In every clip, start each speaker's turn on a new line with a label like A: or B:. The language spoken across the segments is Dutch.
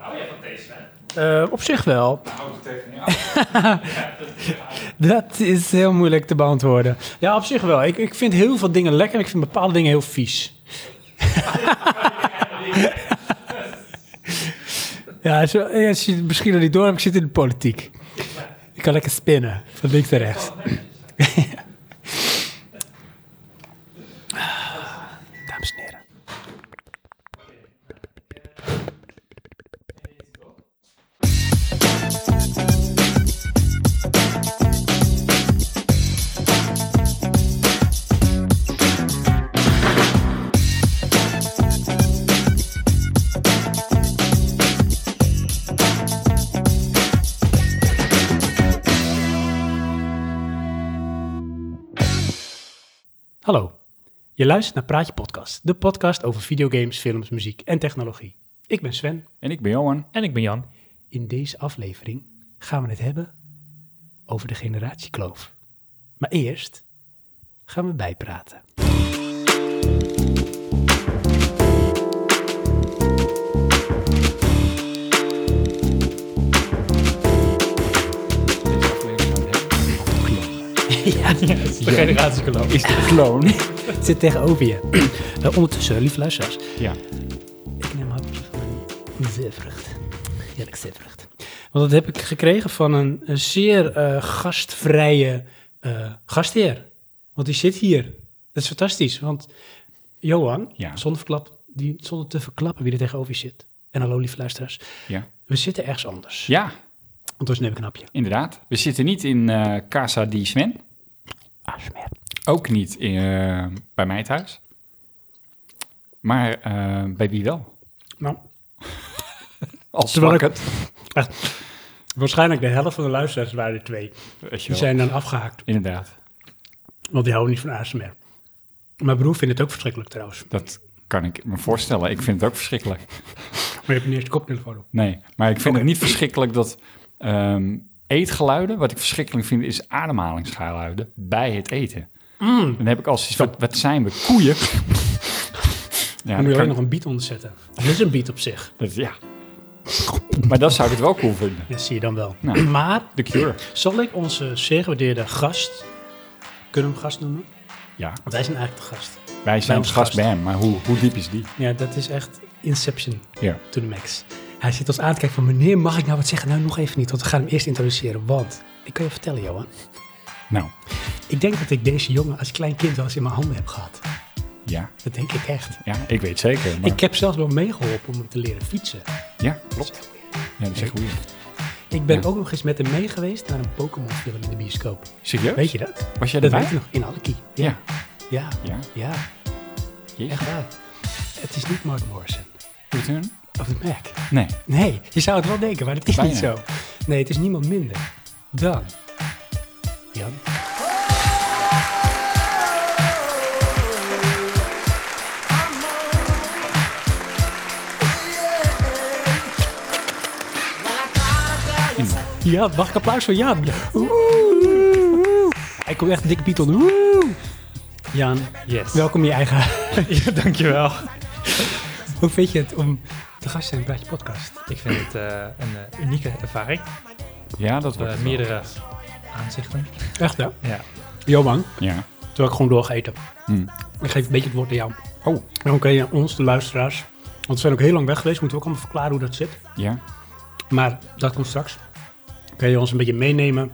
A: Hou jij van thee, Sven?
B: Eh, op zich wel.
C: Houd het tegen je af.
A: Ja, dat
B: Dat
A: is
B: is heel moeilijk te beantwoorden. Ja, op zich wel. Ik, ik vind heel veel dingen lekker en ik vind bepaalde dingen heel vies. ja, zo, ja, als je het misschien nog niet door hebt, ik zit in de politiek. Ik kan lekker spinnen, van links naar rechts. Dames en heren. Hallo, je luistert naar Praatje Podcast, de podcast over videogames, films, muziek en technologie. Ik ben Sven
C: En ik ben Johan.
A: En ik ben Jan.
B: In deze aflevering gaan we het hebben over de generatiekloof. Maar eerst gaan we bijpraten. Ja,
A: De generatiekloof.
C: Is de kloon?
B: het zit tegenover je. Eh, ondertussen, lieve luisteraars,
C: ja.
B: ik neem een hapje van mijn zeevrucht. Heerlijk zeevrucht. Want dat heb ik gekregen van een, een zeer eh, gastvrije eh, gastheer. Want die zit hier. Dat is fantastisch. Want Johan,
C: Ja.
B: zonder, verklap, die, zonder te verklappen wie er tegenover je zit. En hallo lieve luisteraars.
C: Ja.
B: We zitten ergens anders.
C: Ja,
B: Want ons neem ik een hapje.
C: inderdaad. We zitten niet in eh, Casa di Sven.
B: Ah, smeer.
C: Ook niet in, eh, bij mij thuis. Maar eh, bij wie wel?
B: Nou,
C: Als
B: Terwijl ik-
C: het.
B: echt. Waarschijnlijk de helft van de luisteraars waren er twee.
C: Weet je
B: Die
C: wel.
B: zijn dan afgehaakt.
C: Inderdaad.
B: Want die houden niet van ASMR. Mijn broer vindt het ook verschrikkelijk trouwens.
C: Dat kan ik me voorstellen. Ik vind het ook verschrikkelijk.
B: Maar je hebt niet eens de koptelefoon op.
C: Nee, maar ik vind het niet verschrikkelijk dat ehm, eetgeluiden... Wat ik verschrikkelijk vind, is ademhalingsgeluiden bij het eten.
B: Mm.
C: Dan heb ik als iets, wat, wat zijn we, koeien? ja,
B: Dan
C: dat
B: moet je
C: kan-
B: ook nog een beat onderzetten. Dat is een beat op zich.
C: dat, ja. Maar dat zou ik het wel cool vinden.
B: Dat zie je dan wel.
C: Nou.
B: Maar
C: De Cure.
B: zal ik onze zeer gewaardeerde gast, kunnen we hem gast noemen?
C: Ja,
B: Want wij zijn eigenlijk de gast.
C: wij zijn
B: ons
C: gast
B: gast.
C: bij hem, maar hoe, hoe diep is die?
B: Ja, dat is echt Inception
C: Ja.
B: to the max. Hij zit ons aan te kijken van, meneer, mag ik nou wat zeggen? Nou, nog even niet, want we gaan hem eerst introduceren. Want, ik kan je vertellen, Johan.
C: Nou,
B: Ik denk dat ik deze jongen als klein kind wel eens in mijn handen heb gehad.
C: ja,
B: Dat denk ik echt.
C: ja ik weet zeker. Maar,
B: Ik heb zelfs wel meegeholpen om hem te leren fietsen.
C: ja, klopt. Ja, dat is echt weird.
B: Ik ben
C: Ja.
B: ook nog eens met hem mee geweest naar een Pokémon film in de bioscoop.
C: Serieus?
B: Weet je dat?
C: Was jij
B: Dat weet
C: erbij?
B: je nog, in Alki.
C: Ja.
B: Ja,
C: Ja.
B: ja,
C: Jeetje.
B: echt waar. Het is niet Mark Morrison.
C: Return?
B: Of de Mac.
C: Nee.
B: Nee, je zou het wel denken, maar het is
C: Bijna.
B: niet zo. Nee, het is niemand minder dan Jan. Jan, mag ik applaus voor Jan? Oeh, oeh, oeh. Hij komt echt dik Beatle. Oeh. Jan,
A: Yes.
B: welkom in je eigen
A: Ja, dankjewel.
B: Hoe vind je het om te gast te zijn bij je podcast?
A: Ik vind het eh, een eh, unieke ervaring.
C: Ja, dat wordt
A: Eh,
C: het wel.
A: meerdere aanzichten.
B: Echt hè?
A: Ja.
B: Johan,
C: Ja.
B: terwijl ik gewoon doorgeten.
C: Hm.
B: Ik geef een beetje het woord aan jou.
C: Oh,
B: En Oké, aan ons, de luisteraars. Want we zijn ook heel lang weg geweest. Moeten we ook allemaal verklaren hoe dat zit.
C: ja.
B: Maar dat komt straks. Kun je ons een beetje meenemen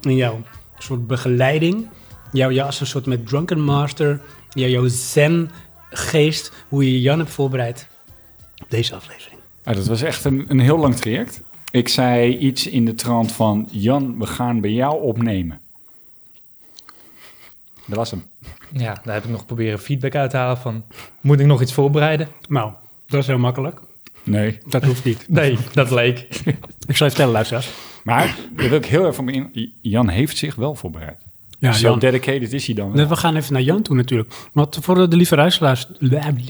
B: in jouw soort begeleiding. Jou, jou als een soort met drunken master. Jou, jouw zen geest. Hoe je Jan hebt voorbereid op deze aflevering.
C: Ah, dat was echt een, een heel lang traject. Ik zei iets in de trant van... Jan, we gaan bij jou opnemen. Dat was hem.
A: Ja, daar heb ik nog proberen feedback uit te halen van... Moet ik nog iets voorbereiden?
B: Nou, dat is heel makkelijk.
C: Nee.
B: Dat hoeft niet.
A: Nee, dat leek.
B: Ik zal je vertellen, luisteraars.
C: Maar daar wil ik heel even op in. Jan heeft zich wel voorbereid.
B: Ja,
C: Zo dedicated is hij dan wel.
B: Nee, we gaan even naar Jan toe natuurlijk. Want voor de, de lieve luisteraars...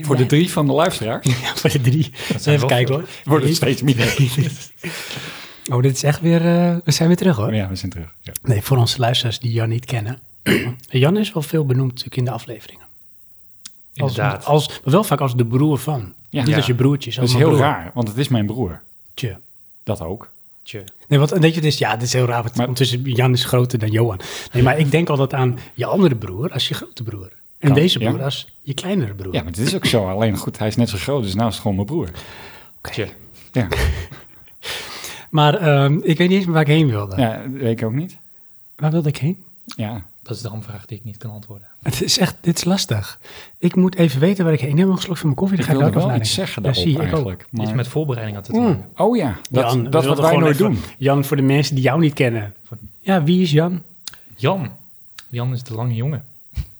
C: Voor de drie van de luisteraars
B: Ja, voor de drie.
A: zijn
B: Even
A: wel
B: kijken hoor.
C: wordt het steeds meer.
B: Oh, dit is echt weer... eh, we zijn weer terug hoor.
C: Maar ja, we zijn terug. Ja.
B: Nee, voor onze luisteraars die Jan niet kennen. Jan is wel veel benoemd natuurlijk in de afleveringen. Als,
A: Inderdaad.
B: als, maar wel vaak als de broer van.
C: Ja.
B: niet
C: Ja.
B: als je broertje.
C: Dat is heel raar, want het is mijn broer.
B: Tje.
C: Dat ook.
A: Tje.
B: Nee, want weet je, het is, ja, het is heel raar, want
C: Maar-
B: ondertussen Jan is groter dan Johan. Nee, maar ik denk altijd aan je andere broer als je grote broer. En
C: Kan,
B: deze broer
C: ja.
B: als je kleinere broer.
C: Ja, maar dit is ook zo. Alleen goed, hij is net zo groot, dus nou is het gewoon mijn broer.
A: Tje.
C: Ja,
B: Maar ehm, ik weet niet eens meer waar ik heen wilde.
C: ja dat weet ik ook niet.
B: Waar wilde ik heen?
C: Ja,
A: Dat is de hamvraag die ik niet kan antwoorden.
B: Het is echt, dit is lastig. Ik moet even weten waar ik heen. Ik neem nog een slok van mijn koffie, dan
C: ik
B: ga ik
C: wilde
B: daarover
C: wel iets zeggen
B: nadenken. Ja,
C: daarop
B: zie je, ik ook.
C: eigenlijk.
A: Iets
C: Maar...
A: met voorbereiding had het te
B: Mm.
A: maken.
C: Oh ja, dat,
B: Jan, we
C: dat wat
B: wilden
C: wij
B: gewoon
C: nooit
B: even-
C: doen.
B: Jan, voor de mensen die jou niet kennen. Ja, wie is Jan?
A: Jan. Jan is de lange jongen.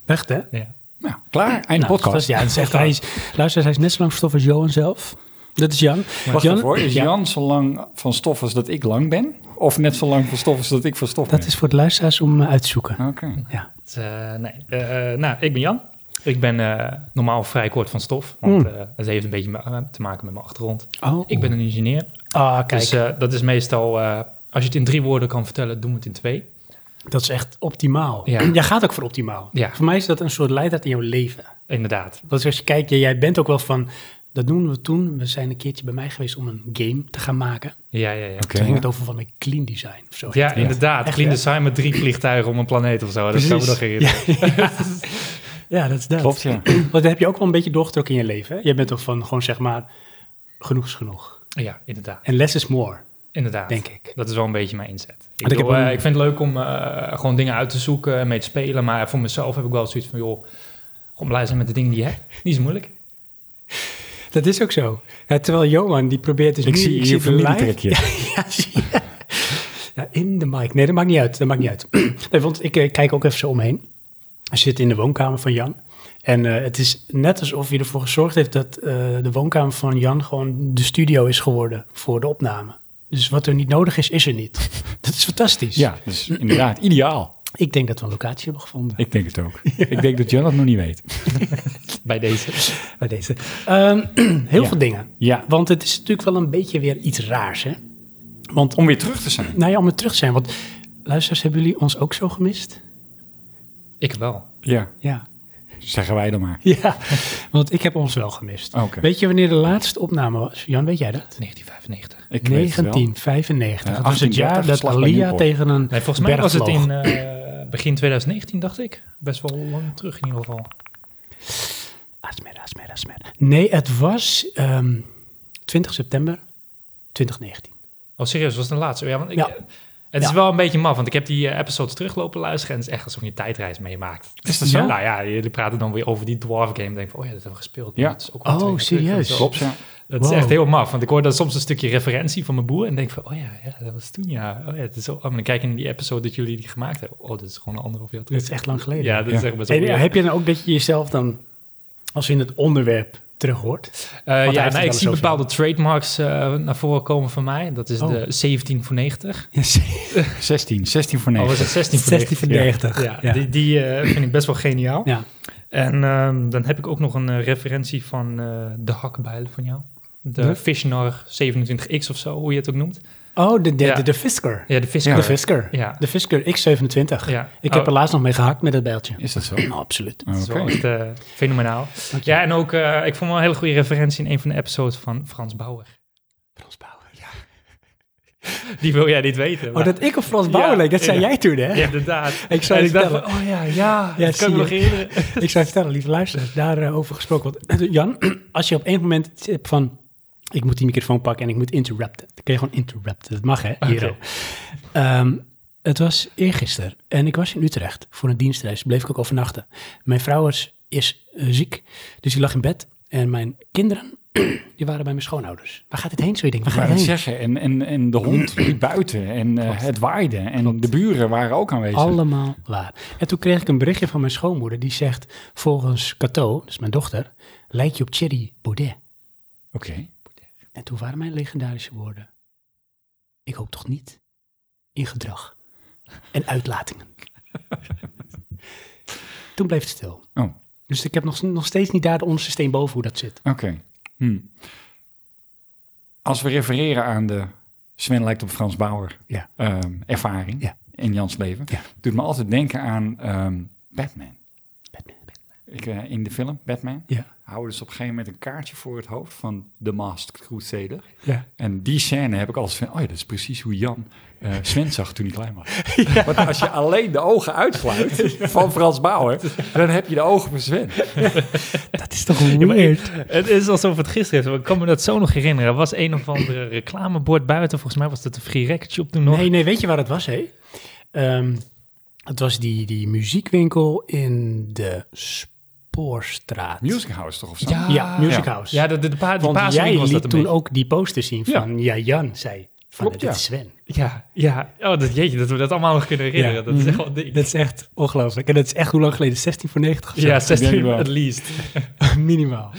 B: Echt, hè?
A: Ja.
C: Nou, klaar, einde
B: Nou, dat
C: podcast.
B: is- ja, dat is echt, hij is, luister, hij is net zo lang verstoffen als Johan zelf. Dat is Jan.
C: Wacht
B: Jan,
C: even hoor, is
B: ja,
C: Jan zo lang van stof als dat ik lang ben? Of net zo lang van stof als dat ik van stof
B: Dat
C: ben?
B: is voor de luisteraars om eh, uit te zoeken.
C: Oké.
B: Ja.
A: Het, eh, nee. Eh, eh, nou, ik ben Jan. Ik ben eh, normaal vrij kort van stof, want
B: Mm.
A: eh, het heeft een beetje ma- te maken met mijn achtergrond.
B: Oh.
A: Ik ben een ingenieur,
B: Ah, kijk,
A: dus eh, dat is meestal, eh, als je het in drie woorden kan vertellen, doen we het in twee.
B: dat is echt optimaal.
A: Ja.
B: Jij gaat ook voor optimaal.
A: Ja.
B: Voor mij is dat een soort leidraad in jouw leven.
A: Inderdaad.
B: Dat is als je kijkt, jij- jij bent ook wel van... Dat doen we toen. We zijn een keertje bij mij geweest om een game te gaan maken.
A: Ja, ja, ja.
C: Oké.
B: Toen ging het over van mijn clean design of zo.
A: Ja, inderdaad.
B: Echt,
A: Clean
B: hè?
A: design met drie vliegtuigen om een planeet of zo. Dat zou me nog herinneren.
B: Ja, dat is dat.
C: Klopt, ja.
B: Want dat heb je ook wel een beetje doorgetrokken in je leven. Hè? Jij bent ook van gewoon zeg maar, genoeg is genoeg.
A: Ja, inderdaad.
B: En less is more,
A: Inderdaad.
B: denk ik.
A: Dat is wel een beetje mijn inzet. Ik,
B: Want ik
A: bedoel,
B: heb een-
A: eh, ik vind het leuk om eh, gewoon dingen uit te zoeken en mee te spelen. Maar voor mezelf heb ik wel zoiets van, joh, gewoon blij zijn met de dingen die je hebt. Niet zo moeilijk.
B: Dat is ook zo. Ja, terwijl Johan, die probeert dus
C: Ik
B: nu...
C: zie hier
B: het live.
C: familietrekje.
B: Ja, zie je. Ja, in de mic. Nee, dat maakt niet uit. Dat maakt niet uit. Nee, want ik eh, kijk ook even zo omheen. We zitten in de woonkamer van Jan. En eh, het is net alsof hij ervoor gezorgd heeft dat eh, de woonkamer van Jan gewoon de studio is geworden voor de opname. Dus wat er niet nodig is, is er niet. Dat is fantastisch.
C: Ja, dus inderdaad, ideaal.
B: Ik denk dat we een locatie hebben gevonden.
C: Ik denk het ook. Ik denk dat Jan dat nog niet weet.
A: Bij deze.
B: Bij deze. Ehm, heel
C: Ja.
B: veel dingen.
C: Ja,
B: Want het is natuurlijk wel een beetje weer iets raars, hè? Want
C: om weer terug te zijn.
B: Nou ja, om weer terug te zijn. Want luisteraars, hebben jullie ons ook zo gemist?
A: Ik wel.
C: Ja,
B: Ja.
C: zeggen wij dan maar.
B: Ja, want ik heb ons wel gemist.
C: Oké.
B: Weet je wanneer de laatste opname was? Jan, weet jij dat?
A: 1995.
C: Ik weet het wel.
B: 1995.
C: Ja,
B: dat was
C: 1830
B: het jaar dat
C: slag bij
B: Alia
C: Nieuwpoort.
B: tegen een
A: Nee, volgens mij
B: berg
A: was het
B: vloog.
A: in eh, begin 2019, dacht ik. Best wel lang terug in ieder geval.
B: Asmer, asmer, asmer. Nee, het was ehm, 20 september 2019.
A: Oh, serieus, was het de laatste? Ja, want ik,
B: Ja.
A: eh, Het
B: Ja.
A: is wel een beetje maf, want ik heb die eh, episodes teruglopen luisteren... en het is echt alsof je een tijdreis meemaakt.
C: Is dat zo?
A: Ja, nou ja, jullie praten dan weer over die dwarf game. denk van, oh ja, dat hebben we gespeeld.
C: Ja.
A: Dat is ook al
B: Oh,
A: twee jaar terug en
B: serieus?
A: zo.
C: Klopt, ja.
A: Dat
B: Wow.
A: is echt heel maf, want ik hoor dan soms een stukje referentie van mijn boer... en denk van, oh ja, ja dat was toen, ja. Oh ja, het is zo... oh, maar dan kijk je in die episode dat jullie die gemaakt hebben. Oh, dat is gewoon een anderhalf jaar
B: Dat
A: terug.
B: is echt lang geleden.
A: Ja, dat is
C: Ja.
A: echt best wel
B: En eh,
A: weird.
B: heb je dan ook dat je jezelf dan, als je in het onderwerp terug hoort?
A: Eh,
B: hij
A: ja,
B: heeft
A: nou,
B: het
A: ik
B: wel
A: zie
B: eens
A: bepaalde trademarks eh, naar voren komen van mij. Dat is
B: Oh.
A: de 17 voor 90.
B: Ja,
C: 16, 16 voor 9.
A: Oh, was het 16 voor 90?
B: 16 van 90.
A: Ja, die, die eh, vind ik best wel geniaal.
B: Ja.
A: En ehm, dan heb ik ook nog een eh, referentie van eh, de hakbijl van jou. De
B: De?
A: Fishnar 27X of zo, hoe je het ook noemt.
B: Oh, de, de,
A: Ja.
B: de, de Fisker.
A: Ja, de Fisker.
B: De Fisker.
A: Ja.
B: De Fisker X27.
A: Ja.
B: Ik
A: Oh.
B: heb er laatst nog mee gehakt met dat bijltje.
C: Is dat zo?
B: Nou, absoluut.
A: Dat is
C: Oké.
A: wel echt eh, fenomenaal.
B: Dank je.
A: Ja, en ook, eh, ik vond wel een hele goede referentie in een van de episodes van Frans Bauer.
B: Frans Bauer.
A: Die wil jij niet weten.
B: Oh,
A: maar-
B: dat ik op Frans Bauer
A: Ja,
B: leek, dat zei
A: ja.
B: jij toen, hè?
A: Ja, inderdaad.
B: Ik zou
A: En
B: je
A: ik dacht
B: vertellen.
A: van, oh ja, ja, dat
B: zie
A: kan ik me nog
B: je.
A: herinneren.
B: Ik zou vertellen, lieve luisteraars, daarover gesproken. Want eh, Jan, als je op een moment het hebt van... Ik moet die microfoon pakken en ik moet interrupten. Dan kun je gewoon interrupten. Dat mag, hè, Hero.
A: Oké.
B: Ehm, het was eergisteren en ik was in Utrecht voor een dienstreis. Bleef ik ook overnachten. Mijn vrouw is, is eh, ziek, dus die lag in bed. En mijn kinderen, die waren bij mijn schoonouders. Waar gaat dit heen, zo je denkt? Waar
C: Maar
B: gaat
C: dat
B: dit heen?
C: zeggen, en, en, en de hond liep buiten, en eh, het waaide, en de buren waren ook aanwezig.
B: Allemaal waar. En toen kreeg ik een berichtje van mijn schoonmoeder. Die zegt, volgens Cato, dat is mijn dochter, lijkt je op Thierry Baudet.
C: Oké.
B: En toen waren mijn legendarische woorden. Ik hoop toch niet in gedrag en uitlatingen. toen bleef het stil.
C: Oh, oké.
B: Dus ik heb nog, nog steeds niet daar de onderste steen boven hoe dat zit.
C: Hm. Als we refereren aan de Sven lijkt op Frans Bauer
B: Ja.
C: ehm, ervaring
B: Ja.
C: in Jans leven,
B: Ja.
C: doet me altijd denken aan ehm, Batman.
B: Batman, Batman.
C: Ik, eh, in de film Batman
B: Ja.
C: houden ze dus op een gegeven moment een kaartje voor het hoofd van The Masked Crusader.
B: Ja.
C: En die scène heb ik altijd van, oh ja, dat is precies hoe Jan eh Sven zag toen hij klein was. Want als je alleen de ogen uitsluit van Frans Bauer, dan heb je de ogen van Sven.
B: Dat is toch
A: maar-
B: weird.
A: Het is alsof het gisteren is. want Ik kan me dat zo nog herinneren. Er was een of andere reclamebord buiten. Volgens mij was dat een free record shop toen nog.
B: Nee, nee, weet je waar het was, hé? Ehm, het was die, die muziekwinkel in de Spoorstraat.
C: Music House toch of zo?
A: Ja.
B: ja, Music
C: Ja.
B: House.
A: Ja, de, de, de, pa- de
B: Want
A: paasring
B: jij
A: was dat
B: liet
A: een
B: toen
A: beetje.
B: ook die poster zien
C: Ja.
B: van, ja, Jan zei, van,
C: Klopt,
B: dit
C: ja.
B: is Sven.
A: Ja, ja. Oh, dat, jeetje, dat we dat allemaal nog kunnen herinneren.
B: Ja.
A: Dat is echt wel een ding.
B: Dat is echt ongelooflijk. En dat is echt hoe lang geleden? 16 voor 90 of zo?
A: ja,
C: denk
A: 16
C: ik wel.
A: at least.
B: Minimaal.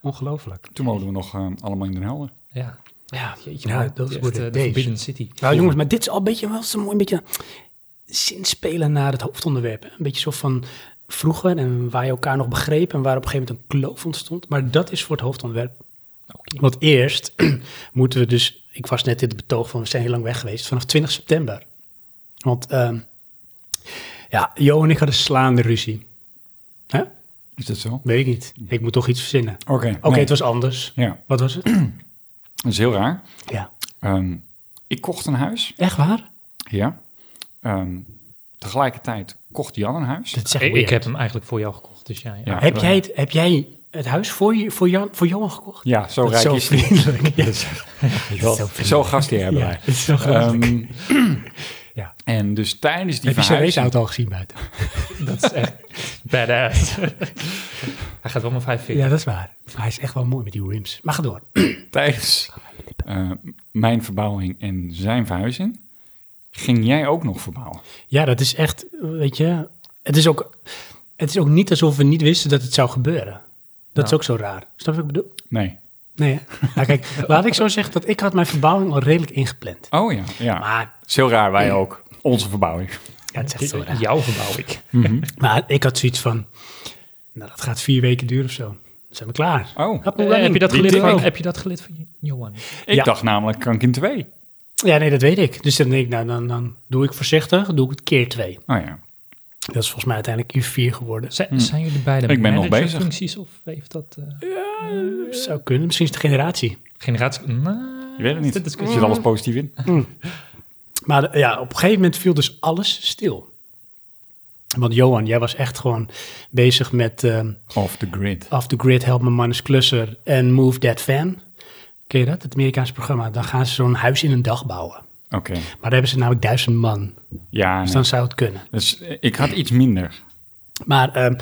B: Ongelooflijk.
C: Toen woonden we nog eh, allemaal in Den Helder.
A: Ja,
B: Ja,
A: jeetje.
B: Ja,
A: man.
B: dat
A: Echt,
B: wordt
A: eh,
B: het
A: de
B: deze.
A: Forbidden City.
B: Nou jongens, maar dit is al een beetje, wel zo mooi, een beetje zinspelen naar het hoofdonderwerp. hè. Een beetje zo van vroeger en waar je elkaar nog begreep en waar op een gegeven moment een kloof ontstond. Maar dat is voor het hoofdonderwerp. Want eerst moeten we dus, ik was net in het betoog van we zijn heel lang weg geweest, vanaf 20 september. Want ehm, ja, Jo en ik hadden slaande ruzie. Hè?
C: Is dat zo? Oké.
B: Weet ik niet. Ik moet toch iets verzinnen. Oké,
C: nee.
B: het was anders.
C: Ja,
B: Wat was het?
C: dat is heel raar.
B: ja.
C: Ehm, ik kocht een huis.
B: Echt waar?
C: Ja. Ehm, tegelijkertijd kocht Jan een huis.
B: Dat is echt
A: Ik, ik
B: weird.
A: heb hem eigenlijk voor jou gekocht, dus ja. ja.
C: Ja.
B: Heb jij het, heb jij het huis voor, je, voor, Jan, voor Johan gekocht?
C: Ja, zo
B: Dat is
C: rijk
B: zo
C: is hij.
B: vriendelijk. Ja.
C: Wel,
B: zo vriendelijk.
C: Zo gastheer hebben
B: Ja,
C: wij.
B: dat is zo
C: Ehm,
B: grappig.
C: ja. En dus tijdens die
B: Heb je zijn
C: verhuizing...
B: raceauto al gezien buiten?
A: Dat is echt badass. Hij gaat wel maar 45.
B: Ja, dat is waar. Maar hij is echt wel mooi met die rims. Maar ga door.
C: tijdens eh, mijn verbouwing en zijn verhuizing, ging jij ook nog verbouwen.
B: Ja, dat is echt, weet je... Het is ook, het is ook niet alsof we niet wisten dat het zou gebeuren. Dat is
A: Nou.
B: ook zo raar. Snap je wat ik bedoel?
C: Nee.
B: Nee, hè? Nou, kijk, laat ik zo zeggen dat ik had mijn verbouwing al redelijk ingepland.
C: Oh ja, ja.
B: Maar,
C: is heel raar, wij ook. Onze verbouwing.
B: ja, het is echt zo raar.
A: Jouw verbouw ik.
B: Maar ik had zoiets van, nou, dat gaat vier weken duren of zo. Dan zijn we klaar.
C: Oh,
B: Up and
A: Eh, heb,
B: running.
A: je dat
B: Die
A: geleerd van,
B: dingen.
A: heb je dat geleerd van Johan?
C: ik
B: Ja.
C: dacht namelijk, kan ik in twee?
B: Ja, nee, dat weet ik. Dus dan denk ik, nou, dan, dan doe ik voorzichtig, doe ik het keer twee.
C: Oh ja.
B: Dat is volgens mij uiteindelijk uur vier geworden.
A: Zijn, zijn jullie beide
C: Ik ben nog
A: managerfuncties of heeft dat eh,
B: Zou kunnen, misschien is het de generatie.
A: generatie... Nou,
C: Je weet het niet.
A: dat is
C: Er zit alles positief in.
B: Maar eh, ja, op een gegeven moment viel dus alles stil. Want Johan, jij was echt gewoon bezig met ehm,
C: Off the grid.
B: Off the Grid, Help Mijn Man is Klusser en Move That Fan. Ken je dat? Het Amerikaanse programma. Dan gaan ze zo'n huis in een dag bouwen.
C: Oké.
B: Maar daar hebben ze namelijk duizend man.
C: Ja,
B: Dus
C: nee.
B: dan zou het kunnen.
C: dus eh, ik had iets minder.
B: Maar ehm,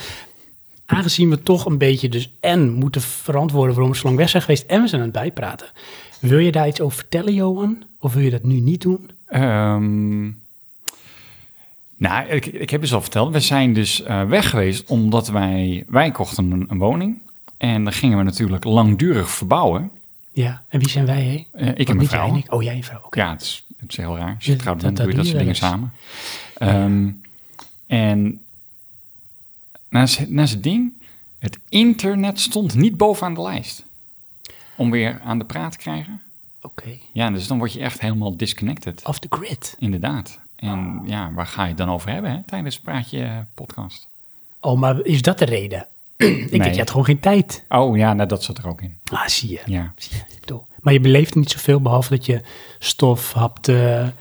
B: aangezien we toch een beetje dus en moeten verantwoorden waarom we zo lang weg zijn geweest en we zijn aan het bijpraten. Wil je daar iets over vertellen, Johan? Of wil je dat nu niet doen?
C: Ehm, nou, ik, ik heb dus al verteld. We zijn dus eh, weg geweest omdat wij, wij kochten een, een woning. En dan gingen we natuurlijk langdurig verbouwen.
B: Ja, en wie zijn wij, hè?
C: Eh, ik
B: Wat,
C: en mijn
B: niet jij
C: vrouw.
B: en ik? Oh, jij en vrouw, oké.
C: Ja, het is, het is heel raar. Als
B: Ja,
C: je trouwt, dan
B: dat-
C: doe je
B: dat
C: dat
B: doe
C: soort dingen
B: je wel
C: samen. Ehm, en naast, naast het ding, het internet stond niet bovenaan de lijst. Om weer aan de praat te krijgen.
B: Oké.
C: Ja, dus dan word je echt helemaal disconnected.
B: Off the grid.
C: Inderdaad. En ja, waar ga je het dan over hebben hè, tijdens het Praatje eh, podcast?
B: Oh, maar is dat de reden? ik denk,
C: Nee.
B: je had gewoon geen tijd.
C: Oh ja, nou, dat zat er ook in.
B: Ah, zie je.
C: Ja.
B: Zie je. Ik bedoel, Maar je beleefde niet zoveel, behalve dat je stof hapte.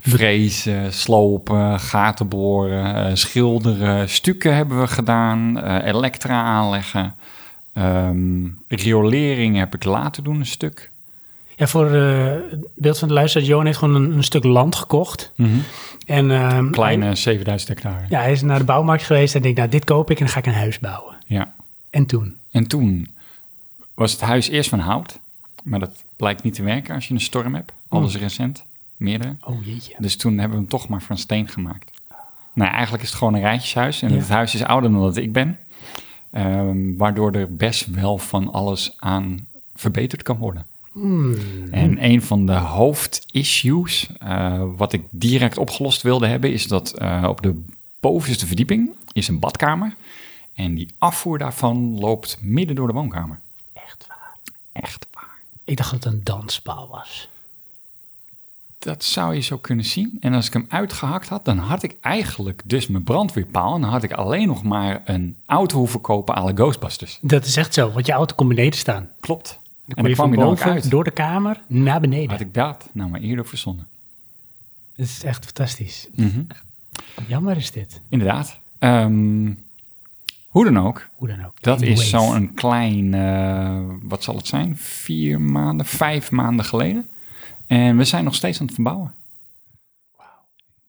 C: Vrezen, slopen, gaten boren, eh, schilderen, stukken hebben we gedaan, eh, elektra aanleggen. Ehm, riolering heb ik laten doen, een stuk.
B: Ja, voor eh, het beeld van de luisteraar, Johan heeft gewoon een, een stuk land gekocht. En, ehm,
C: Kleine 7000 hectare.
B: Ja, hij is naar de bouwmarkt geweest en denkt, nou, dit koop ik en dan ga ik een huis bouwen.
C: Ja.
B: En toen?
C: En toen was het huis eerst van hout, maar dat blijkt niet te werken als je een storm hebt. Alles recent, meerdere.
B: Oh jeetje.
C: Dus toen hebben we hem toch maar van steen gemaakt. Nou, eigenlijk is het gewoon een rijtjeshuis. En
B: Ja.
C: het huis is ouder dan dat ik ben. Ehm, waardoor er best wel van alles aan verbeterd kan worden. En een van de hoofdissues, eh, wat ik direct opgelost wilde hebben, is dat eh, op de bovenste verdieping is een badkamer. En die afvoer daarvan loopt midden door de woonkamer.
B: Echt waar.
C: Echt waar.
B: Ik dacht dat het een danspaal was.
C: dat zou je zo kunnen zien. En als ik hem uitgehakt had, dan had ik eigenlijk dus mijn brandweerpaal. En dan had ik alleen nog maar een auto hoeven kopen à la Ghostbusters.
B: Dat is echt zo, want je auto kon beneden staan.
C: Klopt.
B: Dan
C: en
B: kon
C: dan
B: je
C: kwam
B: van
C: je dan ook
B: boven,
C: uit.
B: door de kamer, naar beneden.
C: Had
B: Het
C: ik dat nou maar eerder verzonnen.
B: is echt fantastisch.
C: Mhm.
B: Jammer is dit.
C: Inderdaad. Ehm, hoe dan ook,
B: Hoe dan ook.
C: dat is
B: Anyways.
C: zo'n klein, eh, wat zal het zijn, vier maanden, vijf maanden geleden. En we zijn nog steeds aan het verbouwen.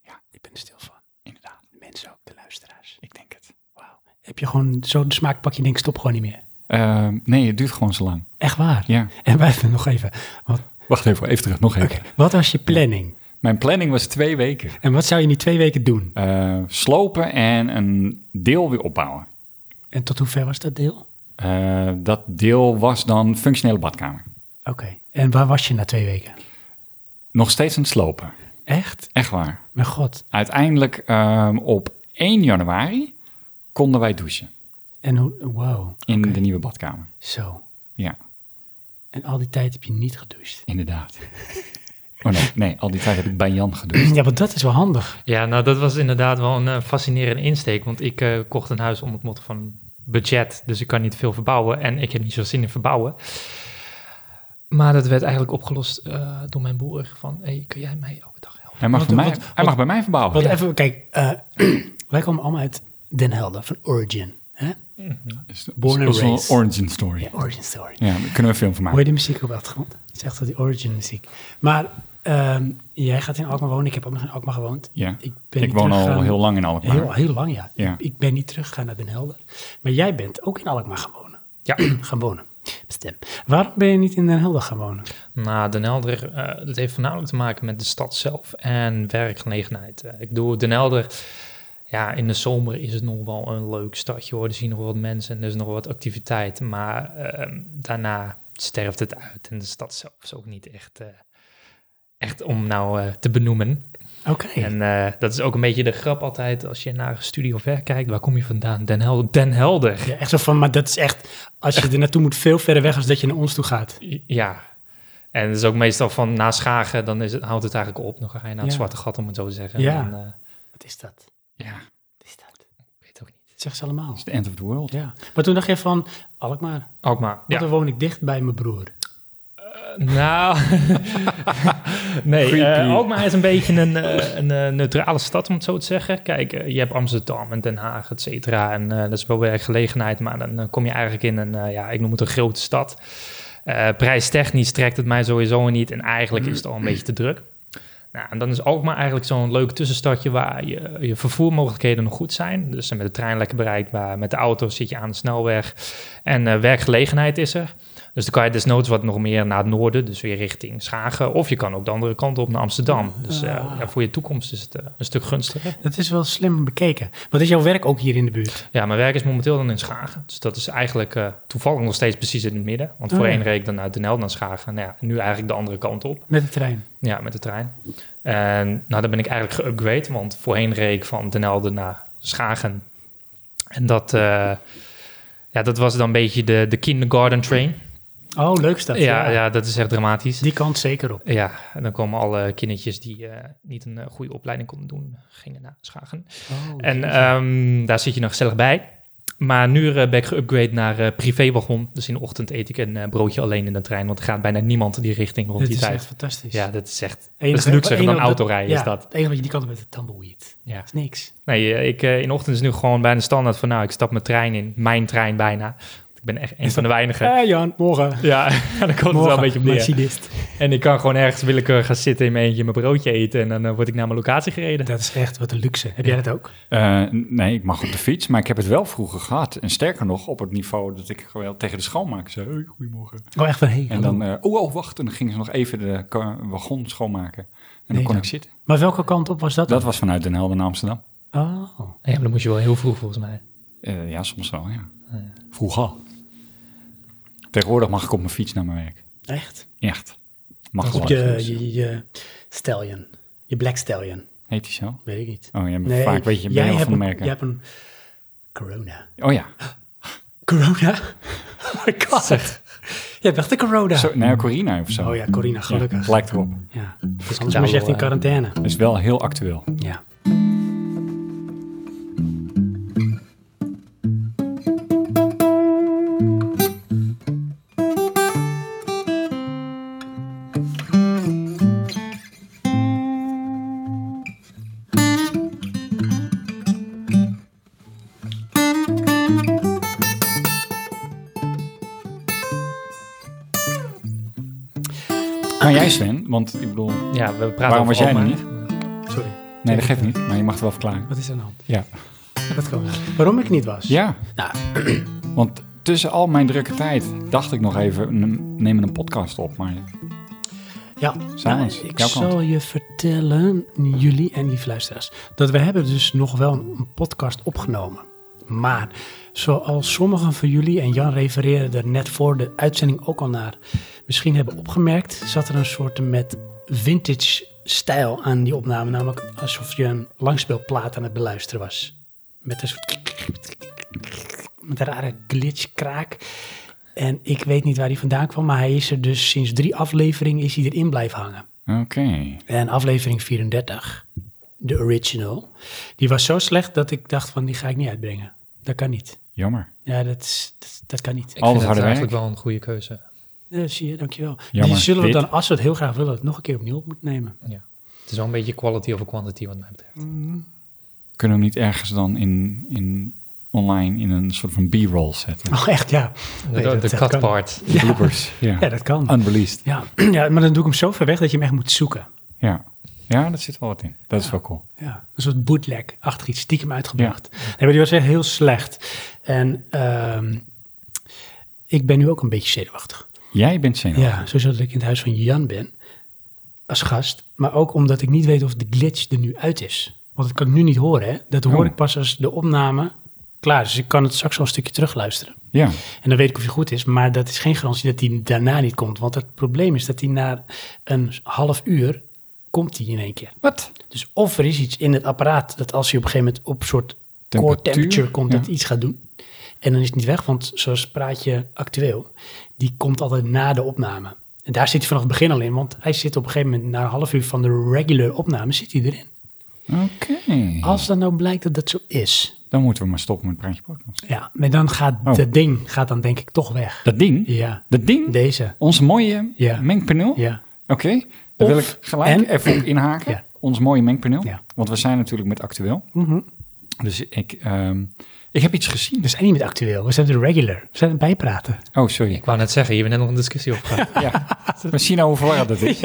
B: Ja, ik ben er stil van.
C: Inderdaad,
B: De mensen ook, de luisteraars.
C: ik denk het.
B: Wauw. Heb je gewoon zo'n smaakpakje, denk stop gewoon niet meer.
C: Ehm, nee, het duurt gewoon zo lang.
B: Echt waar.
C: Ja.
B: En wij nog even. Wat,
C: Wacht even, even terug, nog even.
B: oké, wat was je planning?
C: Mijn planning was twee weken.
B: En wat zou je in die twee weken doen?
C: Eh, slopen en een deel weer opbouwen.
B: En tot hoe ver was dat deel?
C: Eh, dat deel was dan functionele badkamer.
B: Oké. En waar was je na twee weken?
C: Nog steeds aan het slopen.
B: Echt?
C: Echt waar.
B: Mijn god.
C: Uiteindelijk ehm, op 1 januari konden wij douchen
B: En hoe... Wow.
C: in de nieuwe badkamer.
B: Zo.
C: Ja,
B: En al die tijd heb je niet gedoucht.
C: inderdaad. oh nee, nee, al die tijd heb ik bij Jan gedoucht.
B: Ja, want dat is wel handig.
A: Ja, nou dat was inderdaad wel een eh, fascinerende insteek. Want ik eh, kocht een huis onder het motto van budget. Dus ik kan niet veel verbouwen. En ik heb niet zo zin in verbouwen. Maar dat werd eigenlijk opgelost eh, door mijn broer. Van, hey, kun jij mij elke dag helpen?
C: Hij mag,
B: Wat-
C: bij, mij,
B: wat-
C: hij mag bij mij verbouwen.
B: Want even, kijk. eh, wij komen allemaal uit Den Helder, van Origin. Hè?
C: is,
B: born and
C: is wel een
B: raised.
C: origin story.
B: Ja,
C: Ja.
B: Origin Story.
C: daar kunnen we een film van
B: Hoor
C: maken.
B: je de muziek op de achtergrond? Het is echt wel die Origin muziek. Maar ehm, jij gaat in Alkmaar wonen. Ik heb ook nog in Alkmaar gewoond.
C: Ja.
B: Ik, ben
C: Ik,
B: niet
C: woon al
B: teruggegaan.
C: heel lang in Alkmaar.
B: Heel, heel lang, ja.
C: Ja.
B: Ik, ik ben niet teruggegaan naar Den Helder. Maar jij bent ook in Alkmaar gaan wonen.
A: Ja.
B: gaan wonen. Stem. Waarom ben je niet in Den Helder gaan wonen?
A: Nou, Den Helder, eh, dat heeft voornamelijk te maken met de stad zelf en werkgelegenheid. Eh, ik bedoel, Den Helder, ja, in de zomer is het nog wel een leuk stadje hoor. Er zien nog wat mensen en er is nog wat activiteit. Maar ehm, daarna sterft het uit en de stad zelf is ook niet echt, eh, echt om nou eh, te benoemen.
B: Oké.
A: En eh, dat is ook een beetje de grap altijd als je naar een studie of werk kijkt. Waar kom je vandaan? Den Helder. Den Helder.
B: Ja, echt zo van, maar dat is echt, als je er naartoe moet, veel verder weg als dat je naar ons toe gaat.
A: Ja. En het is ook meestal van na Schagen, dan is het, houdt het eigenlijk op. Dan ga je naar het
B: Ja.
A: zwarte gat, om het zo te zeggen.
B: Ja.
A: En, eh,
B: Wat is dat?
C: Ja,
B: Wat is dat?
A: ik weet het ook niet.
B: Dat zeggen ze allemaal.
C: it's the end of the world.
B: Ja. Maar toen dacht je van, Alkmaar, want
A: Ook maar. Ja.
B: dan woon ik dicht bij mijn broer.
A: nou, nee,
C: Creepy.
A: eh Alkmaar is een beetje een, eh, een eh, neutrale stad, om het zo te zeggen. Kijk, eh, je hebt Amsterdam en Den Haag, et cetera. En eh, dat is wel werkgelegenheid, maar dan eh, kom je eigenlijk in een, eh, ja, ik noem het een grote stad. Eh, prijstechnisch trekt het mij sowieso niet en eigenlijk is het al een beetje te druk. Nou, en dan is Alkmaar eigenlijk zo'n leuk tussenstadje waar je, je vervoermogelijkheden nog goed zijn. Dus met de trein lekker bereikbaar, met de auto zit je aan de snelweg en eh, werkgelegenheid is er. Dus dan kan je desnoods wat nog meer naar het noorden, dus weer richting Schagen. Of je kan ook de andere kant op naar Amsterdam. Dus eh,
B: Ah.
A: ja, voor je toekomst is het eh, een stuk gunstiger.
B: Dat is wel slim bekeken. Wat is jouw werk ook hier in de buurt?
A: Ja, mijn werk is momenteel dan in Schagen. Dus dat is eigenlijk eh, toevallig nog steeds precies in het midden. Want
B: Oh,
A: voorheen
B: ja.
A: reed ik dan uit Den Helder naar Schagen. Nou ja, nu eigenlijk de andere kant op.
B: Met de trein.
A: Ja, met de trein. En nou, dan ben ik eigenlijk geüpgrade, want voorheen reed ik van Den Helder naar Schagen. En dat, eh, ja, dat was dan een beetje de, de kindergarten train.
B: Oh, leuk is dat.
A: ja, ja. dat is echt dramatisch.
B: Die kant zeker op.
A: Ja, en dan komen alle kindertjes die eh, niet een eh, goede opleiding konden doen, gingen naar Schagen.
B: Oh,
A: En ehm, daar zit je nog gezellig bij. Maar nu eh, ben ik geüpgrade naar eh privéwagon. Dus in de ochtend eet ik een eh, broodje alleen in de trein, want er gaat bijna niemand die richting rond
B: dit
A: die
B: is
A: tijd.
B: echt fantastisch.
A: Ja, dat is echt
B: Enige-
A: dat is luxer
B: enige-
A: dan autorijden,
B: ja,
A: is dat.
B: Het enige wat je die kant op met de tumbleweed.
A: Ja.
B: Dat is niks.
A: Nee, eh, ik, eh, in de ochtend is nu gewoon bijna standaard van... nou, ik stap mijn trein in. Mijn trein bijna. Want Ik ben echt een van de weinigen.
B: hey Jan, morgen.
A: Ja, daar komt het wel een beetje op neer.
B: Machinist.
A: En ik kan gewoon ergens willekeurig gaan zitten in mijn eentje... mijn broodje eten en dan eh, word ik naar mijn locatie gereden.
B: Dat is echt wat een luxe. Heb jij dat ook?
C: Eh, nee, ik mag op de fiets, maar ik heb het wel vroeger gehad. En sterker nog, op het niveau dat ik gewoon tegen de schoonmaker zei, hey, goedemorgen.
B: Oh, echt van, hey,
C: En dan, eh, oh, oh, wacht. En dan gingen ze nog even de ka- wagon schoonmaken. En dan
B: Nee,
C: kon
B: dan.
C: ik zitten.
B: Maar welke kant op was dat?
C: Dat was vanuit Den Helder naar Amsterdam.
B: Oh.
A: Ja, maar dan moest je wel heel vroeg volgens mij.
C: Eh, ja, soms wel, ja. Vroeger. Tegenwoordig mag ik op mijn fiets naar mijn werk.
B: Echt?
C: Echt. Mag
B: Op
C: gewoon.
B: je, je, je stallion. Je black stallion.
C: Heet die zo?
B: Weet ik niet.
C: Oh, jij bent vaak, weet je, ben je wel
B: hebt
C: van de
B: een,
C: merken.
B: jij hebt een corona.
C: Oh ja.
B: Corona? Oh my god. Jij hebt echt een corona.
C: Zo, nou, Corina of zo.
B: Oh ja, Corina,
C: Ja,
B: gelukkig.
C: lijkt erop.
B: Ja.
A: Dus
B: Anders moet je echt in
A: eh,
B: quarantaine.
C: Dat is wel heel actueel.
B: Ja.
C: Kan jij Sven? Want ik bedoel,
A: Ja, we praten
C: Waarom
A: over
C: was jij er
A: oma.
C: niet?
B: Sorry,
C: nee dat geeft niet, maar je mag het wel verklaren.
B: wat is er nou?
C: Ja.
B: Dat kan. Waarom ik niet was?
C: Ja,
B: Nou,
C: want tussen al mijn drukke tijd dacht ik nog even, n- nemen een podcast op. Maar
B: Ja,
C: Silence,
B: nou, ik
C: jouw
B: zal
C: kant.
B: je vertellen, jullie en lieve luisteraars, dat we hebben dus nog wel een, een podcast opgenomen. Maar zoals sommigen van jullie, en Jan refereerde er net voor de uitzending ook al naar, misschien hebben opgemerkt, zat er een soort met vintage stijl aan die opname. Namelijk alsof je een langspeelplaat aan het beluisteren was. Met een soort... Met een rare glitchkraak. En ik weet niet waar hij vandaan kwam, maar hij is er dus sinds drie afleveringen is hij erin blijven hangen.
C: oké.
B: En aflevering 34, de original, die was zo slecht dat ik dacht van die ga ik niet uitbrengen. Dat kan niet.
C: Jammer.
B: Ja, dat, is, dat, dat kan niet.
A: Ik
C: Alles
A: vind dat
C: harde
A: eigenlijk
C: werk.
A: wel een goede keuze.
B: Ja, zie je, dankjewel.
C: Jammer,
B: die zullen we
C: dit.
B: dan, als we het heel graag willen, het nog een keer opnieuw op moeten nemen.
A: Ja. Het is wel een beetje quality over quantity wat mij betreft.
C: Kunnen we hem niet ergens dan in, in online in een soort van b-roll zetten?
B: Oh, echt, ja. Nee,
A: de
B: dat-
A: de
B: dat
A: cut
B: kan.
A: part.
C: De bloopers. Ja.
B: Ja, dat kan.
C: Unreleased.
B: Ja, ja, maar dan doe ik hem zo ver weg dat je hem echt moet zoeken.
C: Ja. ja, dat zit wel wat in. Dat is wel cool.
B: Ja, een soort bootleg-achtig iets, stiekem uitgebracht. Nee, maar die was echt heel slecht. En ehm, ik ben nu ook een beetje zenuwachtig.
C: Jij bent zenuwachtig.
B: Ja, sowieso dat ik in het huis van Jan ben. Als gast. Maar ook omdat ik niet weet of de glitch er nu uit is. Want dat kan ik nu niet horen, hè. Dat hoor
C: Oh.
B: ik pas als de opname klaar is. Dus ik kan het straks wel een stukje terugluisteren.
C: Ja.
B: En dan weet ik of hij goed is. Maar dat is geen garantie dat hij daarna niet komt. Want het probleem is dat hij na een half uur komt hij in één keer.
C: Wat?
B: Dus of er is iets in het apparaat dat als hij op een gegeven moment op soort core
C: Temperatuur?
B: temperature komt, dat
C: Ja.
B: hij iets gaat doen. En dan is het niet weg, want zoals praatje actueel, die komt altijd na de opname. En daar zit hij vanaf het begin al in, want hij zit op een gegeven moment na een half uur van de regular opname zit hij erin.
C: Oké.
B: Als dan nou blijkt dat dat zo is,
C: Dan moeten we maar stoppen met Praatje Podcast.
B: ja, maar dan gaat
C: Oh.
B: dat ding gaat dan denk ik toch weg.
C: Dat ding?
B: Ja,
C: Dat ding?
B: deze.
C: Ons mooie
B: Ja.
C: mengpaneel?
B: Ja,
C: Oké, daar wil
B: Of-
C: ik gelijk
B: en-
C: even op inhaken.
B: Ja.
C: Ons mooie mengpaneel.
B: Ja.
C: Want we zijn natuurlijk met actueel.
B: Mhm.
C: Dus ik, ehm, ik heb iets gezien.
B: we zijn niet met actueel, we zijn de regular. We zijn aan het bijpraten.
C: Oh, sorry.
A: Ik wou net zeggen, hier hebben we net nog een discussie op gehad.
C: Ja. We zien nou hoe verwarrend dat is.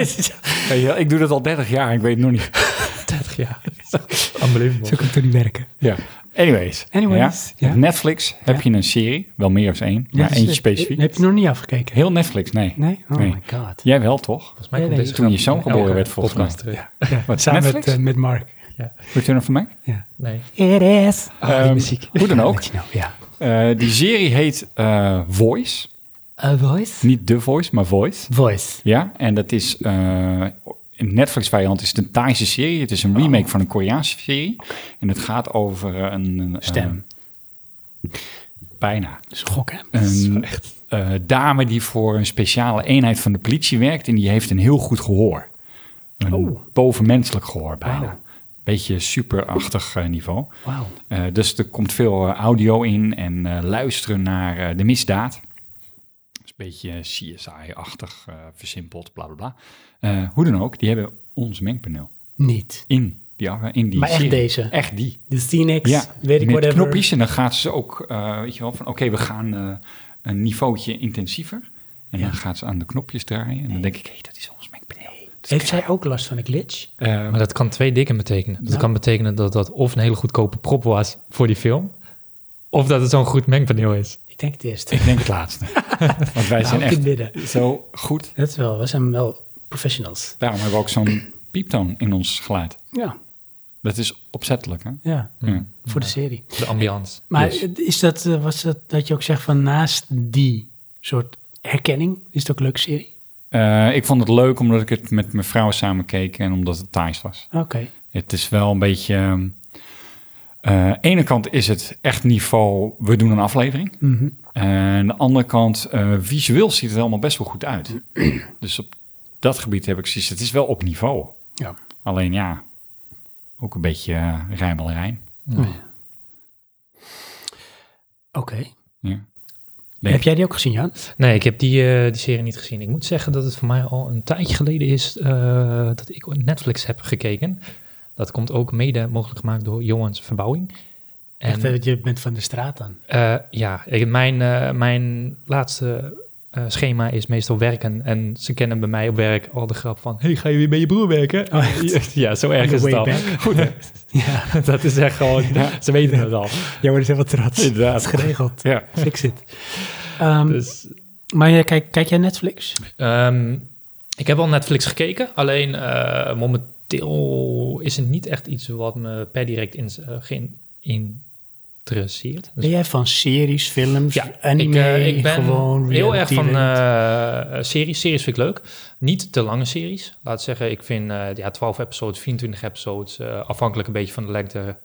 C: Weet je wel, Ik doe dat al 30 jaar, ik weet het nog niet.
A: 30 jaar. Unbelievable.
B: Zo kan het toch niet werken.
C: Ja. Anyways.
B: Anyways,
C: Ja.
B: ja.
C: Op Netflix heb je een serie, wel meer dan één, maar
B: Dus,
C: eentje
B: eh,
C: specifiek.
B: Heb je nog niet afgekeken?
C: Heel Netflix, nee.
B: Nee? Oh
C: Nee.
B: my god.
C: Jij wel, toch?
A: Volgens mij
B: Nee,
A: komt
B: nee,
A: deze
C: toen je
A: grap
C: zoon
A: in
C: geboren
A: elke
C: werd, volgens mij.
A: podcast terug.
B: Ja,
C: Wat,
B: samen met,
C: Netflix?
B: eh, met Mark.
C: Return of the Mac?
B: Ja.
A: Nee.
B: It is. nou,
C: Ehm, Hoe dan ook.
B: ja.
C: Eh, die serie heet eh, Voice.
B: A Eh, voice?
C: Niet The Voice, maar Voice.
B: Voice.
C: Ja, en dat is eh, in Netflix variant is het een Thaise serie. Het
B: Oh.
C: is een remake van een Koreaanse serie. En het gaat over eh, een... een,
B: Stem.
C: eh, bijna.
B: Dat is een gok, hè?
C: Een eh, dame die voor een speciale eenheid van de politie werkt. En die heeft een heel goed gehoor. Een
B: Oh.
C: bovenmenselijk gehoor bijna.
B: Wauw.
C: Beetje superachtig eh, niveau.
B: Wauw.
C: Eh, dus er komt veel eh, audio in en eh, luisteren naar eh, de misdaad. Dat is een beetje eh, CSI-achtig, eh, versimpeld, bla bla bla. Eh, hoe dan ook, die hebben ons mengpaneel
B: Niet.
C: in die, af- in die
B: Maar echt
C: serie.
B: deze?
C: Echt die.
B: De Phoenix,
C: Ja,
B: weet ik
C: met
B: whatever.
C: knopjes. En dan gaat ze ook, eh, weet je wel, van oké, we gaan eh, een niveautje intensiever. En dan gaat ze aan de knopjes draaien. En dan denk ik, hé, dat is ons mengpaneel. Dus Dat is
B: Heeft zij ook last van een glitch?
C: Eh,
A: Maar dat kan twee dingen betekenen. Dat
B: Nou.
A: kan betekenen dat dat of een hele goedkope prop was voor die film, of dat het zo'n goed mengpaneel is.
B: Ik denk het eerst.
C: ik denk het laatste. Want wij zijn
B: Nou, ik
C: echt
B: bidden.
C: zo goed
B: Dat is wel, we zijn wel professionals.
C: Daarom hebben we ook zo'n pieptoon in ons geluid.
B: Ja,
C: Dat is opzettelijk, hè?
B: ja.
C: Ja.
B: Voor de serie.
A: De ambiance.
B: Maar
C: Yes.
B: is dat, eh, was dat, dat je ook zegt van naast die soort herkenning, is het ook een leuke serie?
C: Eh, ik vond het leuk omdat ik het met mijn vrouw samen keek en omdat het Thais was.
B: Oké.
C: Het is wel een beetje... ehm, eh, Aan de ene kant is het echt niveau, we doen een aflevering.
B: Mhm.
C: eh, En aan de andere kant, eh, visueel ziet het allemaal best wel goed uit. dus op dat gebied heb ik zoiets. Het is wel op niveau.
B: Ja.
C: Alleen ja, ook een beetje eh rijmelrijn.
B: Oké.
C: Ja.
B: Heb jij die ook gezien, Jan?
A: Nee, ik heb die, eh, die serie niet gezien. Ik moet zeggen dat het voor mij al een tijdje geleden is eh, dat ik Netflix heb gekeken. Dat komt ook mede mogelijk gemaakt door Johans Verbouwing. En,
B: Echt, eh, je bent van de straat dan.
A: eh, ja, ik, mijn, eh, mijn laatste eh, schema is meestal werken. En ze kennen bij mij op werk al de grap van... Hey, ga je weer bij je broer werken?
B: Oh, echt?
A: Ja, zo erg
B: On
A: is
B: the
A: het al.
B: way
A: Goed,
B: Ja,
A: dat is echt gewoon... Ze weten het al.
B: jij wordt helemaal trots.
C: Inderdaad.
B: Dat is geregeld.
C: Ja.
B: Fix it. Ehm,
A: Dus
B: Maar jij kijk, kijk jij Netflix?
A: Ehm, ik heb al Netflix gekeken, alleen eh, momenteel is het niet echt iets wat me per direct in, eh, geïn- interesseert. Dus-
B: Ben jij van series, films,
A: ja, ik,
B: anime,
A: eh, ik ben
B: gewoon
A: heel erg van
B: reality?
A: eh, series. Series vind ik leuk. Niet te lange series. Laat zeggen, ik vind eh, ja, 12 episodes, 24 episodes, eh, afhankelijk een beetje van de lengte,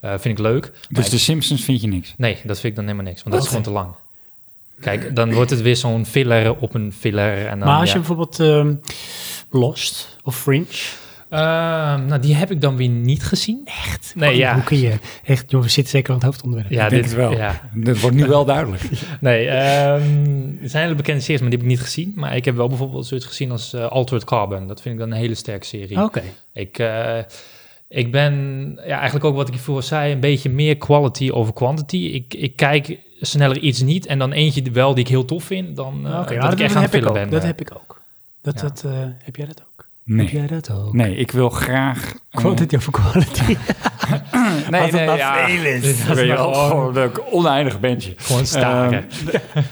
A: eh, vind ik leuk. Maar
C: Dus de Simpsons vind je niks.
A: Nee, dat vind ik dan helemaal niks, want dat is
B: Wat?
A: gewoon te lang. Kijk, dan wordt het weer zo'n filler op een filler. En dan,
B: maar als
A: ja.
B: je bijvoorbeeld ehm, Lost of Fringe,
A: Ehm, nou, die heb ik dan weer niet gezien. Echt? Nee,
B: ja.
A: ja.
B: hoe kun je... Echt, joh, we zitten zeker aan het hoofdonderwerp.
A: Ja,
C: Ik denk het wel.
A: Ja.
C: Dat wordt nu wel duidelijk.
A: Nee, ehm, er zijn hele bekende series, maar die heb ik niet gezien. Maar ik heb wel bijvoorbeeld zoiets gezien als eh, Altered Carbon. Dat vind ik dan een hele sterke serie.
B: Oké.
A: Ik, eh, ik ben ja, eigenlijk ook wat ik hiervoor zei, een beetje meer quality over quantity. Ik, ik kijk sneller iets niet en dan eentje wel die ik heel tof vind, dan eh,
B: Oké,
A: dat,
B: nou,
A: ik echt aan het
B: heb ik
A: filmen
B: ook.
A: ben.
B: Dat
A: Eh,
B: heb ik ook. Dat,
A: ja.
B: dat, eh, heb jij dat ook? Heb
C: Nee.
B: jij dat ook?
C: Nee, ik wil graag... eh,
B: Quantity over quality.
C: nee,
B: Wat
C: nee,
B: een
C: ja.
B: vervelend.
C: Dus dat
A: is
C: weet je
A: maar
C: wel,
A: gewoon-
C: gewoon een oneindig bandje.
A: Gewoon staren.
C: Ehm,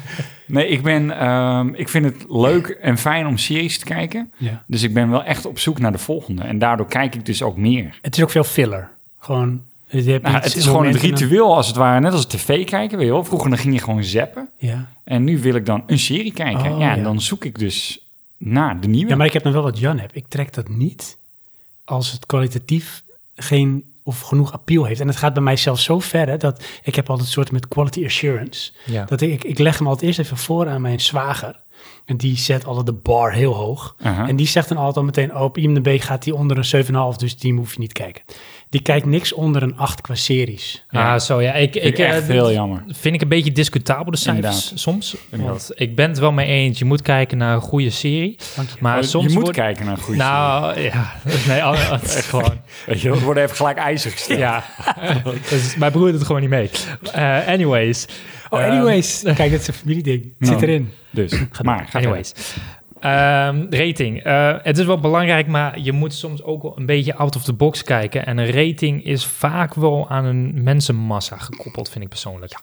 C: nee, ik, ben, ehm, ik vind het leuk en fijn om series te kijken.
B: Ja.
C: Dus ik ben wel echt op zoek naar de volgende. En daardoor kijk ik dus ook meer.
B: Het is ook veel filler. Gewoon... Je hebt
C: Nou,
B: iets-
C: het is gewoon het
B: momenten-
C: ritueel als het ware. Net als tv kijken, weet je wel. Vroeger dan ging je gewoon zappen.
B: Ja.
C: En nu wil ik dan een serie kijken.
B: Oh,
C: ja, en
B: ja.
C: dan zoek ik dus naar de nieuwe.
B: Ja, maar ik heb dan wel wat Jan heb. Ik trek dat niet als het kwalitatief geen of genoeg appeal heeft. En het gaat bij mij zelfs zo ver hè, dat ik heb altijd een soort met quality assurance.
A: Ja.
B: Dat ik, ik leg hem altijd eerst even voor aan mijn zwager. En die zet altijd de bar heel hoog.
C: Aha.
B: En die zegt dan altijd al meteen, oh, op IMDb gaat die onder een 7,5, dus die hoef je niet kijken. Die kijkt niks onder een 8 qua series.
C: Ja.
A: Ah, zo ja. Ik, ik,
C: Vind ik
A: eh,
C: echt heel jammer.
A: Vind ik een beetje discutabel de cijfers
C: Inderdaad.
A: soms.
C: Inderdaad.
A: Want ik ben het wel mee eens. Je moet kijken naar een goede serie.
B: Dank je.
A: Maar
C: Oh, je
A: soms
C: moet
A: wordt-
C: kijken naar een goede
A: Nou ja, nee, al- al- het is gewoon.
C: serie. Weet je, wel, we worden even gelijk ijzig gesteld.
A: Ja, dus mijn broer doet het gewoon niet mee. Eh, anyways.
B: Oh,
A: Ehm,
B: anyways. Kijk, dat is een familieding. Het
C: Nou.
B: Zit erin.
C: Dus, maar ga verder.
A: anyways. Ehm, rating. Eh, het is wel belangrijk, maar je moet soms ook wel een beetje out of the box kijken. En een rating is vaak wel aan een mensenmassa gekoppeld, vind ik persoonlijk.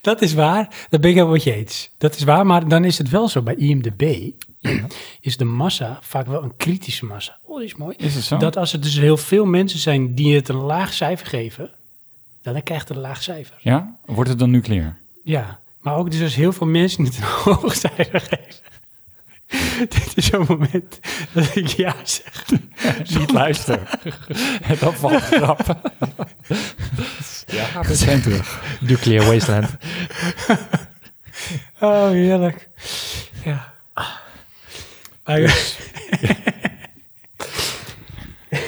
B: Dat is waar. Dat ben ik helemaal met je eens. Dat is waar, maar dan is het wel zo. Bij IMDb is de massa vaak wel een kritische massa. Oh, dat is mooi.
C: Is het zo?
B: Dat als er dus heel veel mensen zijn die het een laag cijfer geven, dan, dan krijgt het een laag cijfer.
C: Ja? Wordt het dan nucleair?
B: Ja, maar ook dus als heel veel mensen het een hoog cijfer geven. Dit is zo'n moment dat ik ja zeg.
C: Niet luisteren. dat valt grappen. ja, we zijn terug.
A: Nuclear Wasteland.
B: Oh, heerlijk. Ja. Maar-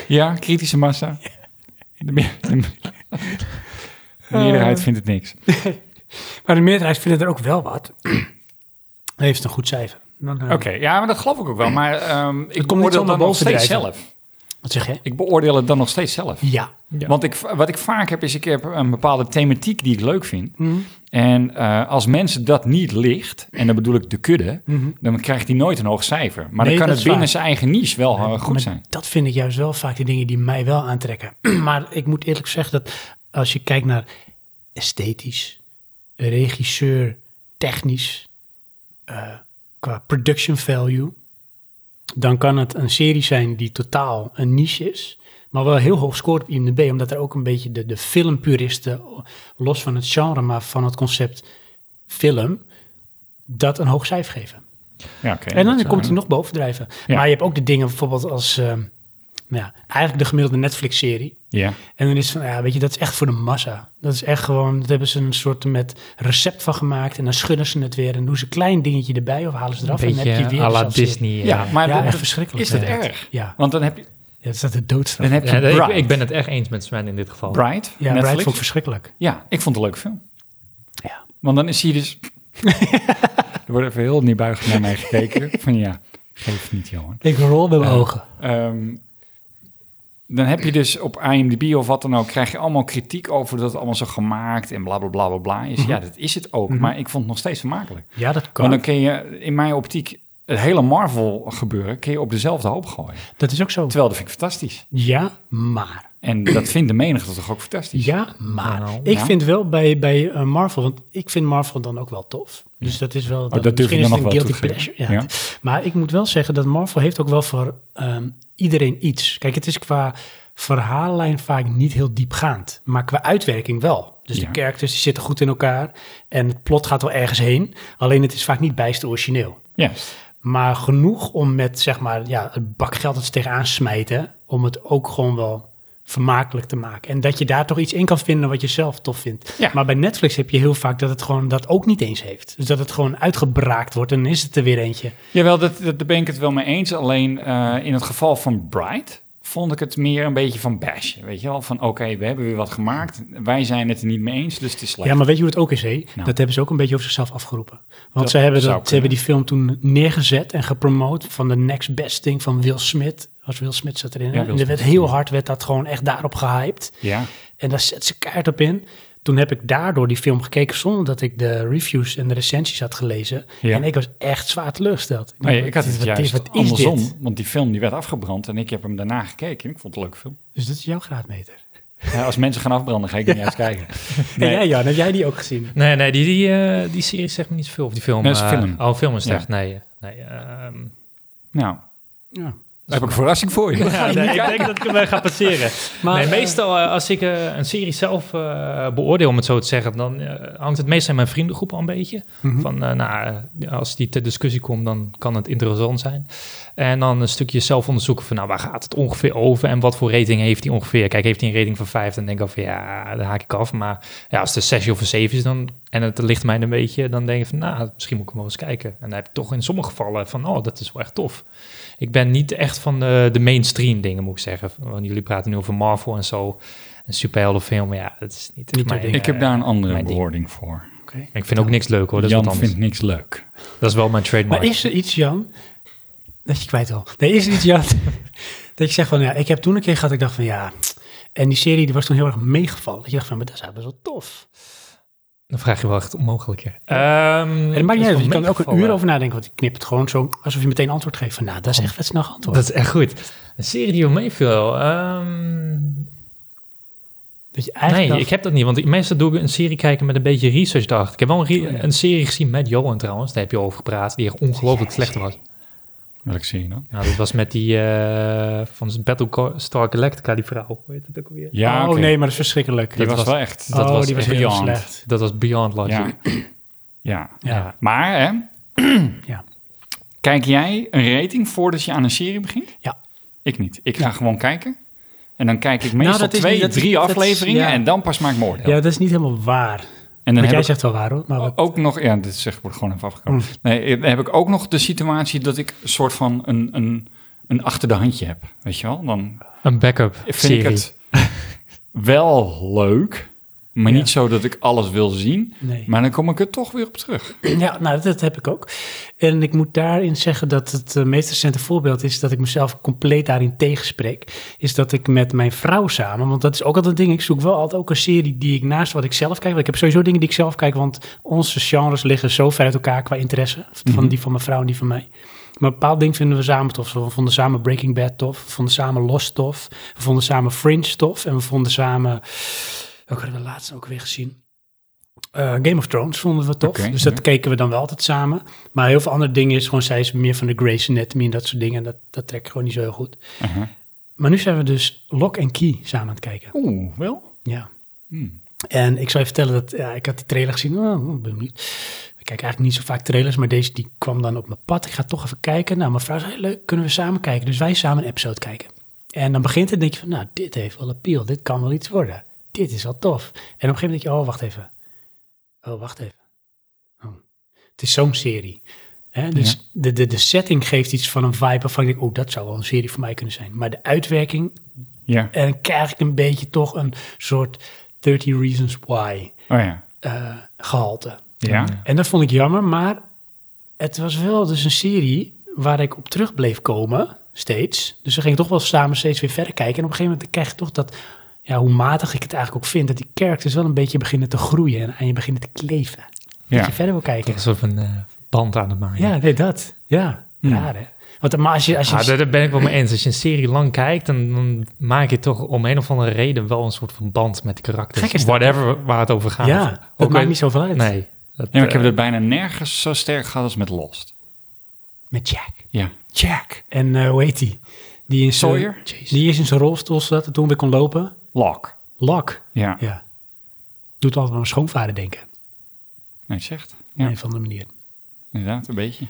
C: Ja, kritische massa. De, meer- de- de
B: Eh.
C: meerderheid vindt het niks.
B: Maar de meerderheid vinden er ook wel wat. Dan heeft het een goed cijfer. Dan, eh,
C: Oké, ja, maar dat geloof ik ook wel. Maar ehm, ik
B: niet
C: beoordeel dat
B: zomaar
C: nog
B: boven
C: steeds
B: drijven.
C: zelf.
B: Wat zeg je?
C: Ik beoordeel het dan nog steeds zelf.
B: Ja.
A: Ja.
C: Want ik, wat ik vaak heb, is ik heb een bepaalde thematiek die ik leuk vind.
B: Mhm.
C: En eh, als mensen dat niet ligt, en dan bedoel ik de kudde, dan krijgt hij nooit een hoog cijfer. Maar
B: Mhm. Nee,
C: dan kan
B: dat
C: het
B: is waar.
C: binnen zijn eigen niche wel eh, goed
B: Maar
C: zijn.
B: Dat vind ik juist wel vaak de dingen die mij wel aantrekken. maar ik moet eerlijk zeggen dat als je kijkt naar esthetisch, regisseur, technisch, eh, qua production value, dan kan het een serie zijn die totaal een niche is. Maar wel heel hoog scoort op IMDb, omdat er ook een beetje de, de filmpuristen, los van het genre, maar van het concept film, dat een hoog cijfer geven.
C: Ja, oké.
B: En dan
C: Dat zou-
B: komt hij nog bovendrijven.
C: Ja.
B: Maar je hebt ook de dingen bijvoorbeeld als... ehm, ja, eigenlijk de gemiddelde Netflix-serie.
C: Ja.
B: En dan is van, ja, weet je, dat is echt voor de massa. Dat is echt gewoon, dat hebben ze een soort met recept van gemaakt. En dan schudden ze het weer en doen ze een klein dingetje erbij of halen ze
A: Een
B: eraf. en dan heb je
A: beetje
B: weer
A: à la
B: dezelfde serie.
A: Disney.
C: Ja, maar
B: Ja,
C: dat-
B: echt verschrikkelijk.
C: is dat
B: ja.
C: erg?
B: Ja,
C: Want dan heb je,
B: ja het staat de doodstraf.
C: dan heb je
A: Ja, dat- ik,
C: Bright.
A: ik ben het echt eens met Sven in dit geval.
C: Bright,
B: ja, Bright
C: Netflix.
B: vond ik verschrikkelijk.
C: Ja, ik vond het een leuke film.
B: Ja.
C: Want dan is hij dus... er wordt even heel neerbuigend naar mij gekeken. Van ja, geef niet, jongen.
B: Ik rol bij mijn
C: Ja.
B: ogen.
C: Ehm, dan heb je dus op IMDb of wat dan ook, krijg je allemaal kritiek over dat het allemaal zo gemaakt en bla bla bla bla bla is. Ja, dat is het ook, maar ik vond het nog steeds vermakelijk.
B: Ja, dat
C: Want dan
B: Mhm. kan.
C: kun je in mijn optiek het hele Marvel gebeuren, kun je op dezelfde hoop gooien.
B: Dat is ook zo.
C: Terwijl dat vind ik fantastisch.
B: Ja, maar.
C: En dat vindt de menigte toch ook fantastisch.
B: Ja, maar
A: Nou,
B: ik
C: ja.
B: vind wel bij, bij eh, Marvel, want ik vind Marvel dan ook wel tof. Dus dat is wel,
C: Oh, dat durf
B: misschien
C: je
B: is
C: dan nog
B: het een
C: wel
B: guilty
C: toe te
B: pleasure. Ja.
C: geven.
B: Maar ik moet wel zeggen dat Marvel heeft ook wel voor ehm, iedereen iets. Kijk, het is qua verhaallijn vaak niet heel diepgaand, maar qua uitwerking wel. Dus
C: Ja.
B: de characters die zitten goed in elkaar en het plot gaat wel ergens heen. Alleen het is vaak niet bijster origineel.
C: Ja.
B: Maar genoeg om met, zeg maar, ja, het bak geld dat ze tegenaan smijten, om het ook gewoon wel vermakelijk te maken. En dat je daar toch iets in kan vinden wat je zelf tof vindt.
C: Ja.
B: Maar bij Netflix heb je heel vaak dat het gewoon dat ook niet eens heeft. Dus dat het gewoon uitgebraakt wordt en dan is het er weer eentje.
C: Jawel, dat, dat, daar ben ik het wel mee eens. Alleen eh, in het geval van Bright vond ik het meer een beetje van bashen. Weet je wel, van oké, we hebben weer wat gemaakt. Wij zijn het er niet mee eens, dus het is slecht.
B: Ja, maar weet je hoe het ook is, hé?
C: Nou.
B: Dat hebben ze ook een beetje over zichzelf afgeroepen. Want
C: Dat
B: ze hebben,
C: zou
B: dat, ze hebben die film toen neergezet en gepromoot van de next best thing van Will Smith. Was Will Smith zat
C: Ja,
B: erin. hè?
C: Will
B: en er werd
C: Smith,
B: heel
C: ja.
B: hard, werd dat gewoon echt daarop gehyped.
C: Ja.
B: En daar zet ze kaart op in. Toen heb ik daardoor die film gekeken zonder dat ik de reviews en de recensies had gelezen.
C: Ja.
B: En ik was echt zwaar teleurgesteld.
C: Maar ja, ik had het
B: Wat is-
C: juist
B: wat is dit?
C: andersom, want die film die werd afgebrand en ik heb hem daarna gekeken. en Ik vond het een leuke film.
B: Dus dat is jouw graadmeter.
C: Ja, als mensen gaan afbranden, ga ik niet eens kijken.
B: En
C: Nee,
B: jij Jan, heb jij die ook gezien?
A: Nee, nee, die, die, eh, die serie zegt me niet veel. Of die film.
C: Nee, dat is
A: eh,
C: film.
A: oh, film is het
C: Ja.
A: echt. Nee, eh, nee. ehm,
C: Nou,
B: Ja.
C: daar heb ik een verrassing voor je.
A: ja, nee, ik denk dat ik hem wel ga passeren.
B: Maar,
A: nee,
B: eh,
A: meestal eh, als ik eh, een serie zelf eh, beoordeel, om het zo te zeggen, dan eh, hangt het meestal in mijn vriendengroep al een beetje.
B: Mhm.
A: Van, eh, nou, eh, als die ter discussie komt, dan kan het interessant zijn. En dan een stukje zelf onderzoeken van, nou, waar gaat het ongeveer over en wat voor rating heeft hij ongeveer? Kijk, heeft hij een rating van 5, dan denk ik al van, ja, daar haak ik af. Maar ja, als het een 6 of een 7 is dan, en het ligt mij een beetje, dan denk ik van, nou, misschien moet ik hem wel eens kijken. En dan heb ik toch in sommige gevallen van, oh, dat is wel echt tof. Ik ben niet echt van de, de mainstream dingen, moet ik zeggen. Want jullie praten nu over Marvel en zo. Een superheldenfilm, maar ja, dat is niet,
B: Niet
A: mijn,
B: jouw ding.
C: Ik heb daar een andere
A: Mijn ding.
C: bewoording voor.
B: Oké.
A: Ik vind ook niks leuk hoor, dat is
C: Jan
A: wat anders.
C: vindt niks leuk.
A: Dat is wel mijn trademark.
B: Maar is er iets, Jan, dat je kwijt al. Nee, is er iets, Jan, dat je zegt van, ja, ik heb toen een keer gehad, ik dacht van, ja... En die serie die was toen heel erg meegevallen. Dat je dacht van, maar dat is eigenlijk best wel tof.
A: Dan vraag je wel echt Ehm, onmogelijke.
B: En het maakt niet uit, want je kan er ook een uur over nadenken. Want ik knip het gewoon zo, alsof je meteen antwoord geeft. Van, nou, dat is echt wat snel antwoord.
A: Dat is echt goed. Een serie die wel meeviel. ehm,
B: Dat je
A: nee,
B: eigenlijk dacht-
A: ik heb dat niet. Want ik- meestal doe ik een serie kijken met een beetje research dacht. Ik heb wel een, re-
B: Oh, ja.
A: een serie gezien met Johan trouwens. Daar heb je over gepraat. Die echt ongelooflijk slecht was.
C: Welke serie dan?
A: Nou, dat was met die eh van Battlestar Galactica, die vrouw. Hoe heet dat ook alweer?
C: Ja,
B: oh
C: oké.
B: nee, maar dat is verschrikkelijk.
C: Die was,
A: dat was-
C: wel echt...
A: dat
B: oh,
A: was
B: die was
A: echt
B: heel
C: beyond.
B: slecht.
A: Dat was Beyond Logic.
C: Ja. ja.
B: Ja.
A: Ja.
C: Maar, hè,
B: Ja.
C: kijk jij een rating voordat je aan een serie begint?
B: Ja. Nou,
C: Ik niet. Ik ga gewoon kijken. En dan kijk ik meestal
B: dat is
C: twee,
B: niet- dat is-
C: drie
B: dat is-
C: afleveringen
B: ja.
C: en dan pas maak ik mijn oordeel.
B: Ja, dat is niet helemaal waar.
C: En dan heb
B: Wat jij Mm.
C: ik
B: zegt wel waar hoor. Maar wat-
C: ook nog... Ja, dit zeg, wordt gewoon even afgekomen. Nee, dan heb ik ook nog de situatie dat ik een soort van een, een, een achter de handje heb. Weet je wel? Dan
A: Een backup
C: vind
A: serie.
C: ik het wel leuk, maar
B: Ja.
C: niet zo dat ik alles wil zien.
B: nee.
C: Maar dan kom ik er toch weer op terug.
B: Ja, nou, dat, dat heb ik ook. En ik moet daarin zeggen dat het eh, meest recente voorbeeld is dat ik mezelf compleet daarin tegenspreek. Is dat ik met mijn vrouw samen, want dat is ook altijd een ding. Ik zoek wel altijd ook een serie die ik naast wat ik zelf kijk. Want ik heb sowieso dingen die ik zelf kijk, want onze genres liggen zo ver uit elkaar qua interesse. Van
C: Mhm.
B: die van mijn vrouw en die van mij. Maar een bepaald ding vinden we samen tof. We vonden samen Breaking Bad tof. We vonden samen Lost tof. We vonden samen Fringe tof. En we vonden samen... Welke hadden we laatst ook weer gezien? Eh, Game of Thrones vonden we tof.
C: Oké,
B: dus dat
C: ja.
B: keken we dan wel altijd samen. Maar heel veel andere dingen is gewoon... Zij is meer van de Grey's Anatomy en dat soort dingen. En dat, dat trek ik gewoon niet zo heel goed.
C: Uh-huh.
B: Maar nu zijn we dus Lock and Key samen aan het kijken.
C: Oeh, wel?
B: Ja.
C: Hmm.
B: En ik zou je vertellen dat ja, ik had die trailer gezien. Oh, ik ben benieuwd. Ik kijk eigenlijk niet zo vaak trailers, maar deze die kwam dan op mijn pad. Ik ga toch even kijken. Nou, mijn vrouw zei, leuk, kunnen we samen kijken? Dus wij samen een episode kijken. En dan begint het en denk je van, nou, dit heeft wel appeal. Dit kan wel iets worden. Dit is wel tof. En op een gegeven moment denk je, oh, wacht even. Oh, wacht even. Oh. Het is zo'n serie. Hè? Dus
C: Ja.
B: de, de, de setting geeft iets van een vibe waarvan ik denk, oh, dat zou wel een serie voor mij kunnen zijn. Maar de uitwerking,
C: Ja.
B: en krijg ik een beetje toch een soort 30 Reasons Why
C: Oh ja.
B: eh, gehalte.
C: Ja.
B: En dat vond ik jammer, maar het was wel dus een serie waar ik op terug bleef komen, steeds. Dus we gingen toch wel samen steeds weer verder kijken. En op een gegeven moment krijg je toch dat, ja, hoe matig ik het eigenlijk ook vind, dat die characters wel een beetje beginnen te groeien en aan je beginnen te kleven. Dat
C: Ja.
B: je verder wil
A: Toch
B: kijken.
A: een soort van eh, band aan het maken.
B: Ja, nee, dat. Ja, raar hè. Want, maar als je, als je
A: Hmm. Ah, daar, daar ben ik wel mee eens. Als je een serie lang kijkt, dan, dan maak je toch om een of andere reden wel een soort van band met de karakters.
B: Gek is dat,
A: Whatever waar het over gaat.
B: ja, dat
A: Ah, Ook
B: maakt
A: al-
B: niet zoveel uit.
A: Nee. Dat,
C: Ja, maar ik heb
A: eh,
C: het bijna nergens zo sterk gehad als met Lost.
B: Met Jack.
C: Ja. Jack.
B: En eh, hoe heet die? Die in zijn-
C: Sawyer?
B: Die is in zijn rolstoel zat en toen weer kon lopen.
C: Locke.
B: Lak.
C: Ja.
B: Ja. Doet altijd aan mijn schoonvader denken.
C: Nee, het zegt.
B: Op
C: Ja.
B: een of andere manier.
C: Inderdaad, een beetje.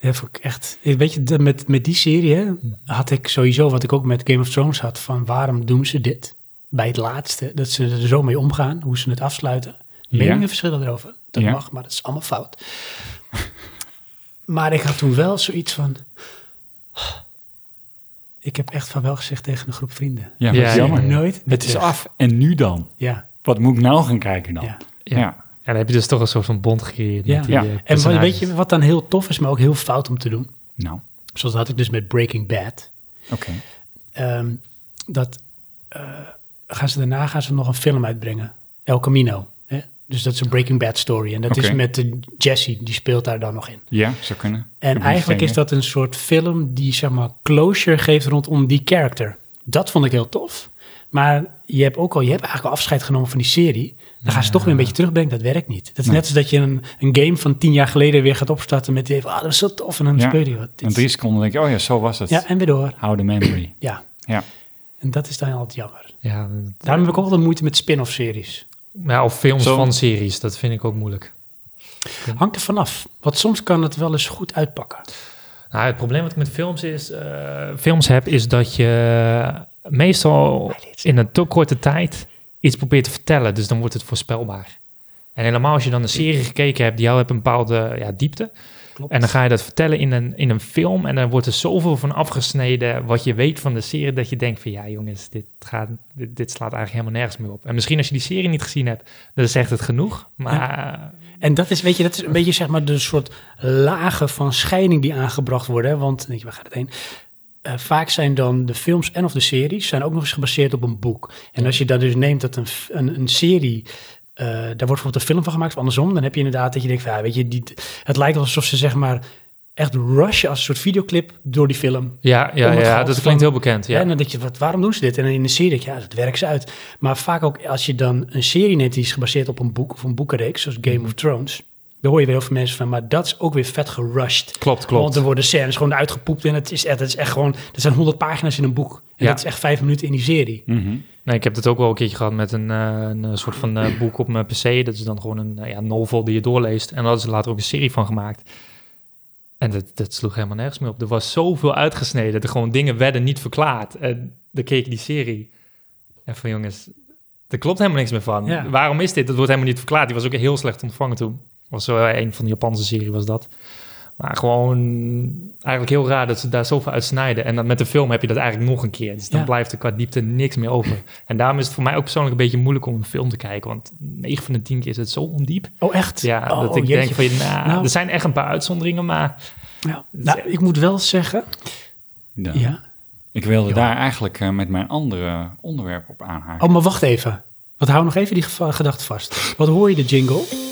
B: Ja, vond ik echt. Weet je, de- met, met die serie hè, had ik sowieso, wat ik ook met Game of Thrones had, van waarom doen ze dit? Bij het laatste, dat ze er zo mee omgaan, hoe ze het afsluiten.
C: Ja.
B: Meningen verschillen erover. Dat
C: Ja.
B: mag, maar dat is allemaal fout. maar ik had toen wel zoiets van. Ik heb echt van wel gezegd tegen een groep vrienden.
C: Ja,
A: Ja,
C: wat
A: ja.
C: jammer.
B: Nooit.
C: Het is
B: Ja.
C: af. En nu dan?
B: Ja,
C: Wat moet ik nou gaan kijken dan?
B: ja.
A: Ja. ja, dan heb je dus toch een soort van bond gecreëerd.
B: Ja.
A: met die,
C: Ja.
A: eh,
C: En
B: En wat,
A: personages.
B: weet je wat dan heel tof is, maar ook heel fout om te doen?
C: Nou,
B: Zoals dat had ik dus met Breaking Bad.
C: oké.
B: Ehm, dat eh, gaan ze daarna gaan ze nog een film uitbrengen. El Camino. Hè? Dus dat is een Breaking Bad story. En dat is
C: Oké.
B: met eh, Jesse, die speelt daar dan nog in.
C: Ja, zou kunnen.
B: En
C: Heb ik
B: eigenlijk
C: geen
B: is dat een soort film die zeg maar closure geeft rondom die character. Dat vond ik heel tof. Maar je hebt ook al, je hebt eigenlijk al afscheid genomen van die serie. Dan gaan ze toch weer een beetje terugbrengen. Dat werkt niet. Dat is
C: Nee.
B: net als dat je een, een game van tien jaar geleden weer gaat opstarten met die van, ah, dat was zo tof. En dan
C: Ja.
B: speel je wat.
C: idee. En drie seconden denk je, oh ja, zo was het.
B: ja, en weer door.
C: How the memory.
B: Ja.
C: Ja.
B: En dat is dan altijd jammer.
A: Ja,
B: Daarom heb ik ook altijd moeite met spin-off series.
A: ja, of films
C: Zo-
A: van series, dat vind ik ook moeilijk.
B: Hangt er vanaf. Want soms kan het wel eens goed uitpakken.
A: Nou, het probleem wat ik met films, is, eh, films heb, is dat je eh, meestal in een te korte tijd iets probeert te vertellen. Dus dan wordt het voorspelbaar. En helemaal als je dan een serie gekeken hebt, die jou hebt een bepaalde ja, diepte.
B: Klopt.
A: En dan ga je dat vertellen in een, in een film. En dan wordt er zoveel van afgesneden wat je weet van de serie. Dat je denkt van ja jongens, dit, gaat, dit, dit slaat eigenlijk helemaal nergens meer op. En misschien als je die serie niet gezien hebt, dan zegt het genoeg. Maar eh,
B: En dat is, weet je, dat is een beetje zeg maar de soort lagen van scheiding die aangebracht worden. hè. Want, dan denk je, waar gaat het heen? Eh, vaak zijn dan de films en of de series zijn ook nog eens gebaseerd op een boek. En als je dat dus neemt dat een, f- een, een serie, eh, daar wordt bijvoorbeeld een film van gemaakt of andersom. Dan heb je inderdaad dat je denkt, van, ja, weet je, die, het lijkt alsof ze zeg maar echt rushen als een soort videoclip door die film.
A: ja, ja,
B: Om
A: ja,
B: het
A: ja
B: geld
A: dat
B: van-
A: klinkt heel bekend. Ja.
B: En dan denk je, wat, waarom doen ze dit? En in de serie denk je, ja, dat werkt ze uit. Maar vaak ook als je dan een serie neemt die is gebaseerd op een boek of een boekenreeks, zoals Game of Thrones, dan hoor je weer heel veel mensen van, maar dat is ook weer vet gerushed.
A: Klopt,
B: Want er worden scènes gewoon uitgepoept en het is echt, het is echt gewoon, er zijn honderd pagina's in een boek. En
A: Ja.
B: dat is echt vijf minuten in die serie.
C: Mhm.
A: Nee, ik heb dat ook wel een keertje gehad met een, eh, een eh, soort van eh, boek op mijn PC. Dat is dan gewoon een eh, ja, novel die je doorleest. En daar hadden ze later ook een serie van gemaakt. En dat, dat sloeg helemaal nergens meer op. Er was zoveel uitgesneden. Dat er gewoon dingen werden niet verklaard. En dan keek ik die serie. En van jongens, er klopt helemaal niks meer van.
B: Ja.
A: Waarom is dit? Dat wordt helemaal niet verklaard. Die was ook heel slecht ontvangen toen. Was zo een van de Japanse serie was dat. Maar gewoon eigenlijk heel raar dat ze daar zoveel uit snijden. En dan met de film heb je dat eigenlijk nog een keer. Dus dan
B: Ja.
A: blijft er qua diepte niks meer over. En daarom is het voor mij ook persoonlijk een beetje moeilijk om een film te kijken. Want 9 van de 10 keer is het zo ondiep.
B: Oh, echt?
A: Ja,
B: Oh,
A: dat ik
B: jeetje.
A: denk van, nou,
B: Nou.
A: er zijn echt een paar uitzonderingen, maar...
B: Ja. Nou, ik moet wel zeggen,
C: Ja.
B: ja.
C: Ik wilde daar eigenlijk eh, met mijn andere onderwerp op aanhaken.
B: Oh, maar wacht even. Want hou nog even die geva- gedachte vast. Wat hoor je de jingle?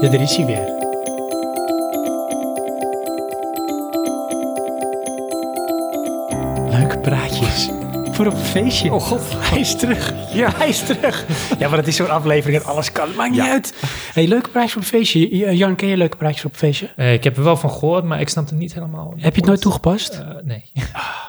B: Ja, daar is hij weer. Leuke praatjes. Voor op een feestje.
C: Oh, god.
B: Hij is terug. Ja, hij is terug. Ja, maar het is zo'n aflevering dat alles kan. Maakt niet uit. hey, leuke praatjes op een feestje. J- Jan, ken je leuke praatjes op een feestje?
A: eh, ik heb er wel van gehoord, maar ik snap het niet helemaal.
B: Heb je het nooit toegepast?
A: Eh, nee,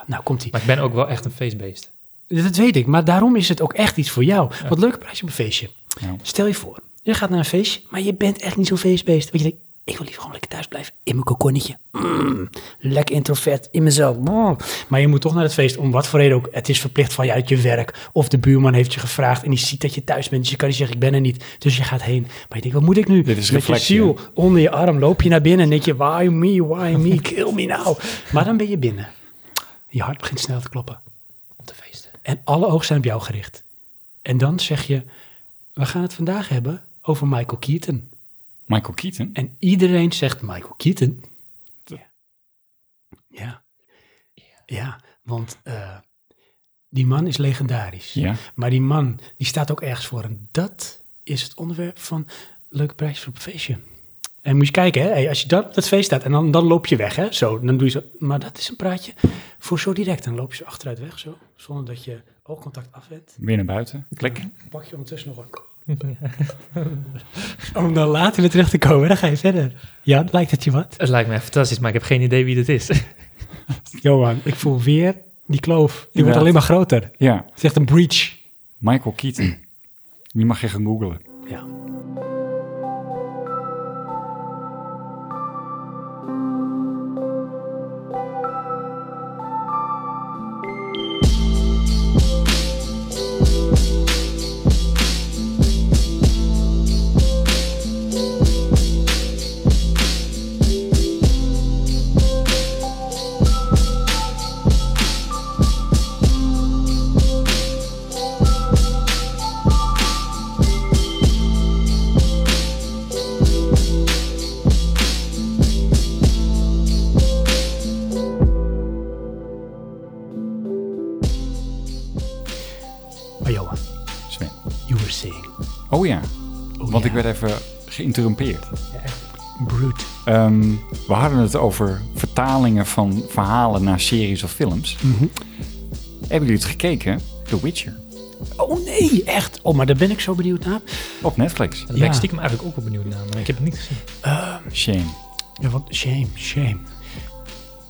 B: nou, komt ie.
A: maar ik ben ook wel echt een feestbeest.
B: Dat weet ik, maar daarom is het ook echt iets voor jou. Wat leuke prijs op een feestje.
C: Ja.
B: Stel je voor, je gaat naar een feestje, maar je bent echt niet zo'n feestbeest. Want je denkt, Ik wil liever gewoon lekker thuis blijven. In mijn kokonnetje. Mm, lekker introvert. In mezelf. Mm. Maar je moet toch naar het feest. Om wat voor reden ook. Het is verplicht van je uit je werk. Of de buurman heeft je gevraagd. En die ziet dat je thuis bent. Dus je kan niet zeggen ik ben er niet. Dus je gaat heen. Maar je denkt wat moet ik nu?
C: Dit is
B: Met je
C: reflectie,
B: ziel onder je arm loop je naar binnen. En denk je why me, why me, kill me now. Maar dan ben je binnen. Je hart begint snel te kloppen.
A: Om te feesten.
B: En alle ogen zijn op jou gericht. En dan zeg je, we gaan het vandaag hebben over Michael Keaton.
C: Michael Keaton?
B: En iedereen zegt Michael Keaton. Ja.
C: Ja.
B: Ja. Ja, want eh, die man is legendarisch.
C: Ja.
B: Maar die man, die staat ook ergens voor. En dat is het onderwerp van leuke prijs voor een feestje. En moet je kijken, hè? Hey, als je dat, dat feest staat en dan, dan loop je weg, hè? Zo, dan doe je zo. Maar dat is een praatje voor zo direct. Dan loop je zo achteruit weg, zo. Zonder dat je oogcontact afwendt.
C: Weer naar buiten. Klik.
B: Pak je ondertussen nog een. Om dan later weer terug te komen, dan ga je verder. Ja, lijkt het je wat?
A: Het lijkt me echt fantastisch, maar ik heb geen idee wie dit is.
B: Johan, ik voel weer die kloof. Die wordt
C: Inderdaad.
B: alleen maar groter. Het
C: Ja,
B: is echt een breach.
C: Michael Keaton. Die mag je gaan googlen.
B: Ja. Maar Johan,
C: Sven.
B: you were saying.
C: Oh ja, want
B: ja.
C: ik werd even geïnterrumpeerd.
B: Brute.
C: Ehm, we hadden het over vertalingen van verhalen naar series of films.
B: Mhm.
C: Hebben jullie het gekeken? The Witcher.
B: Oh nee, echt. Oh, maar daar ben ik zo benieuwd naar.
C: Op Netflix.
A: Daar
B: Ja.
A: ben ik stiekem eigenlijk ook wel benieuwd naar, maar ik heb het niet gezien.
C: Shame.
B: Ja, want shame, shame.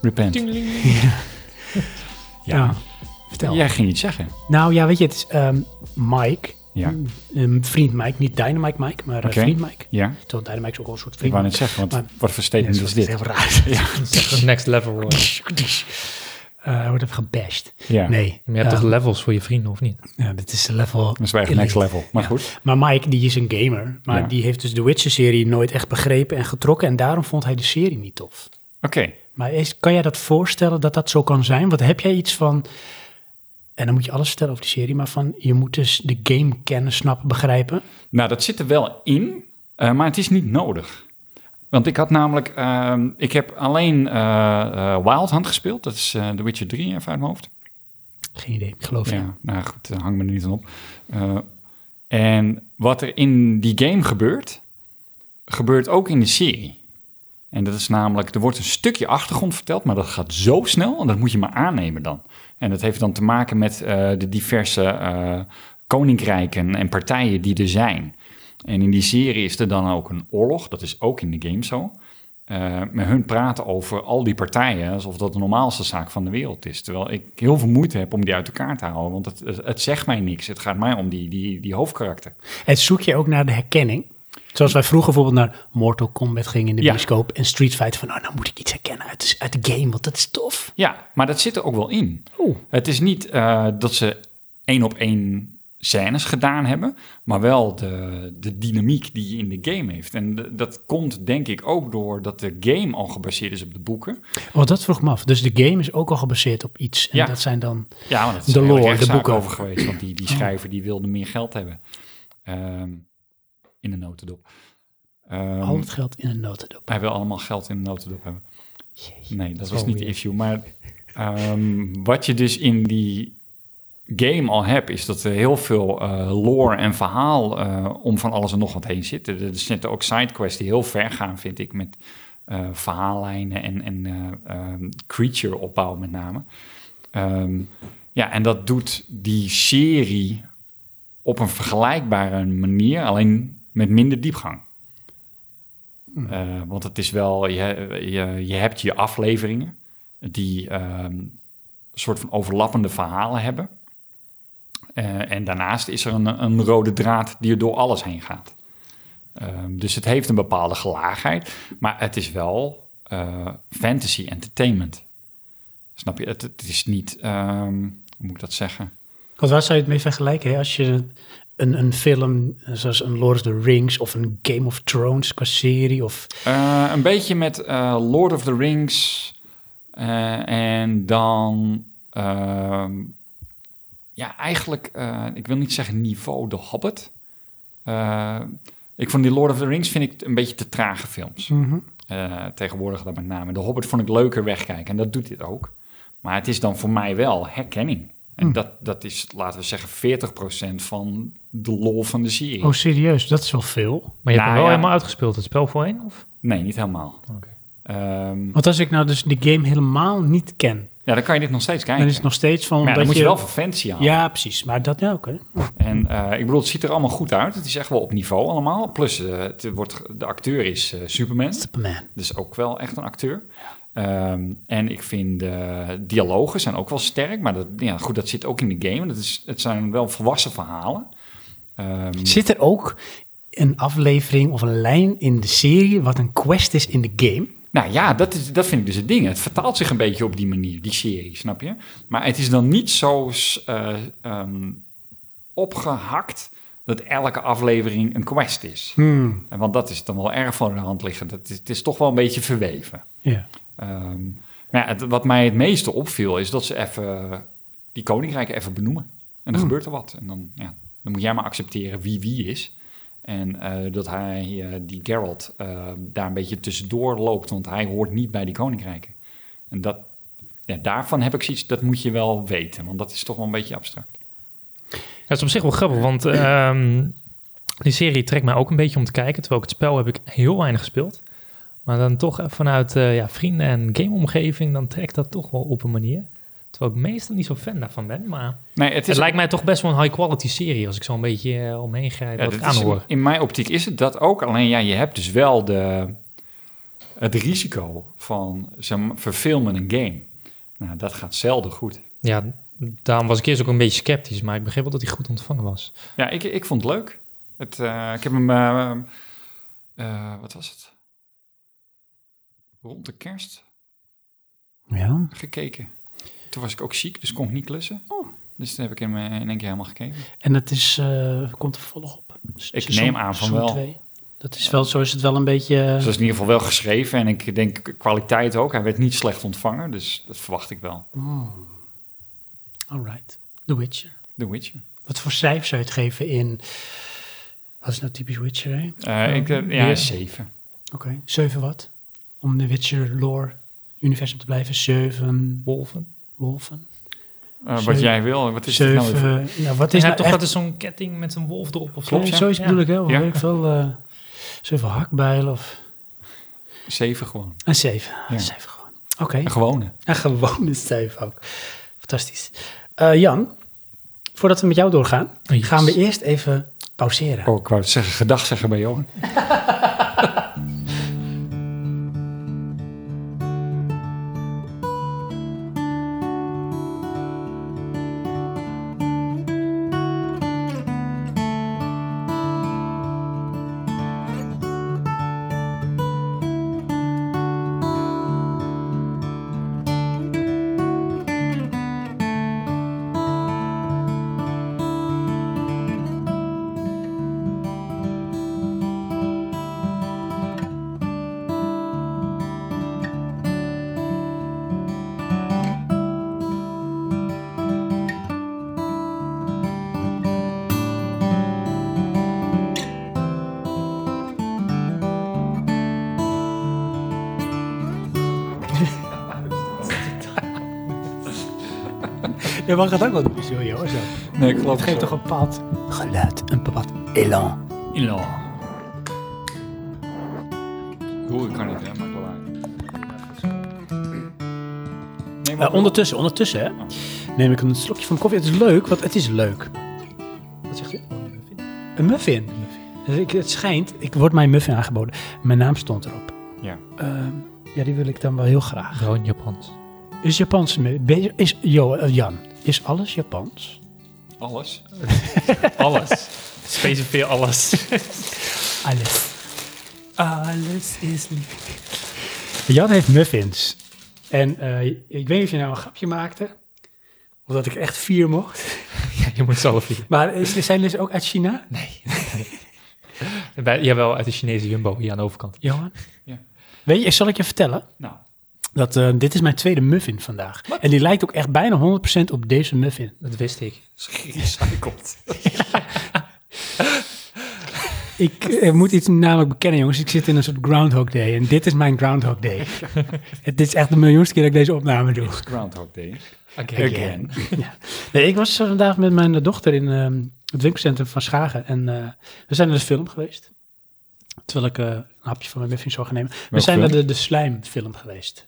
C: Repent.
B: Ja. Vertel.
C: Jij ging iets zeggen.
B: Nou ja, weet je, het is ehm, Mike.
C: Ja.
B: Mm, ehm, vriend Mike, niet Dynamite Mike, maar eh,
C: Oké.
B: vriend Mike.
C: Ja,
B: Terwijl Dynamite is ook wel een soort
C: ik
B: vriend.
C: wou net zeggen, want
B: Maar-
C: wat voor statement
B: Ja,
C: is
B: dat is
C: dit?
B: Heel raar. dus Ja.
A: Dat is echt een next level. hoor.
B: Hij Eh, wordt even gebashed.
C: Ja,
B: Nee.
A: Maar je hebt
B: ehm,
A: toch levels voor je vrienden, of niet?
B: ja, dit is de level.
C: dat is wel echt
B: elite.
C: next level. Maar goed,
B: Maar Mike, die is een gamer. Maar
C: Ja.
B: die heeft dus de Witcher-serie nooit echt begrepen en getrokken. En daarom vond hij de serie niet tof.
C: oké.
B: Maar is, kan jij dat voorstellen dat dat zo kan zijn? Want heb jij iets van. En dan moet je alles vertellen over die serie, maar van je moet dus de game kennen, snappen, begrijpen.
C: Nou, dat zit er wel in, eh, maar het is niet nodig. Want ik had namelijk, ehm, ik heb alleen eh, eh, Wild Hunt gespeeld. Dat is eh The Witcher 3, even uit mijn hoofd.
B: Geen idee, ik geloof je.
C: Ja, nou goed, hang me er niet aan op. Eh, en wat er in die game gebeurt, gebeurt ook in de serie. En dat is namelijk, er wordt een stukje achtergrond verteld, maar dat gaat zo snel en dat moet je maar aannemen dan. En dat heeft dan te maken met eh, de diverse eh, koninkrijken en partijen die er zijn. En in die serie is er dan ook een oorlog, dat is ook in de game zo. Eh, met hun praten over al die partijen alsof dat de normaalste zaak van de wereld is. Terwijl ik heel veel moeite heb om die uit elkaar te houden, want het, het, het zegt mij niks. Het gaat mij om die, die, die hoofdkarakter.
B: En zoek je ook naar de herkenning. Zoals wij vroeger bijvoorbeeld naar Mortal Kombat gingen in de
C: Ja.
B: bioscoop en Street Fighter. Van nou, nou moet ik iets herkennen uit, de- uit de game, want dat is tof.
C: Ja, maar dat zit er ook wel in.
B: Oeh.
C: Het is niet eh, dat ze één op één scènes gedaan hebben, maar wel de, de dynamiek die je in de game heeft. En d- dat komt denk ik ook door dat de game al gebaseerd is op de boeken.
B: Oh, dat vroeg me af. Dus de game is ook al gebaseerd op iets. En
C: Ja.
B: dat zijn dan.
C: Ja, want dat is
B: De
C: er
B: lore, de
C: rechtszaak
B: boeken. Oh.
C: over geweest, want die, die schrijver die wilde meer geld hebben. Ehm, in de notendop. Ehm,
B: al het geld in een notendop.
C: Hij wil allemaal geld in de notendop hebben. Nee, dat was
A: wel
C: niet de
A: weer.
C: issue. Maar ehm, wat je dus in die game al hebt, is dat er heel veel eh, lore en verhaal eh, om van alles en nog wat heen zit. Er er zitten ook sidequests die heel ver gaan, vind ik, met eh, verhaallijnen en, en eh, ehm, creature opbouw met name. Ehm, ja, en dat doet die serie op een vergelijkbare manier, alleen met minder diepgang. Eh, want het is wel, je, je, je hebt je afleveringen die ehm, een soort van overlappende verhalen hebben. Eh, en daarnaast is er een, een rode draad die er door alles heen gaat. Ehm, dus het heeft een bepaalde gelaagheid, maar het is wel eh, fantasy entertainment. Snap je? Het, het is niet, ehm, hoe moet ik dat zeggen?
B: Want waar zou je het mee vergelijken? Hè? Als je een, een film eh, zoals een Lord of the Rings of een Game of Thrones qua serie of...
C: Eh, een beetje met eh, Lord of the Rings eh, en dan, ehm, ja, eigenlijk, eh, ik wil niet zeggen niveau, de Hobbit. Eh, ik vond die Lord of the Rings vind ik een beetje te trage films.
B: Mhm.
C: Eh, tegenwoordig dat met name. De Hobbit vond ik leuker wegkijken en dat doet dit ook. Maar het is dan voor mij wel herkenning. En
B: Hm.
C: dat, dat is, laten we zeggen, 40% van de lol van de serie.
B: Oh, serieus? Dat is wel veel.
A: Maar je
C: Nou
A: hebt hem wel
C: ja.
A: helemaal uitgespeeld, het spel voorheen? Of?
C: Nee, niet helemaal.
A: Oké.
C: Ehm,
B: Want als ik nou dus de game helemaal niet ken,
C: ja, dan kan je dit nog steeds kijken.
B: dan is het nog steeds van...
C: maar ja,
B: dat
C: dan moet je wel van fancy aan.
B: Ja, precies. Maar dat ja, oké.
C: En eh, ik bedoel, het ziet er allemaal goed uit. Het is echt wel op niveau allemaal. Plus, eh, het wordt, de acteur is eh, Superman.
B: Superman.
C: Dus ook wel echt een acteur. Ehm, en ik vind de dialogen zijn ook wel sterk. Maar dat, ja, goed, dat zit ook in de game. Dat is, het zijn wel volwassen verhalen. Ehm,
B: Zit er ook een aflevering of een lijn in de serie wat een quest is in de game?
C: nou ja, dat, is, dat vind ik dus het ding. Het vertaalt zich een beetje op die manier, die serie, snap je? Maar het is dan niet zo s- eh, ehm, opgehakt dat elke aflevering een quest is.
B: Hmm.
C: En Want dat is dan wel erg van de hand liggend. Het is, het is toch wel een beetje verweven.
B: Ja.
C: Ehm, maar ja, het- wat mij het meeste opviel is dat ze even die koninkrijken even benoemen. En dan gebeurt er wat. En dan, ja, dan moet jij maar accepteren wie wie is. En eh, dat hij, eh, die Geralt, eh, daar een beetje tussendoor loopt. Want hij hoort niet bij die koninkrijken. En dat, ja, daarvan heb ik zoiets, dat moet je wel weten. Want dat is toch wel een beetje abstract.
A: Dat is op zich wel grappig, want ehm, die serie trekt mij ook een beetje om te kijken. Terwijl ik het spel heb ik heel weinig gespeeld. Maar dan toch vanuit eh, ja, vrienden en gameomgeving, dan trekt dat toch wel op een manier. Terwijl ik meestal niet zo fan daarvan ben, maar het,
C: Nee, het is
A: lijkt mij toch best wel een high-quality serie als ik zo een beetje eh, omheen grijp
C: Ja,
A: wat ik
C: dat is
A: aanhoor.
C: in, in mijn optiek is het dat ook. Alleen ja, je hebt dus wel de, het risico van ze verfilmen een game. Nou, dat gaat zelden goed.
A: Ja, daarom was ik eerst ook een beetje sceptisch, maar ik begreep wel dat hij goed ontvangen was.
C: Ja, ik, ik vond het leuk. Het, eh, ik heb hem, eh, eh, wat was het? Rond de kerst
B: Ja.
C: gekeken. Toen was ik ook ziek, dus kon ik niet klussen. Dus toen heb ik hem eh, in één keer helemaal gekeken.
B: En dat is, eh, komt Dus er volop op. S-
C: Ik
B: seizoen-
C: neem aan van
B: seizoen
C: wel.
B: twee. Dat is wel, zo is het wel een beetje...
C: Dus
B: eh,
C: dat is in ieder geval wel geschreven. En ik denk kwaliteit ook. Hij werd niet slecht ontvangen, dus dat verwacht ik wel.
B: Hmm. Alright. The Witcher.
C: The Witcher.
B: Wat voor cijfer zou je het geven in... Wat is nou typisch Witcher, hè?
C: Eh, ik, eh, ja,
A: Ja.
C: zeven.
B: Oké, 7 wat? Om de Witcher lore universum te blijven, 7
A: Wolven.
B: wolven.
C: Eh,
B: Zeven.
C: wat jij wil, wat is het nou? weer voor-
B: Zeven, nou wat
A: Is
B: is
A: hij
B: nou
A: toch
B: echt...
A: altijd zo'n ketting met een wolf erop of
C: Klopt,
A: zo?
C: ja.
B: Zoiets bedoel ik, hè? Of
C: Ja.
B: weet ik veel, eh, zeven hakbijlen of...
C: Zeven gewoon.
B: Een 7,
C: Ja.
B: een 7 gewoon. Oké,
C: Een gewone.
B: een gewone 7 ook. Fantastisch. Eh, Jan, voordat we met jou doorgaan,
A: Yes.
B: gaan we eerst even pauzeren.
C: Oh, ik wou het zeggen, gedag zeggen bij Johan.
B: Je mag het ook wel doen, zo, joh. Zo.
C: Nee, ik geloof
B: Het geeft toch een bepaald geluid, een bepaald elan.
C: in law. Hoe ik kan niet, hè, maar ik wil eigenlijk. Nee, maar
B: Eh, ondertussen, ondertussen hè, neem ik een slokje van mijn koffie. Het is leuk, want het is leuk.
A: Wat zegt u? Oh, ik vind-
B: Een muffin. Dus ik, het schijnt, ik word mijn muffin aangeboden. Mijn naam stond erop.
C: Ja.
B: Ehm, ja, die wil ik dan wel heel graag.
A: Wel in Japans.
B: Is Japans... mu- be- Is, jo, eh, Jan, is alles Japans?
C: Alles.
A: Alles. Specifiek alles.
B: Alles. Alles is lief. Jan heeft muffins. En eh, ik weet niet of je nou een grapje maakte. Of dat ik er echt vier mocht.
A: Ja, je moet zelf hier.
B: Maar is- zijn dus ook uit China?
A: Nee. Bij, jawel, uit de Chinese Jumbo hier aan de overkant.
B: Johan?
C: Ja.
B: Weet je, zal ik je vertellen?
C: Nou,
B: Dat, eh, dit is mijn tweede muffin vandaag. En die lijkt ook echt bijna 100% op deze muffin.
A: Dat wist ik.
C: gerecycled.
B: Ik eh, moet iets namelijk bekennen, jongens. Ik zit in een soort Groundhog Day. En dit is mijn Groundhog Day. Het is echt de miljoenste keer dat ik deze opname doe.
C: Groundhog Day.
A: Again.
C: Again.
B: Nee, ik was eh, vandaag met mijn dochter in ehm, het winkelcentrum van Schagen. En eh, we zijn naar de film geweest. Terwijl ik eh, een hapje van mijn muffin zou gaan nemen. we
C: Welke
B: zijn
C: film?
B: naar de, de Slijmfilm geweest.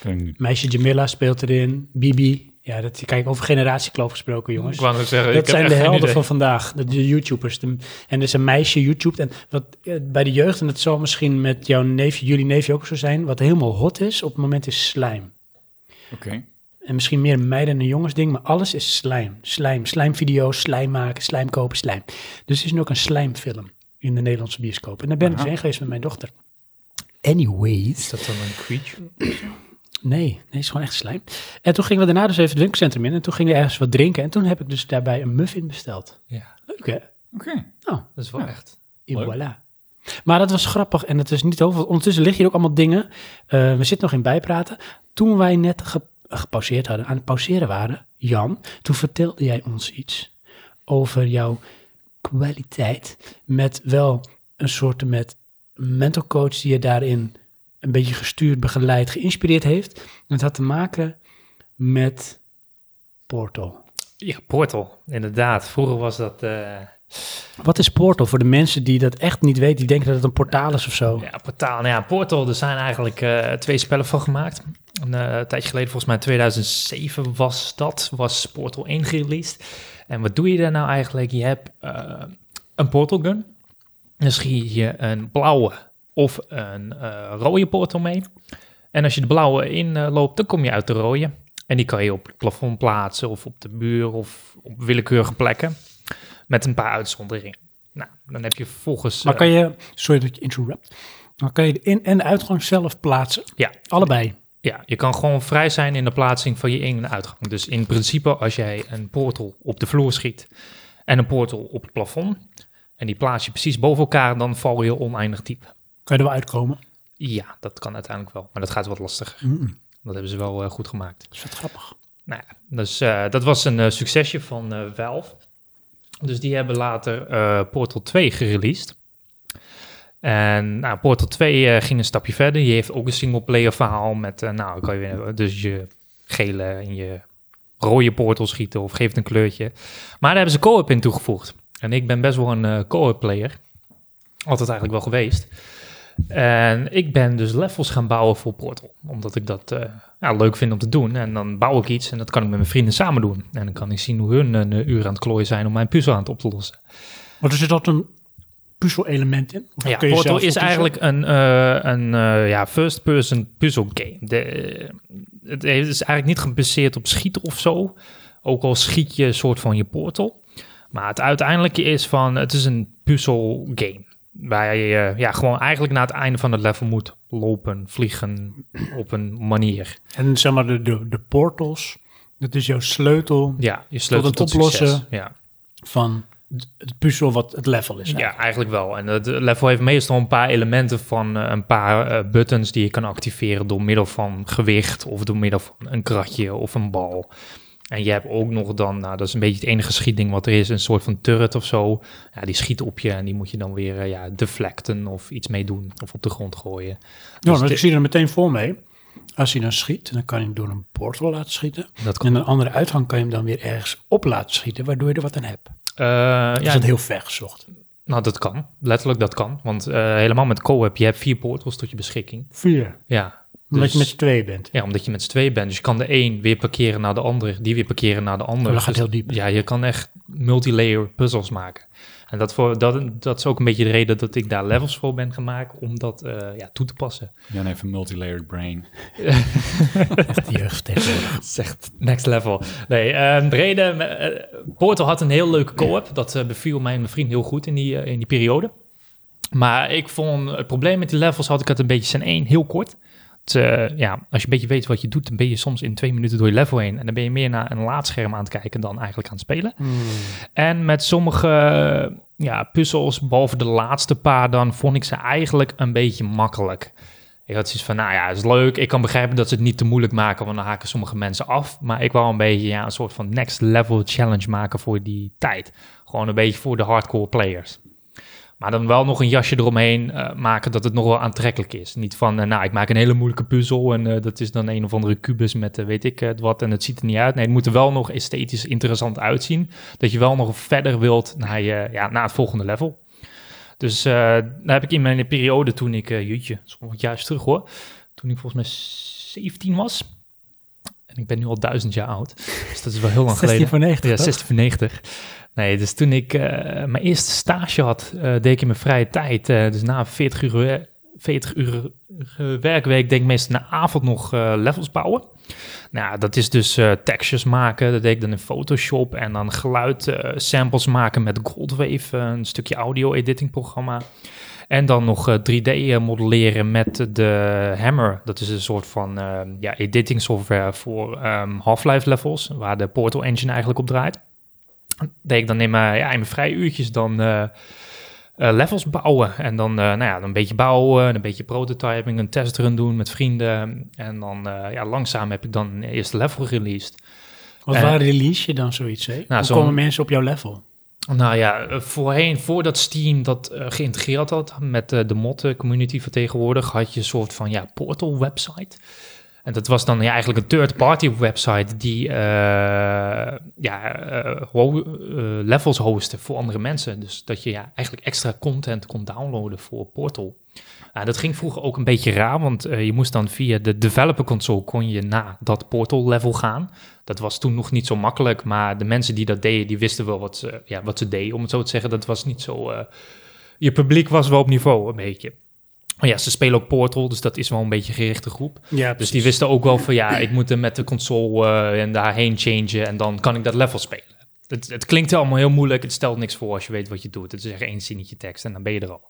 C: Kan ik niet.
B: Meisje Jamila speelt erin. Bibi. Ja, dat, kijk, over generatiekloof gesproken, jongens.
A: Ik wou net zeggen, ik
B: Dat
A: heb
B: zijn
A: echt
B: de
A: geen
B: helden
A: idee.
B: van vandaag, de, de YouTubers. De- en er is een meisje YouTube. En wat eh, bij de jeugd, en dat zal misschien met jouw neefje, jullie neefje ook zo zijn, wat helemaal hot is op het moment is slijm.
C: Oké.
B: En misschien meer een meiden- en jongensding, maar alles is slijm. Slijm, slijmvideo's, slijm maken, slijm kopen, slijm. Dus er is nu ook een slijmfilm in de Nederlandse bioscoop. En daar ben ik
C: Aha.
B: eens heen geweest met mijn dochter. Anyways.
A: Is dat dan een creature?
B: Nee, nee, het is gewoon echt slijm. En toen gingen we daarna dus even het winkelcentrum in. En toen gingen we ergens wat drinken. En toen heb ik dus daarbij een muffin besteld.
A: Ja,
B: Leuk hè?
C: Oké.
B: Nou,
A: dat is wel echt.
B: Et
C: Leuk.
B: voilà. Maar dat was grappig en het is niet over. want Ondertussen liggen hier ook allemaal dingen. Eh, we zitten nog in bijpraten. Toen wij net ge- gepauzeerd hadden, aan het pauzeren waren, Jan, toen vertelde jij ons iets over jouw kwaliteit met wel een soort met mental coach die je daarin een beetje gestuurd, begeleid, geïnspireerd heeft. En het had te maken met Portal.
A: Ja, Portal, inderdaad. Vroeger was dat... eh,
B: Wat is Portal voor de mensen die dat echt niet weten, die denken dat het een portaal is of zo?
A: Ja, portaal. Nou ja, Portal, er zijn eigenlijk eh, twee spellen van gemaakt. Een eh, tijdje geleden, volgens mij 2007 was dat, was Portal 1 gereleased. En wat doe je daar nou eigenlijk? Je hebt eh, een portal gun. Dan schiet je een blauwe of een eh, rode portal mee. En als je de blauwe inloopt, dan kom je uit de rode. En die kan je op het plafond plaatsen of op de muur of op willekeurige plekken. Met een paar uitzonderingen. Nou, dan heb je volgens... eh,
B: Maar kan je, sorry dat ik je interrupt, maar kan je de in- en de uitgang zelf plaatsen?
A: Ja,
B: Allebei.
A: Ja, je kan gewoon vrij zijn in de plaatsing van je in- en uitgang. Dus in principe, als jij een portal op de vloer schiet en een portal op het plafond, en die plaats je precies boven elkaar, dan val je oneindig diep.
B: Kan je er wel uitkomen? Mm.
A: Ja, dat kan uiteindelijk wel, maar dat gaat wat lastiger. Dat hebben ze wel eh, goed gemaakt.
B: Dat is wat grappig.
A: Nou ja, dus eh, dat was een eh, succesje van eh Valve. Dus die hebben later eh, Portal 2 gereleased. En nou, Portal 2 eh, ging een stapje verder. Die heeft ook een singleplayer verhaal met, eh, nou, kan je weer- dus je gele en je rode portal schieten of geeft een kleurtje. Maar daar hebben ze co-op in toegevoegd. En ik ben best wel een eh, co-op player. Altijd eigenlijk wel geweest. En ik ben dus levels gaan bouwen voor Portal. Omdat ik dat eh, ja, leuk vind om te doen. En dan bouw ik iets en dat kan ik met mijn vrienden samen doen. En dan kan ik zien hoe hun een eh, uur aan het klooien zijn om mijn puzzel aan het op te lossen.
B: Maar er zit altijd een puzzel-element in? Of
A: Ja,
B: kun je
A: Portal
B: zelf
A: is
B: een puzzel-
A: eigenlijk een, eh, een eh, ja, first-person puzzle game. De, eh, het heeft- is eigenlijk niet gebaseerd op schieten of zo. Ook al schiet je een soort van je portal. Maar het uiteindelijke is van, het is een puzzel game. Waar je eh, ja, gewoon eigenlijk naar het einde van het level moet lopen, vliegen op een manier.
B: En zeg maar de, de, de portals, dat is jouw sleutel
A: Ja, je sleutel
B: het
A: tot,
B: oplossen.
A: succes. Ja.
B: van het- het puzzel wat het level is. Nou,
A: Ja, eigenlijk wel. En het eh, level heeft meestal een paar elementen van eh, een paar eh, buttons die je kan activeren door middel van gewicht of door middel van een kratje of een bal. En je hebt ook nog dan, nou, dat is een beetje het enige schietding wat er is, een soort van turret of zo. Ja, die schiet op je en die moet je dan weer eh, ja, deflecten of iets mee doen of op de grond gooien.
B: Ja,
A: Dus
B: maar ik
A: dit-
B: zie er meteen voor mee. Als hij dan schiet, dan kan hij hem door een portal laten schieten.
A: Dat
B: En
A: kan.
B: een andere uitgang kan je hem dan weer ergens op laten schieten, waardoor je er wat aan hebt.
A: Eh,
B: Dat
A: ja,
B: is Dus dat heel ver gezocht.
A: nou, dat kan. Letterlijk, dat kan. Want eh, helemaal met co-op, je hebt vier portals tot je beschikking.
B: Vier.
A: Ja.
B: Omdat
A: Dus-
B: je met z'n tweeën bent.
A: Ja, omdat je met z'n tweeën bent. Dus je kan de een weer parkeren naar de ander, die weer parkeren naar de ander.
B: Maar Oh, dat gaat
A: Dus-
B: heel diep.
A: Ja, je kan echt multilayer puzzels maken. En dat, voor, dat, dat is ook een beetje de reden dat ik daar levels voor ben gemaakt, om dat eh, ja, toe te passen.
C: Jan heeft een multilayered brain.
B: Echt jeugd tegenwoordig.
A: Zegt next level. Nee, ehm, de reden, eh, Portal had een heel leuke co-op. Dat eh, beviel mijn vriend heel goed in die, eh, in die periode. Maar ik vond het probleem met die levels had ik het een beetje zijn één heel kort. Het, eh, ja, als je een beetje weet wat je doet, dan ben je soms in twee minuten door je level heen. En dan ben je meer naar een laadscherm aan het kijken dan eigenlijk aan het spelen. En met sommige eh, ja, puzzels, behalve de laatste paar, dan vond ik ze eigenlijk een beetje makkelijk. Ik had zoiets van, nou ja, is leuk. Ik kan begrijpen dat ze het niet te moeilijk maken, want dan haken sommige mensen af. Maar ik wou een beetje ja, een soort van next level challenge maken voor die tijd. Gewoon een beetje voor de hardcore players. Maar dan wel nog een jasje eromheen eh, maken dat het nog wel aantrekkelijk is. Niet van, eh, nou, ik maak een hele moeilijke puzzel en eh, dat is dan een of andere kubus met eh, weet ik het wat en het ziet er niet uit. Nee, het moet er wel nog esthetisch interessant uitzien. Dat je wel nog verder wilt naar, je, ja, naar het volgende level. Dus eh, daar heb ik in mijn periode toen ik, eh jeetje, dat is al wat jaar terug hoor. Toen ik volgens mij 17 was. En ik ben nu al duizend jaar oud. Dus dat is wel heel lang geleden.
B: 16 voor 90,
A: Ja,
B: toch?
A: 60 voor 90. Nee, dus toen ik eh, mijn eerste stage had, eh, deed ik in mijn vrije tijd. eh, dus na 40 uur, wer- 40 uur eh, werkweek, denk ik meestal na avond nog eh, levels bouwen. Nou, dat is dus eh, textures maken. Dat deed ik dan in Photoshop. En dan geluid eh, samples maken met Goldwave, eh, een stukje audio editing programma. En dan nog eh, 3D eh, modelleren met de Hammer. Dat is een soort van eh, ja, editing software voor ehm, Half-Life levels, waar de Portal Engine eigenlijk op draait. Deed ik dan in mijn, ja, in mijn vrije uurtjes dan eh, eh, levels bouwen. En dan, eh, nou ja, dan een beetje bouwen, een beetje prototyping, een testrun doen met vrienden. En dan eh, ja, langzaam heb ik dan een eerste level released.
B: Wat
A: Eh, Nou,
B: waar release je dan zoiets? Hè? Hoe
A: zo'n-
B: komen mensen op jouw level?
A: Nou ja, eh, voorheen, voordat Steam dat eh, geïntegreerd had met eh, de mod-community vertegenwoordigd, had je een soort van ja, portal-website. En dat was dan ja, eigenlijk een third-party website die eh, ja, eh, ho- eh, levels hostte voor andere mensen. Dus dat je ja, eigenlijk extra content kon downloaden voor Portal. Ah, dat ging vroeger ook een beetje raar, want eh, je moest dan via de developer console kon je na dat Portal level gaan. Dat was toen nog niet zo makkelijk, maar de mensen die dat deden, die wisten wel wat ze, ja, wat ze deden, om het zo te zeggen. Dat was niet zo... eh, je publiek was wel op niveau, een beetje. Maar ja, ze spelen ook Portal, dus dat is wel een beetje een gerichte groep.
B: Ja,
A: Dus die wisten ook wel van ja, ik moet er met de console eh, en daarheen changen en dan kan ik dat level spelen. Het, het klinkt allemaal heel moeilijk, het stelt niks voor als je weet wat je doet. Het is echt één zinnetje tekst en dan ben je er al.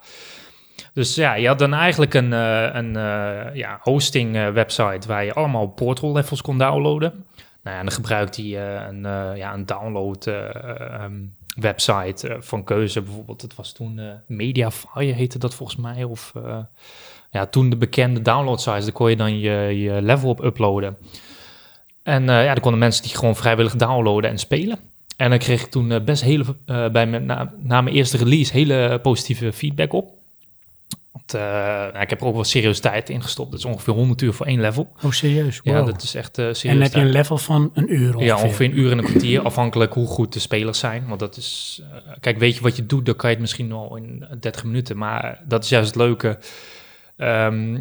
A: Dus ja, je had dan eigenlijk een, eh, een eh, ja, hosting eh, website waar je allemaal portal levels kon downloaden. Nou ja, en dan gebruikt hij eh, een, eh, ja, een download eh, ehm, website eh, van keuze. Bijvoorbeeld, dat was toen eh, Mediafire heette dat volgens mij. Of eh, ja, toen de bekende download size, daar kon je dan je, je level op uploaden. En eh, ja, daar konden mensen die gewoon vrijwillig downloaden en spelen. En dan kreeg ik toen eh, best hele, eh, bij mijn, na, na mijn eerste release hele positieve feedback op. Want eh, nou, ik heb er ook wel serieus tijd in gestopt. Dat is ongeveer 100 uur voor één level.
B: Oh, serieus?
A: Ja,
B: Wow.
A: dat is echt eh serieus
B: en heb je
A: tijd.
B: een level van een uur ongeveer?
A: Ja, ongeveer een uur en een kwartier, afhankelijk hoe goed de spelers zijn. Want dat is, eh, kijk, weet je wat je doet, dan kan je het misschien wel in 30 minuten. Maar dat is juist het leuke. Ehm,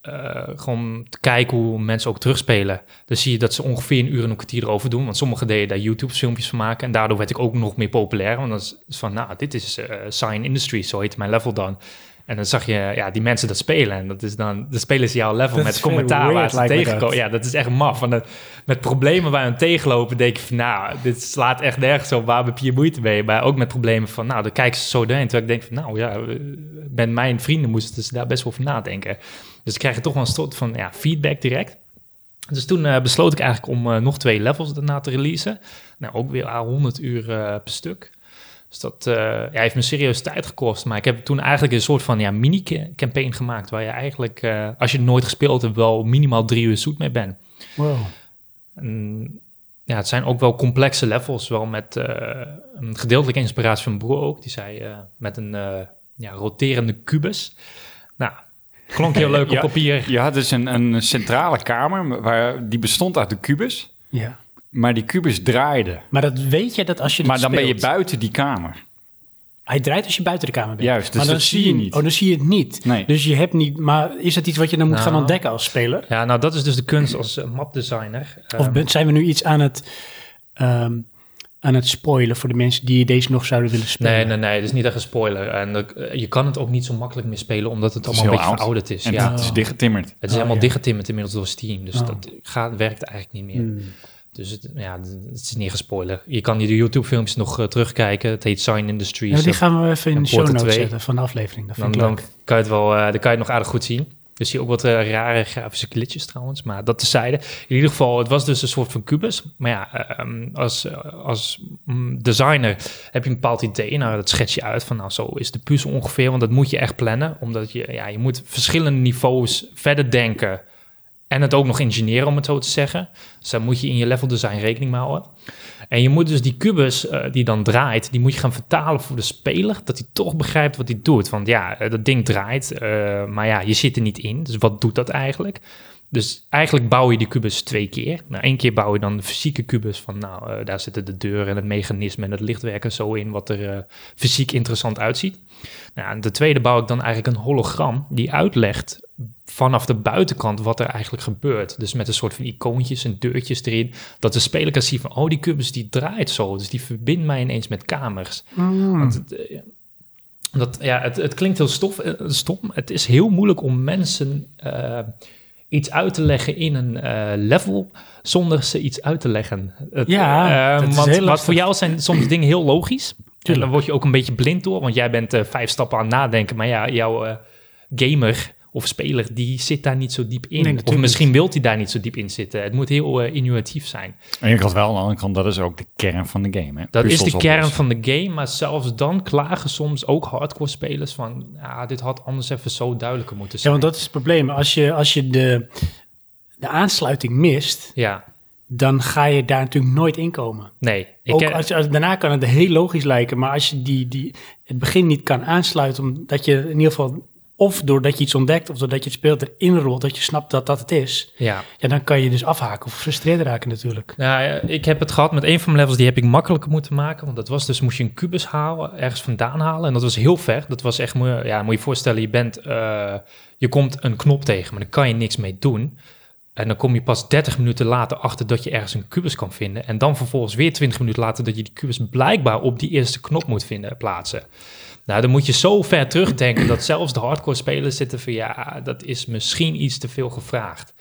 A: eh, gewoon te kijken hoe mensen ook terugspelen. Dan zie je dat ze ongeveer een uur en een kwartier erover doen. Want sommigen deden daar YouTube-filmpjes van maken. En daardoor werd ik ook nog meer populair. Want dan is is van, nou, dit is eh Sign Industry, zo heet mijn level dan. En dan zag je ja, die mensen dat spelen. En dat is dan, dan spelen ze jouw level
B: Dat
A: met
B: is very
A: commentaar waar
B: weird,
A: ze
B: lijkt me dat.
A: tegenkomen. Ja, dat is echt maf. Want dan- met problemen waar we hem tegenlopen, denk je van, nou, dit slaat echt nergens op. Waar heb je je moeite mee? Maar ook met problemen van, nou, dan kijken ze zo doorheen. Terwijl ik denk van, nou ja, eh, met mijn vrienden moesten ze daar best wel over nadenken. Dus ik krijg je toch wel een soort van ja, feedback direct. Dus toen eh, besloot ik eigenlijk om eh, nog twee levels daarna te releasen. Nou, ook weer aan 100 uur eh, per stuk. Dus dat eh, ja, heeft me serieus tijd gekost. Maar ik heb toen eigenlijk een soort van ja, mini-campaign gemaakt... waar je eigenlijk, eh, als je het nooit gespeeld hebt... wel minimaal drie uur zoet mee bent.
B: Wow.
A: En, ja, het zijn ook wel complexe levels. Wel met eh, een gedeeltelijke inspiratie van mijn broer ook. Die zei eh, met een eh, ja, roterende kubus. Nou, klonk heel leuk op
C: Ja.
A: papier.
C: Je had dus een, een centrale kamer, waar, die bestond uit de kubus.
B: Ja.
C: Maar die kubus draaide.
B: Maar dat weet je dat als je
C: Maar
B: dat
C: dan ben je
B: speelt.
C: buiten die kamer.
B: Hij draait als je buiten de kamer bent.
C: Juist, dus
B: maar dan
C: dat zie je niet.
B: Oh, dan zie je het niet.
C: Nee.
B: Dus je hebt niet... Maar is dat iets wat je dan moet gaan
A: Nou.
B: ontdekken als speler?
A: Ja, nou dat is dus de kunst als eh, mapdesigner.
B: Of
A: Ehm,
B: ben- zijn we nu iets aan het, ehm, aan het spoilen voor de mensen die deze nog zouden willen spelen?
A: Nee, nee, nee, het is niet echt een spoiler. En eh, je kan het ook niet zo makkelijk meer spelen, omdat het allemaal een
C: heel
A: beetje
C: oud.
A: verouderd is.
C: En
A: Dus ja.
C: het is dichtgetimmerd.
A: Het is
B: Oh,
A: helemaal
B: ja.
A: dichtgetimmerd inmiddels door Steam, dus
B: Oh.
A: dat gaat, werkt eigenlijk niet meer.
B: Hmm.
A: Dus het, ja, het is niet gespoiler. Je kan die YouTube-filmpjes nog eh, terugkijken. Het heet Sign Industries.
B: Ja, die
A: Dat-
B: gaan we even in
A: en
B: de show
A: Portal
B: notes
A: 2.
B: zetten van de aflevering. Dat
A: dan,
B: vind ik leuk.
A: dan kan je het wel, eh, dan kan je het nog aardig goed zien. Dus zie je ook wat eh, rare grafische glitches trouwens, maar dat tezijde. In ieder geval, het was dus een soort van kubus. Maar ja, ehm, als, eh, als mm, designer heb je een bepaald idee. Nou, dat schets je uit van nou, zo is de puzzel ongeveer. Want dat moet je echt plannen, omdat je, ja, je moet verschillende niveaus verder denken. En het ook nog engineeren, om het zo te zeggen. Dus daar moet je in je level design rekening mee houden. En je moet dus die kubus eh, die dan draait, die moet je gaan vertalen voor de speler, dat hij toch begrijpt wat hij doet. Want ja, eh, dat ding draait, eh, maar ja, je zit er niet in. Dus wat doet dat eigenlijk? Dus eigenlijk bouw je die kubus twee keer. Nou, één keer bouw je dan de fysieke kubus van, nou, eh, daar zitten de deuren en het mechanisme en het lichtwerk en zo in, wat er eh, fysiek interessant uitziet. Nou, en de tweede bouw ik dan eigenlijk een hologram die uitlegt vanaf de buitenkant wat er eigenlijk gebeurt. Dus met een soort van icoontjes en deurtjes erin, dat de speler kan zien van, oh, die kubus die draait zo, dus die verbindt mij ineens met kamers.
B: Mm.
A: Want het, eh, dat, ja, het, het klinkt heel stof, eh, stom. Het is heel moeilijk om mensen eh, iets uit te leggen in een eh, level zonder ze iets uit te leggen. Het,
B: Ja,
A: eh,
B: dat is
A: want,
B: heel
A: want
B: lastig.
A: voor jou zijn soms dingen heel logisch. En
B: Tuurlijk.
A: dan word je ook een beetje blind door, want jij bent eh, vijf stappen aan het nadenken. Maar ja, jouw eh, gamer of speler, die zit daar niet zo diep in.
B: natuurlijk
A: of
B: niet.
A: misschien wil hij daar niet zo diep in zitten. Het moet heel eh, innovatief zijn.
C: Aan de ene kant wel, aan de andere kant, dat is ook de kern van de game. Hè?
A: Dat
C: Puzzels
A: is de
C: oplossen.
A: kern van de game, maar zelfs dan klagen soms ook hardcore spelers van, ah, dit had anders even zo duidelijker moeten
B: Ja,
A: zijn.
B: want dat is het probleem. Als je, als je de, de aansluiting mist,
A: Ja,
B: dan ga je daar natuurlijk nooit in komen.
A: nee. Ik
B: Ook
A: ken-
B: als je, als- daarna kan het heel logisch lijken, maar als je die, die, het begin niet kan aansluiten, omdat je in ieder geval, of doordat je iets ontdekt, of doordat je het speelt erin rolt, dat je snapt dat dat het is,
A: ja.
B: ja, dan kan je dus afhaken of gefrustreerd raken natuurlijk.
A: Nou, ja, ik heb het gehad met een van mijn levels, die heb ik makkelijker moeten maken. Want dat was dus, moest je een kubus halen, ergens vandaan halen. En dat was heel ver. Dat was echt, moe- ja, moet je voorstellen, je bent, eh, je komt een knop tegen, maar daar kan je niks mee doen. En dan kom je pas 30 minuten later achter dat je ergens een kubus kan vinden. En dan vervolgens weer 20 minuten later dat je die kubus blijkbaar op die eerste knop moet vinden, plaatsen. Nou, dan moet je zo ver terugdenken dat zelfs de hardcore spelers zitten van ja, dat is misschien iets te veel gevraagd.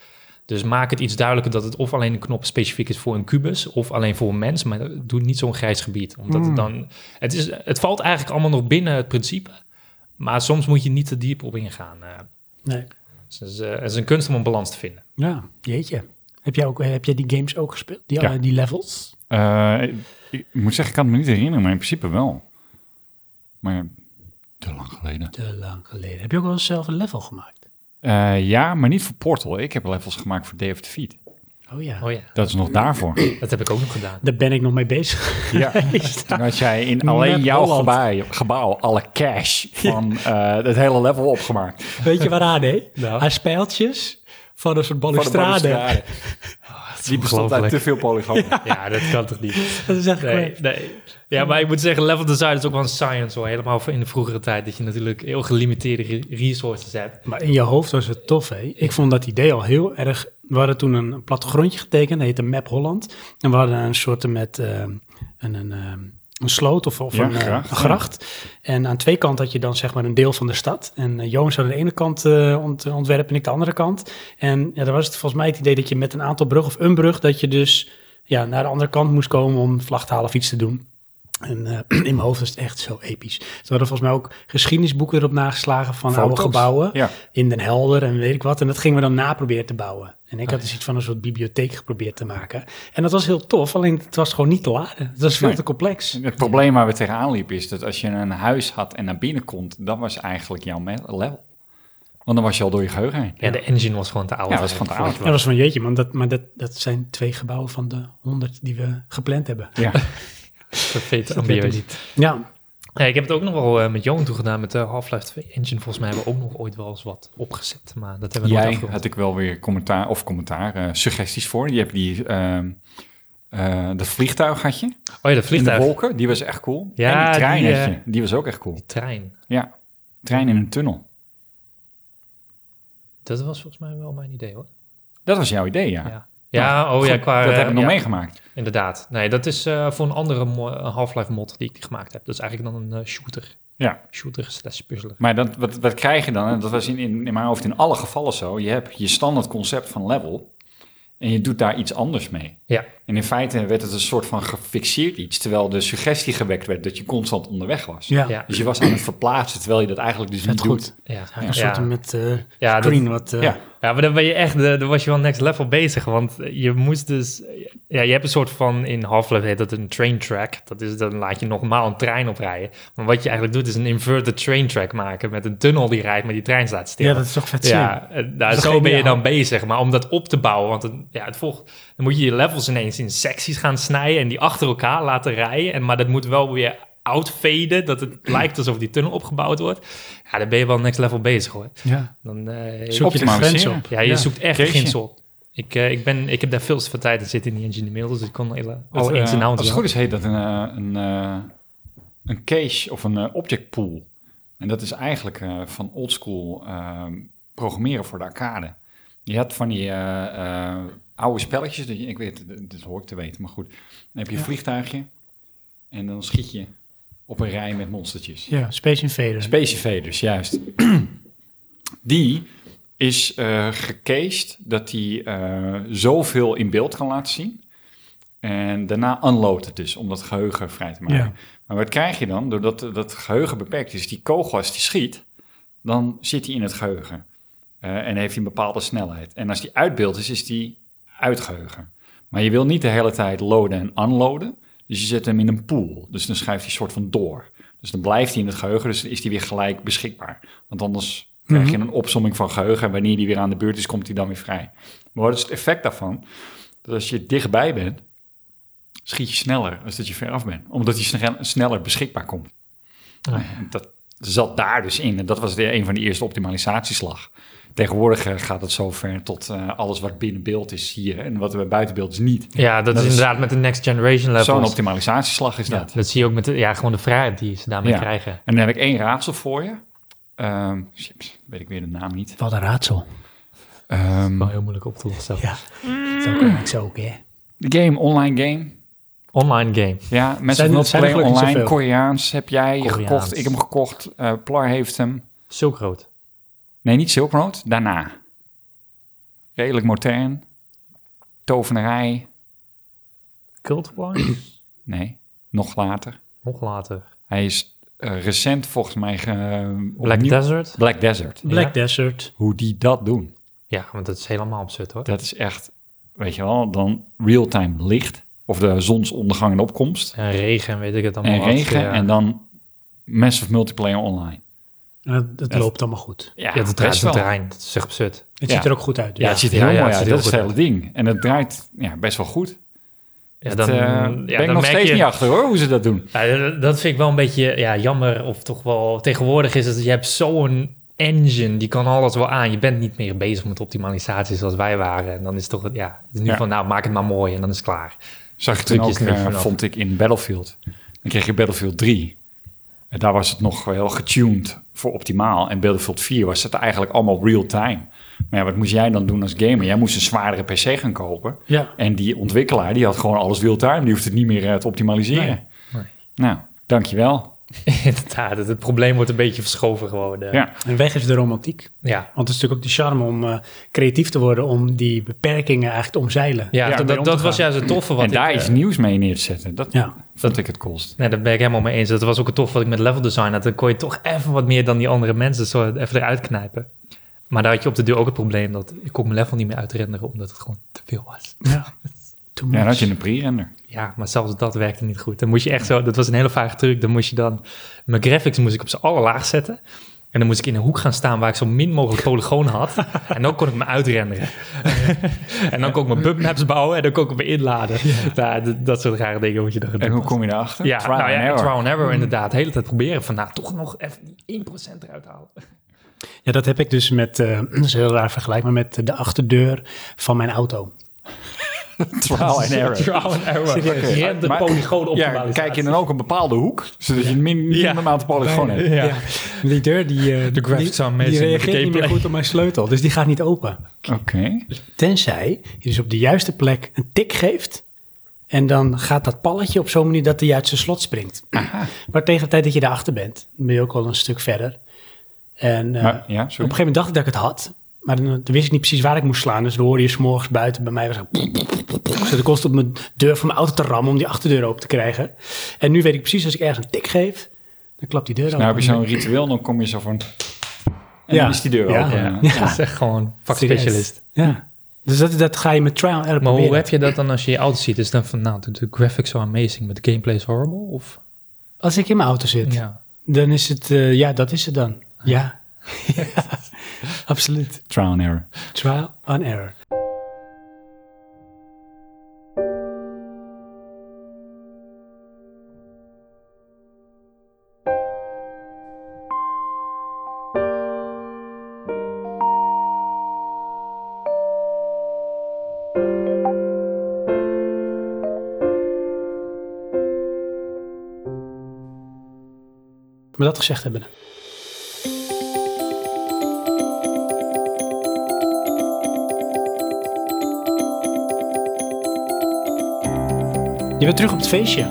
A: Dus maak het iets duidelijker dat het of alleen een knop specifiek is voor een kubus of alleen voor een mens, maar doe niet zo'n grijs gebied. Omdat
B: Mm.
A: het dan, het, is, het valt eigenlijk allemaal nog binnen het principe, maar soms moet je niet te diep op ingaan. eh.
B: Nee.
A: Dus het is, eh, het is een kunst om een balans te vinden.
B: Ja, jeetje. Heb jij, ook, heb jij die games ook gespeeld, die,
C: Ja.
B: eh, die levels?
C: Eh, ik, ik moet zeggen, ik kan het me niet herinneren, maar in principe wel. Maar te lang geleden.
B: Te lang geleden. Heb je ook wel eens zelf een level gemaakt?
C: Eh, ja, maar niet voor Portal. Ik heb levels gemaakt voor Day of Defeat.
B: Oh ja.
A: Oh ja,
C: Dat is nog daarvoor.
A: dat heb ik ook nog gedaan.
B: Daar ben ik nog mee bezig.
C: Ja, toen had jij in alleen
B: Met
C: jouw
B: Holland.
C: gebouw, gebouw alle cash van eh, het hele level opgemaakt. Van
B: Weet je waaraan, hè?
A: Nou.
B: Aan spijltjes van een soort
C: de
B: balustrade.
C: balustrade. Die bestond uit te veel polygonen.
A: Ja, dat kan toch niet?
B: Dat is echt
A: Nee,
B: gewoon-
A: nee. Ja, maar ik moet zeggen, level design is ook wel een science hoor. Helemaal voor in de vroegere tijd, dat je natuurlijk heel gelimiteerde re- resources hebt.
B: Maar in je hoofd was het tof, hè? Ik vond dat idee al heel erg... We hadden toen een plattegrondje getekend, dat heette Map Holland. En we hadden een soort met ehm, een, een, ehm, een sloot of, of
C: Ja,
B: een, eh,
C: gracht,
B: een gracht. En aan twee kanten had je dan zeg maar een deel van de stad. En eh, Jonas had aan de ene kant eh, ont- ontwerp en ik de andere kant. En ja, daar was het volgens mij het idee dat je met een aantal brug of een brug... dat je dus ja, naar de andere kant moest komen om vlag te halen of iets te doen. En eh, in mijn hoofd was het echt zo episch. Ze hadden volgens mij ook geschiedenisboeken erop nageslagen van oude
C: Foto's.
B: gebouwen
C: Ja.
B: in Den Helder en weet ik wat. En dat gingen we dan naproberen te bouwen. En
C: Ah.
B: ik had dus iets van een soort bibliotheek geprobeerd te maken. En dat was heel tof, alleen het was gewoon niet te laden. Het was veel
C: Nee.
B: te complex.
C: Het probleem waar we tegenaan liepen is dat als je een huis had en naar binnen komt, dat was eigenlijk jouw me- level. Want dan was je al door je geheugen heen.
A: Ja, de engine was gewoon te oud.
C: Ja, was gewoon te oud.
B: En dat was van jeetje, man, dat, maar dat, dat zijn twee gebouwen van de honderd die we gepland hebben.
C: Ja,
A: Perfect,
B: Dat werd hem
A: ambitieus.
B: niet. Ja,
A: Ja, ik heb het ook nog wel eh, met Johan toe gedaan met de Half-Life 2 engine. Volgens mij hebben we ook nog ooit wel eens wat opgezet, maar dat hebben we nooit
C: jij
A: afgerond.
C: had ik wel weer commentaar of commentaar, eh, suggesties voor. Je hebt die, ehm, eh, dat vliegtuig had je
A: Oh ja, dat
C: in de
A: vliegtuig.
C: wolken, die was echt cool.
A: Ja,
C: en die trein
A: die,
C: had
A: eh,
C: je, die was ook echt cool.
A: Die trein.
C: Ja, trein in een tunnel.
A: Dat was volgens mij wel mijn idee hoor.
C: Dat was jouw idee, ja.
A: Ja, ja oh ja,
C: Goed,
A: qua...
C: dat
A: eh,
C: heb ik nog
A: ja,
C: meegemaakt.
A: Inderdaad. Nee, dat is eh, voor een andere mo- een Half-Life mod die ik gemaakt heb. Dat is eigenlijk dan een eh, shooter.
C: Ja.
A: Shooter slash puzzeler.
C: Maar dat, wat, wat krijg je dan? En dat was in, in, in mijn hoofd in alle gevallen zo. Je hebt je standaard concept van level. En je doet daar iets anders mee.
A: Ja.
C: En in feite werd het een soort van gefixeerd iets, terwijl de suggestie gewekt werd dat je constant onderweg was.
B: Ja,
A: Ja.
C: Dus je was aan het verplaatsen, terwijl je dat eigenlijk dus
B: vet
C: niet
B: goed.
C: doet.
A: Ja,
B: Ja, een soort met eh
A: Ja, dat-
B: green wat... eh,
C: Ja.
A: Ja, maar dan ben je echt, eh, dan was je wel next level bezig. Want je moest dus, ja, je hebt een soort van, in Half-Life heet dat een train track. Dat is, dan laat je normaal een trein oprijden. Maar wat je eigenlijk doet, is een inverted train track maken met een tunnel die rijdt, maar die trein staat stil.
B: ja, dat is toch vet slim.
A: Ja, eh, nou,
B: is
A: zo
B: geniaal.
A: ben je dan bezig. Maar om dat op te bouwen, want het, ja, het volgt, dan moet je je levels ineens in secties gaan snijden en die achter elkaar laten rijden. En, maar dat moet wel weer outfaden, dat het lijkt alsof die tunnel opgebouwd wordt. Ja, dan ben je wel next level bezig hoor.
B: Ja.
A: Dan, eh,
B: Zoek je de grens
C: Optimaliseren.
B: op.
A: ja, je zoekt echt
C: Keesje.
A: beginsel. op. Ik, eh, ik, ben, ik heb daar veel van tijd in zitten in die engine inmiddels, dus ik kon hele,
C: Dat,
A: alle
C: eh,
A: ins en outs
C: Als het
A: wel.
C: goed is heet dat een, eh, een, eh, een cache of een eh, object pool. En dat is eigenlijk eh, van oldschool ehm programmeren voor de arcade. Je had van die eh, eh, oude spelletjes, dat je, ik weet, dit hoor ik te weten, maar goed. Dan heb je een
B: Ja.
C: vliegtuigje en dan schiet je op een rij met monstertjes.
B: ja, Space Invaders.
C: Specifaders, dus, juist. die is eh gecached dat die eh, zoveel in beeld kan laten zien. En daarna unload het dus, om dat geheugen vrij te maken.
B: Ja.
C: Maar wat krijg je dan? Doordat eh, dat geheugen beperkt is, die kogel als die schiet, dan zit hij in het geheugen. Eh, en heeft hij een bepaalde snelheid. En als die uitbeeld is, is die uitgeheugen. Maar je wil niet de hele tijd loaden en unloaden. Dus je zet hem in een pool. Dus dan schuift hij soort van door. Dus dan blijft hij in het geheugen, dus dan is die weer gelijk beschikbaar. Want anders krijg je een opsomming van geheugen. En wanneer die weer aan de beurt is, komt hij dan weer vrij. Maar wat is het effect daarvan? Dat als je dichtbij bent, schiet je sneller als dat je ver af bent. Omdat je sne- sneller beschikbaar komt.
A: Ja.
C: Dat zat daar dus in. En dat was de, een van de eerste optimalisatieslag. Tegenwoordig eh, gaat het zo ver tot eh, alles wat binnen beeld is hier en wat er buiten beeld is niet.
A: Ja, dat,
C: dat
A: is
C: is-
A: inderdaad met de next generation
C: Zo'n
A: levels.
C: optimalisatieslag is
A: Ja,
C: dat.
A: dat zie je ook met de, ja, gewoon de vrijheid die ze daarmee
C: Ja.
A: krijgen.
C: En dan heb ik één raadsel voor je. Ehm, chips, weet ik weer de naam niet.
B: Wat een raadsel.
C: Ehm,
A: Wel heel moeilijk op te lossen.
B: Ja. Zo kan ik zo ook, hè.
C: de game, online game.
A: Online game.
C: Ja, mensen
B: Zijn-
C: van
B: zijn er
C: Play
B: gelukkig
C: Online,
B: zoveel.
C: Koreaans heb jij
A: Koreaans.
C: gekocht. Ik heb hem gekocht. eh, Plar heeft hem.
A: Zo groot.
C: Nee, niet Silk Road. Daarna. Redelijk modern. Tovenarij.
A: Cult Wars?
C: Nee, nog later.
A: Nog later.
C: Hij is eh, recent volgens mij ge,
A: Black
C: opnieuw-
A: Desert?
C: Black Desert.
B: Black
A: Ja.
B: Desert.
C: Hoe die dat doen.
A: Ja, want dat is helemaal absurd hoor.
C: Dat is echt, weet je wel, dan real-time licht. Of de zonsondergang en opkomst.
A: En regen en weet ik het allemaal.
C: En
A: wat. eh,
C: regen.
A: Ja.
C: En dan massive multiplayer online.
B: En Het, het
C: Ja.
B: loopt allemaal goed.
C: Ja,
A: Ja, het
C: best
A: draait een
C: wel.
A: terrein. Dat is echt absurd.
B: Het
C: Ja.
B: ziet er ook goed uit.
C: Ja,
B: dus.
C: het ziet er
A: Ja,
C: heel
A: ja,
C: mooi
A: het
C: uit.
A: ziet
C: Dat is het
A: heel
C: hele ding. En het draait ja, best wel goed.
A: Ja,
C: Dat,
A: dan,
C: eh,
A: ja,
C: ben ik
A: dan
C: nog
A: merk
C: steeds
A: je-
C: niet achter hoor, hoe ze dat doen.
A: Ja, Nou, dat- dat vind ik wel een beetje ja, jammer. Of toch wel tegenwoordig is het, je hebt zo'n engine, die kan alles wel aan. Je bent niet meer bezig met optimalisatie zoals wij waren. En dan is het toch, het- ja, het is nu
C: Ja.
A: van, nou, maak het maar mooi en dan is het klaar.
C: Zag ik toen ook,
A: Trucjes er niet
C: eh,
A: vanaf.
C: vond ik, in Battlefield. Dan kreeg je Battlefield 3. En daar was het nog heel getuned voor optimaal. En Battlefield 4 was het eigenlijk allemaal real-time. Maar ja, wat moest jij dan doen als gamer? Jij moest een zwaardere PC gaan kopen.
B: Ja.
C: En die ontwikkelaar, die had gewoon alles real-time. Die hoeft het niet meer eh, te optimaliseren.
B: Nee,
A: nee.
C: Nou, dankjewel.
A: Inderdaad, het, het probleem wordt een beetje verschoven gewoon. eh.
C: Ja.
B: En weg is de romantiek.
A: Ja.
B: Want het is natuurlijk ook de charme om eh, creatief te worden, om die beperkingen eigenlijk te omzeilen.
A: Ja,
C: Ja,
A: dat,
C: mee
A: dat,
B: om te
A: dat was
B: gaan.
A: juist het toffe wat
C: en daar
A: ik,
C: iets
A: eh,
C: nieuws mee neer te zetten. Dat
B: Ja.
C: vond ik het kost.
A: Nee, daar ben ik helemaal mee eens. Dat was ook het tof wat ik met level design had. Dan kon je toch even wat meer dan die andere mensen zo even eruit knijpen. Maar daar had je op de duur ook het probleem dat ik kon mijn level niet meer uitrenderen omdat het gewoon te veel was.
B: Ja. Too
C: Ja, dan had
B: much.
C: je een pre-render.
A: Ja, maar zelfs dat werkte niet goed. Dan moest je echt zo, dat was een hele vage truc. Dan moest je dan, mijn graphics moest ik op z'n allerlaag zetten. En dan moest ik in een hoek gaan staan waar ik zo min mogelijk polygoon had. En dan kon ik me uitrenderen. en dan kon ik mijn bubmaps bouwen en dan kon ik me inladen. Ja, d- dat soort rare dingen moet je dan gaan doen.
C: En hoe kom je daarachter?
A: Ja,
C: Trial
A: nou ja,
C: and error. Hmm.
A: trial and error inderdaad. De hele tijd proberen van, nou, toch nog even die 1% eruit halen.
B: Ja, dat heb ik dus met, eh, dat is een heel raar vergelijk, maar met de achterdeur van mijn auto.
C: Trial and error.
A: Trial and error.
C: Oké.
A: Rem de
C: Maar-
A: polygoon op
C: Ja, kijk je dan ook een bepaalde hoek, zodat je een min,
A: Ja.
C: minimum aantal polygonen hebt.
A: Ja.
B: Die deur, die, eh,
A: The graphics
B: die,
A: are amazing
B: die
A: with the
B: reageert niet meer
A: gameplay.
B: goed op mijn sleutel, dus die gaat niet open.
C: Oké.
B: Tenzij je dus op de juiste plek een tik geeft. En dan gaat dat palletje op zo'n manier dat hij uit zijn slot springt. Maar tegen de tijd dat je daarachter bent, ben je ook al een stuk verder. En eh,
C: Maar- ja,
B: op
C: sorry.
B: een gegeven moment dacht ik dat ik het had. Maar dan, dan wist ik niet precies waar ik moest slaan. Dus dan hoorde je s'morgens buiten bij mij. Was ik, dus dat kost op mijn deur van mijn auto te rammen om die achterdeur open te krijgen. En nu weet ik precies, als ik ergens een tik geef, dan klapt die deur open.
C: Nou heb je zo'n ritueel, dan kom je zo van... En
B: Ja.
C: dan is die deur
B: Ja.
C: open.
B: Ja.
C: Ja.
A: Dat is echt gewoon
B: Serieus.
A: vakspecialist.
B: Ja. Dus dat, dat ga je met trial and error
A: Maar hoe
B: proberen.
A: heb je dat dan als je je auto ziet? Is dan van, nou, de, de graphics are amazing, maar de gameplay is horrible? Of,
B: Als ik in mijn auto zit,
A: ja.
B: dan is het... eh, ja, dat is het dan. Ja. Ja, Absoluut.
C: Trial and error.
B: Trial and error. Maar dat gezegd hebben. Je bent terug op het feestje.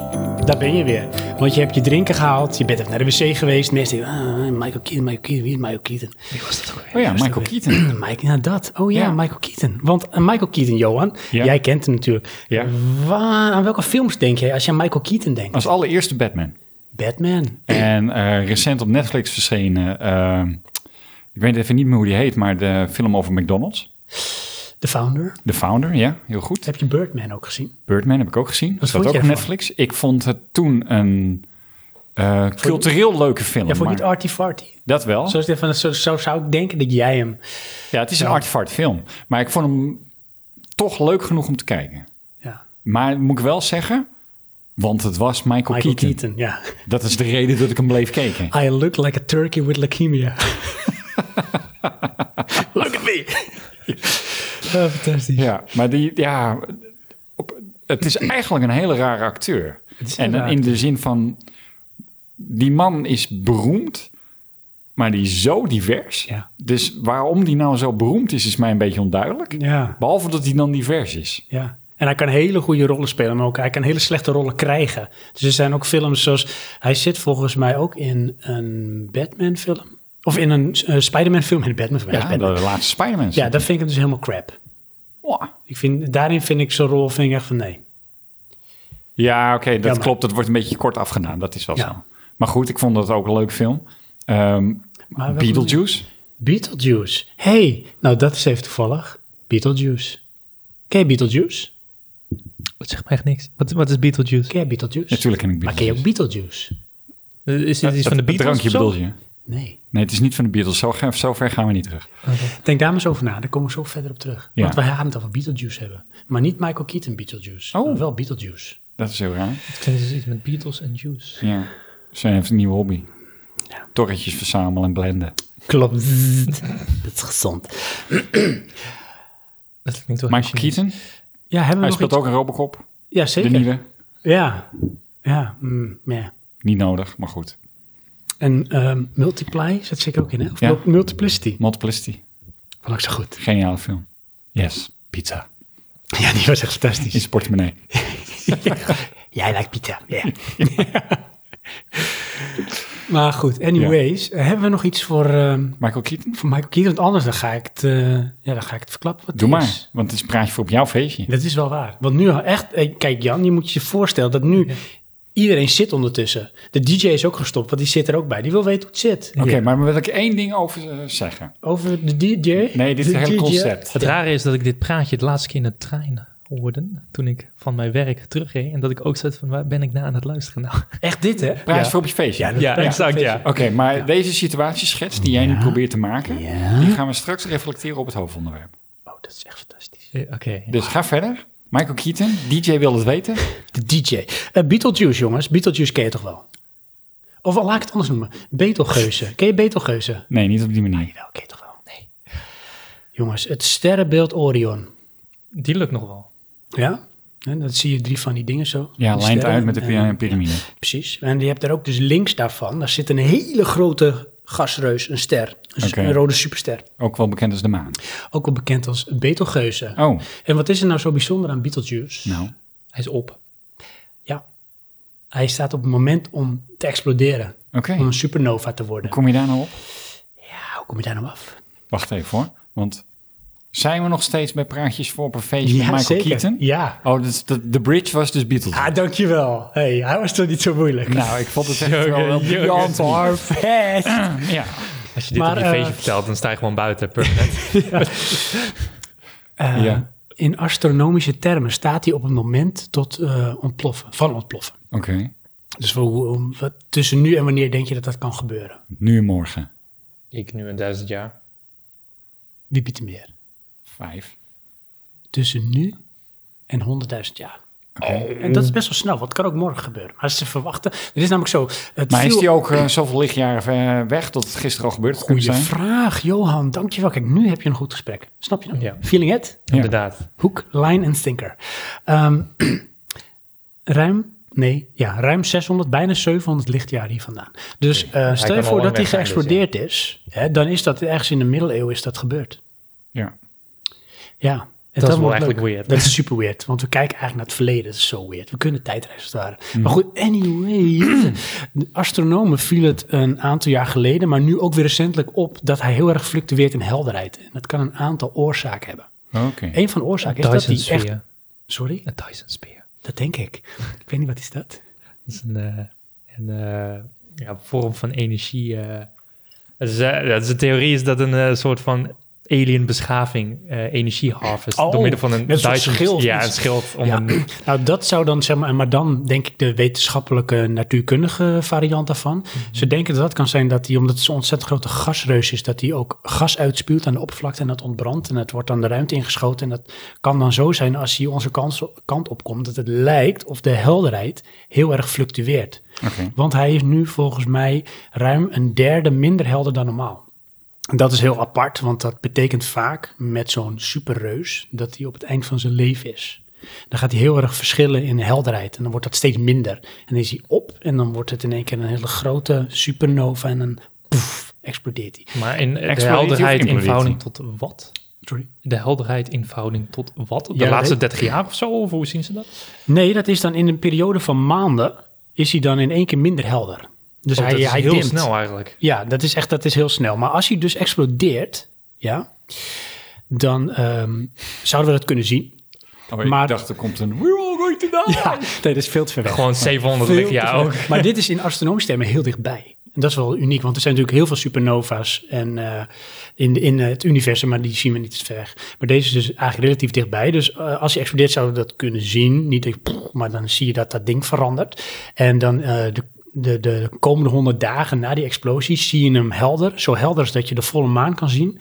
B: Daar ben je weer. Want je hebt je drinken gehaald, je bent even naar de wc geweest. Mensen denken, ah, Michael Keaton, Michael Keaton, wie is Michael Keaton?
A: Wie was dat ook weer?
C: Oh ja, Michael Keaton.
B: Mike, nou dat. Oh ja,
C: Ja.
B: Michael Keaton. Want eh, Michael Keaton, Johan,
C: Ja.
B: jij kent hem natuurlijk.
C: Ja. Oh.
B: Waar, aan welke films denk jij als je aan Michael Keaton denkt?
C: Als allereerste Batman.
B: Batman.
C: En eh, recent op Netflix verschenen... eh, ik weet even niet meer hoe die heet, maar de film over McDonald's.
B: The Founder.
C: The Founder, ja, heel goed.
B: Heb je Birdman ook gezien?
C: Birdman heb ik ook gezien. Dat
B: vond
C: staat
B: je
C: ook op
B: ervan?
C: Netflix. Ik vond het toen een eh, cultureel leuke film.
B: Ja, voor
C: maar
B: niet Artie Farty.
C: dat wel.
B: Zo, is het van, zo, zo zou ik denken dat jij hem...
C: Ja, het is een artefact film. Maar ik vond hem toch leuk genoeg om te kijken.
B: Ja,
C: Maar moet ik wel zeggen, want het was Michael,
B: Michael
C: Keaton.
B: Keaton. ja.
C: Dat is de reden dat ik hem bleef kijken.
B: I look like a turkey with leukemia. look at me. Ah, fantastisch.
C: Ja, maar die, ja, op, het is eigenlijk een hele rare acteur.
B: is
C: En
B: een raar
C: in de zin van, die man is beroemd, maar die is zo divers.
B: Ja.
C: Dus waarom die nou zo beroemd is, is mij een beetje onduidelijk.
B: Ja,
C: Behalve dat hij dan divers is.
B: ja. En hij kan hele goede rollen spelen, maar ook hij kan hele slechte rollen krijgen. Dus er zijn ook films zoals... Hij zit volgens mij ook in een Batman film. Of in een eh, Spider-Man film. In een Batman film. hij is
C: Ja,
B: Batman.
C: de laatste Spider-Man.
B: ja, dat vind ik hem dus helemaal crap.
C: Mwah.
B: Ik vind, daarin vind ik zijn rol vind ik echt van nee.
C: Ja, oké, dat
B: Jammer.
C: klopt. Dat wordt een beetje kort afgedaan. Dat is wel
B: Ja.
C: zo. Maar goed, ik vond dat ook een leuk film. Ehm,
B: Maar welke-
C: Beetlejuice.
B: Beetlejuice. hey, nou dat is even toevallig. Beetlejuice. Ken je Beetlejuice?
A: Dat zegt me echt niks. Wat, wat is Beetlejuice?
B: Ken je Ah, Beetlejuice?
C: Natuurlijk ken ik
B: Maar ken je ook
C: Beetlejuice.
B: Beetlejuice?
A: Eh, Is dit iets van de
C: Het- het
A: Beatles
C: drankje
A: of zo?
C: bedoel je?
B: Nee.
C: Nee, het is niet van de Beatles. Zo, ga- zo ver gaan we niet terug.
B: Denk daar maar eens over na, daar komen we zo verder op terug.
C: Ja.
B: Want wij gaan het over Beetlejuice hebben. Maar niet Michael Keaton Beetlejuice,
C: Oh.
B: maar wel Beetlejuice.
C: Dat is heel raar.
A: Ik vind het iets met Beatles en Juice.
C: Ja. Ze heeft een nieuwe hobby. Torretjes verzamelen en blenden.
B: Klopt. Dat is gezond.
A: Dat klinkt
C: Michael
A: wel heel Chinees.
C: Keaton.
B: Ja, hebben we
C: Hij
B: nog
C: speelt
B: iets?
C: ook een Robocop.
B: Ja, zeker.
C: De nieuwe.
B: Ja. Ja. mm, ja.
C: Niet nodig, maar goed.
B: En ehm, Multiply zat zeker ook in, hè? Of
C: Ja.
B: Mul- Multiplicity.
C: Multiplicity.
B: Vond ik zo goed.
C: Geniale film. Yes. Pizza.
B: Ja, die was echt fantastisch.
C: In zijn portemonnee.
B: Jij lijkt pizza, ja. maar goed, anyways. eh, Hebben we nog iets voor, ehm,
C: Michael Keaton.
B: voor Michael Keaton? Want anders dan ga ik het, eh, ja, dan ga ik het verklappen. Wat
C: Doe
B: het
C: maar.
B: is.
C: Want het is een praatje voor op jouw feestje.
B: Dat is wel waar. Want nu echt... eh, Kijk Jan, je moet je voorstellen dat nu... Iedereen zit ondertussen. De DJ is ook gestopt, want die zit er ook bij. Die wil weten hoe het zit.
C: Oké, maar wil ik één ding over eh, zeggen.
B: Over de DJ?
C: Nee, dit is
B: De
C: een hele
B: DJ?
C: concept.
A: Het rare is dat ik dit praatje de laatste keer in de trein hoorde, toen ik van mijn werk terugreed. En dat ik ook zat van, waar ben ik naar aan het luisteren nou?
B: Echt dit, hè?
C: Praatje voor op je feestje.
B: Ja, dat-
A: Ja,
B: ja,
A: exact, ja.
C: Oké, maar deze situatieschets die jij nu probeert te maken,
B: Ja.
C: die gaan we straks reflecteren op het hoofdonderwerp.
B: Oh, dat is echt fantastisch.
A: Eh, Oké.
C: Dus ga verder. Michael Keaton, DJ wil het weten.
B: De DJ. Eh, Beetlejuice, jongens. Beetlejuice ken je toch wel? Of al laat ik het anders noemen. Betelgeuze. Ken je Betelgeuze?
C: Nee, niet op die manier.
B: Wel, ken je toch wel? Nee. Jongens, het sterrenbeeld Orion.
A: Die lukt nog wel.
B: Ja? En dan zie je drie van die dingen zo.
C: Ja,
B: Die
C: lijnt
B: sterren.
C: uit met de
B: Eh,
C: py- piramide.
B: precies. En je hebt er ook dus links daarvan, daar zit een hele grote gasreus, een ster. Dus
C: Oké.
B: Een rode superster.
C: Ook wel bekend als de maan.
B: Ook wel bekend als Betelgeuze.
C: Oh,
B: En wat is er nou zo bijzonder aan Beetlejuice?
C: nou.
A: Hij is op.
B: Ja, hij staat op het moment om te exploderen.
C: Oké.
B: Om een supernova te worden.
C: Kom je daar nou op?
B: Ja, hoe kom je daar nou af?
C: Wacht even hoor. Want zijn we nog steeds bij Praatjes voor op een feestje met Michael Keaton?
B: Ja.
C: Oh, dus de, de bridge was dus Beatles.
B: Ah, dankjewel. hey, hij was toch niet zo moeilijk.
C: nou, ik vond het echt wel
A: Jurgen,
C: wel
A: Jurgen.
C: briljant hoor.
B: Perfect.
C: Ja.
A: Als je dit
B: Maar,
A: op je
B: eh,
A: feestje vertelt, dan sta je gewoon buiten. Perfect.
B: Eh,
C: Ja.
B: In astronomische termen staat hij op het moment tot eh, ontploffen, van ontploffen.
C: Oké,
B: Dus voor hoe, om- wat, tussen nu en wanneer denk je dat dat kan gebeuren?
C: nu en morgen.
A: ik nu een duizend jaar.
B: Wie biedt er meer?
C: Vijf.
B: Tussen nu en 100.000 jaar. Oh, En dat is best wel snel, want het kan ook morgen gebeuren. Maar ze verwachten. Er is namelijk zo. Het
C: Maar is
B: viel-
C: die ook eh, zoveel lichtjaren ver weg dat het gisteren al gebeurd kon
B: Goeie
C: zijn?
B: vraag, Johan. Dankjewel. Kijk, nu heb je een goed gesprek. Snap je? Nou?
A: Ja.
B: Feeling it?
C: Ja.
A: Inderdaad.
B: Hoek, lijn en stinker. Ehm, ruim, nee, ja, ruim 600, bijna 700 lichtjaar hier vandaan. Dus eh,
A: hij
B: stel je
A: kan al
B: voor
A: lang
B: dat die
A: weg zijn dus,
B: geëxplodeerd is, hè, dan is dat ergens in de middeleeuwen is dat gebeurd.
C: Ja.
B: Ja. En
A: is wel
B: wordt
A: eigenlijk weird.
B: Dat is super weird, want we kijken eigenlijk naar het verleden. Dat is zo weird. We kunnen tijdreizen als het ware.
A: Mm.
B: Maar goed, anyway. De astronomen viel het een aantal jaar geleden, maar nu ook weer recentelijk op... dat hij heel erg fluctueert in helderheid. En dat kan een aantal oorzaken hebben.
C: Oké.
B: Een van de oorzaken is dat
A: Dyson
B: hij echt...
A: sphere.
B: Sorry?
A: Een Dyson sphere.
B: Dat denk ik. Ik weet niet wat is dat.
A: Dat is een, eh, een eh, ja, vorm van energie. eh. Het is, eh, dat is de theorie is dat een eh, soort van alien beschaving eh, energie harvest
B: Oh,
A: door middel van een
B: met een soort
A: Dyson-
B: schild.
A: Ja, een schild om
B: Ja.
A: een
B: Nou, dat zou dan, zeg maar, maar dan denk ik de wetenschappelijke natuurkundige variant daarvan.
A: Mhm.
B: Ze denken dat dat kan zijn dat hij, omdat het zo'n ontzettend grote gasreus is, dat hij ook gas uitspuwt aan de oppervlakte en dat ontbrandt en dat wordt dan de ruimte ingeschoten. En dat kan dan zo zijn als hij onze kant, kant opkomt, dat het lijkt of de helderheid heel erg fluctueert.
C: Oké.
B: Want hij is nu volgens mij ruim een derde minder helder dan normaal. En Dat is heel apart, want dat betekent vaak met zo'n superreus dat hij op het eind van zijn leven is. Dan gaat hij heel erg verschillen in helderheid en dan wordt dat steeds minder. En dan is hij op en dan wordt het in één keer een hele grote supernova en dan poef, explodeert hij.
A: Maar in de
C: Explodeert
A: helderheid
C: hij of
A: in
C: implodeert
A: verhouding tot wat?
B: Sorry.
A: De helderheid in verhouding tot wat? De
B: Ja, Dus
A: laatste
B: weet-
A: 30 jaar of zo? Of hoe zien ze dat?
B: Nee, dat is dan in een periode van maanden is hij dan in één keer minder helder. Dus
A: Oh,
B: hij,
A: dat is
B: hij
A: heel
B: dimt.
A: snel eigenlijk.
B: Ja, dat is echt dat is heel snel. Maar als hij dus explodeert, ja, dan ehm, zouden we dat kunnen zien.
C: Oh, ik
B: Maar-
C: dacht, er komt een... We're all going to die!
B: Ja, nee, dat is veel te ver weg.
A: Gewoon 700
B: Veel te
A: lichtjaar
B: ver.
A: ook.
B: Maar dit is in astronomische termen heel dichtbij. En dat is wel uniek, want er zijn natuurlijk heel veel supernova's en, eh, in, in eh, het universum, maar die zien we niet te ver. Maar deze is dus eigenlijk relatief dichtbij. Dus eh, als je explodeert, zouden we dat kunnen zien. Niet echt, pff, maar dan zie je dat dat ding verandert. En dan eh, de, de, de komende honderd dagen na die explosie zie je hem helder. Zo helder als dat je de volle maan kan zien.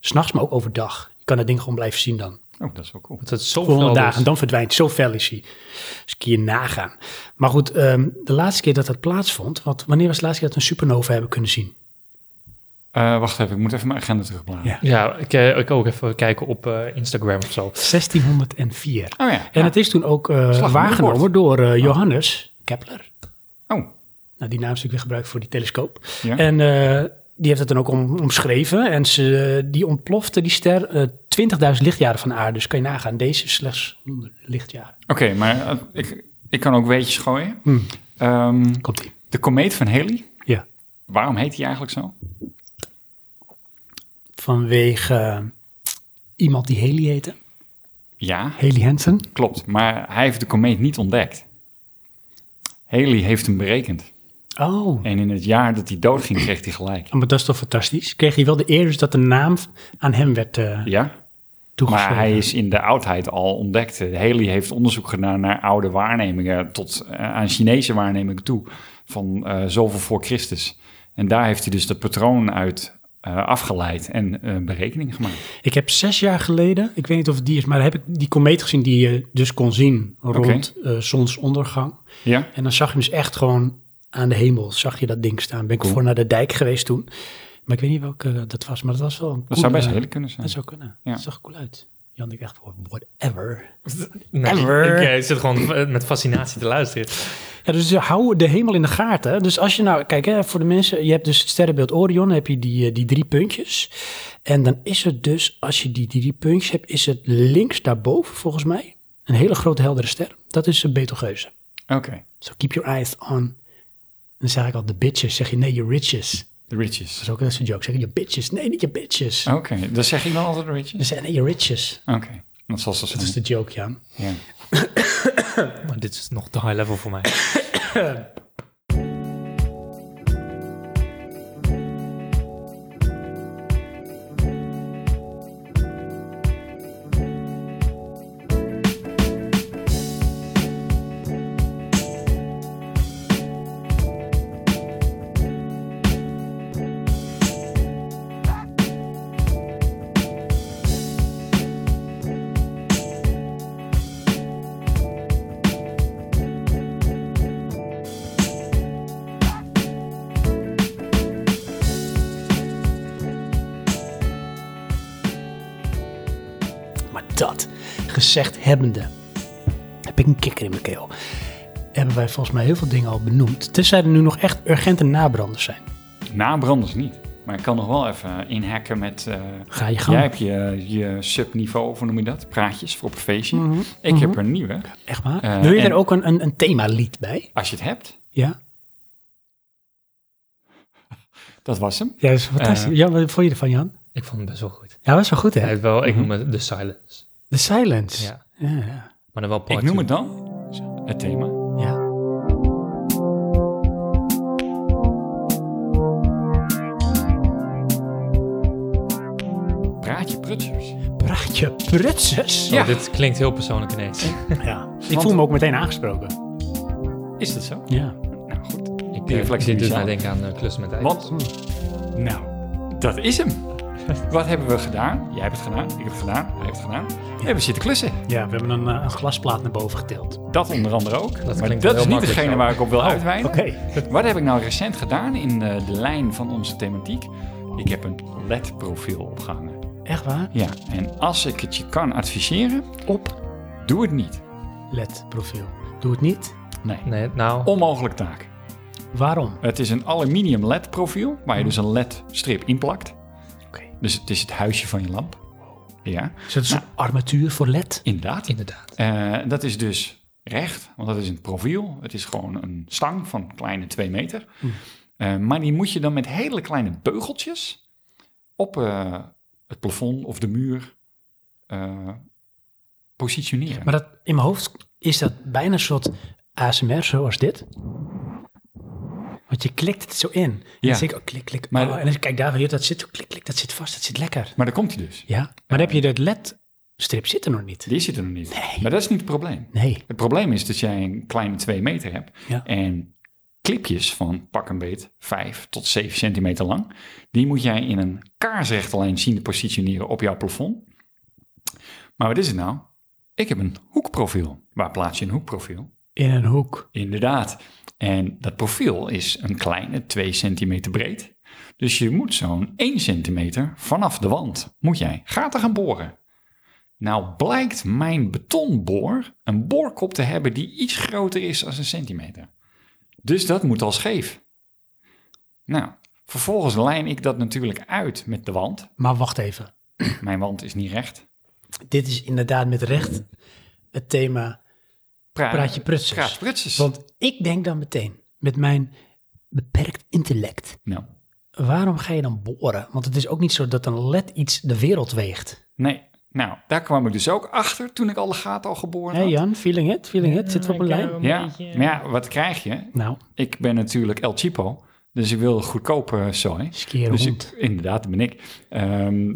B: S'nachts, maar ook overdag. Je kan dat ding gewoon blijven zien dan.
C: Oh, dat is wel cool.
A: Want het is dus. zo
B: Voor 100
A: veel
B: dagen, dan verdwijnt. Zo fel is hij. Dus kun je nagaan. Maar goed, ehm, de laatste keer dat dat plaatsvond, want wanneer was de laatste keer dat we een supernova hebben kunnen zien?
C: Eh, wacht even, ik moet even mijn agenda terugbladeren.
B: Ja.
A: Ja, ik, eh, ik ook even kijken op eh, Instagram of zo.
B: 1604.
C: Oh ja.
B: En
C: ja.
B: het is toen ook eh,
C: Slag om
B: waargenomen door eh, Johannes Kepler.
C: Oh,
B: Nou, die naam is natuurlijk weer gebruikt voor die telescoop.
C: ja.
B: En eh, die heeft het dan ook om- omschreven. En ze, eh, die ontplofte die ster eh 20.000 lichtjaren van aarde. Dus kan je nagaan, deze is slechts 100 lichtjaren.
C: Oké, maar eh, ik, ik kan ook weetjes gooien.
B: Hm.
C: Ehm,
B: Komt ie.
C: de komeet van Halley,
B: Ja.
C: waarom heet die eigenlijk zo?
B: Vanwege eh, iemand die Haley heette.
C: Ja,
B: Haley Hansen.
C: klopt. Maar hij heeft de komeet niet ontdekt. Halley heeft hem berekend.
B: Oh.
C: En in het jaar dat hij doodging, kreeg hij gelijk.
B: Maar dat is toch fantastisch? Kreeg hij wel de eer dus dat de naam aan hem werd eh
C: Ja,
B: toegeschreven?
C: maar hij is in de oudheid al ontdekt. Haley heeft onderzoek gedaan naar oude waarnemingen tot eh, aan Chinese waarnemingen toe van eh, zoveel voor Christus. En daar heeft hij dus dat patroon uit eh, afgeleid en eh, berekening gemaakt.
B: Ik heb zes jaar geleden, ik weet niet of het die is, maar heb ik die komeet gezien die je dus kon zien rond eh, zonsondergang.
C: Ja,
B: En dan zag je hem dus echt gewoon aan de hemel, zag je dat ding staan. Ben ik voor naar de dijk geweest toen. Maar ik weet niet welke dat was, maar dat was wel een
C: dat zou
B: coole-
C: best Haley kunnen zijn.
B: Dat zou kunnen.
C: Ja.
B: Dat zag er cool uit. Jan, ik dacht, whatever.
A: Nee,
B: Ever.
A: ik eh, zit gewoon eh, met fascinatie te luisteren.
B: Ja, dus eh, hou de hemel in de gaten. Dus als je nou, kijk hè, voor de mensen, je hebt dus het sterrenbeeld Orion, dan heb je die, eh, die drie puntjes. En dan is het dus, als je die drie puntjes hebt, is het links daarboven volgens mij een hele grote heldere ster. Dat is een Betelgeuze.
C: Oké.
B: So keep your eyes on. Dan zeg ik al, de bitches. Zeg je, nee, je riches.
C: Riches.
B: is ook een soort joke. Zeggen je bitches. Nee, niet je bitches.
C: Oké, dat zeg ik dan altijd
B: Ze
C: riches?
B: zeggen nee, je riches.
C: Oké, dat zal ze
B: Dat is
C: zijn.
B: de joke, ja.
C: Ja.
A: Maar dit is nog te high level voor mij.
B: Maar dat gezegd hebbende, heb ik een kikker in mijn keel. Hebben wij volgens mij heel veel dingen al benoemd. Tenzij er nu nog echt urgente nabranders zijn.
C: Nabranders niet. Maar ik kan nog wel even inhakken met... eh,
B: Ga je gang.
C: jij hebt je, je subniveau, of hoe noem je dat? Praatjes voor op een feestje.
B: Mhm.
C: Ik heb een nieuwe.
B: Echt waar?
C: Eh,
B: Wil je
C: en-
B: er ook een, een, een themalied bij?
C: Als je het hebt,
B: Ja?
C: dat was hem.
B: Ja, dat is fantastisch.
C: Eh.
B: Jan, wat vond je ervan, Jan?
A: Ik vond het best wel goed.
B: Ja, was wel goed,
A: Hij
B: hè?
A: heeft wel, ik
C: Mhm.
A: noem het The Silence.
B: The Silence.
A: Ja.
B: Ja, ja.
A: Maar dan wel part
C: ik noem
A: two.
C: het dan het thema.
B: ja.
C: Praatje prutsers.
B: Praatje prutsers.
A: Oh, Dit klinkt heel persoonlijk ineens.
B: ja. Ik
C: Want-
B: voel me ook meteen aangesproken.
C: Is dat zo?
B: Ja.
C: Nou goed,
A: Ik
C: Die
A: eh,
C: reflectie dus
A: dit doet
C: bizar.
A: mij denken aan eh, klussen met ijs.
C: Want, nou, dat is hem. Wat hebben we gedaan? Jij hebt het gedaan, ik heb het gedaan, hij heeft het gedaan. We hebben zitten klussen.
B: Ja, we hebben een, eh, een glasplaat naar boven getild. Oké.
C: Dat onder andere ook.
A: Dat
C: maar
A: klinkt
C: dat
A: wel
C: is niet
A: makkelijk
C: degene
A: zo.
C: waar ik op wil uitweiden. Wat heb ik nou recent gedaan in eh, de, de lijn van onze thematiek? Ik heb een LED-profiel opgehangen.
B: Echt waar?
C: Ja, en als ik het je kan adviseren,
B: Op
C: doe het niet.
B: LED profiel. Doe het niet.
C: Nee,
A: Nee, nou,
C: onmogelijk taak.
B: Waarom?
C: Het is een aluminium LED-profiel, waar je dus een LED-strip in plakt. Dus het is het huisje van je lamp. Ja,
B: Is dat een soort armatuur voor LED?
C: inderdaad.
A: inderdaad.
C: Eh, dat is dus recht, want dat is een profiel. Het is gewoon een stang van kleine 2 meter. Eh, maar die moet je dan met hele kleine beugeltjes op eh, het plafond of de muur eh, positioneren.
B: Maar dat, in mijn hoofd is dat bijna een soort ASMR zoals dit. Want je klikt het zo in. En
C: Ja.
B: dan denk ik, oh, klik, klik.
C: Maar-
B: oh, en dan kijk daar weer, dat zit, klik, klik, dat zit vast, dat zit lekker.
C: Maar daar komt hij dus.
B: Ja, maar dan heb je dat LED-strip zit er nog niet.
C: Die zit er nog niet.
B: Nee.
C: Maar dat is niet het probleem.
B: Nee.
C: Het probleem is dat jij een kleine 2 meter hebt
B: Ja.
C: en clipjes van pak een beet 5 tot 7 centimeter lang. Die moet jij in een kaarsrechte lijn zien te positioneren op jouw plafond. Maar wat is het nou? Ik heb een hoekprofiel. Waar plaats je een hoekprofiel?
B: In een hoek.
C: Inderdaad. En dat profiel is een kleine 2 centimeter breed. Dus je moet zo'n 1 centimeter vanaf de wand, moet jij gaten gaan boren. Nou blijkt mijn betonboor een boorkop te hebben die iets groter is dan een centimeter. Dus dat moet al scheef. Nou, vervolgens lijn ik dat natuurlijk uit met de wand.
B: Maar wacht even.
C: Mijn wand is niet recht.
B: Dit is inderdaad met recht het thema
C: Praat,
B: praatje prutsers.
C: Praat prutsers.
B: Want ik denk dan meteen, met mijn beperkt intellect,
C: Nou,
B: waarom ga je dan boren? Want het is ook niet zo dat een led iets de wereld weegt.
C: nee. Nou, daar kwam ik dus ook achter toen ik alle gaten al geboord
B: Hé
C: had.
B: Jan, feeling it, feeling it, zitten we op een lijn?
C: Ja, maar ja, wat krijg je?
B: Nou,
C: Ik ben natuurlijk El Chipo, dus ik wil goedkope zooi.
B: skere
C: Dus
B: hond.
C: ik, inderdaad, dat ben ik. Ehm,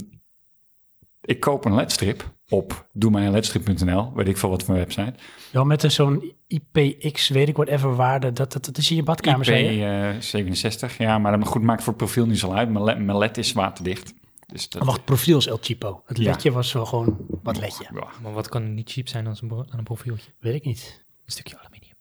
C: ik koop een ledstrip op doemijnledstrip.nl, weet ik veel wat voor website.
B: Wel met een zo'n IPX, weet ik whatever waarde, dat, dat, dat is in je badkamer, zei je?
C: IP67, eh, ja, maar dat goed maakt voor het profiel niet zo uit. Mijn led, mijn led is waterdicht. Dus dat,
B: Wacht, profiel is El Chipo. Het
C: Ja.
B: ledje was wel gewoon, wat ledje?
C: Ja,
A: Maar wat kan er niet cheap zijn aan zo'n bro- aan een profieltje?
B: Weet ik niet.
A: Een stukje aluminium.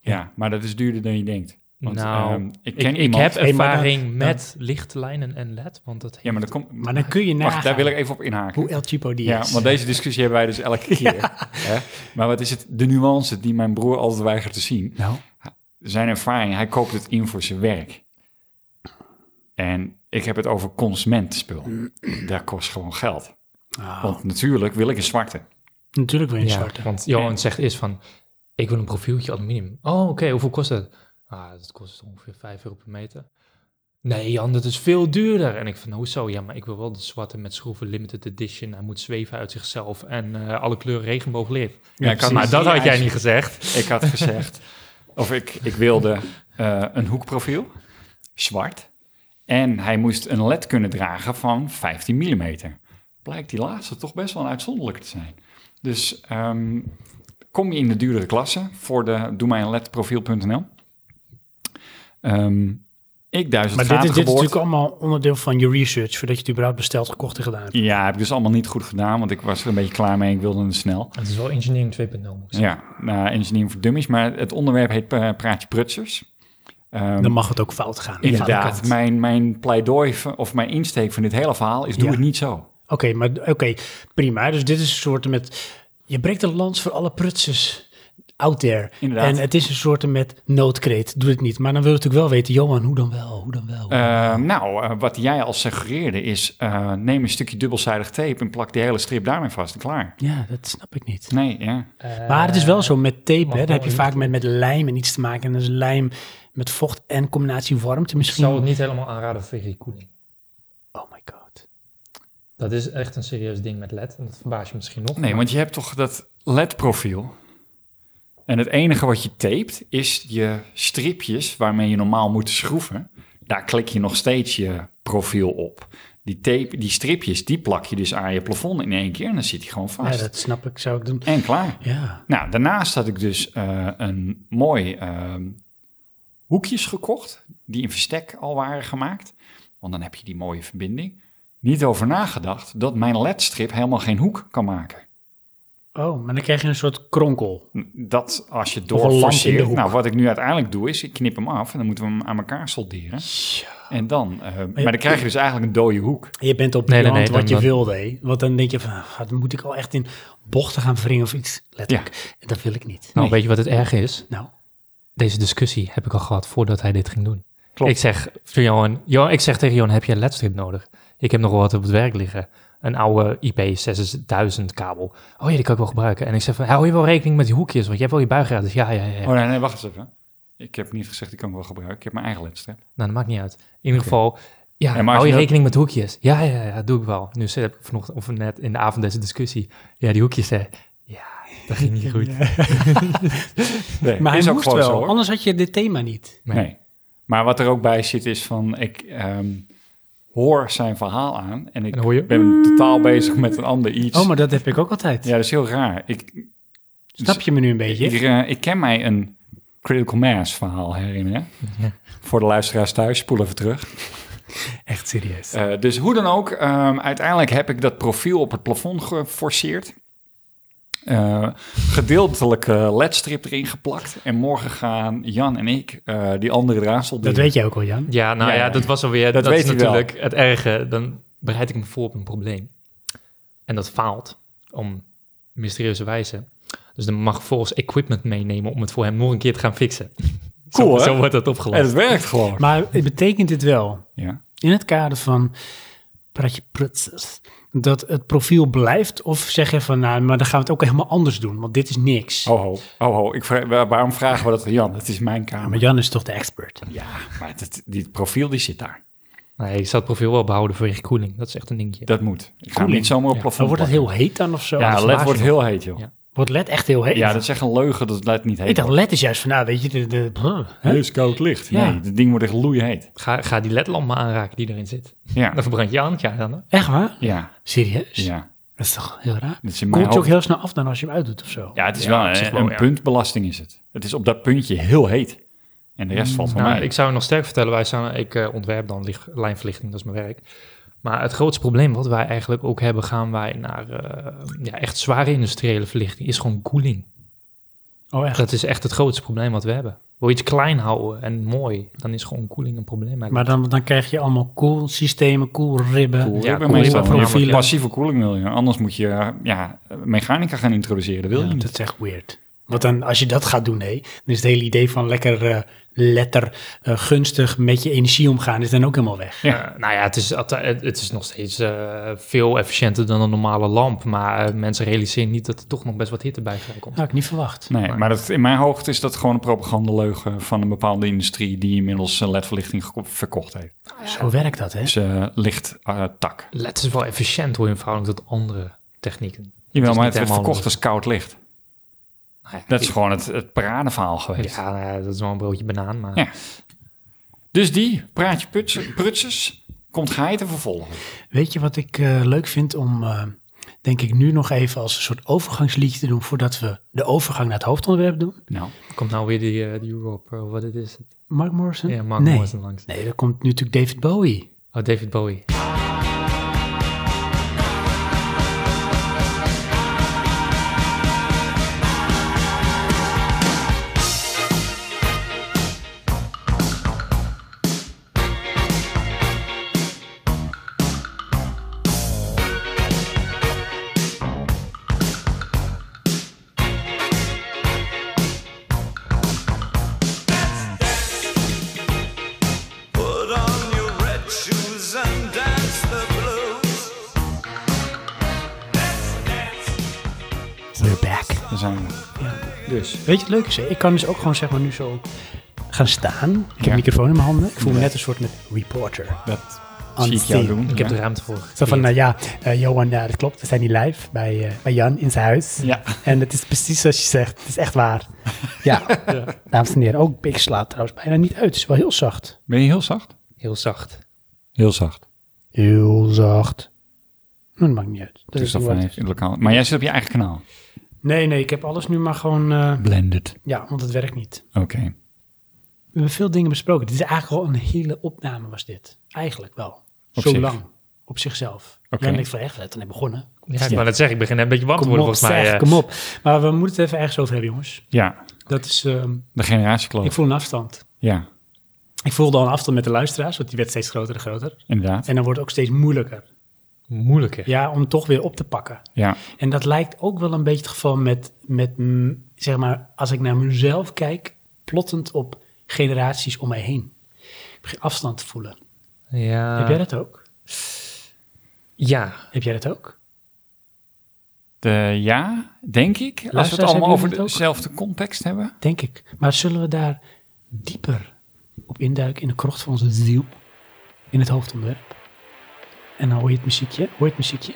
C: ja, maar dat is duurder dan je denkt. Want,
A: nou,
C: ehm, ik
A: ik,
C: ken
A: ik,
C: iemand-
A: heb
B: Hey, maar
A: ervaring
B: dan-
A: met lichtlijnen en LED, want dat
C: Ja, maar dat
A: heeft-
C: komt...
B: Maar dan kun je nagaan
C: Wacht, daar wil ik even op inhaken.
B: hoe El Chipo die
C: Ja,
B: is.
C: want deze discussie hebben wij dus elke keer. Hè? Maar wat is het, de nuance die mijn broer altijd weigert te zien?
B: Nou,
C: Zijn ervaring, hij koopt het in voor zijn werk. En ik heb het over consumentenspul. Dat kost gewoon geld.
B: ah,
C: Want natuurlijk wil ik een zwarte.
B: natuurlijk wil je een
A: Ja,
B: zwarte.
A: want Johan zegt eerst van, ik wil een dus profieltje aluminium. Oh, oké, hoeveel kost dat? Ah, dat kost ongeveer 5 euro per meter. Nee Jan, dat is veel duurder. En ik van, hoezo? Ja, maar ik wil wel de zwarte met schroeven limited edition. Hij moet zweven uit zichzelf en eh, alle kleuren regenbooglid.
C: Ja,
A: Ja,
C: precies.
A: maar dat
C: Die
A: had jij
C: eis-
A: niet gezegd.
C: Ik had gezegd, of ik, ik wilde eh, een hoekprofiel, zwart. En hij moest een led kunnen dragen van 15 mm. Blijkt die laatste toch best wel een uitzonderlijke te zijn. Dus ehm, kom je in de duurdere klasse voor de doe mij een ledprofiel.nl. Ehm, ik duizend
B: Maar dit, is-
C: gaten
B: dit is
C: geboord.
B: natuurlijk allemaal onderdeel van je research, voordat je het überhaupt besteld, gekocht en gedaan hebt.
C: Ja, heb ik dus allemaal niet goed gedaan, want ik was er een beetje klaar mee. Ik wilde het snel.
A: Het is wel engineering 2.0. moet ik
C: Ja, nou, engineering voor dummies. Maar het onderwerp heet eh, Praatje Prutsers. Ehm,
B: Dan mag het ook fout gaan.
C: Inderdaad,
B: Fout.
C: mijn, mijn pleidooi van- of mijn insteek van dit hele verhaal is: doe
B: Ja.
C: het niet zo.
B: Oké, maar oké, prima. Dus dit is een soort met. Je breekt een lans voor alle prutsers out there.
C: Inderdaad.
B: En het is een soort met noodkreet. Doe het niet. Maar dan wil je natuurlijk wel weten, Johan, hoe dan wel? Hoe dan wel?
C: Eh, nou, eh, wat jij al suggereerde is: eh, neem een stukje dubbelzijdig tape en plak die hele strip daarmee vast en klaar.
B: ja, dat snap ik niet.
C: Nee, ja.
A: zeggen. Eh,
B: Maar het is wel zo met tape, hè,
A: mag
B: daar heb je
A: wel
B: vaak met, met lijm en iets te maken. En dat is lijm met vocht en combinatie warmte
A: Ik zou
B: misschien.
A: het niet helemaal aanraden voor verkoeling.
B: Oh my god.
A: Dat is echt een serieus ding met LED. En dat verbaas je misschien nog.
C: nee want je hebt toch dat LED-profiel. En het enige wat je tapet is je stripjes waarmee je normaal moet schroeven. Daar klik je nog steeds je profiel op. Die, tape, die stripjes, die plak je dus aan je plafond in één keer en dan zit hij gewoon
B: Ja,
C: vast.
B: dat snap ik, zou ik doen.
C: En klaar.
B: Ja.
C: Nou, daarnaast had ik dus eh, een mooi ehm, hoekjes gekocht, die in verstek al waren gemaakt. Want dan heb je die mooie verbinding. Niet over nagedacht dat mijn ledstrip helemaal geen hoek kan maken.
B: Oh, maar dan krijg je een soort kronkel.
C: Dat als je
B: lamp in de
C: doorforceert.
B: hoek.
C: Nou, wat ik nu uiteindelijk doe is, ik knip hem af en dan moeten we hem aan elkaar solderen. En dan, eh, maar dan krijg je dus eigenlijk een dode hoek.
B: Je bent op
A: Nee, nee,
B: nee,
A: nee,
B: wat je
A: dan-
B: wilde. hè. Want dan denk je van, ah, dan moet ik al echt in bochten gaan wringen of iets. Letterlijk. En dat wil ik niet.
A: Nou, weet je wat het erg is?
B: Nou,
A: Deze discussie heb ik al gehad voordat hij dit ging doen.
C: Klopt.
A: Ik zeg, voor Johan, Johan, ik zeg tegen Johan, heb je een ledstrip nodig? Ik heb nog wel wat op het werk liggen. Een oude IP6000 kabel. Oh ja, die kan ik wel gebruiken. En ik zeg van, hou je wel rekening met die hoekjes? Want je hebt wel je buigraad. Dus ja, ja, ja.
C: Oh nee, nee, wacht eens even. Ik heb niet gezegd, die kan ik wel gebruiken. Ik heb mijn eigen ledstrip.
A: Nou, dat maakt niet uit. In ieder geval, ja,
C: Ja, maar als
A: hou
C: je
A: je
C: dat-
A: rekening met hoekjes. Ja, ja, ja, dat doe ik wel. Nu heb ik vanochtend, of net in de avond deze discussie. Ja, die hoekjes, hè. Ja, dat ging niet goed.
C: Nee,
B: maar
C: is
B: hij
C: ook
B: moest
C: gewoon
B: wel,
C: zo, hoor.
B: anders had je dit thema niet.
A: Nee.
C: Nee. Maar wat er ook bij zit is van, ik ehm, hoor zijn verhaal aan en ik
A: En dan hoor je-
C: ben totaal bezig met een ander iets.
B: Oh, maar dat heb ik ook altijd.
C: Dus- Ja, dat is heel raar. Ik,
B: Snap je me nu een beetje?
C: ik, eh, ik ken mij een critical mass verhaal herinneren.
A: Ja.
C: Voor de luisteraars thuis, spoel even terug.
B: Echt serieus.
C: Eh, dus hoe dan ook, ehm, uiteindelijk heb ik dat profiel op het plafond geforceerd. Eh, gedeeltelijk eh ledstrip erin geplakt. En morgen gaan Jan en ik eh, die andere draadsel
B: dat weet jij ook wel, Jan.
A: Ja, nou
C: Ja,
A: ja,
C: ja.
A: dat was alweer.
C: Dat
A: Dat,
C: weet
A: is
C: hij wel.
A: natuurlijk het erge. Dan bereid ik me voor op een probleem. En dat faalt om mysterieuze wijze. Dus dan mag ik volgens equipment meenemen om het voor hem nog een keer te gaan fixen.
C: Cool,
A: zo,
C: hè?
A: zo wordt dat
C: En
A: opgelost.
C: het werkt gewoon.
B: Maar het betekent dit wel,
C: Ja.
B: in het kader van praatje prutsers, dat het profiel blijft? Of zeg je van, nou, maar dan gaan we het ook helemaal anders doen, want dit is niks.
C: Ho, ho, ho, ho. Ik vra- wa- waarom vragen we dat aan Jan? Het is mijn
B: Ja, maar
C: kamer.
B: Jan is toch de expert?
C: Ja, maar dat, die profiel die zit daar.
A: Nee, ik zal Nou, het profiel wel behouden voor je koeling. Dat is echt een dingetje.
C: Dat moet. Ik ga hem
B: Koeling.
C: niet zomaar op
A: Ja.
C: plafond
B: Dan wordt het
C: plakken.
B: heel heet dan of zo?
A: heel-
C: Ja,
A: Ja, dat
C: LED
A: verbaas
C: wordt
A: je
C: heel heet, joh. Ja.
A: Ja.
B: Wordt LED echt heel heet?
C: dat is echt een leugen dat het LED niet heet.
B: Ik dacht, LED is juist van, nou weet je, de, de, huh, hè?
C: is koud licht.
B: Ja.
C: Nee, dat ding wordt echt loeiheet.
A: Ga, ga die ledlamp maar aanraken die erin zit.
C: Ja,
A: Dan verbrand je handje dan. Hè?
B: echt waar?
C: ja,
B: Serieus?
C: ja.
B: Dat is toch heel raar?
C: Dat is in mijn
B: Komt je ook
C: hoofd.
B: heel snel af dan als je hem uitdoet of zo?
C: Ja, het is
A: Ja,
C: wel
A: op zich
C: een,
A: wel,
C: een
A: ja.
C: puntbelasting is het. Het is op dat puntje heel heet. En de rest valt van
A: Nou,
C: mij.
A: ik zou je nog sterk vertellen, wij zijn, ik eh, ontwerp dan lig- lijnverlichting, dat is mijn werk. Maar het grootste probleem wat wij eigenlijk ook hebben, gaan wij naar eh, ja, echt zware industriële verlichting, is gewoon koeling.
B: Oh, echt?
A: Dat is echt het grootste probleem wat we hebben. Wil je iets klein houden en mooi, dan is gewoon koeling een probleem.
B: Maar dan, dan krijg je allemaal cool systemen, cool ribben.
C: Cool,
A: ja,
C: ik ben
A: cool,
C: meestal
A: ja,
C: van
A: profielen.
C: passieve koeling wil je. Anders moet je ja, mechanica gaan introduceren. Wil je
B: Ja,
C: niet.
B: dat is echt weird. Want dan, als je dat gaat doen, hé, dan is het hele idee van lekker eh, letter eh, gunstig met je energie omgaan, is dan ook helemaal weg.
C: Ja.
A: Eh, nou ja, het is, altijd- het het is nog steeds eh, veel efficiënter dan een normale lamp. Maar eh, mensen realiseren niet dat er toch nog best wat hitte bij vrij komt.
B: had ik niet verwacht.
C: Nee, maar dat, in mijn hoogte is dat gewoon een propagandaleugen van een bepaalde industrie die inmiddels eh, ledverlichting geko- verkocht heeft.
B: Zo werkt dat, hè?
C: Dus eh, licht eh, tak.
A: LED is wel efficiënt hoor in verhouding tot andere technieken.
C: Jawel,
A: is
C: maar het werd
A: niet helemaal
C: verkocht als koud licht.
A: Nou ja,
C: Dat is gewoon het, het paradeverhaal geweest.
A: ja, nou ja, dat is wel een broodje banaan, maar...
C: Ja. Dus die, praatje putse- prutsers, komt geiten vervolgen.
B: Weet je wat ik eh, leuk vind om, eh, denk ik, nu nog even als een soort overgangsliedje te doen voordat we de overgang naar het hoofdonderwerp doen?
C: Nou,
A: Komt nou weer die, eh, die Europe, eh, wat het is het?
B: Mark Morrison?
A: Ja, Mark
B: nee.
A: Morrison langs.
B: Nee, daar komt nu natuurlijk David Bowie.
A: Oh, David Bowie.
D: Put on your red shoes and dance the blues.
B: We're back.
C: daar zijn we. Dus,
B: Weet je wat leuk is? hè? Ik kan dus ook gewoon zeg maar nu zo gaan staan. Ik heb
C: Ja.
B: een microfoon in mijn handen. Ik voel me net een soort met reporter.
C: dat
B: On
C: zie ik jou
B: theme.
C: doen.
A: Ik heb
C: ja.
A: er ruimte voor.
B: Zo van,
A: gecreëerd.
B: nou ja, eh, Johan, ja, dat klopt. We zijn hier live bij, eh, bij Jan in zijn huis.
C: Ja.
B: En het is precies zoals je zegt. Het is echt waar. Ja, dames en heren. Ook ik slaat trouwens bijna niet uit. Het is wel heel zacht.
C: Ben je heel zacht?
A: Heel zacht.
C: Heel zacht.
B: Heel zacht. Nou, dat maakt niet uit.
C: Dus
B: niet
C: dat
B: wat-
C: van in lokaal. Maar jij zit op je eigen kanaal.
B: Nee, nee, ik heb alles nu maar gewoon... eh,
C: Blended.
B: ja, want het werkt niet.
C: Oké.
B: We hebben veel dingen besproken. Dit is eigenlijk wel een hele opname was dit. Eigenlijk wel.
C: Op
B: Zo
C: zich.
B: lang. Op zichzelf.
C: Oké.
B: Jan en ik van echt, we zijn net begonnen.
A: Ja, ik wou net zeggen, ik begin een beetje warm te
B: Kom
A: worden
B: op,
A: volgens mij.
B: zeg,
A: eh.
B: kom op. Maar we moeten het even ergens over hebben, jongens.
C: Ja,
B: Dat is... ehm,
C: de generatiekloof.
B: Ik voel een afstand.
C: Ja,
B: Ik voelde al een afstand met de luisteraars, want die werd steeds groter en groter.
C: inderdaad.
B: En dan wordt het ook steeds moeilijker.
A: Moeilijker.
B: Ja, om toch weer op te pakken.
C: Ja,
B: En dat lijkt ook wel een beetje het geval met, met mm, zeg maar, als ik naar mezelf kijk, plottend op generaties om mij heen. Ik begin afstand te voelen.
A: Ja.
B: Heb jij dat ook?
A: Ja.
B: Heb jij dat ook?
C: de, ja denk ik. Als we het
B: Luisteraars,
C: allemaal
B: hebben
C: over
B: jullie dat ook?
C: dezelfde context hebben.
B: Denk ik. Maar zullen we daar dieper op induiken in de krocht van onze ziel? In het hoofdonderwerp? En dan hoor je het muziekje. Hoor je het muziekje?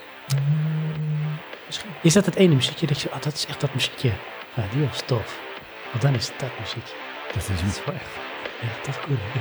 B: Misschien. Is dat het ene muziekje dat je... Ah, dat is echt dat muziekje. Ja, die was tof. Want dan is het dat muziekje.
C: Dat is
A: Dat is wel echt-
B: Ja, dat is cool. hè?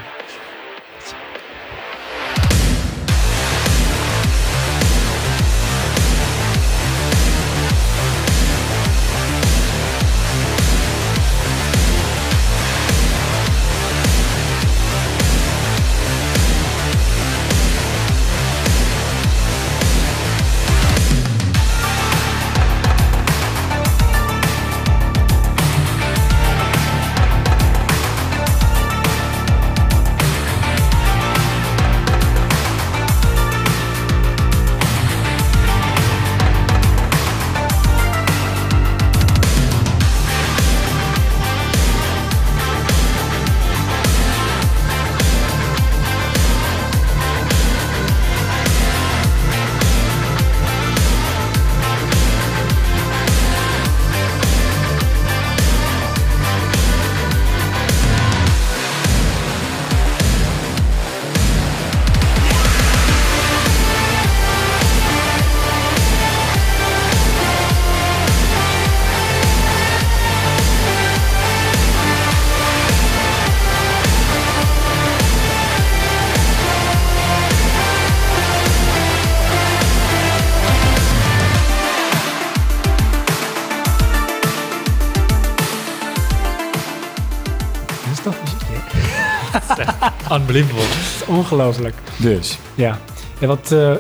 B: Dat is toch muziekje? hè?
A: Unbelievable.
B: Dat is ongelooflijk.
C: Dus,
B: Ja. ja wat, eh,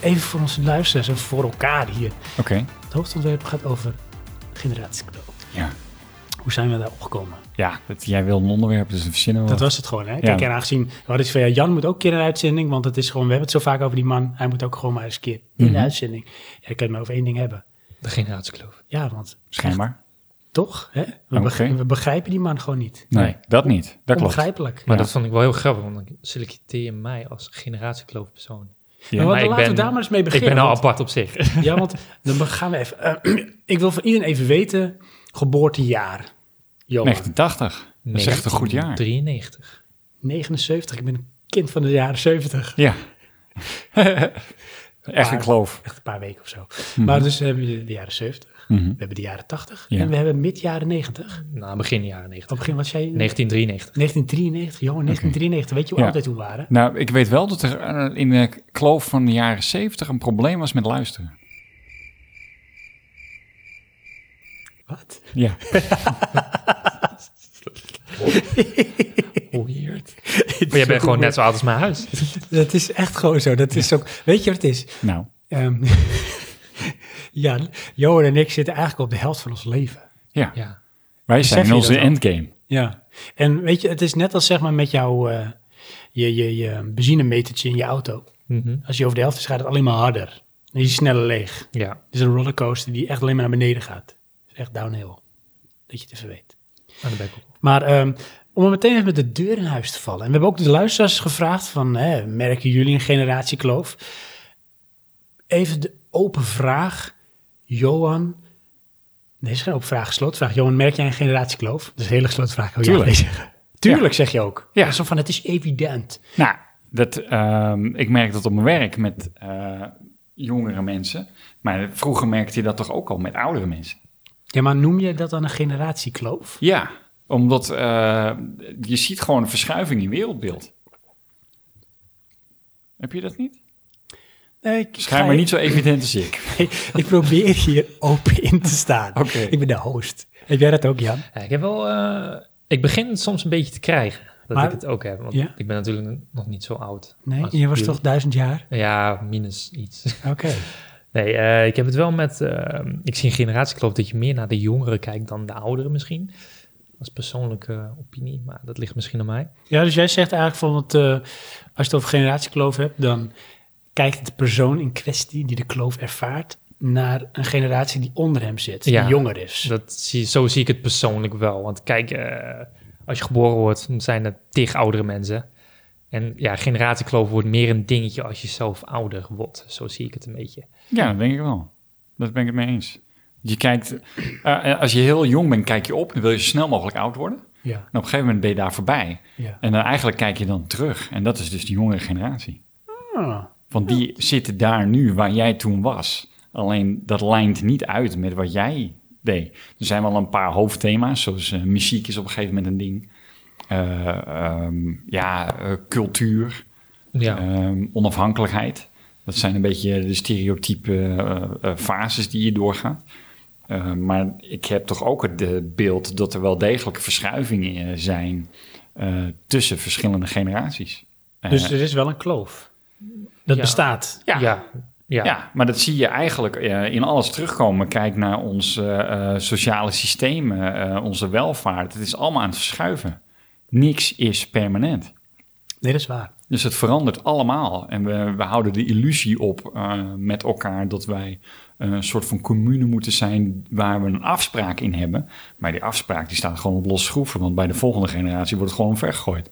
B: even voor onze luisteraars en voor elkaar hier.
C: oké.
B: Het hoofdonderwerp gaat over generatiekloof.
C: Ja.
B: Hoe zijn we daar opgekomen?
C: Ja, dat, jij wil een onderwerp, dus we verzinnen wel.
B: Dat was het gewoon, hè? Kijk,
C: Ja.
B: en aangezien we hadden iets van, ja, Jan moet ook een keer in de uitzending, want het is gewoon, we hebben het zo vaak over die man, hij moet ook gewoon maar eens een keer
A: Mhm.
B: in de uitzending. Ja, ik kan het maar over één ding hebben.
A: De generatiekloof.
B: Ja, want
C: Schijnbaar.
B: Toch? Hè? We,
C: Oké.
B: beg- we begrijpen die man gewoon niet.
C: Nee, dat niet. Dat klopt.
B: Onbegrijpelijk.
A: Maar
C: Ja.
A: dat vond ik wel heel grappig, want dan selecteer je mij als generatiekloof persoon.
B: Maar wat-
A: Maar ik
B: laten we
A: ben-
B: daar maar eens mee
A: Ik
B: beginnen.
A: ben al
B: want-
A: apart op zich.
B: Ja, want dan be- gaan we even. eh, ik wil van iedereen even weten: geboortejaar. Johan.
C: 1980. Dat is echt een goed jaar.
A: 93.
B: 79. Ik ben een kind van de jaren 70.
C: Ja. echt een kloof.
B: Echt een paar weken of zo.
A: Mhm.
B: Maar dus hebben we de jaren 70. We hebben de jaren 80.
C: Ja.
B: En we hebben mid jaren 90. Op
A: Nou, begin jaren 90.
B: het begin was jij.
A: 1993.
B: 1993. Jongen, 1993. Weet je hoe
C: Ja.
B: oud wij toen waren?
C: Nou, ik weet wel dat er eh, in de kloof van de jaren 70 een probleem was met luisteren.
B: Wat?
C: Ja.
A: Weird. Maar jij bent gewoon net zo oud als mijn huis.
B: Dat is echt gewoon zo. Dat is ook. Weet je wat het is?
C: Nou,
B: Ehm, ja, Johan en ik zitten eigenlijk op de helft van ons leven.
C: ja.
A: Ja.
C: Wij
B: Besef
C: zijn in
B: je
C: onze
B: dat al?
C: endgame.
B: Ja, en weet je, het is net als zeg maar met jouw eh, je, je, je benzinemetertje in je auto.
A: Mhm.
B: Als je over de helft is, gaat het alleen maar harder. En je is sneller leeg.
A: Ja.
B: Het is een rollercoaster die echt alleen maar naar beneden gaat. Het is echt downhill. Dat je het even weet.
A: Aan de bek op.
B: Maar ehm, om er meteen even met de deur in huis te vallen. En we hebben ook de luisteraars gevraagd van, hè, merken jullie een generatiekloof? Even de open vraag, Johan. Nee, is geen open vraag, gesloten vraag. Johan, merk jij een generatiekloof? Dat is een hele gesloten vraag. wil jij
C: Tuurlijk.
B: alleen zeggen. Tuurlijk, zeg je ook.
C: Ja.
B: Ja. Zo van, het is evident.
C: Nou, dat, ehm, ik merk dat op mijn werk met eh, jongere mensen. Maar vroeger merkte je dat toch ook al met oudere mensen?
B: Ja, maar noem je dat dan een generatiekloof?
C: Ja, omdat eh, je ziet gewoon een verschuiving in wereldbeeld. Heb je dat niet?
B: Nee, ik
C: Schijnbaar niet zo evident als ik.
B: Ik probeer hier open in te staan.
C: Oké.
B: Ik ben de host. Heb jij dat ook, Jan?
A: Ja, ik heb wel... eh, ik begin het soms een beetje te krijgen. Dat
B: Maar-
A: ik het ook heb. Want
B: Ja.
A: ik ben natuurlijk nog niet zo oud.
B: Nee,
A: als
B: je was
A: jullie.
B: toch duizend jaar?
A: Ja, minus iets.
B: Oké.
A: Nee, eh, ik heb het wel met. eh, ik zie een generatiekloof dat je meer naar de jongeren kijkt dan de ouderen misschien. Dat is persoonlijke opinie, maar dat ligt misschien aan mij.
B: Ja, dus jij zegt eigenlijk van, want, eh, als je het over generatiekloof hebt, dan kijkt de persoon in kwestie die de kloof ervaart naar een generatie die onder hem zit,
A: Ja.
B: die jonger is.
A: Dat zie, zo zie ik het persoonlijk wel. Want kijk, eh, als je geboren wordt, dan zijn er tig oudere mensen. En ja, generatiekloof wordt meer een dingetje als je zelf ouder wordt. Zo zie ik het een beetje.
C: Ja, dat denk ik wel. Dat ben ik het mee eens. Je kijkt, eh, als je heel jong bent, kijk je op en wil je zo snel mogelijk oud worden. En
B: Ja,
C: op een gegeven moment ben je daar voorbij.
B: ja.
C: En dan eigenlijk kijk je dan terug. En dat is dus de jongere generatie.
B: Ah,
C: Want die zitten daar nu waar jij toen was. Alleen dat lijnt niet uit met wat jij deed. Er zijn wel een paar hoofdthema's, zoals eh, muziek is op een gegeven moment een ding. Eh, ehm, ja, eh, cultuur,
A: Ja,
C: ehm, onafhankelijkheid. Dat zijn een beetje de stereotype eh, eh, fases die je doorgaat. Eh, maar ik heb toch ook het eh, beeld dat er wel degelijke verschuivingen eh, zijn eh, tussen verschillende generaties. Eh,
B: Dus er is wel een kloof. Dat
A: Ja.
B: bestaat.
A: ja. ja.
C: ja. maar dat zie je eigenlijk eh, in alles terugkomen. Kijk naar ons eh, eh, sociale systemen, eh, onze welvaart. Het is allemaal aan het verschuiven. Niks is permanent.
B: Nee, dat is waar.
C: Dus het verandert allemaal. En we, we houden de illusie op eh, met elkaar dat wij eh, een soort van commune moeten zijn waar we een afspraak in hebben. Maar die afspraak die staat gewoon op los schroeven, want bij de volgende generatie wordt het gewoon vergegooid.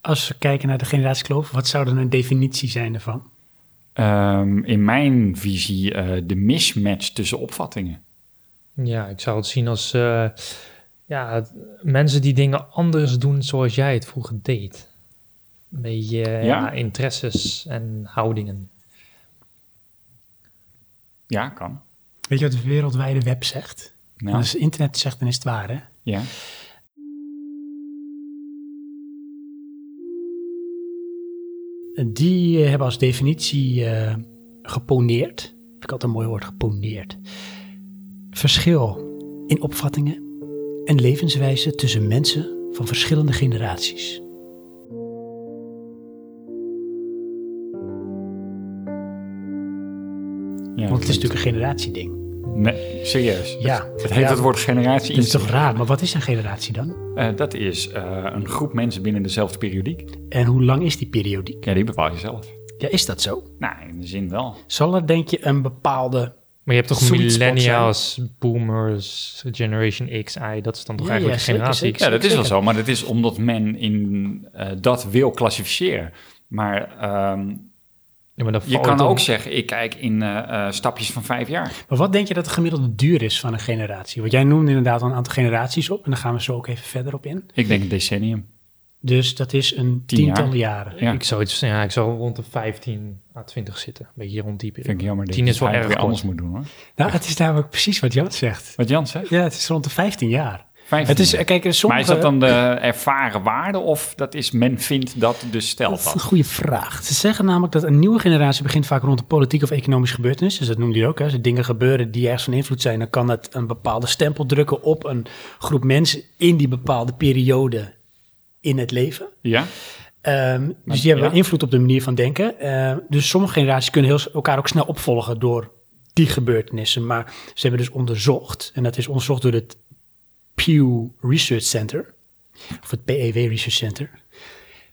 B: Als we kijken naar de generatiekloof, wat zou dan een definitie zijn ervan?
C: Ehm, in mijn visie eh, de mismatch tussen opvattingen.
A: Ja, ik zou het zien als eh, ja, het- mensen die dingen anders doen zoals jij het vroeger deed. Een beetje eh,
C: Ja?
A: ja, interesses en houdingen.
C: Ja, kan.
B: Weet je wat de wereldwijde web zegt?
C: Nou,
B: Als het internet zegt, dan is het waar, hè?
C: ja.
B: Die eh, hebben als definitie eh, geponeerd. Vind ik altijd een mooi woord, geponeerd. Verschil in opvattingen en levenswijzen tussen mensen van verschillende generaties.
C: Ja,
B: Want het
C: dat-
B: is natuurlijk een generatieding.
C: Nee, serieus.
B: Ja.
C: Het heeft
B: Ja,
C: het woord generatie
B: Dat
C: in
B: is toch
C: zich.
B: raar, maar wat is een generatie dan?
C: Eh, dat is eh, een groep mensen binnen dezelfde periodiek.
B: En hoe lang is die periodiek?
C: Ja, die bepaal je zelf.
B: Ja, is dat zo?
C: Nou, in de zin wel.
B: Zal er denk je een bepaalde
A: Maar je hebt toch
C: sweet spot
A: millennials, boomers, generation X, I, dat is dan toch
B: Ja,
A: eigenlijk
B: ja,
A: de
B: zeker,
A: generatie
B: zeker.
A: X?
C: Ja, dat is wel
B: Zeker.
C: zo, maar dat is omdat men in eh, dat wil klassificeren. Maar ehm,
A: Ja, maar dan
C: je
A: valt
C: kan
A: het om.
C: ook zeggen, ik kijk in eh, eh, stapjes van vijf jaar.
B: Maar wat denk je dat de gemiddelde duur is van een generatie? Want jij noemde inderdaad al een aantal generaties op. En daar gaan we zo ook even verder op in.
C: Ik denk een decennium.
B: Dus dat is een
C: Tien
B: tiental
C: jaar.
B: jaren.
C: Ja.
A: Ik, zou iets, ja, ik zou rond de 15 à 20 zitten. Een beetje rond die
C: Vind ik
A: periode.
C: jammer. dat
A: Tien
C: je
A: is wel
C: het
A: erg
C: weer
A: kort.
C: anders moet doen hoor.
B: Nou, het is namelijk precies wat Jan zegt.
C: Wat Jan zegt.
B: Ja, het is rond de 15 jaar.
C: 15
B: Het is,
C: jaar.
B: eh, kijk, er sommige...
C: Maar is dat dan de
B: eh,
C: ervaren waarde of dat is men vindt dat, dus
B: Dat
C: stelt
B: is een
C: dat?
B: goede vraag. Ze zeggen namelijk dat een nieuwe generatie begint vaak rond de politiek of economische gebeurtenis. Dus dat noemde je ook. Hè. Als er dingen gebeuren die ergens van invloed zijn, dan kan dat een bepaalde stempel drukken op een groep mensen in die bepaalde periode in het leven.
C: Ja?
B: Ehm,
C: Maar-
B: dus die hebben
C: ja.
B: invloed op de manier van denken. Ehm, dus sommige generaties kunnen heel, s- elkaar ook snel opvolgen door die gebeurtenissen. Maar ze hebben dus onderzocht, en dat is onderzocht door het Pew Research Center, of het PEW Research Center,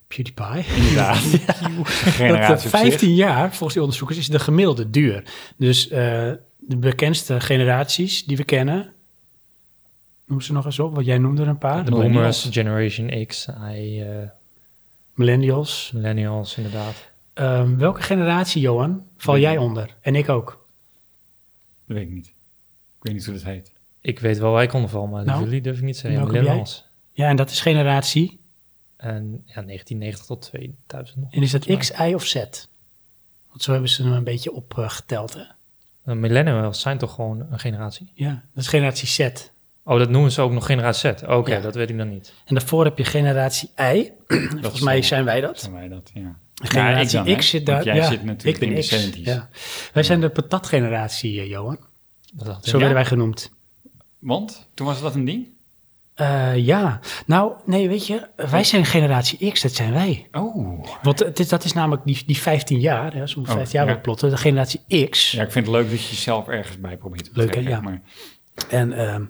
B: PewDiePie.
C: Inderdaad.
B: Dat eh,
C: Generatie op zich.
B: 15 jaar, volgens die onderzoekers, is de gemiddelde duur. Dus eh, de bekendste generaties die we kennen, noem ze nog eens op, want jij noemde er een paar.
A: De boomers, generation X, I, eh,
B: Millennials.
A: millennials inderdaad.
B: Ehm, welke generatie, Johan, val
C: Ik-
B: jij onder? En ik ook.
C: Dat weet ik niet. Ik weet niet hoe dat heet.
A: Ik weet wel waar ik onder val, maar
B: Nou,
A: jullie durf ik niet te zeggen. Ja,
B: welke ben jij?
A: millennials.
B: Ja, en dat is generatie.
A: En ja, 1990 tot 2000 nog.
B: En is dat X, Y of Z? Want zo hebben ze hem een beetje opgeteld. hè?
A: Eh, millennials zijn toch gewoon een generatie?
B: ja, dat is generatie Z.
A: Oh, dat noemen ze ook nog generatie Z. Oké,
B: Ja.
A: dat weet ik dan niet.
B: En daarvoor heb je generatie Y. Volgens
C: is
B: mij
C: wel-
B: zijn wij dat.
C: Zijn wij dat, ja.
B: Generatie
C: Ja, ik dan,
B: X
C: hè?
B: zit daar.
C: Want jij
B: ja,
C: zit natuurlijk
B: ik ben
C: in de
B: X,
C: 70s.
B: ja. Wij zijn de patatgeneratie, eh, Johan.
A: Dat dacht ik.
B: Zo
C: Ja?
B: werden wij genoemd.
C: Want toen was dat een ding?
B: Eh, ja, nou, nee, weet je, wij zijn generatie X, dat zijn wij.
C: Oh.
B: Want het is, dat is namelijk die, die 15 jaar, hè, als we om
C: Oh,
B: 15 jaar
C: ja.
B: willen plotten, de generatie X.
C: Ja, ik vind het leuk dat je jezelf ergens bij probeert te
B: Leuk, hè?
C: betrekken.
B: Ja.
C: Maar
B: En ehm,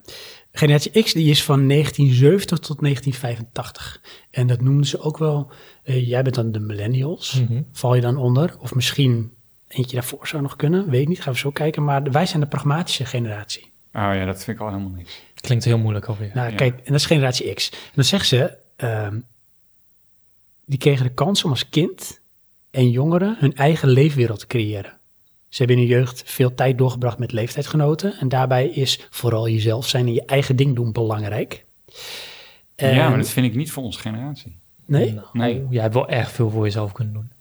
B: generatie X die is van 1970 tot 1985. En dat noemden ze ook wel, eh, jij bent dan de millennials,
A: Mhm.
B: val je dan onder? Of misschien eentje daarvoor zou nog kunnen, weet ik niet, gaan we zo kijken. Maar wij zijn de pragmatische generatie.
C: Oh ja, dat vind ik al helemaal niks.
A: Klinkt heel moeilijk alweer.
B: Nou,
C: Ja.
B: kijk, en dat is generatie X. En dan zeggen ze, ehm, die kregen de kans om als kind en jongeren hun eigen leefwereld te creëren. Ze hebben in hun jeugd veel tijd doorgebracht met leeftijdgenoten. En daarbij is vooral jezelf zijn en je eigen ding doen belangrijk. En-
C: Ja, maar dat vind ik niet voor onze generatie.
B: Nee?
A: Nou,
C: Nee.
A: Jij hebt wel echt veel voor jezelf kunnen doen.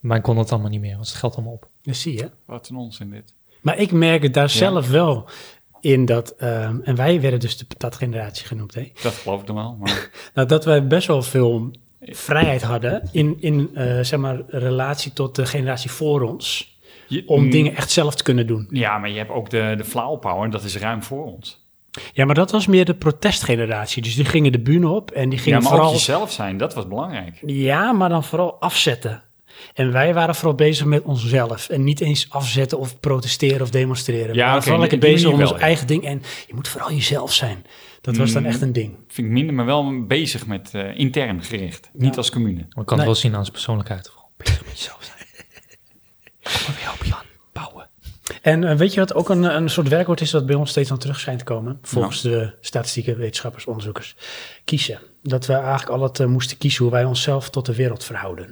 A: Maar ik kon het allemaal niet meer, want het geld allemaal op.
B: Dat zie je.
C: Wat een onzin dit.
B: Maar ik merk het daar zelf wel in dat... ehm, en wij werden dus de patatgeneratie genoemd, hè?
C: Dat geloof ik dan wel, maar
B: Nou, dat wij best wel veel vrijheid hadden in, in eh, zeg maar, relatie tot de generatie voor ons.
C: je-
B: Om
C: Mm,
B: dingen echt zelf te kunnen doen.
C: Ja, maar je hebt ook de, de flauwpower, dat is ruim voor ons.
B: Ja, maar dat was meer de protestgeneratie. Dus die gingen de bühne op en die
C: Ja,
B: gingen
C: maar ook
B: vooral...
C: jezelf zijn, dat was belangrijk.
B: Ja, maar dan vooral afzetten. En wij waren vooral bezig met onszelf. En niet eens afzetten of protesteren of demonstreren. we
C: Ja,
B: waren
C: oké,
B: vooral lekker
C: die
B: bezig om
C: manier
B: ons
C: wel, ja.
B: eigen ding. En je moet vooral jezelf zijn. Dat was dan
C: Mm.
B: echt een ding.
C: Vind ik minder, maar wel bezig met eh, intern gericht. Niet als commune.
A: Maar ik kan
B: Nee.
A: het wel zien aan zijn persoonlijkheid. Gewoon bezig met jezelf zijn. Kom maar weer op, Jan. Bouwen.
B: En eh, weet je wat ook een, een soort werkwoord is dat bij ons steeds aan terug schijnt te komen? Volgens
A: Nou.
B: de statistieken, wetenschappers, onderzoekers. Kiezen. Dat we eigenlijk altijd eh, moesten kiezen hoe wij onszelf tot de wereld verhouden.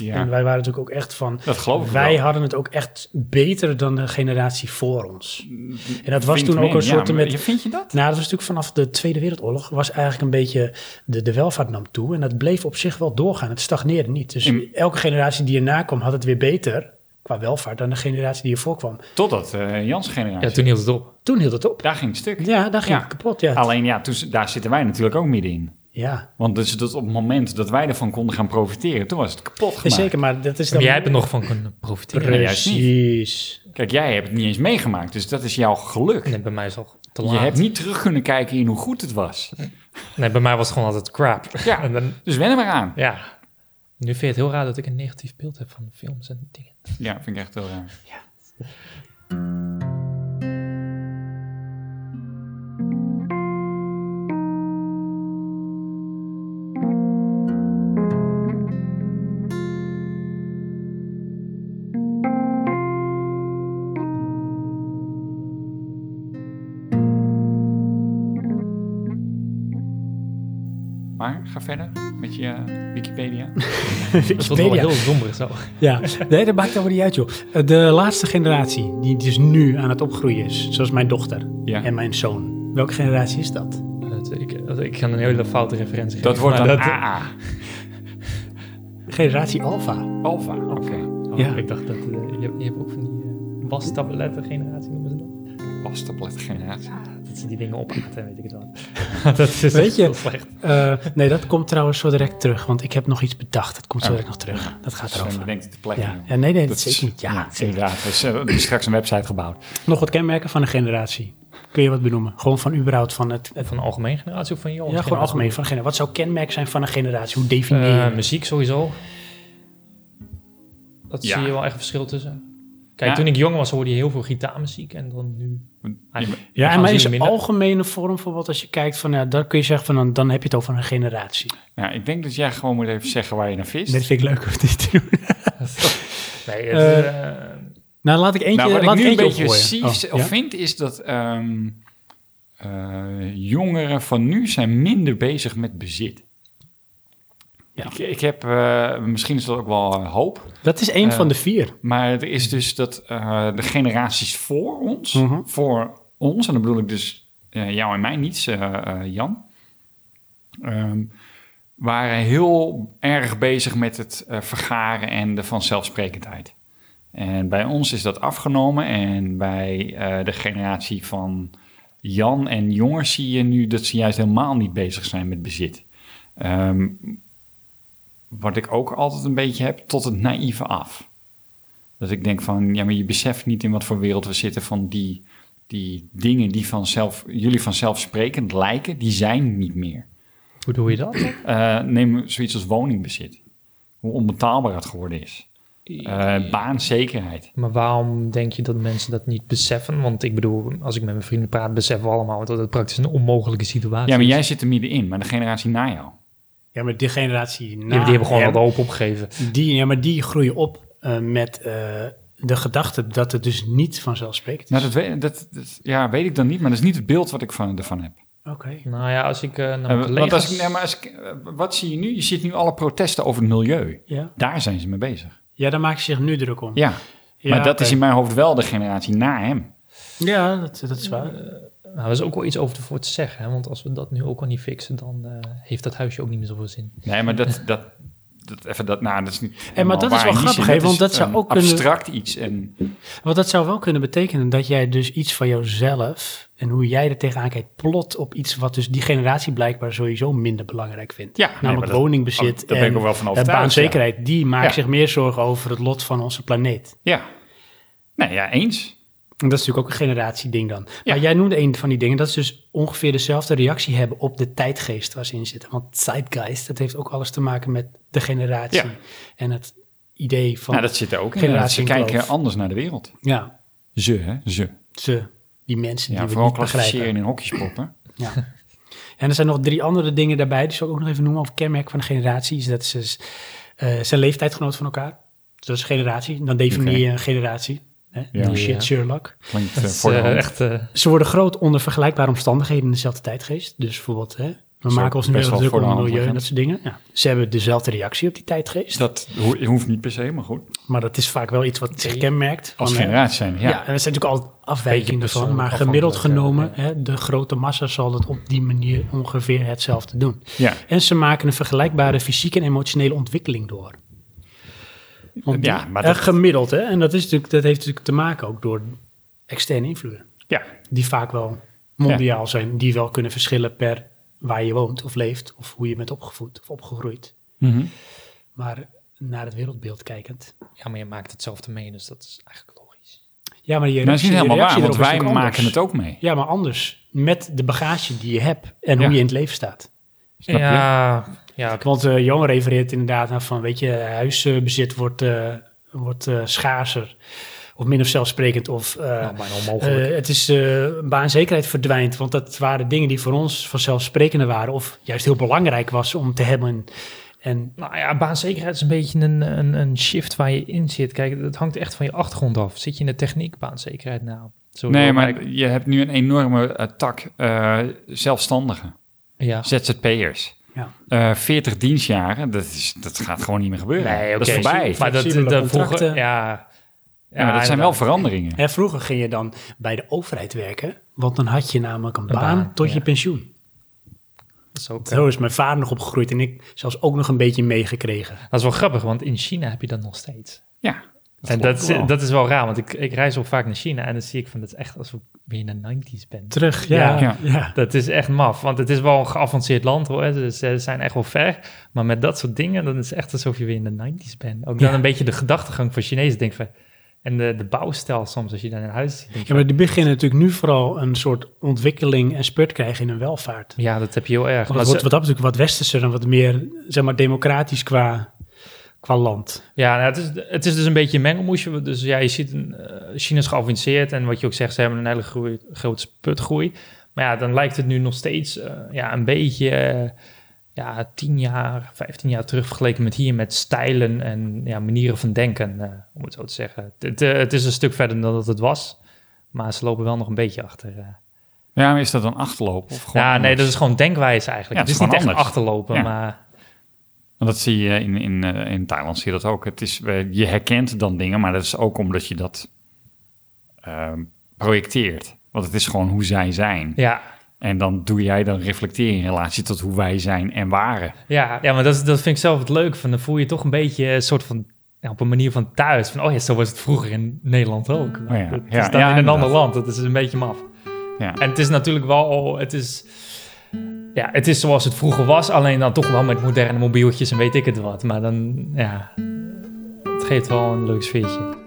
B: En
C: Ja,
B: wij waren natuurlijk ook echt van...
C: dat geloof ik
B: Wij
C: wel.
B: hadden het ook echt beter dan de generatie voor ons.
A: Mm,
B: En dat was
C: Vind
B: toen ook
C: men,
B: een
C: ja,
B: soort...
C: maar-
B: met,
C: ja, Vind je dat?
B: nou, dat was natuurlijk vanaf de Tweede Wereldoorlog. Was eigenlijk een beetje de, de welvaart nam toe. En dat bleef op zich wel doorgaan. Het stagneerde niet. Dus
C: In-
B: elke generatie die erna kwam had het weer beter qua welvaart dan de generatie die ervoor kwam.
C: Totdat eh, Jans
A: Ja,
C: generatie.
A: toen hield het op.
B: Toen hield het op.
C: Daar ging het stuk.
B: Ja, daar ging
C: Ja.
B: ik kapot. Ja.
C: Alleen ja, toen, daar zitten wij natuurlijk ook middenin.
B: ja.
C: Want dus dat op het moment dat wij ervan konden gaan profiteren, toen was het kapot
B: Nee,
C: gemaakt.
B: zeker, maar dat is dan.
A: Maar jij hebt er nog van kunnen profiteren.
C: Nee, juist niet.
B: Precies.
C: Kijk, jij hebt het niet eens meegemaakt, dus dat is jouw geluk.
A: Nee, bij mij is het al te laat.
C: Je hebt niet terug kunnen kijken in hoe goed het was.
A: Nee, bij mij was het gewoon altijd crap.
C: Ja.
A: en dan,
C: Dus wen er maar aan.
A: ja. Nu vind je het heel raar dat ik een negatief beeld heb van films en dingen.
C: Ja, vind ik echt heel raar. Maar ga verder met je eh, Wikipedia.
A: Het wordt wel heel somber zo.
B: Ja, nee, dat maakt helemaal niet uit, joh. Eh, De laatste generatie, die dus nu aan het opgroeien is, zoals mijn dochter
C: Ja.
B: en mijn zoon. Welke generatie is dat?
A: Dat- Ik, dat- ik ga een hele foute referentie geven.
C: Dat wordt
A: maar
C: dan AA.
B: Generatie Alpha.
C: Alpha, oké.
A: Oh,
B: Ja.
A: Ik dacht dat... eh, je, je hebt ook van die eh wastablettengeneratie, noemen ze dat?
C: Pastablet generatie.
A: Dat ze die dingen opaten, weet ik het wel. dat is
B: Weet je-
A: heel slecht.
B: Eh, nee, dat komt trouwens zo direct terug, want ik heb nog iets bedacht. Dat komt zo
C: Oh.
B: direct nog terug. Dat gaat
C: Sven
B: erover.
C: bedenkt het te plekken.
B: Ja.
C: joh.
B: ja, nee, nee, dat
C: Dat
B: zeker niet. Ja, zeker.
C: inderdaad. Er is, eh, er is straks een website gebouwd.
B: Nog wat kenmerken van een generatie. Kun je wat benoemen? Gewoon van überhaupt van het... het
A: Van de algemene generatie of van jongens?
B: ja, gewoon
A: generatie?
B: algemeen van een generatie. Wat zou kenmerk zijn van een generatie? Hoe definieer je
A: Eh,
B: het?
A: muziek sowieso. Dat
C: Ja.
A: zie je wel echt een verschil tussen. Kijk,
C: Ja.
A: toen ik jong was hoorde je heel veel gitaarmuziek en dan nu... eigenlijk- we
B: Ja,
A: gaan
B: en maar
A: zien
B: is een
A: minder.
B: algemene vorm bijvoorbeeld als je kijkt van... Ja, dan kun je zeggen van, dan, dan heb je het over een generatie.
C: Ja, ik denk dat jij gewoon moet even zeggen waar je naar vist.
B: Dat vind ik leuk om dit te doen.
A: Nee, het, eh,
B: Nou, laat ik eentje
C: nou, wat
B: laat
C: ik nu een
B: eentje
C: beetje
B: opgooien.
C: zie,
B: Oh,
C: of
B: ja?
C: vind, is dat ehm, eh, jongeren van nu zijn minder bezig met bezit.
B: Ja.
C: Ik, ik heb, eh, misschien is dat ook wel eh, hoop,
B: Dat is één van de vier.
C: maar er is dus dat eh, de generaties voor ons,
B: Mhm.
C: voor ons, en dan bedoel ik dus eh, jou en mij niet, eh, eh, Jan, ehm, waren heel erg bezig met het eh, vergaren en de vanzelfsprekendheid. En bij ons is dat afgenomen en bij eh, de generatie van Jan en jonger zie je nu dat ze juist helemaal niet bezig zijn met bezit. Ehm, wat ik ook altijd een beetje heb, tot het naïeve af. Dat ik denk van, ja, maar je beseft niet in wat voor wereld we zitten van die, die dingen die vanzelf, jullie vanzelfsprekend lijken, die zijn niet meer.
A: hoe doe je dat?
C: Eh, neem zoiets als woningbezit. Hoe onbetaalbaar het geworden is. Eh, baanzekerheid.
A: Maar waarom denk je dat mensen dat niet beseffen? Want ik bedoel, als ik met mijn vrienden praat, beseffen we allemaal dat het praktisch een onmogelijke situatie
C: Ja, maar
A: is.
C: jij zit er middenin, maar de generatie na jou.
B: Ja, maar die generatie na
A: Die, die hebben gewoon
B: hem,
A: wat hoop opgegeven.
B: die, ja, maar die groeien op eh, met eh, de gedachte dat het dus niet vanzelfsprekend is.
C: Nou, dat weet, dat, dat- ja, weet ik dan niet, maar dat is niet het beeld wat ik van, ervan heb.
B: Oké.
A: Nou ja, als ik eh, naar
C: Eh,
A: mijn
C: want als
A: collega's...
C: ik, nee, maar als ik, eh, wat zie je nu? Je ziet nu alle protesten over het milieu.
B: Ja.
C: Daar zijn ze mee bezig.
B: ja, daar maak je zich nu druk om.
C: Ja,
B: Ja,
C: maar dat
B: oké.
C: is in mijn hoofd wel de generatie na hem.
B: Ja, dat, dat is waar.
A: Nou, er is ook wel iets over te voor te zeggen. Hè? Want als we dat nu ook al niet fixen, dan eh, heeft dat huisje ook niet meer zoveel zin.
C: Nee, maar dat, dat, dat, even dat, nou, dat is niet.
B: Eh, maar dat
C: helemaal
B: is
C: waar in die
B: wel grappig,
C: zin.
B: hè, want
C: is
B: dat zou
C: een
B: ook kunnen-
C: abstract iets. En,
B: Want dat zou wel kunnen betekenen dat jij dus iets van jouzelf en hoe jij er tegenaan kijkt, plot op iets wat dus die generatie blijkbaar sowieso minder belangrijk vindt.
C: Ja, nee, maar
B: Namelijk
C: dat- oh,
B: woningbezit
C: daar ben ik
B: en
C: ook wel van
B: eh,
C: overtuigd,
B: baanzekerheid. Die maakt
C: Ja.
B: zich meer zorgen over het lot van onze planeet.
C: ja, nee, ja, eens.
B: En dat is natuurlijk ook een generatieding dan.
C: Ja.
B: Maar jij noemde een van die dingen, dat is dus ongeveer dezelfde reactie hebben op de tijdgeest waar ze in zitten. Want zeitgeist, dat heeft ook alles te maken met de generatie
C: Ja.
B: en het idee van...
C: Nou, dat zit er ook in.
B: Generatie
C: Ze
B: in
C: kijken
B: kloof.
C: eh, anders naar de wereld.
B: Ja,
C: Ze, hè? Ze.
B: ze, die mensen
C: Ja,
B: die we
C: vooral
B: niet begrijpen.
C: klassificeren in hokjes proppen.
B: Ja. En er zijn nog drie andere dingen daarbij, die zal ik ook nog even noemen over kenmerk van een generatie. Is dat ze eh, zijn leeftijdgenoot van elkaar. Dus dat is generatie. Dan definieer je een generatie. Hè?
C: Ja.
B: No shit,
A: Ja.
B: Sherlock.
C: Klinkt eh,
A: Dat is
C: voor de
A: eh,
C: hand.
A: echt... eh,
B: Ze worden groot onder vergelijkbare omstandigheden in dezelfde tijdgeest. Dus bijvoorbeeld, hè, we
C: Zo,
B: maken ons nu
C: best
B: heel
C: wel voor
B: druk
C: de
B: om het
C: hand
B: milieu
C: liggend.
B: en dat soort dingen. Ja. Ze hebben dezelfde reactie op die
C: Dus
B: tijdgeest.
C: dat ho- hoeft niet per se, maar goed.
B: Maar dat is vaak wel iets wat zich kenmerkt.
C: Als
B: van, eh,
C: generatie zijn, ja.
B: Ja. en er zijn natuurlijk al afwijkingen
A: Beetje
B: van, maar
A: persoonlijk
B: gemiddeld genomen,
A: afhankelijk,
B: hè, de grote massa zal het op die manier ongeveer hetzelfde doen.
C: Ja.
B: En ze maken een vergelijkbare fysieke en emotionele ontwikkeling door. Want
C: Ja,
B: die-
C: maar
B: eh,
C: dat-
B: gemiddeld, hè? En dat, is natuurlijk, dat heeft natuurlijk te maken ook door externe invloeden,
C: ja.
B: die vaak wel mondiaal zijn, die wel kunnen verschillen per waar je woont of leeft, of hoe je bent opgevoed of opgegroeid.
C: Mhm.
B: Maar naar het wereldbeeld kijkend.
A: ja, maar je maakt hetzelfde mee, dus dat is eigenlijk logisch.
B: Ja, maar
C: Maar dat Nou, is
B: je reactie,
C: niet
B: je
C: helemaal waar,
B: reactie
C: want
B: erop is
C: wij
B: natuurlijk anders.
C: maken het ook mee.
B: Ja, maar anders. Met de bagage die je hebt en
C: Ja.
B: hoe je in het leven staat.
C: Snap je?
A: ja, ja, oké.
B: Want eh Jan refereert inderdaad naar van, weet je, huisbezit wordt, eh, wordt eh, schaarser. Of minder zelfsprekend. Of eh,
A: nou, bijna onmogelijk.
B: eh, het is eh, baanzekerheid verdwijnt. Want dat waren dingen die voor ons vanzelfsprekende waren. Of juist heel belangrijk was om te hebben. En
A: nou ja, baanzekerheid is een beetje een, een, een shift waar je in zit. Kijk, dat hangt echt van je achtergrond af. Zit je in de techniek, baanzekerheid nou? Zo
C: Nee,
A: heel
C: maar
A: rijk-
C: je hebt nu een enorme eh, tak eh zelfstandigen,
A: Ja,
C: ZZP'ers.
B: Ja.
C: Eh, 40 dienstjaren, dat, is, dat gaat gewoon niet meer gebeuren. dat is
A: oké,
C: voorbij.
A: Maar dat,
B: Flexibele
A: de vroeger,
B: contracten.
A: ja.
C: Ja, maar dat zijn wel
A: inderdaad.
C: veranderingen.
B: Hè, vroeger ging je dan bij de overheid werken, want dan had je namelijk een, baan,
A: baan,
B: tot
A: ja.
B: je pensioen.
A: Dat is, ook, eh,
B: Zo is mijn vader nog opgegroeid en ik zelfs ook nog een beetje meegekregen.
A: dat is wel grappig, want in China heb je dat nog steeds.
C: Ja.
A: en
C: klopt
A: dat,
C: wel.
A: is, dat is wel raar, want ik, ik reis ook vaak naar China en dan zie ik van, dat is echt alsof ik weer in de 90s ben.
B: Terug,
A: ja.
B: ja. ja.
A: Dat is echt maf, want het is wel een geavanceerd land hoor. hè. Dus ze zijn echt wel ver. Maar met dat soort dingen, dan is het echt alsof je weer in de 90s bent. Ook dan
B: Ja.
A: een beetje de gedachtegang van Chinezen. Denk van, en de, de bouwstijl soms, als je dan in huis ziet. denk
B: Ja, maar die beginnen natuurlijk nu vooral een soort ontwikkeling en spurt krijgen in hun welvaart.
A: van, ja, dat heb je heel erg.
B: Want
A: Maar
B: het
A: ze-
B: wordt wat dat natuurlijk wat westerser en wat meer, zeg maar, democratisch qua, qua land.
A: Ja, nou, het, is, het is dus een beetje een mengelmoesje. Dus ja, je ziet, een, eh, China is geavanceerd en wat je ook zegt, ze hebben een hele groei, grote putgroei. Maar ja, dan lijkt het nu nog steeds eh, ja, een beetje, eh, ja, 10 jaar, 15 jaar terug vergeleken met hier, met stijlen en ja, manieren van denken, eh, om het zo te zeggen. Het, het, eh, het is een stuk verder dan dat het was, maar ze lopen wel nog een beetje achter. eh.
C: Ja, maar is dat dan achterlopen? Of gewoon
A: Ja, nee,
C: anders?
A: dat is gewoon denkwijze eigenlijk.
C: Ja, het
A: het is
C: is
A: niet echt
C: gewoon anders.
A: achterlopen,
C: Ja.
A: maar
C: Want dat zie je in, in, eh, in Thailand zie je dat ook. Het is, eh, je herkent dan dingen, maar dat is ook omdat je dat ehm, projecteert. Want het is gewoon hoe zij zijn.
A: ja.
C: En dan doe jij dan reflecteren in relatie tot hoe wij zijn en waren.
A: Ja, ja maar dat, is- dat vind ik zelf het leuk. Van, dan voel je je toch een beetje een soort van ja, op een manier van thuis. Van, oh ja, zo was het vroeger in Nederland ook.
C: ja, ja,
A: het is
C: ja,
A: dan in een
C: inderdaad.
A: ander land. Dat is een beetje maf.
C: Ja.
A: En het is natuurlijk wel, het is, ja, het is zoals het vroeger was. Alleen dan toch wel met moderne mobieltjes en weet ik het wat. Maar dan, ja, het geeft wel een leuk sfeertje.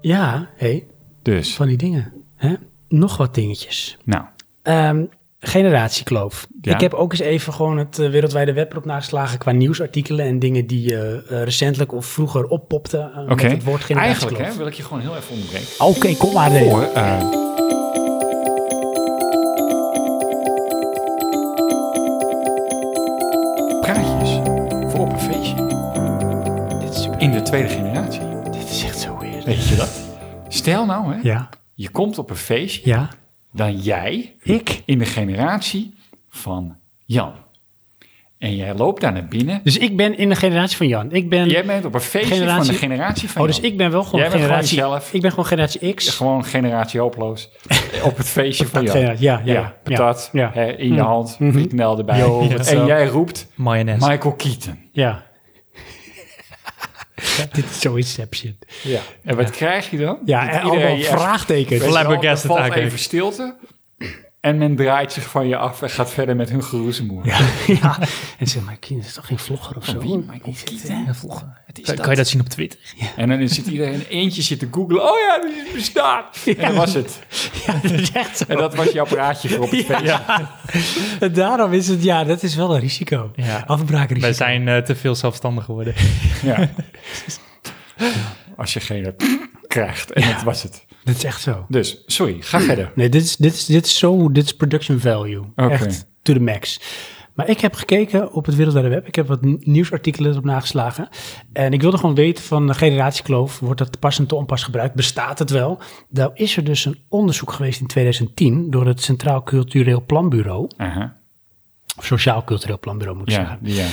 B: Ja, hé,
C: Dus,
B: van die dingen. Hè? Nog wat dingetjes.
C: nou,
B: Ehm, generatiekloof.
C: Ja.
B: Ik heb ook eens even gewoon het eh, wereldwijde web erop nageslagen qua nieuwsartikelen en dingen die eh, eh, recentelijk of vroeger oppopten eh,
C: oké.
B: met het woord generatiekloof.
C: Eigenlijk hè, wil ik je gewoon heel even onderbreken.
B: Oké, kom maar. Leo.
C: Voor, eh, praatjes voor op een feestje
B: Dit, is super-
C: in de tweede generatie.
B: dit is echt zo weird.
C: Weet je dat? Stel nou, hè,
B: Ja,
C: je komt op een feestje,
B: ja.
C: dan jij
B: Ik?
C: in de generatie van Jan. En jij loopt daar naar binnen.
B: Dus ik ben in de generatie van Jan. Ik ben...
C: Jij bent op een feestje van
B: Generatie-
C: de generatie van
B: Oh, dus
C: Jan.
B: ik ben wel gewoon
C: Jij bent gewoon
B: generatie...
C: jezelf.
B: ik ben gewoon generatie X.
C: Gewoon generatie hopeloos op het feestje van Jan.
B: Generatie- Ja, ja, ja.
C: patat
B: Ja. Mm. Mhm.
C: hè, in je hand, frikandel erbij.
A: Yo, what's
C: en
A: up?
C: jij roept
A: Mayonaise.
C: Michael Keaton.
B: Ja. Dit is zo Inception.
C: Ja. En wat krijg je dan?
B: Ja,
C: Dat
B: en
C: iedereen
B: allemaal
C: je echt-
B: vraagtekens.
C: Weet je wel, Er
A: Flabbergasted
C: valt
A: eigenlijk.
C: even stilte. En men draait zich van je af en gaat verder met hun geroezemoer.
B: Ja, Oh, ja. En zeg maar, kind, is toch geen vlogger of zo?
C: Wie? Michael Keaton? Wat is
A: Kan,
C: dat?
A: kan je dat zien op Twitter?
C: En dan zit iedereen eentje zit te googlen. Oh ja, die bestaat. En dat was het.
B: Ja, dat is echt zo.
C: En dat was jouw praatje voor op het feestje.
B: En daarom is het, ja, dat is wel een risico.
A: Ja.
B: Afbraakrisico.
A: Wij zijn eh, te veel zelfstandig geworden.
C: Ja. Als je geen krijgt. En dat was het.
B: Dat is echt zo.
C: Dus, sorry, ga verder.
B: Nee, dit is, dit is, dit is zo, dit is production value.
C: Oké.
B: Echt to the max. Maar ik heb gekeken op het Wereldwijde Web. Ik heb wat n- nieuwsartikelen erop nageslagen. En ik wilde gewoon weten van de generatiekloof. Wordt dat te pas en te onpas gebruikt? Bestaat het wel? Nou is er dus een onderzoek geweest in 2010 door het Centraal Cultureel Planbureau.
C: Aha.
B: Of Sociaal Cultureel Planbureau moet ik
C: Ja,
B: zeggen.
C: ja.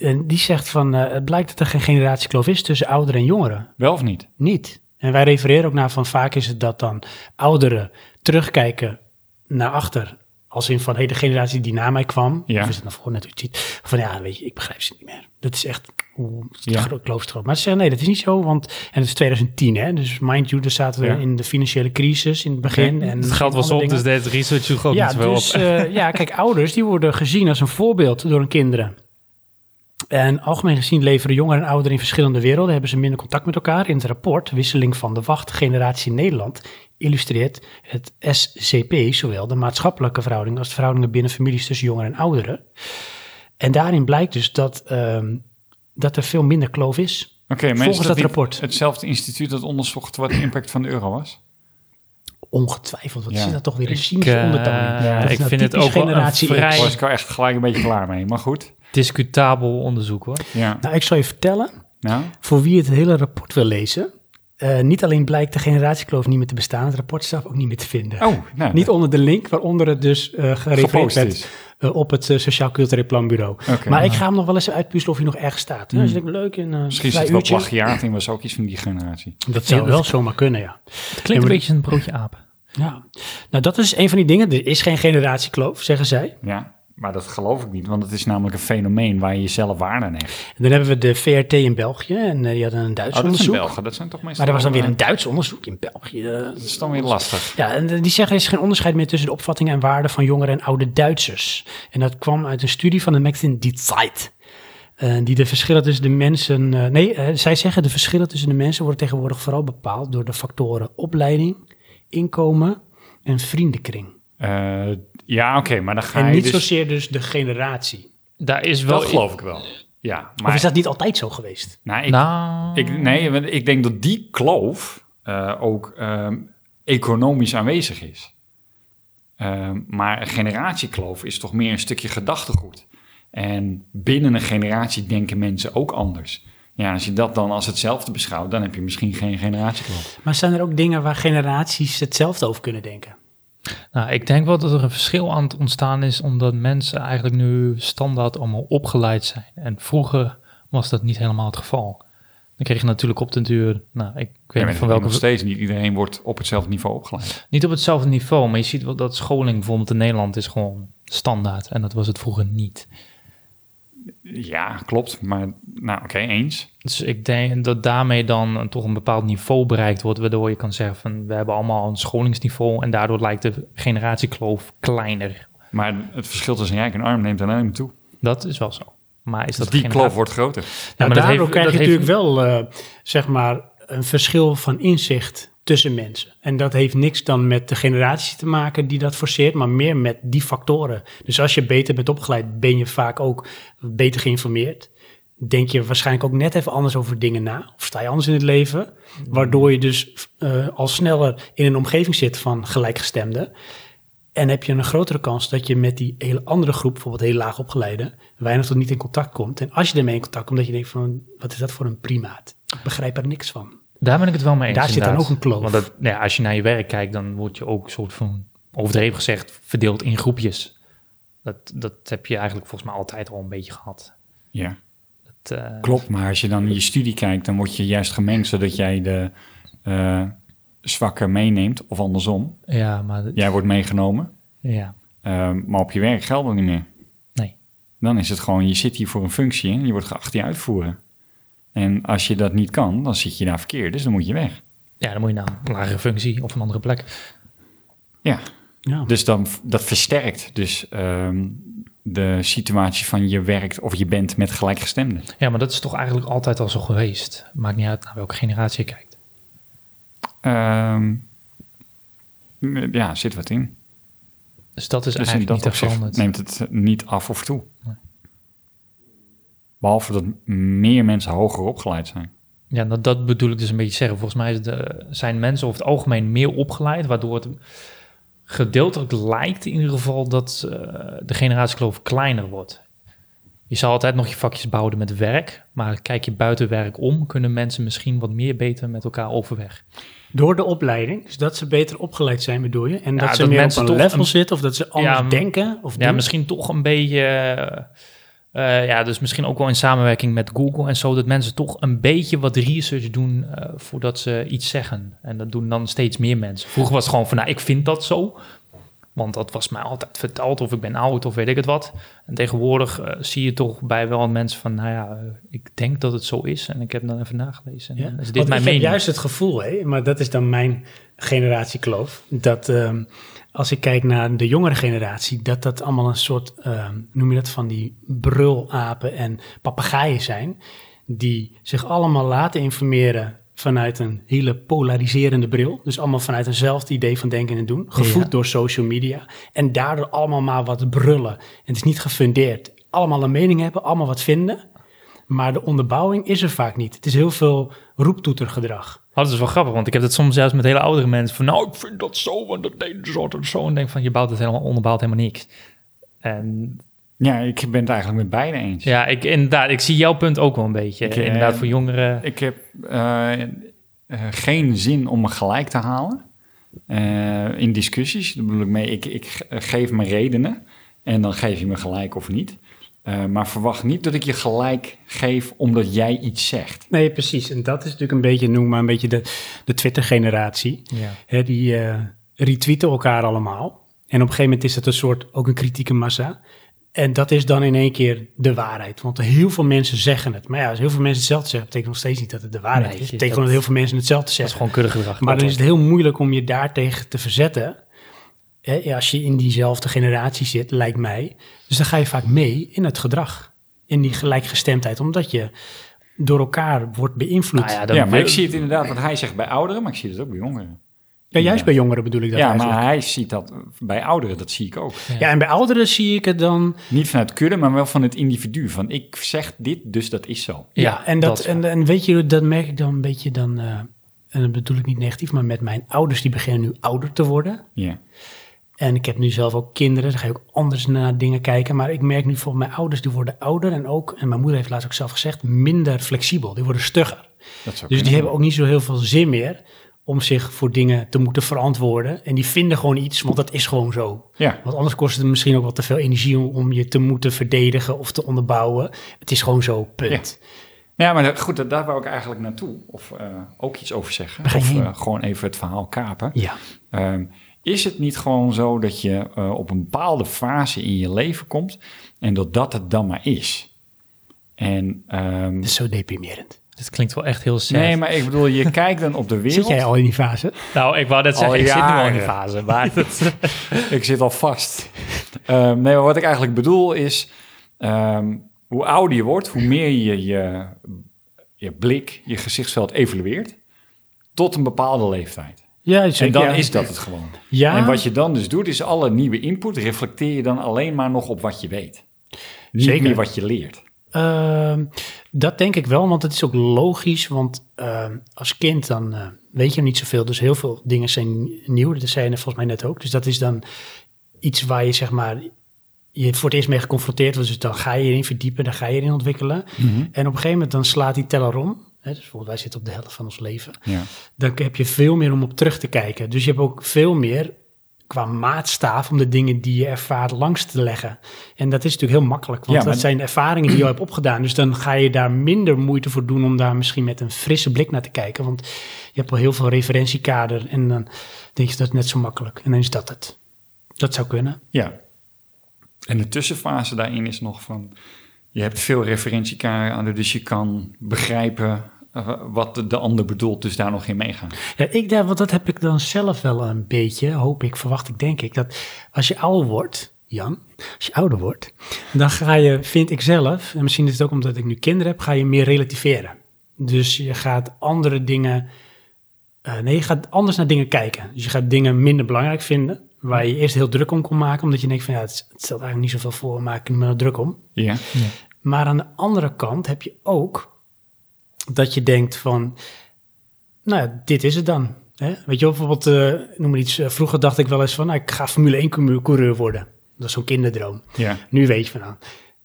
B: Eh, en die zegt van eh, het blijkt dat er geen generatiekloof is tussen ouderen en jongeren
C: Wel of niet?
B: niet. En wij refereren ook naar van vaak is het dat dan ouderen terugkijken naar achter. Als in van, hé, de generatie die na mij kwam,
C: Ja.
B: of is het nou naar voren natuurlijk ziet, van ja, weet je, ik begrijp ze niet meer. Dat is echt, oeh, het is
C: Ja.
B: een groot kloof te groot. Maar ze zeggen, nee, dat is niet zo, want, en het is 2010, hè, dus mind you, daar zaten we
C: Ja.
B: in de financiële crisis in het begin. En
A: Het geld was op,
B: andere
A: dus
B: dingen.
A: deed het research zoek ook
B: ja,
A: niet zo wel
B: dus,
A: op.
B: eh, ja, kijk, ouders, die worden gezien als een voorbeeld door hun kinderen. En algemeen gezien leveren jongeren en ouderen in verschillende werelden, hebben ze minder contact met elkaar. In het rapport Wisseling van de Wacht, Generatie Nederland, illustreert het SCP zowel de maatschappelijke verhoudingen als de verhoudingen binnen families tussen jongeren en ouderen. En daarin blijkt dus dat, ehm, dat er veel minder kloof is.
C: Oké, maar
B: Volgens
C: is
B: dat
C: niet
B: rapport.
C: Hetzelfde instituut dat onderzocht wat de impact van de euro was.
B: Ongetwijfeld, wat
C: Ja.
B: zit dat toch weer een
A: Ik,
B: cynische
A: eh,
B: ondertoon in. Dat is
A: ik
B: nou
A: vind het
B: typisch
A: ook wel een
B: generatie X.
A: vrij
C: Daar was ik al echt gelijk een beetje klaar mee. Maar goed.
A: discutabel onderzoek hoor.
C: Ja.
B: Nou, ik zal je vertellen,
C: Nou,
B: voor wie het hele rapport wil lezen, eh, niet alleen blijkt de generatiekloof niet meer te bestaan, het rapport is zelf ook niet meer te vinden.
C: oh, nou,
B: Niet onder de link waaronder het dus eh gerefereerd
C: gepost
B: werd
C: is.
B: eh, op het eh, Sociaal Cultureel Planbureau.
C: Oké. Hmm.
B: Maar ik ga hem nog wel eens uitpuzzelen of hij nog ergens staat. Dus dat is leuk in een
C: Misschien
B: vrij
C: zit er wel
B: uurtje.
C: plagiaat in, was ook iets van die generatie.
B: Dat zou
A: Ja,
B: wel
A: dat-
B: zomaar kunnen, ja.
A: Het klinkt
B: maar-
A: een beetje een broodje aap.
B: ja. Nou, dat is een van die dingen. Er is geen generatiekloof, zeggen zij.
C: Ja, maar dat geloof ik niet, want het is namelijk een fenomeen waar je jezelf waarde aan hecht.
B: En dan hebben we de VRT in België en eh, die hadden een Duits
C: Oh, dat zijn
B: onderzoek.
C: Belgen, dat zijn toch meestal...
B: Maar er was dan weer een
C: eh,
B: Duits onderzoek in België. eh,
C: Dat is dan weer lastig.
B: Ja, en die zeggen er is geen onderscheid meer tussen de opvattingen en waarden van jongere en oude Duitsers. En dat kwam uit een studie van de magazine Die Zeit. eh, die de verschillen tussen de mensen. eh, nee, eh, zij zeggen de verschillen tussen de mensen worden tegenwoordig vooral bepaald door de factoren opleiding, inkomen en vriendenkring.
C: Eh, ja, oké, maar dan ga
B: En
C: je
B: niet
C: dus...
B: zozeer dus de generatie.
A: Daar is wel.
C: Dat geloof ik wel. Ja, maar...
B: Of is dat niet altijd zo geweest?
C: Nou, ik,
A: Nou,
C: ik, nee, want ik denk dat die kloof eh, ook ehm, economisch aanwezig is. Ehm, maar een generatiekloof is toch meer een stukje gedachtegoed. En binnen een generatie denken mensen ook anders. Ja, als je dat dan als hetzelfde beschouwt, dan heb je misschien geen generatiekloof.
B: Maar zijn er ook dingen waar generaties hetzelfde over kunnen denken?
A: nou, ik denk wel dat er een verschil aan het ontstaan is, omdat mensen eigenlijk nu standaard allemaal opgeleid zijn. En vroeger was dat niet helemaal het geval. Dan kreeg je natuurlijk op den duur, nou, ik weet
C: Ja,
A: niet
C: welke... Nog
A: van welke
C: steeds niet iedereen wordt op hetzelfde niveau opgeleid.
A: Niet op hetzelfde niveau, maar je ziet wel dat scholing bijvoorbeeld in Nederland is gewoon standaard. En dat was het vroeger niet.
C: Ja, klopt. Maar nou, oké, eens.
A: Dus ik denk dat daarmee dan een- toch een bepaald niveau bereikt wordt, waardoor je kan zeggen van we hebben allemaal een scholingsniveau en daardoor lijkt de generatiekloof kleiner.
C: Maar het verschil tussen rijk en arm neemt alleen maar toe.
A: Dat is wel zo. Maar is dat
C: Dus die
A: genera-
C: kloof wordt groter.
A: Ja,
B: Nou,
A: maar dat
B: daardoor
A: heeft-
B: krijg je
A: dat heeft-
B: natuurlijk wel, eh, zeg maar, een verschil van inzicht tussen mensen. En dat heeft niks dan met de generatie te maken die dat forceert, maar meer met die factoren. Dus als je beter bent opgeleid, ben je vaak ook beter geïnformeerd. Denk je waarschijnlijk ook net even anders over dingen na, of sta je anders in het leven, waardoor je dus eh, al sneller in een omgeving zit van gelijkgestemden. En heb je een grotere kans dat je met die hele andere groep, bijvoorbeeld heel laag opgeleide, weinig tot niet in contact komt. En als je ermee in contact komt, dat je denkt van, wat is dat voor een primaat? Ik begrijp er niks van.
A: Daar ben ik het wel mee eens.
B: Daar zit dan
A: inderdaad.
B: ook een kloof.
A: Want dat, nou ja, als je naar je werk kijkt, dan word je ook soort van overdreven gezegd verdeeld in groepjes. Dat, dat heb je eigenlijk volgens mij altijd al een beetje gehad.
C: Ja.
A: Dat, eh,
C: Klopt, maar als je dan in je studie kijkt, dan word je juist gemengd zodat jij de eh zwakke meeneemt, of andersom.
A: Ja, maar dat-
C: Jij wordt meegenomen,
A: ja.
C: eh, maar op je werk geldt dat niet meer.
A: Nee.
C: Dan is het gewoon, je zit hier voor een functie en je wordt geacht die uitvoeren. En als je dat niet kan, dan zit je daar verkeerd, dus dan moet je weg.
A: ja, dan moet je naar een lagere functie of een andere plek.
C: Ja,
B: Ja.
C: dus dan, dat versterkt dus ehm, de situatie van je werkt of je bent met gelijkgestemden.
A: Ja, maar dat is toch eigenlijk altijd al zo geweest. Maakt niet uit naar welke generatie je kijkt.
C: Ehm, ja, zit wat in.
A: Dus dat is
C: Dus in
A: eigenlijk
C: dat
A: niet echt
C: opzicht
A: veranderd.
C: neemt het eh, niet af of toe. Behalve dat meer mensen hoger opgeleid zijn.
A: Ja, dat, dat bedoel ik dus een beetje zeggen. Volgens mij is de, zijn mensen over het algemeen meer opgeleid, waardoor het gedeeltelijk lijkt in ieder geval dat eh, de generatiekloof kleiner wordt. Je zal altijd nog je vakjes bouwen met werk, maar kijk je buiten werk om, kunnen mensen misschien wat meer beter met elkaar overweg.
B: Door de opleiding, dus dat ze beter opgeleid zijn bedoel je, en
A: Ja,
B: dat ze
A: dat
B: meer op
A: mensen
B: een
A: toch
B: level
A: een-
B: zitten, of dat ze anders
A: Ja, m-
B: denken. Of
A: Ja,
B: doen.
A: misschien toch een beetje, eh, eh, ja, dus misschien ook wel in samenwerking met Google en zo, dat mensen toch een beetje wat research doen eh, voordat ze iets zeggen. En dat doen dan steeds meer mensen. Vroeger was het gewoon van, nou, ik vind dat zo, want dat was mij altijd verteld, of ik ben oud, of weet ik het wat. En tegenwoordig eh, zie je toch bij wel mensen van, nou ja, eh, ik denk dat het zo is en ik heb dan even nagelezen. En
B: Ja?
A: dan is dus dit
B: Want
A: mijn
B: ik heb
A: mening.
B: juist het gevoel, hè, maar dat is dan mijn generatiekloof, dat ehm, als ik kijk naar de jongere generatie, dat dat allemaal een soort, ehm, noem je dat, van die brulapen en papegaaien zijn, die zich allemaal laten informeren vanuit een hele polariserende bril. Dus allemaal vanuit eenzelfde idee van denken en doen. Gevoed
A: Ja.
B: door social media. En daardoor allemaal maar wat brullen. En het is niet gefundeerd. Allemaal een mening hebben, allemaal wat vinden. Maar de onderbouwing is er vaak niet. Het is heel veel roeptoetergedrag.
A: Oh, dat is wel grappig, want ik heb dat soms zelfs met hele oudere mensen van... nou, ik vind dat zo, want dat deden ze altijd zo. En denk van, je bouwt het helemaal, onderbouwt helemaal niks. En
C: Ja, ik ben het eigenlijk met beide eens.
A: ja, ik, inderdaad, ik zie jouw punt ook wel een beetje.
C: Ik, eh,
A: inderdaad, voor jongeren...
C: Ik heb eh, eh, geen zin om me gelijk te halen eh, in discussies. Daar bedoel ik mee, ik, ik ge- eh, geef me redenen en dan geef je me gelijk of niet. Eh, maar verwacht niet dat ik je gelijk geef omdat jij iets zegt.
B: Nee, precies. En dat is natuurlijk een beetje, noem maar een beetje de, de Twitter-generatie.
A: ja.
B: Hè, die eh, retweeten elkaar allemaal. En op een gegeven moment is het een soort, ook een kritieke massa. En dat is dan in één keer de waarheid. Want heel veel mensen zeggen het. Maar ja, als heel veel mensen hetzelfde zeggen, betekent nog steeds niet dat het de waarheid
A: Nee,
B: is. Het
A: je-
B: betekent
A: dat-
B: dat heel veel mensen hetzelfde
A: Dat is
B: zeggen.
A: gewoon kudde gedrag.
B: Maar dan is het heel moeilijk om je daartegen te verzetten. Hè, ja, als je in diezelfde generatie zit, lijkt mij. Dus dan ga je vaak mee in het gedrag. In die gelijkgestemdheid. Omdat je door elkaar wordt beïnvloed.
A: Nou ja,
B: ja,
A: dan
C: ja, maar
A: wil-
C: ik zie het inderdaad wat hij zegt bij ouderen, maar ik zie het ook bij jongeren.
B: juist
C: ja.
B: bij jongeren bedoel ik dat
C: ja,
B: eigenlijk.
C: maar hij ziet dat bij ouderen, dat zie ik ook.
B: Ja, en bij ouderen zie ik het dan.
C: Niet vanuit kudde, maar wel van het individu. Van ik zeg dit, dus dat is zo.
B: Ja, en, dat, en, en weet je, dat merk ik dan een beetje dan. eh, en dat bedoel ik niet negatief, maar met mijn ouders, die beginnen nu ouder te worden.
C: Ja.
B: En ik heb nu zelf ook kinderen, dan ga je ook anders naar dingen kijken. Maar ik merk nu voor mijn ouders, die worden ouder en ook, en mijn moeder heeft laatst ook zelf gezegd, minder flexibel. Die worden stugger.
C: Dat zou
B: Dus die
C: kunnen.
B: hebben ook niet zo heel veel zin meer om zich voor dingen te moeten verantwoorden. En die vinden gewoon iets, want dat is gewoon zo.
C: Ja.
B: Want anders kost het misschien ook wel te veel energie om, om je te moeten verdedigen of te onderbouwen. Het is gewoon zo, punt.
C: Ja, maar dat- goed, dat, daar wou ik eigenlijk naartoe. Of eh, ook iets over zeggen.
B: Waar ga je
C: Of
B: heen?
C: eh, gewoon even het verhaal kapen.
B: Ja.
C: Ehm, is het niet gewoon zo dat je eh, op een bepaalde fase in je leven komt en dat dat het dan maar is? En, ehm,
B: Dat is zo deprimerend.
A: Dit klinkt wel echt heel sad.
C: nee, maar ik bedoel, je kijkt dan op de wereld.
B: Zit jij al in die fase?
A: Nou, ik wou net zeggen,
C: Al
A: ik zit nu al in die
C: jaren.
A: fase. Maar dat,
C: Ik zit al vast. Ehm, nee, maar wat ik eigenlijk bedoel is, ehm, hoe ouder je wordt, hoe meer je, je je blik, je gezichtsveld evolueert tot een bepaalde leeftijd.
B: Ja,
C: En dan is dat het gewoon.
B: Ja.
C: En wat je dan dus doet, is alle nieuwe input reflecteer je dan alleen maar nog op wat je weet. Niet
B: Zeker.
C: meer wat je leert.
B: Ehm, dat denk ik wel, want het is ook logisch. Want ehm, als kind dan eh, weet je niet zoveel. Dus heel veel dingen zijn nieuw. Dat zei je volgens mij net ook. Dus dat is dan iets waar je zeg maar... Je voor het eerst mee geconfronteerd wordt. Dus dan ga je erin verdiepen, dan ga je erin ontwikkelen.
C: Mhm.
B: En op een gegeven moment dan slaat die teller om. Hè, dus bijvoorbeeld wij zitten op de helft van ons leven.
C: Ja.
B: Dan heb je veel meer om op terug te kijken. Dus je hebt ook veel meer qua maatstaaf om de dingen die je ervaart langs te leggen. En dat is natuurlijk heel makkelijk, want
C: Ja, maar-
B: dat zijn ervaringen die je al hebt opgedaan. Dus dan ga je daar minder moeite voor doen om daar misschien met een frisse blik naar te kijken. Want je hebt al heel veel referentiekader en dan denk je dat is net zo makkelijk. En dan is dat het. Dat zou kunnen.
C: ja. En de tussenfase daarin is nog van, je hebt veel referentiekader, dus je kan begrijpen eh, wat de, de ander bedoelt, dus daar nog in meegaan.
B: Ja, ik denk, want dat heb ik dan zelf wel een beetje, hoop ik, verwacht ik, denk ik, dat als je ouder wordt, Jan, als je ouder wordt, dan ga je, vind ik zelf, en misschien is het ook omdat ik nu kinderen heb, ga je meer relativeren. Dus je gaat andere dingen, eh, nee, je gaat anders naar dingen kijken. Dus je gaat dingen minder belangrijk vinden, waar je eerst heel druk om kon maken, omdat je denkt van ja, het, het stelt eigenlijk niet zoveel voor, maak ik me nou druk om.
C: Ja.
B: Maar aan de andere kant heb je ook dat je denkt van, nou ja, dit is het dan. Hè? Weet je wel, bijvoorbeeld, eh, noem maar iets, eh, vroeger dacht ik wel eens van, nou, ik ga Formule 1 coureur- coureur worden. Dat is zo'n kinderdroom.
C: ja.
B: Nu weet je van, nou,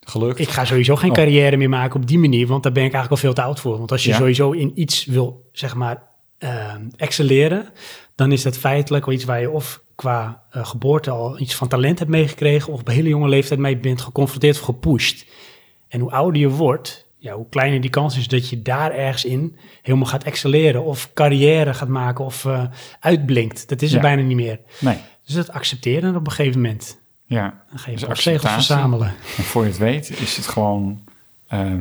C: Gelukt.
B: ik ga sowieso geen
C: Oh.
B: carrière meer maken op die manier, want daar ben ik eigenlijk al veel te oud voor. Want als je
C: Ja.
B: sowieso in iets wil, zeg maar, eh, excelleren, dan is dat feitelijk wel iets waar je of qua eh, geboorte al iets van talent hebt meegekregen, of op een hele jonge leeftijd mee bent geconfronteerd of gepusht. En hoe ouder je wordt, ja, hoe kleiner die kans is dat je daar ergens in helemaal gaat excelleren, of carrière gaat maken, of eh, uitblinkt. Dat is er
C: Ja.
B: bijna niet meer.
C: Nee.
B: Dus dat accepteren op een gegeven moment.
C: Ja.
B: Dan ga je
C: Dus
B: dus zegels
C: acceptatie.
B: verzamelen.
C: En voor je het weet is het gewoon eh,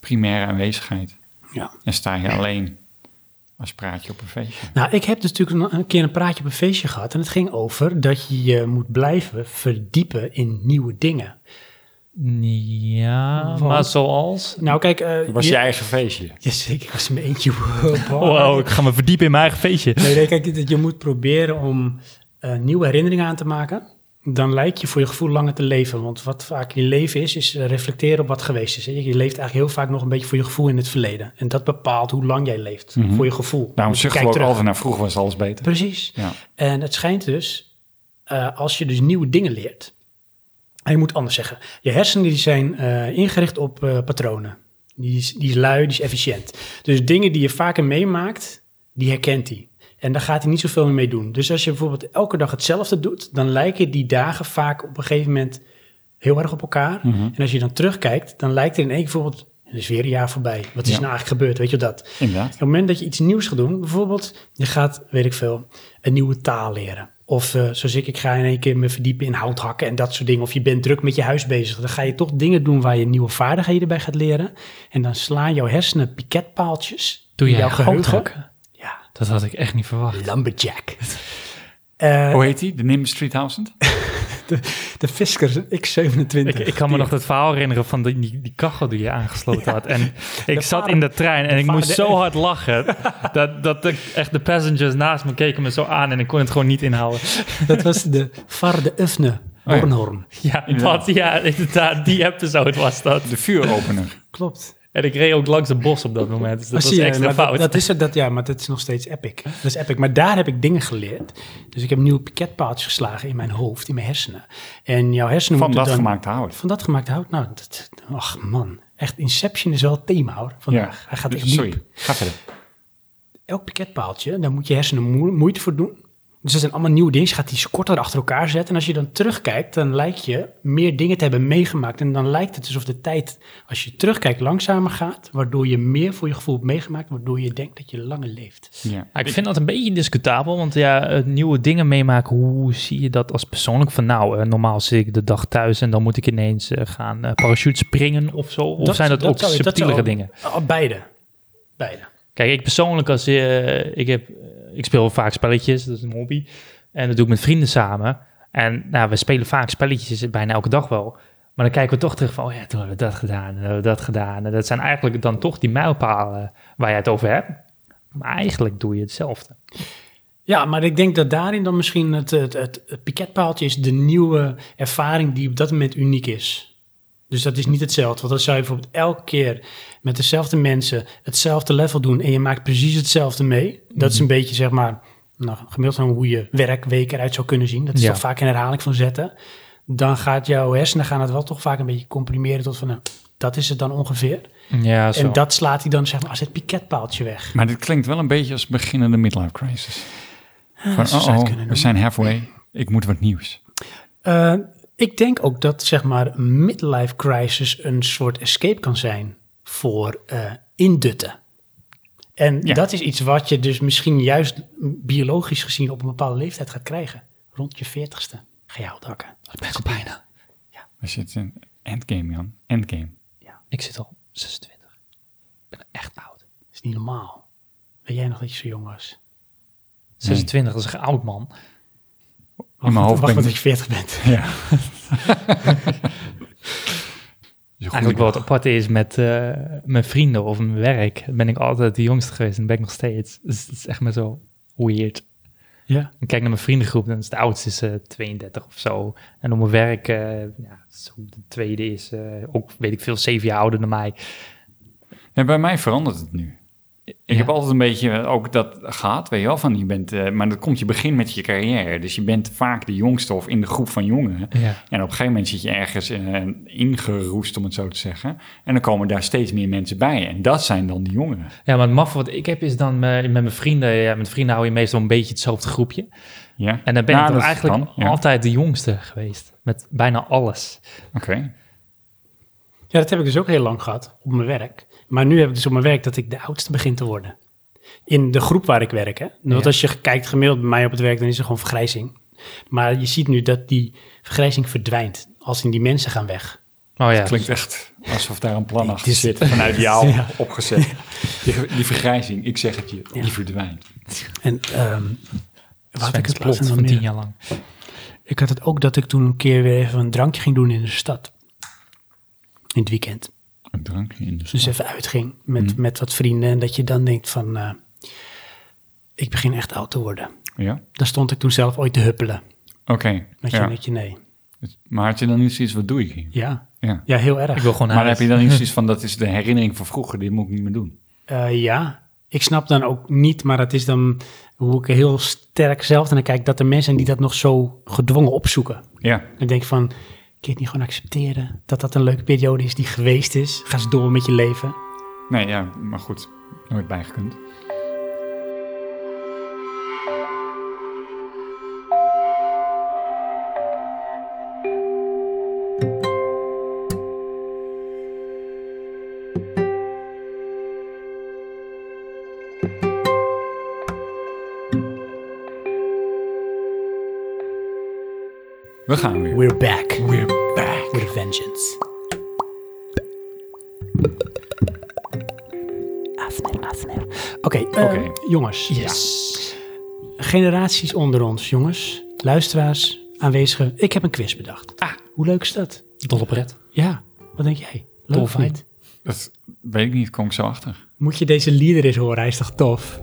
C: primaire aanwezigheid.
B: Ja.
C: En sta je alleen als praatje op een feestje.
B: Nou, ik heb dus natuurlijk een, een keer een praatje op een feestje gehad. En het ging over dat je je moet blijven verdiepen in nieuwe dingen.
A: Ja,
B: Want-
A: maar zoals?
B: Nou, kijk... eh,
C: Dat was
B: je-
C: je eigen feestje.
B: Jazeker, ik was in mijn eentje. Wow.
A: Wow, ik ga me verdiepen in mijn eigen feestje.
B: Nee, nee, kijk, je- je moet proberen om eh, nieuwe herinneringen aan te maken. Dan lijkt je voor je gevoel langer te leven. Want wat vaak je leven is, is eh, reflecteren op wat geweest is. hè. Je leeft eigenlijk heel vaak nog een beetje voor je gevoel in het verleden. En dat bepaalt hoe lang jij leeft voor je gevoel.
C: Mhm. Daarom
B: Dus je
C: zuchten we ook
B: kijkt terug.
C: altijd naar vroeger was alles beter.
B: Precies.
C: Ja.
B: En het schijnt dus, eh, als je dus nieuwe dingen leert. En je moet anders zeggen. Je hersenen die zijn eh, ingericht op eh, patronen. Die is, die is lui, die is efficiënt. Dus dingen die je vaker meemaakt, die herkent hij. En daar gaat hij niet zoveel meer mee doen. Dus als je bijvoorbeeld elke dag hetzelfde doet, dan lijken die dagen vaak op een gegeven moment heel erg op elkaar.
C: Mhm.
B: En als je dan terugkijkt, dan lijkt er in één keer bijvoorbeeld, er is weer een jaar voorbij. Wat is
C: Ja.
B: nou eigenlijk gebeurd? Weet je dat?
C: Inderdaad.
B: Op het moment dat je iets nieuws gaat doen, bijvoorbeeld je gaat, weet ik veel, een nieuwe taal leren. Of eh, zoals ik, ik ga in één keer me verdiepen in houthakken en dat soort dingen. Of je bent druk met je huis bezig. Dan ga je toch dingen doen waar je nieuwe vaardigheden bij gaat leren. En dan slaan jouw hersenen piketpaaltjes.
A: Doe
B: in
A: jij
B: jouw geheugen.
A: houthakken?
B: Ja,
A: Dat had ik echt niet verwacht.
B: lumberjack. Eh,
C: Hoe heet die? De Nimbus 3000?
B: de Fisker X27.
A: Ik, ik kan me nog dat verhaal herinneren van die, die, die kachel die je aangesloten had. En ik zat
B: vader-
A: in de trein en ik moest
B: vader-
A: zo hard lachen. dat dat ik, echt de passengers naast me keken me zo aan en ik kon het gewoon niet inhouden.
B: Dat was de Varde Ufne
C: ja.
B: Bornholm.
A: Oh Ja,
C: Inderdaad.
A: dat, ja inderdaad, die episode was dat.
C: De vuuropener.
B: Klopt.
A: En ik reed ook langs het bos op dat moment. Dus dat
B: Ah,
A: was
B: zie je,
A: extra
B: maar
A: fout.
B: Dat, dat is het, dat, ja, maar dat is nog steeds epic. Dat is epic. Maar daar heb ik dingen geleerd. Dus ik heb nieuwe piketpaaltjes geslagen in mijn hoofd, in mijn hersenen. En jouw hersenen
C: Van
B: moeten
C: dat
B: dan...
C: gemaakt hout.
B: Van dat gemaakt hout. Nou, dat, ach man. Echt, Inception is wel het thema hoor, vandaag. Hij gaat echt
C: Dus
B: diep.
C: Sorry, ga verder.
B: Elk piketpaaltje, daar moet je hersenen moe- moeite voor doen. Dus dat zijn allemaal nieuwe dingen. Je gaat die korter achter elkaar zetten. En als je dan terugkijkt, dan lijkt je meer dingen te hebben meegemaakt. En dan lijkt het alsof de tijd, als je terugkijkt, langzamer gaat. Waardoor je meer voor je gevoel hebt meegemaakt. Waardoor je denkt dat je langer leeft.
C: Ja.
A: Ja, ik vind dat een beetje discutabel, want ja, eh, nieuwe dingen meemaken, hoe zie je dat als persoonlijk? Van nou, eh, normaal zit ik de dag thuis en dan moet ik ineens eh, gaan eh parachute springen of zo. Of zijn dat, ook
B: zou je-
A: subtielere
B: zou-
A: dingen?
B: oh, beide. Beide.
A: Kijk, ik persoonlijk als eh, ik heb, ik speel vaak spelletjes, dat is een hobby. En dat doe ik met vrienden samen. En nou, we spelen vaak spelletjes, bijna elke dag wel. Maar dan kijken we toch terug van, oh ja, toen hebben we dat gedaan, toen hebben we dat gedaan. En dat zijn eigenlijk dan toch die mijlpalen waar je het over hebt. Maar eigenlijk doe je hetzelfde.
B: Ja, maar ik denk dat daarin dan misschien het, het, het, het piketpaaltje is de nieuwe ervaring die op dat moment uniek is. Dus dat is niet hetzelfde. Want dan zou je bijvoorbeeld elke keer met dezelfde mensen hetzelfde level doen en je maakt precies hetzelfde mee. Dat is een beetje zeg maar, nou, gemiddeld van hoe je werkweek eruit zou kunnen zien. Dat is
A: Ja.
B: toch vaak een herhaling van zetten. Dan gaat jouw hersenen gaan het wel toch vaak een beetje comprimeren tot van, nou, dat is het dan ongeveer.
A: Ja, zo.
B: En dat slaat hij dan zeg maar als het piketpaaltje weg.
C: Maar dit klinkt wel een beetje als beginnende midlife crisis. Van,
B: zou
C: oh, oh,
B: Ah, het kunnen
C: we
B: noemen.
C: zijn halfway. Ik moet wat nieuws.
B: Eh, ik denk ook dat zeg maar een midlife crisis een soort escape kan zijn voor eh, indutten. En
C: Ja.
B: dat is iets wat je dus misschien juist biologisch gezien op een bepaalde leeftijd gaat krijgen. Rond je veertigste ga je houthakken. Dat ben ik al bijna.
C: We zitten in endgame, Jan. Endgame.
A: Ik zit al 26. Ik ben echt oud.
B: Dat is niet normaal. Weet jij nog dat je zo jong was?
A: 26, dat is een oud man.
C: In mijn hoofd
B: Wacht
C: ben
B: tot
C: ik...
B: je veertig bent.
C: Zo goed
A: Eigenlijk wat apart is met eh, mijn vrienden of mijn werk, ben ik altijd de jongste geweest en ben ik nog steeds. Dus het is echt maar zo weird.
B: Ja.
A: Ik kijk naar mijn vriendengroep, dan is de oudste is, eh, 32 of zo. En op mijn werk, eh, ja, zo de tweede is eh, ook, weet ik veel, zeven jaar ouder dan mij.
C: Nee, bij mij verandert het nu. Ik
A: Ja.
C: heb altijd een beetje eh, ook dat gehad, weet je wel, van je bent... eh, maar dat komt je begin met je carrière. Dus je bent vaak de jongste of in de groep van jongeren.
A: Ja.
C: En op een gegeven moment zit je ergens eh, ingeroest, om het zo te zeggen. En dan komen daar steeds meer mensen bij. En dat zijn dan die jongeren.
A: ja, maar het maffe wat ik heb is dan eh, met mijn vrienden, ja, met vrienden hou je meestal een beetje hetzelfde groepje.
C: Ja.
A: En dan ben
C: Nou,
A: ik dan
C: dat
A: eigenlijk
C: kan, ja.
A: altijd de jongste geweest, met bijna alles.
C: Oké.
B: Ja, dat heb ik dus ook heel lang gehad op mijn werk. Maar nu heb ik dus op mijn werk dat ik de oudste begin te worden. In de groep waar ik werk. Hè? Want
A: Ja.
B: als je kijkt gemiddeld bij mij op het werk, dan is er gewoon vergrijzing. Maar je ziet nu dat die vergrijzing verdwijnt. Als in die mensen gaan weg.
A: Oh ja,
C: Klinkt echt alsof daar een plan achter
B: dit-
C: zit, vanuit jou opgezet. Die, die vergrijzing, ik zeg het je, die verdwijnt.
B: En ehm wat had ik het
A: Sven's
B: laatst
A: plot
B: nog
A: van
B: meer?
A: tien jaar lang.
B: Ik had het ook dat ik toen een keer weer even een drankje ging doen in de stad. in het weekend.
C: Een drankje in de
B: Dus even uitging met,
A: Mhm.
B: met wat vrienden. En dat je dan denkt van, eh, ik begin echt oud te worden.
C: Ja?
B: Daar stond ik toen zelf ooit te huppelen.
C: Oké.
B: Met je,
C: ja.
B: met je nee.
C: Maar had je dan niet zoiets, wat doe ik hier?
B: Ja.
C: Ja.
B: ja, heel erg.
A: Ik wil gewoon naar
C: Maar
A: huis.
C: heb je dan niet zoiets van, dat is de herinnering van vroeger, dit moet ik niet meer doen?
B: Eh, ja, ik snap dan ook niet, maar het is dan hoe ik er heel sterk zelf naar kijk... dat er mensen zijn die dat nog zo gedwongen opzoeken.
C: Ja.
B: En denk van, kun je het niet gewoon accepteren dat dat een leuke periode is die geweest is? Ga eens door met je leven.
C: Nee, ja, maar goed. Nooit bijgekund. We gaan weer.
B: We're back
C: We're back.
B: with a vengeance. ASMR, ASMR. Oké, eh,
C: Oké.
B: jongens. Ja. Generaties onder ons, jongens. Luisteraars, aanwezigen. Ik heb een quiz bedacht. Ah, hoe leuk is dat?
A: Dol op red.
B: Ja, wat denk jij? Leuk of
A: Dolfijn.
B: niet?
C: Dat weet ik niet, kom ik zo achter.
B: Moet je deze lieder eens horen, hij is toch tof?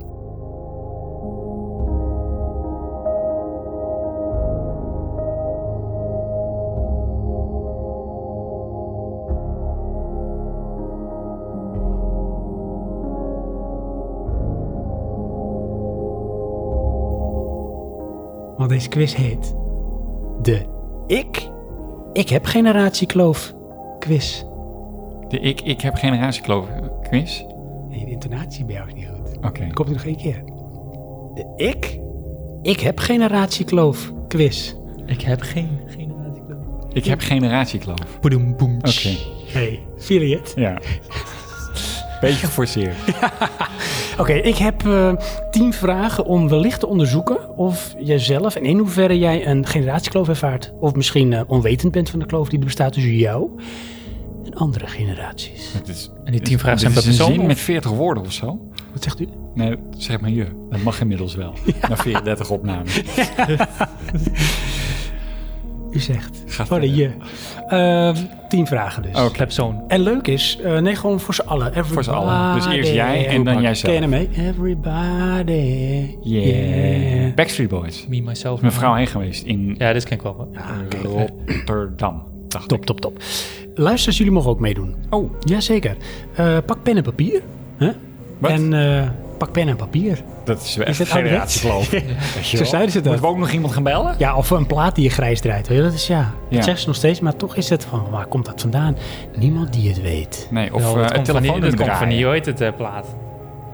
B: Want deze quiz heet de Ik, ik heb generatiekloof quiz.
C: De ik, ik heb generatiekloof quiz. Oké.
B: Nee, de intonatie bij jou is niet goed. Komt hij nog één keer? De ik? Ik heb generatiekloof. Quiz.
A: Ik heb geen generatie.
C: Ik heb generatiekloof.
A: Boem, boem.
C: Oké.
B: Hey, feel je het?
C: Ja. Beetje geforceerd.
B: Oké, ik heb eh, tien vragen om wellicht te onderzoeken of jijzelf en in hoeverre jij een generatiekloof ervaart. Of misschien eh, onwetend bent van de kloof die er bestaat tussen jou en andere generaties.
C: Het is,
A: En die tien vragen
C: dit
A: zijn per
C: is een
A: persoon,
C: zin
A: of?
C: met 40 woorden of zo.
B: Wat zegt u?
C: Nee, zeg maar hier. Dat mag inmiddels wel. Na 34 opnames.
B: U zegt.
C: Ga
B: Voor de
C: verder.
B: je. Ehm, tien vragen dus.
C: Oké.
A: Ik heb zo'n.
B: En leuk is, eh, nee, gewoon voor z'n allen. Everybody.
C: Voor z'n allen. Dus eerst jij en dan jijzelf.
B: Ken je hem mee? Everybody.
C: Yeah.
B: yeah.
C: Backstreet Boys.
A: Me, myself.
C: Mijn vrouw heen geweest in
A: Ja, dit ken ik wel. hoor.
C: Rotterdam. Dacht
B: Top, top, top. Luisteraars, jullie mogen ook meedoen.
C: ik. Oh,
B: Jazeker. Eh, pak pen en papier. hè?
C: Wat?
B: En eh, pak pen en papier.
C: dat is wel echt
B: het ouderwets?
C: generatiekloof.
B: Zo zeiden ze dat.
C: Moeten we ook nog iemand gaan bellen?
B: Ja, of een plaat die je grijs draait. Weet je? Dat is ja. Dat
C: Ja.
B: zeggen ze nog steeds, maar toch is het van waar komt dat vandaan? Niemand die het weet.
C: Nee, of
A: Wel,
C: eh, het
A: dat Oh, komt van die-
C: telefoonnummer
A: Dat komt van
C: draaien.
A: die, hoe heet het, eh, plaat?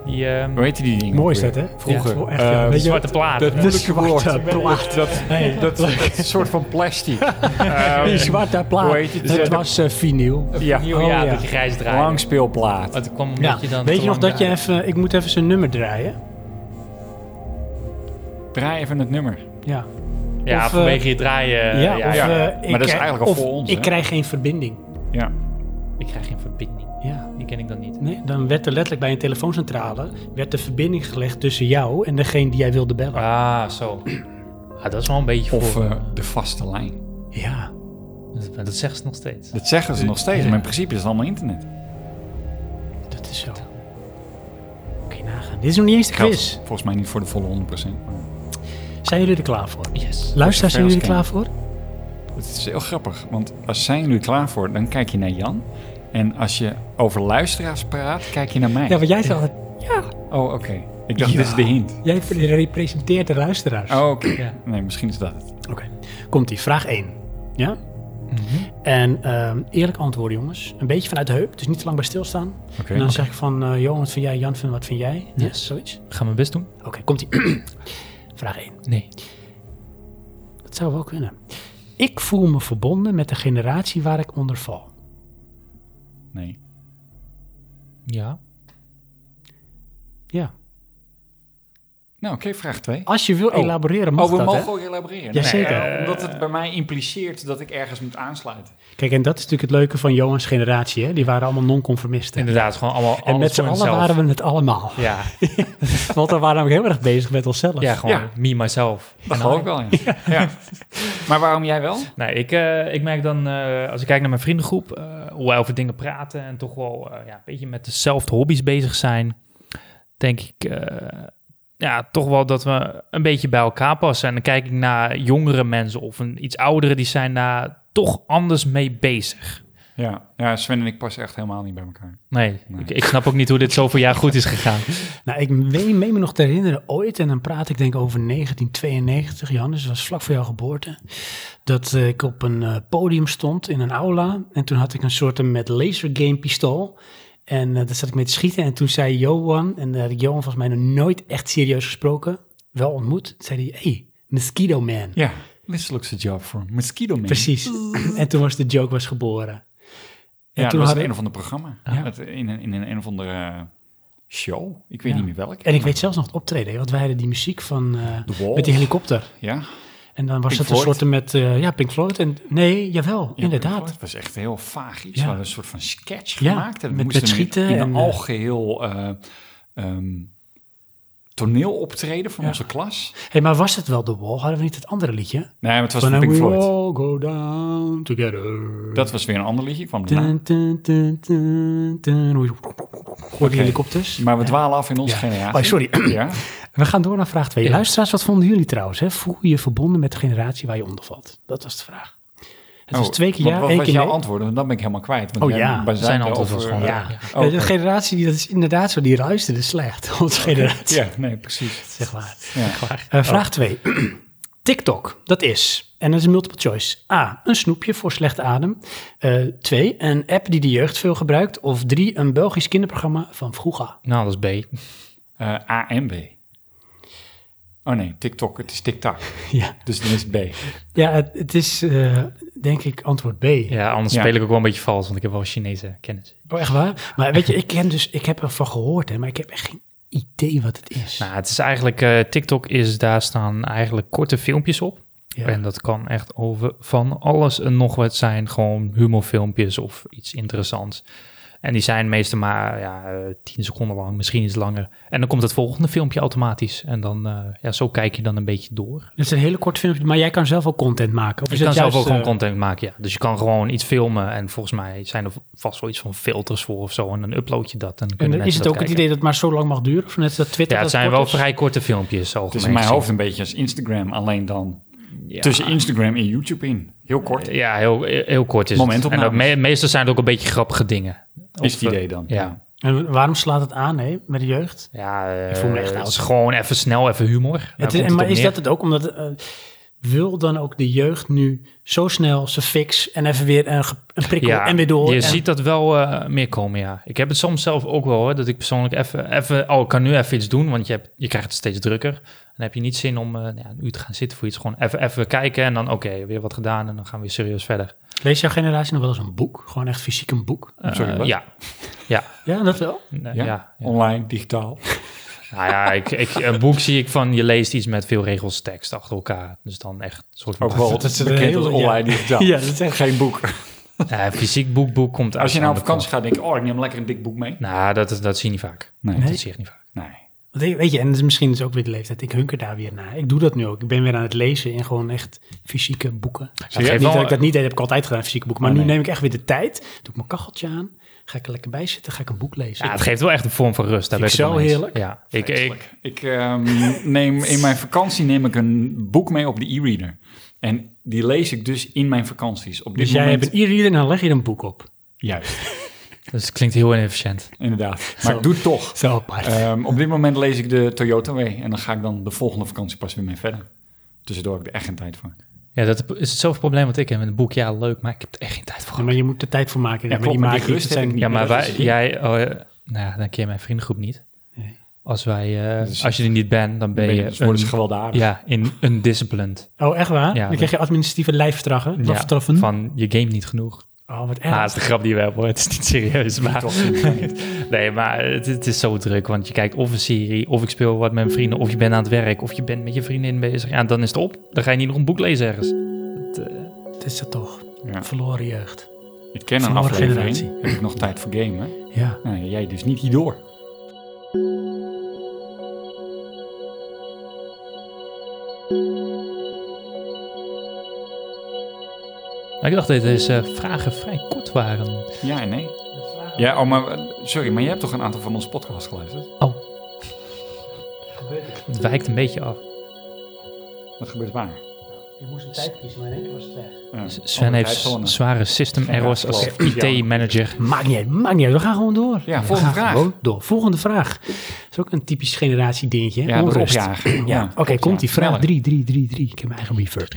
A: Die ehm,
C: Hoe heette die ding?
B: Mooi
C: ook
B: is dat,
C: weer?
B: hè?
C: Vroeger.
B: Ja, het is wel echt, ja.
C: Eh,
B: Weet je
A: zwarte plaat.
C: Dat
A: hè?
C: moeilijke
B: zwarte
C: woord. Ik weet
B: plaat.
C: het. Dat, dat, dat soort van plastic.
B: Die
C: Eh,
B: zwarte plaat.
C: Hoe heet het?
B: het was eh, vinyl.
C: ja,
A: Nieuw
B: Oh,
A: jaar
B: ja.
A: dat je grijs draait.
C: langspeelplaat.
A: Want toen kwam een
B: Ja.
A: beetje dan
B: Weet
A: te
B: je nog
A: lang
B: dat je
A: draaien.
B: even... Ik moet even zijn nummer draaien.
C: Draai even het nummer.
B: Ja.
A: Ja,
B: of,
A: vanwege je draaien. eh,
B: ja, of,
C: ja.
B: eh,
C: Maar dat
B: ik
C: is
B: krijg-
C: eigenlijk al
B: of
C: voor ons,
B: Ik
C: hè?
B: krijg geen verbinding.
C: Ja.
A: Ik krijg geen verbinding.
B: Ja.
A: Die ken ik dan niet.
B: Nee, dan werd er letterlijk bij een telefooncentrale werd de verbinding gelegd tussen jou en degene die jij wilde bellen.
A: Ah, zo. Ah, dat is wel een beetje
C: Of
A: voor.
C: eh, de vaste lijn.
B: Ja.
A: dat, dat zeggen ze nog steeds.
C: Dat zeggen ze nog steeds,
B: Ja.
C: maar in principe is het allemaal internet.
B: Dat is zo. Oké, nagaan. Dit is nog niet eens de
C: Geldt
B: quiz.
C: volgens mij niet voor de volle 100%. maar
B: Zijn jullie er klaar voor?
A: Yes.
B: Luisteraars, zijn jullie er
C: Zover
B: klaar
C: als
B: voor?
C: Het is heel grappig, want als zijn jullie klaar voor, dan kijk je naar Jan. En als je over luisteraars praat, kijk je naar mij.
B: Ja, want jij, zegt dat-
C: Oh, oké. Ik dacht, dit is de hint.
B: jij representeert de luisteraars.
C: Oh, oké.
A: Ja.
C: Nee, misschien is dat het.
B: Oké, komt ie. Vraag 1. Ja? En ehm, eerlijk antwoorden, jongens. Een beetje vanuit de heup, dus niet te lang bij stilstaan.
C: Oké.
B: en dan zeg ik van, eh Johan, wat vind jij? Jan, vind- wat vind jij? Ja, zoiets.
A: Gaan we best doen?
B: Oké, komt ie. Vraag 1.
A: Nee.
B: Dat zou wel kunnen. Ik voel me verbonden met de generatie waar ik onder val.
C: Nee.
A: Ja.
B: Ja.
C: Nou, oké, vraag 2.
B: Als je wil
C: Oh.
B: elaboreren, mag
C: Oh, we
B: dat,
C: mogen
B: hè?
C: ook elaboreren.
B: Jazeker.
C: Nee, eh, omdat het bij mij impliceert dat ik ergens moet aansluiten.
B: Kijk, en dat is natuurlijk het leuke van Johans generatie, hè? Die waren allemaal non-conformisten.
A: Inderdaad, gewoon allemaal
B: En
A: alles
B: met z'n
A: voor
B: allen
A: hunzelf.
B: waren we het allemaal.
A: Ja,
B: Want dan waren we heel erg bezig met onszelf.
A: ja, gewoon
C: Ja.
A: me, myself.
C: Dat geloof ik wel, ja. ja. Maar waarom jij wel?
A: Nee, ik, eh, ik merk dan, eh, als ik kijk naar mijn vriendengroep, eh, hoe wij over dingen praten en toch wel eh, ja, een beetje met dezelfde hobby's bezig zijn, denk ik eh, ja, toch wel dat we een beetje bij elkaar passen. En dan kijk ik naar jongere mensen of een, iets oudere, die zijn daar toch anders mee bezig.
C: Ja. ja, Sven en ik passen echt helemaal niet bij elkaar.
A: Nee,
C: Nee.
A: Ik, ik snap ook niet hoe dit zoveel jaar goed is gegaan.
B: Nou, ik meen meen me nog te herinneren ooit, en dan praat ik denk over 1992, Johannes, dat dus was vlak voor jouw geboorte, dat eh, ik op een eh, podium stond in een aula en toen had ik een soort een met lasergame pistool. En eh daar zat ik mee te schieten en toen zei Johan, en daar had ik Johan volgens mij nog nooit echt serieus gesproken, wel ontmoet, zei hij, hey, Mosquito Man.
C: Ja, this looks a job for Mosquito Man.
B: Precies. en toen was de joke was geboren. En
C: Ja,
B: toen
C: toen was
B: hadden-
C: het een of ander programma. Ja. Het- in, een, in een een of andere eh, show. Ik weet
B: Ja.
C: niet meer welke.
B: En ik
C: maar-
B: weet zelfs nog het optreden, hè, want wij hadden die muziek van, eh,
C: The Wall.
B: met die helikopter.
C: Ja,
B: En dan was
C: Pink
B: het
C: Floyd.
B: een soort met, eh, ja, Pink Floyd. En, nee, jawel,
C: Ja,
B: inderdaad.
C: Het was echt heel vaag iets. We
B: Ja.
C: hadden een soort van sketch
B: Ja,
C: gemaakt. En we
B: met-
C: moesten
B: met
C: hem in-
B: schieten
C: In, een
B: en, eh,
C: algeheel eh, ehm, toneel optreden van onze klas.
B: hey, maar was het wel The Wall? Hadden we niet het andere liedje?
C: Nee, maar het was
B: When
C: van Pink
B: we
C: Floyd.
B: all go down together.
C: Dat was weer een ander liedje. kwam daarna.
B: Dun, dun, dun, dun, dun. Hoor je- hoor je die helikopters?
C: Maar we dwalen af in onze
B: Ja.
C: generatie.
B: Oh, sorry.
C: Ja.
B: We gaan door naar vraag 2. Luisteraars, wat vonden jullie trouwens? Hè? Voel je je verbonden met de generatie waar je onder valt? Dat was de vraag. Het was
C: Oh,
B: twee keer
C: wat-
B: ja,
C: wat
B: één
C: was
B: keer
C: jouw
B: nee.
C: antwoord? Want dan ben ik helemaal kwijt. Want
B: Oh,
C: jij-
B: ja.
C: wij
A: Zijn
C: er
A: antwoord was
C: over-
A: gewoon
B: Ja.
A: Ja.
C: Oh,
B: De
C: oké.
B: generatie, die- dat is inderdaad zo, die ruisterde slecht. Onze generatie,
C: Ja, nee, precies.
B: zeg maar.
C: Ja.
B: Eh, vraag 2. TikTok, dat is, en dat is multiple choice. A, een snoepje voor slechte adem. 2, een app die de jeugd veel gebruikt. Of 3, een Belgisch kinderprogramma van vroeger.
A: Nou, dat is B.
C: Eh, A en B. Oh nee, TikTok. Het is TikTok.
B: Ja,
C: Dus dan is het B.
B: ja het, het is eh, denk ik antwoord B.
A: Ja, anders
C: Ja.
A: speel ik ook wel een beetje vals, want ik heb wel Chinese kennis.
B: Oh, echt waar? Maar weet je, ik, ken dus, ik heb ervan gehoord, hè, maar ik heb echt geen idee wat het is.
A: Nou, het is eigenlijk, eh, TikTok is, daar staan eigenlijk korte filmpjes op.
B: Ja.
A: En dat kan echt over van alles en nog wat zijn. Gewoon humorfilmpjes of iets interessants. En die zijn meestal maar ja, eh, 10 seconden lang, misschien iets langer. En dan komt het volgende filmpje automatisch. En dan, eh, ja, zo kijk je dan een beetje door.
B: Het is een hele kort filmpje, maar jij kan zelf ook content maken. Of
A: Je
B: is
A: kan
B: het
A: zelf ook
B: juist,
A: gewoon
B: eh,
A: content maken, ja. Dus je kan gewoon iets filmen. En volgens mij zijn er vast wel iets van filters voor of zo. En dan upload je dat. En dan kunnen
B: En is
A: mensen
B: het
A: dat
B: ook het
A: kijken.
B: idee dat het maar zo lang mag duren? Of net als dat Twitter
A: Ja, het
B: dat
A: zijn
B: kort
A: wel
B: is?
A: vrij korte filmpjes.
C: Het is in mijn hoofd een beetje als Instagram. Alleen dan tussen Instagram en YouTube in.
B: Eh,
C: Heel kort.
A: Ja, heel, heel kort is het. En
C: Momentopnames.
A: ook me- meestal zijn het ook een beetje grappige dingen.
C: is
A: Of,
C: het idee dan.
A: eh, Ja.
B: En waarom slaat het aan hè, met de jeugd?
A: Ja, eh,
B: Ik voel me echt
A: het
B: oud.
A: is gewoon even snel, even humor. Daar
B: Het is,
A: komt
B: en maar
A: op
B: is
A: neer.
B: dat het ook? Omdat eh, wil dan ook de jeugd nu zo snel zijn fix en even weer een, ge- een prikkel
A: Ja,
B: en weer door?
A: Je
B: en-
A: ziet dat wel eh, meer komen, ja. Ik heb het soms zelf ook wel, hoor. Dat ik persoonlijk even, even... Oh, ik kan nu even iets doen, want je, hebt, je krijgt het steeds drukker. Dan heb je niet zin om eh, nou ja, een uur te gaan zitten voor iets. Gewoon even, even kijken en dan, oké, weer wat gedaan. En dan gaan we weer serieus verder.
B: Leest jouw generatie nog wel eens een boek? Gewoon echt fysiek een boek?
A: Eh,
C: Sorry, wat?
A: Ja. Ja,
B: Oh, Ja, dat wel.
C: Ja?
A: Nee, ja, ja.
C: Online, digitaal.
A: Nou ja, ik, ik, een boek zie ik van je leest iets met veel regels tekst achter elkaar. Dus dan echt een soort
C: Ook wel
B: Dat is een
C: bekend
B: heel-
C: als online, digitaal.
B: Ja, dat is echt-
C: Geen boek.
A: Ja, fysiek boek, boek komt uit.
C: Als je nou op
A: een andere
C: vakantie gaat, denk je, oh, ik neem lekker een dik boek mee.
A: kant. Nou, dat, is- dat zie je niet vaak.
C: Nee.
A: Dat zie je echt niet vaak.
C: Nee.
B: Want ik- weet je, en het is misschien dus ook weer de leeftijd. Ik hunker daar weer naar. Ik doe dat nu ook. Ik ben weer aan het lezen in gewoon echt fysieke boeken. Ik
A: jij
B: niet
A: wel-
B: dat ik dat niet deed, heb ik altijd gedaan, fysieke boeken. Maar
C: Oh,
B: nu
C: nee.
B: neem ik echt weer de tijd. Doe ik mijn kacheltje aan. Ga ik er lekker bij zitten. Ga ik een boek lezen.
A: Ja, het geeft wel echt een vorm van rust. Daar
B: Vind
A: ben
B: ik
A: ik het
B: zo
A: mee eens.
B: heerlijk.
A: Ja, ik, ik,
C: Ik ehm, neem in mijn vakantie neem ik een boek mee op de e-reader. En die lees ik dus in mijn vakanties. Op dit
B: dus jij
C: moment.
B: hebt een e-reader en dan leg je er een boek op.
C: Juist,
A: dus het klinkt heel inefficiënt.
C: inderdaad. Maar ik doe het toch.
B: Zo apart.
C: Ehm, op dit moment lees ik de Toyota Way. En dan ga ik dan de volgende vakantie pas weer mee verder. Tussendoor heb ik er echt geen tijd voor.
A: Ja, dat is hetzelfde probleem wat ik heb met een boek. Ja, leuk, maar ik heb er echt geen tijd voor.
B: Ja, maar je moet er tijd voor maken.
C: Ja,
B: maar die
C: klopt, maar die
B: maak je-
C: rust
B: dat
C: heb ik niet.
A: Ja, maar
C: dat is
A: wij,
C: het ding.
A: jij, oh, eh, nou ja, dan ken je mijn vriendengroep niet.
B: Nee.
A: Als, wij, eh,
C: Dus-
A: als je er niet bent, dan ben,
C: Ben je,
A: je,
C: dus worden ze
A: een-
C: gewelddadig.
A: ja, in undisciplined.
B: Oh, echt waar?
A: Ja,
B: dan krijg je administratieve lijfstraffen.
A: Ja,
B: Lafstraffen.
A: van je game niet genoeg.
B: Oh, wat erg.
A: Ah, het is de grap die we hebben, hoor. het is niet serieus. Maar... nee, maar het, het is zo druk, want je kijkt of een serie, of ik speel wat met mijn vrienden, of je bent aan het werk, of je bent met je vriendin bezig. Ja, dan is het op. Dan ga je niet nog een boek lezen ergens. Het, eh,
B: Het is dat toch.
C: Ja.
B: Verloren jeugd.
C: Ik ken een
B: Van mijn
C: aflevering.
B: generatie.
C: Heb ik nog tijd voor gamen?
B: Ja.
C: Nou, jij dus niet hierdoor.
A: Maar ik dacht dat deze vragen vrij kort waren.
C: Ja en nee. Ja, oh, maar eh, sorry, maar jij hebt toch een aantal van onze podcasts geluisterd?
A: Oh. Het wijkt een beetje af.
C: Dat gebeurt waar.
B: Je moest een tijd kiezen, maar in één keer was het weg.
C: Ja.
A: Sven
C: Andere
A: heeft
C: tijdzone.
A: zware system errors als
C: klopt. Ja.
A: IT-manager.
B: Maakt niet uit, maakt niet uit. We gaan gewoon door.
C: Ja,
B: We
C: volgende
B: gaan
C: vraag.
B: Gewoon door. Volgende vraag. Dat is ook een typisch generatie dingetje. hè?
C: Ja, dat
B: Onrust.
C: opjagen.
B: Ja,
C: Ja,
B: oké,
C: opjagen.
B: komt die vraag.
C: Sneller.
B: 3, 3, 3, 3. Ik heb mijn eigen reverb.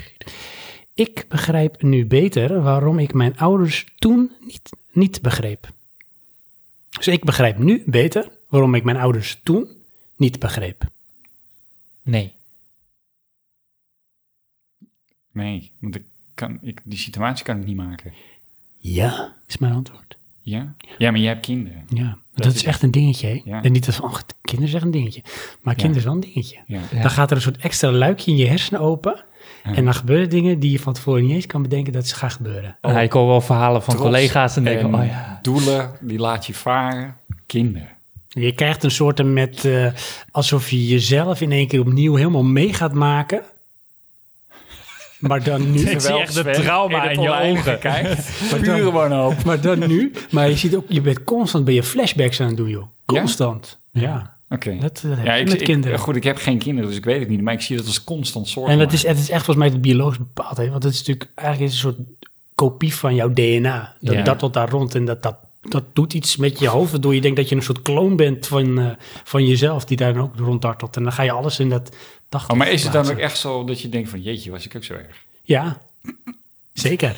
B: Ik begrijp nu beter waarom ik mijn ouders toen niet, niet begreep. Dus ik begrijp nu beter waarom ik mijn ouders toen niet begreep.
A: Nee.
C: Nee, want ik kan, ik, die situatie kan ik niet maken.
B: Ja, is mijn antwoord.
C: Ja? Ja, maar jij hebt kinderen.
B: Ja, maar dat,
C: Dat
B: is
C: is-
B: echt een dingetje. hè?
C: Ja.
B: En niet dat van, oh, kinderen zeggen een dingetje. Maar kinderen is wel een dingetje.
C: Ja.
A: Ja.
B: Dan gaat er een soort extra luikje in je hersenen open.
C: Ja.
B: En dan gebeuren dingen die je van tevoren niet eens kan bedenken dat ze gaan gebeuren.
A: Ja, ik hoor wel verhalen van
C: Oh. Trots
A: collega's en denk ik,
C: en
A: oh ja.
C: doelen, die laat je varen. Kinderen.
B: Je krijgt een soort met eh, alsof je jezelf in één keer opnieuw helemaal mee gaat maken. Maar dan nu.
A: Ik zie echt het trauma in je ogen.
C: Kijkt, pure wanhoop.
B: Maar dan nu. Maar je ziet ook, je bent constant ben je flashbacks aan het doen, joh.
C: Ja?
B: Constant. Ja.
C: Oké.
B: Dat, dat heb
C: Ja,
B: je
C: ik,
B: met
C: ik-
B: kinderen.
C: Goed, ik heb geen kinderen, dus ik weet het niet. Maar ik zie dat als constant zorg.
B: en dat is, het is echt volgens mij het biologisch bepaald. Hè? Want het is natuurlijk eigenlijk is het een soort kopie van jouw DNA. Dat
A: Ja.
B: dat tot daar rond en dat, dat, dat doet iets met je hoofd. Waardoor je denkt dat je een soort kloon bent van, eh, van jezelf. Die daar dan ook ronddartelt. En dan ga je alles in dat dacht.
C: Oh, maar is het dan ook
B: plaatsen.
C: echt zo dat je denkt van... Jeetje, was ik ook e- zo erg?
B: Ja, zeker.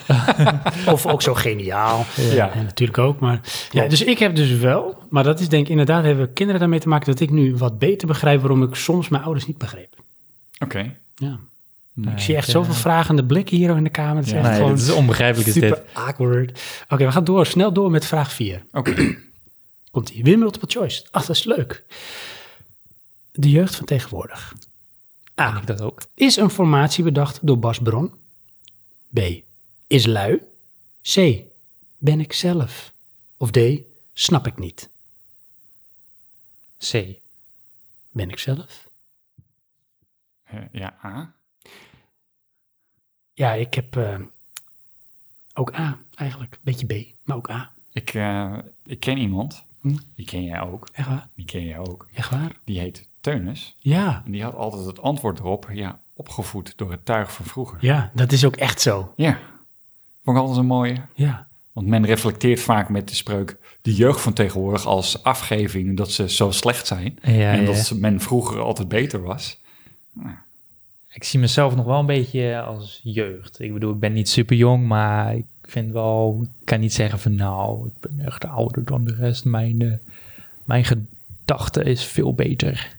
B: of ook zo geniaal.
C: Ja.
B: Ja, natuurlijk ook. Maar, ja, dus ik heb dus wel, maar dat is denk ik inderdaad, hebben kinderen daarmee te maken dat ik nu wat beter begrijp waarom ik soms mijn ouders niet begreep.
C: Oké.
B: Ja. ik
A: Nee,
B: zie echt
A: ja.
B: zoveel vragende blikken hier in de kamer. Het is
C: Ja.
B: echt
A: Nee,
B: gewoon
A: dit is onbegrijpelijk is
B: super
A: dit.
B: awkward. Oké, we gaan door. Snel door met vraag 4.
C: Oké.
B: Komt ie. Weer multiple choice. Ach, dat is leuk. De jeugd van tegenwoordig. A.
A: Ah, Ik dat ook.
B: Is een formatie bedacht door Bas Bron? B. Is lui? C. Ben ik zelf? Of D. Snap ik niet?
A: C.
B: Ben ik zelf?
C: Eh, Ja, A.
B: Ja, ik heb eh, ook A eigenlijk. Beetje B, maar ook A.
C: Ik, eh, ik ken iemand.
B: Hm?
C: Die ken jij ook.
B: Echt waar?
C: Die ken jij ook.
B: Echt waar?
C: Die heet Teunus.
B: Ja.
C: En die had altijd het antwoord erop. Ja, opgevoed door het tuig van vroeger.
B: Ja, dat is ook echt zo.
C: Ja. Vond ik altijd een mooie.
B: Ja.
C: Want men reflecteert vaak met de spreuk... de jeugd van tegenwoordig als afgeving dat ze zo slecht zijn.
A: Ja,
C: en dat
A: ja.
C: ze- men vroeger altijd beter was.
A: Ik zie mezelf nog wel een beetje als jeugd. Ik bedoel, ik ben niet super jong, maar ik vind wel, ik kan niet zeggen van nou, ik ben echt ouder dan de rest. Mijn, eh, mijn gedachte is veel beter.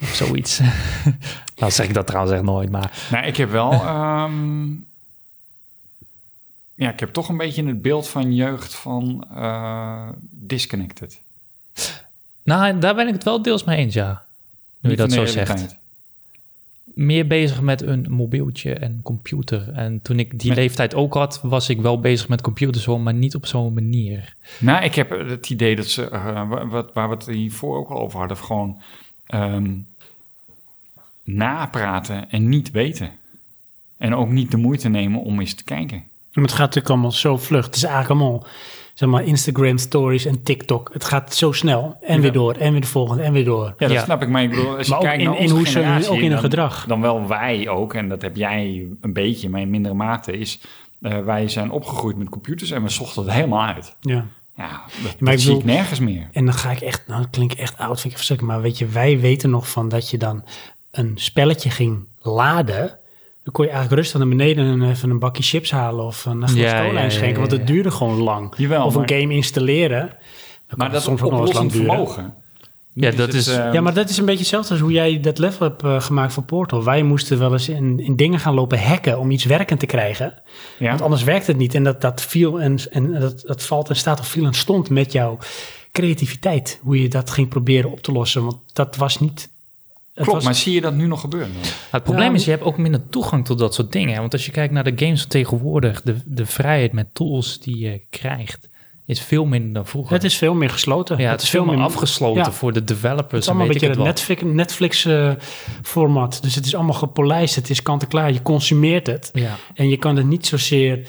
A: Of zoiets. nou zeg ik dat trouwens echt nooit, maar
C: Nou, ik heb wel... ehm, ja, ik heb toch een beetje het beeld van jeugd van eh, disconnected.
A: nou, daar ben ik het wel deels mee eens, ja. Nu je
C: Niet
A: dat
C: van
A: zo
C: de
A: zegt.
C: realiteit.
A: Meer bezig met een mobieltje en computer. En toen ik die
C: Met-
A: leeftijd ook had, was ik wel bezig met computers, hoor, maar niet op zo'n manier.
C: Nou, ik heb het idee dat ze, eh, wa- wat, waar we het hiervoor ook al over hadden, gewoon ehm, napraten en niet weten. En ook niet de moeite nemen om eens te kijken.
B: Maar het gaat natuurlijk allemaal zo vlug. Het is eigenlijk allemaal zeg maar, Instagram stories en TikTok. Het gaat zo snel. En weer door, en weer de volgende, en weer door.
C: Ja, dat
A: Ja.
C: snap ik. Maar ik bedoel, als je
B: Maar ook
C: kijkt
B: in-
C: naar
B: in
C: onze
B: hoe ze-
C: generatie,
B: ook in hun
C: dan-
B: gedrag.
C: Dan wel wij ook, en dat heb jij een beetje, maar in mindere mate, is eh, wij zijn opgegroeid met computers en we zochten het helemaal uit.
B: Ja.
C: Ja, dat,
B: Maar ik
C: dat zie ik
B: bedoel-
C: nergens meer.
B: En dan ga ik echt, nou, dat klinkt echt oud, vind ik verschrikkelijk. Maar weet je, wij weten nog van dat je dan een spelletje ging laden. Dan kon je eigenlijk rustig naar beneden en even een bakje chips halen of een glas
A: Ja,
B: cola
A: ja, ja,
B: inschenken. Want
A: ja,
B: het
A: ja.
B: duurde gewoon lang.
C: Jawel,
B: of een
C: maar-
B: game installeren. Dan kan
C: Maar
B: het
C: dat
B: soms ook nog eens lang
C: oplossend
B: duren.
C: vermogen,
A: Ja, dat is...
C: eh,
B: Ja, maar dat is een beetje hetzelfde als hoe jij dat level hebt eh, gemaakt voor Portal. Wij moesten wel eens in, in dingen gaan lopen hacken om iets werkend te krijgen.
C: ja.
B: Want anders werkt het niet. En dat, dat viel en, en dat, dat valt en staat of viel en stond met jouw creativiteit. Hoe je dat ging proberen op te lossen. Want dat was niet. het
C: Klopt,
B: was-
C: maar zie je dat nu nog gebeuren? dan?
A: het probleem
B: Ja,
A: is, je hebt ook minder toegang tot dat soort dingen. hè. Want als je kijkt naar de games van tegenwoordig, de, de vrijheid met tools die je krijgt, is veel minder dan vroeger.
B: Het is veel meer gesloten.
A: ja, het is veel meer afgesloten
B: ja.
A: voor de developers.
B: Het is allemaal
A: en
B: een
A: weet
B: beetje
A: ik
B: het
A: het
B: Netflix, Netflix eh, format. Dus het is allemaal gepolijst. Het is kant en klaar. Je consumeert het.
A: wel. Ja.
B: En je kan het niet
A: Dus
B: zozeer.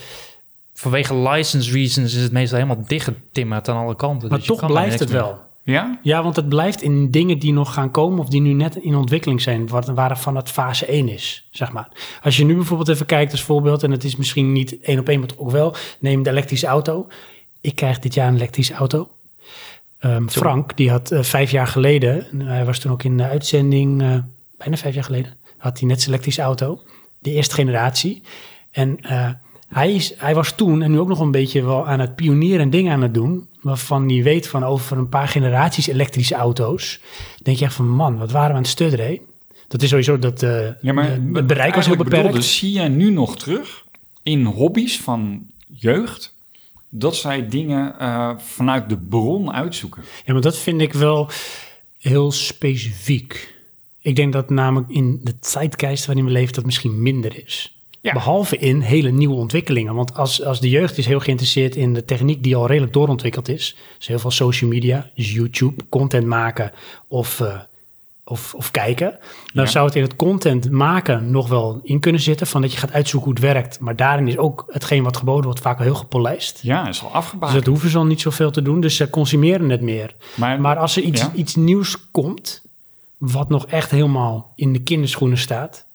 A: Vanwege license reasons is het meestal helemaal dichtgetimmerd aan alle kanten.
B: Maar
A: Dus je
B: toch
A: kan daar
B: blijft het
A: niks
B: wel.
A: mee.
C: Ja?
B: Ja, want het blijft in dingen die nog gaan komen of die nu net in ontwikkeling zijn, waar- waarvan het fase 1 is, zeg maar. Als je nu bijvoorbeeld even kijkt als voorbeeld, en het is misschien niet één op één, maar toch ook wel, neem de elektrische auto. Ik krijg dit jaar een elektrische auto. Ehm, Frank, die had eh, vijf jaar geleden, en hij was toen ook in de uitzending, eh, bijna vijf jaar geleden, had hij net zijn elektrische auto, de eerste generatie. En eh, hij, is, hij was toen en nu ook nog een beetje wel aan het pionieren en dingen aan het doen. Waarvan hij weet van over een paar generaties elektrische auto's. Denk je echt van man, wat waren we aan het studderen? hè? Dat is sowieso dat eh,
C: ja maar
B: de- het bereik was heel
C: eigenlijk bedoelde,
B: beperkt.
C: zie jij nu nog terug in hobby's van jeugd dat zij dingen eh, vanuit de bron uitzoeken?
B: Ja, maar dat vind ik wel heel specifiek. Ik denk dat namelijk in de tijdgeest waarin we leven dat misschien minder is.
C: Ja.
B: Behalve in hele nieuwe ontwikkelingen. Want als, als de jeugd is heel geïnteresseerd in de techniek die al redelijk doorontwikkeld is. Dus heel veel social media, dus YouTube, content maken of, eh, of, of kijken. Dan
C: Ja.
B: zou het in het content maken nog wel in kunnen zitten. Van dat je gaat uitzoeken hoe het werkt. Maar daarin is ook hetgeen wat geboden wordt vaak wel heel gepolijst.
C: Ja, is al
B: Dus
C: afgebouwd.
B: dat hoeven ze al niet zoveel te doen. Dus ze consumeren het meer. Maar als er iets,
C: Ja.
B: iets nieuws komt, wat nog echt helemaal in de kinderschoenen staat.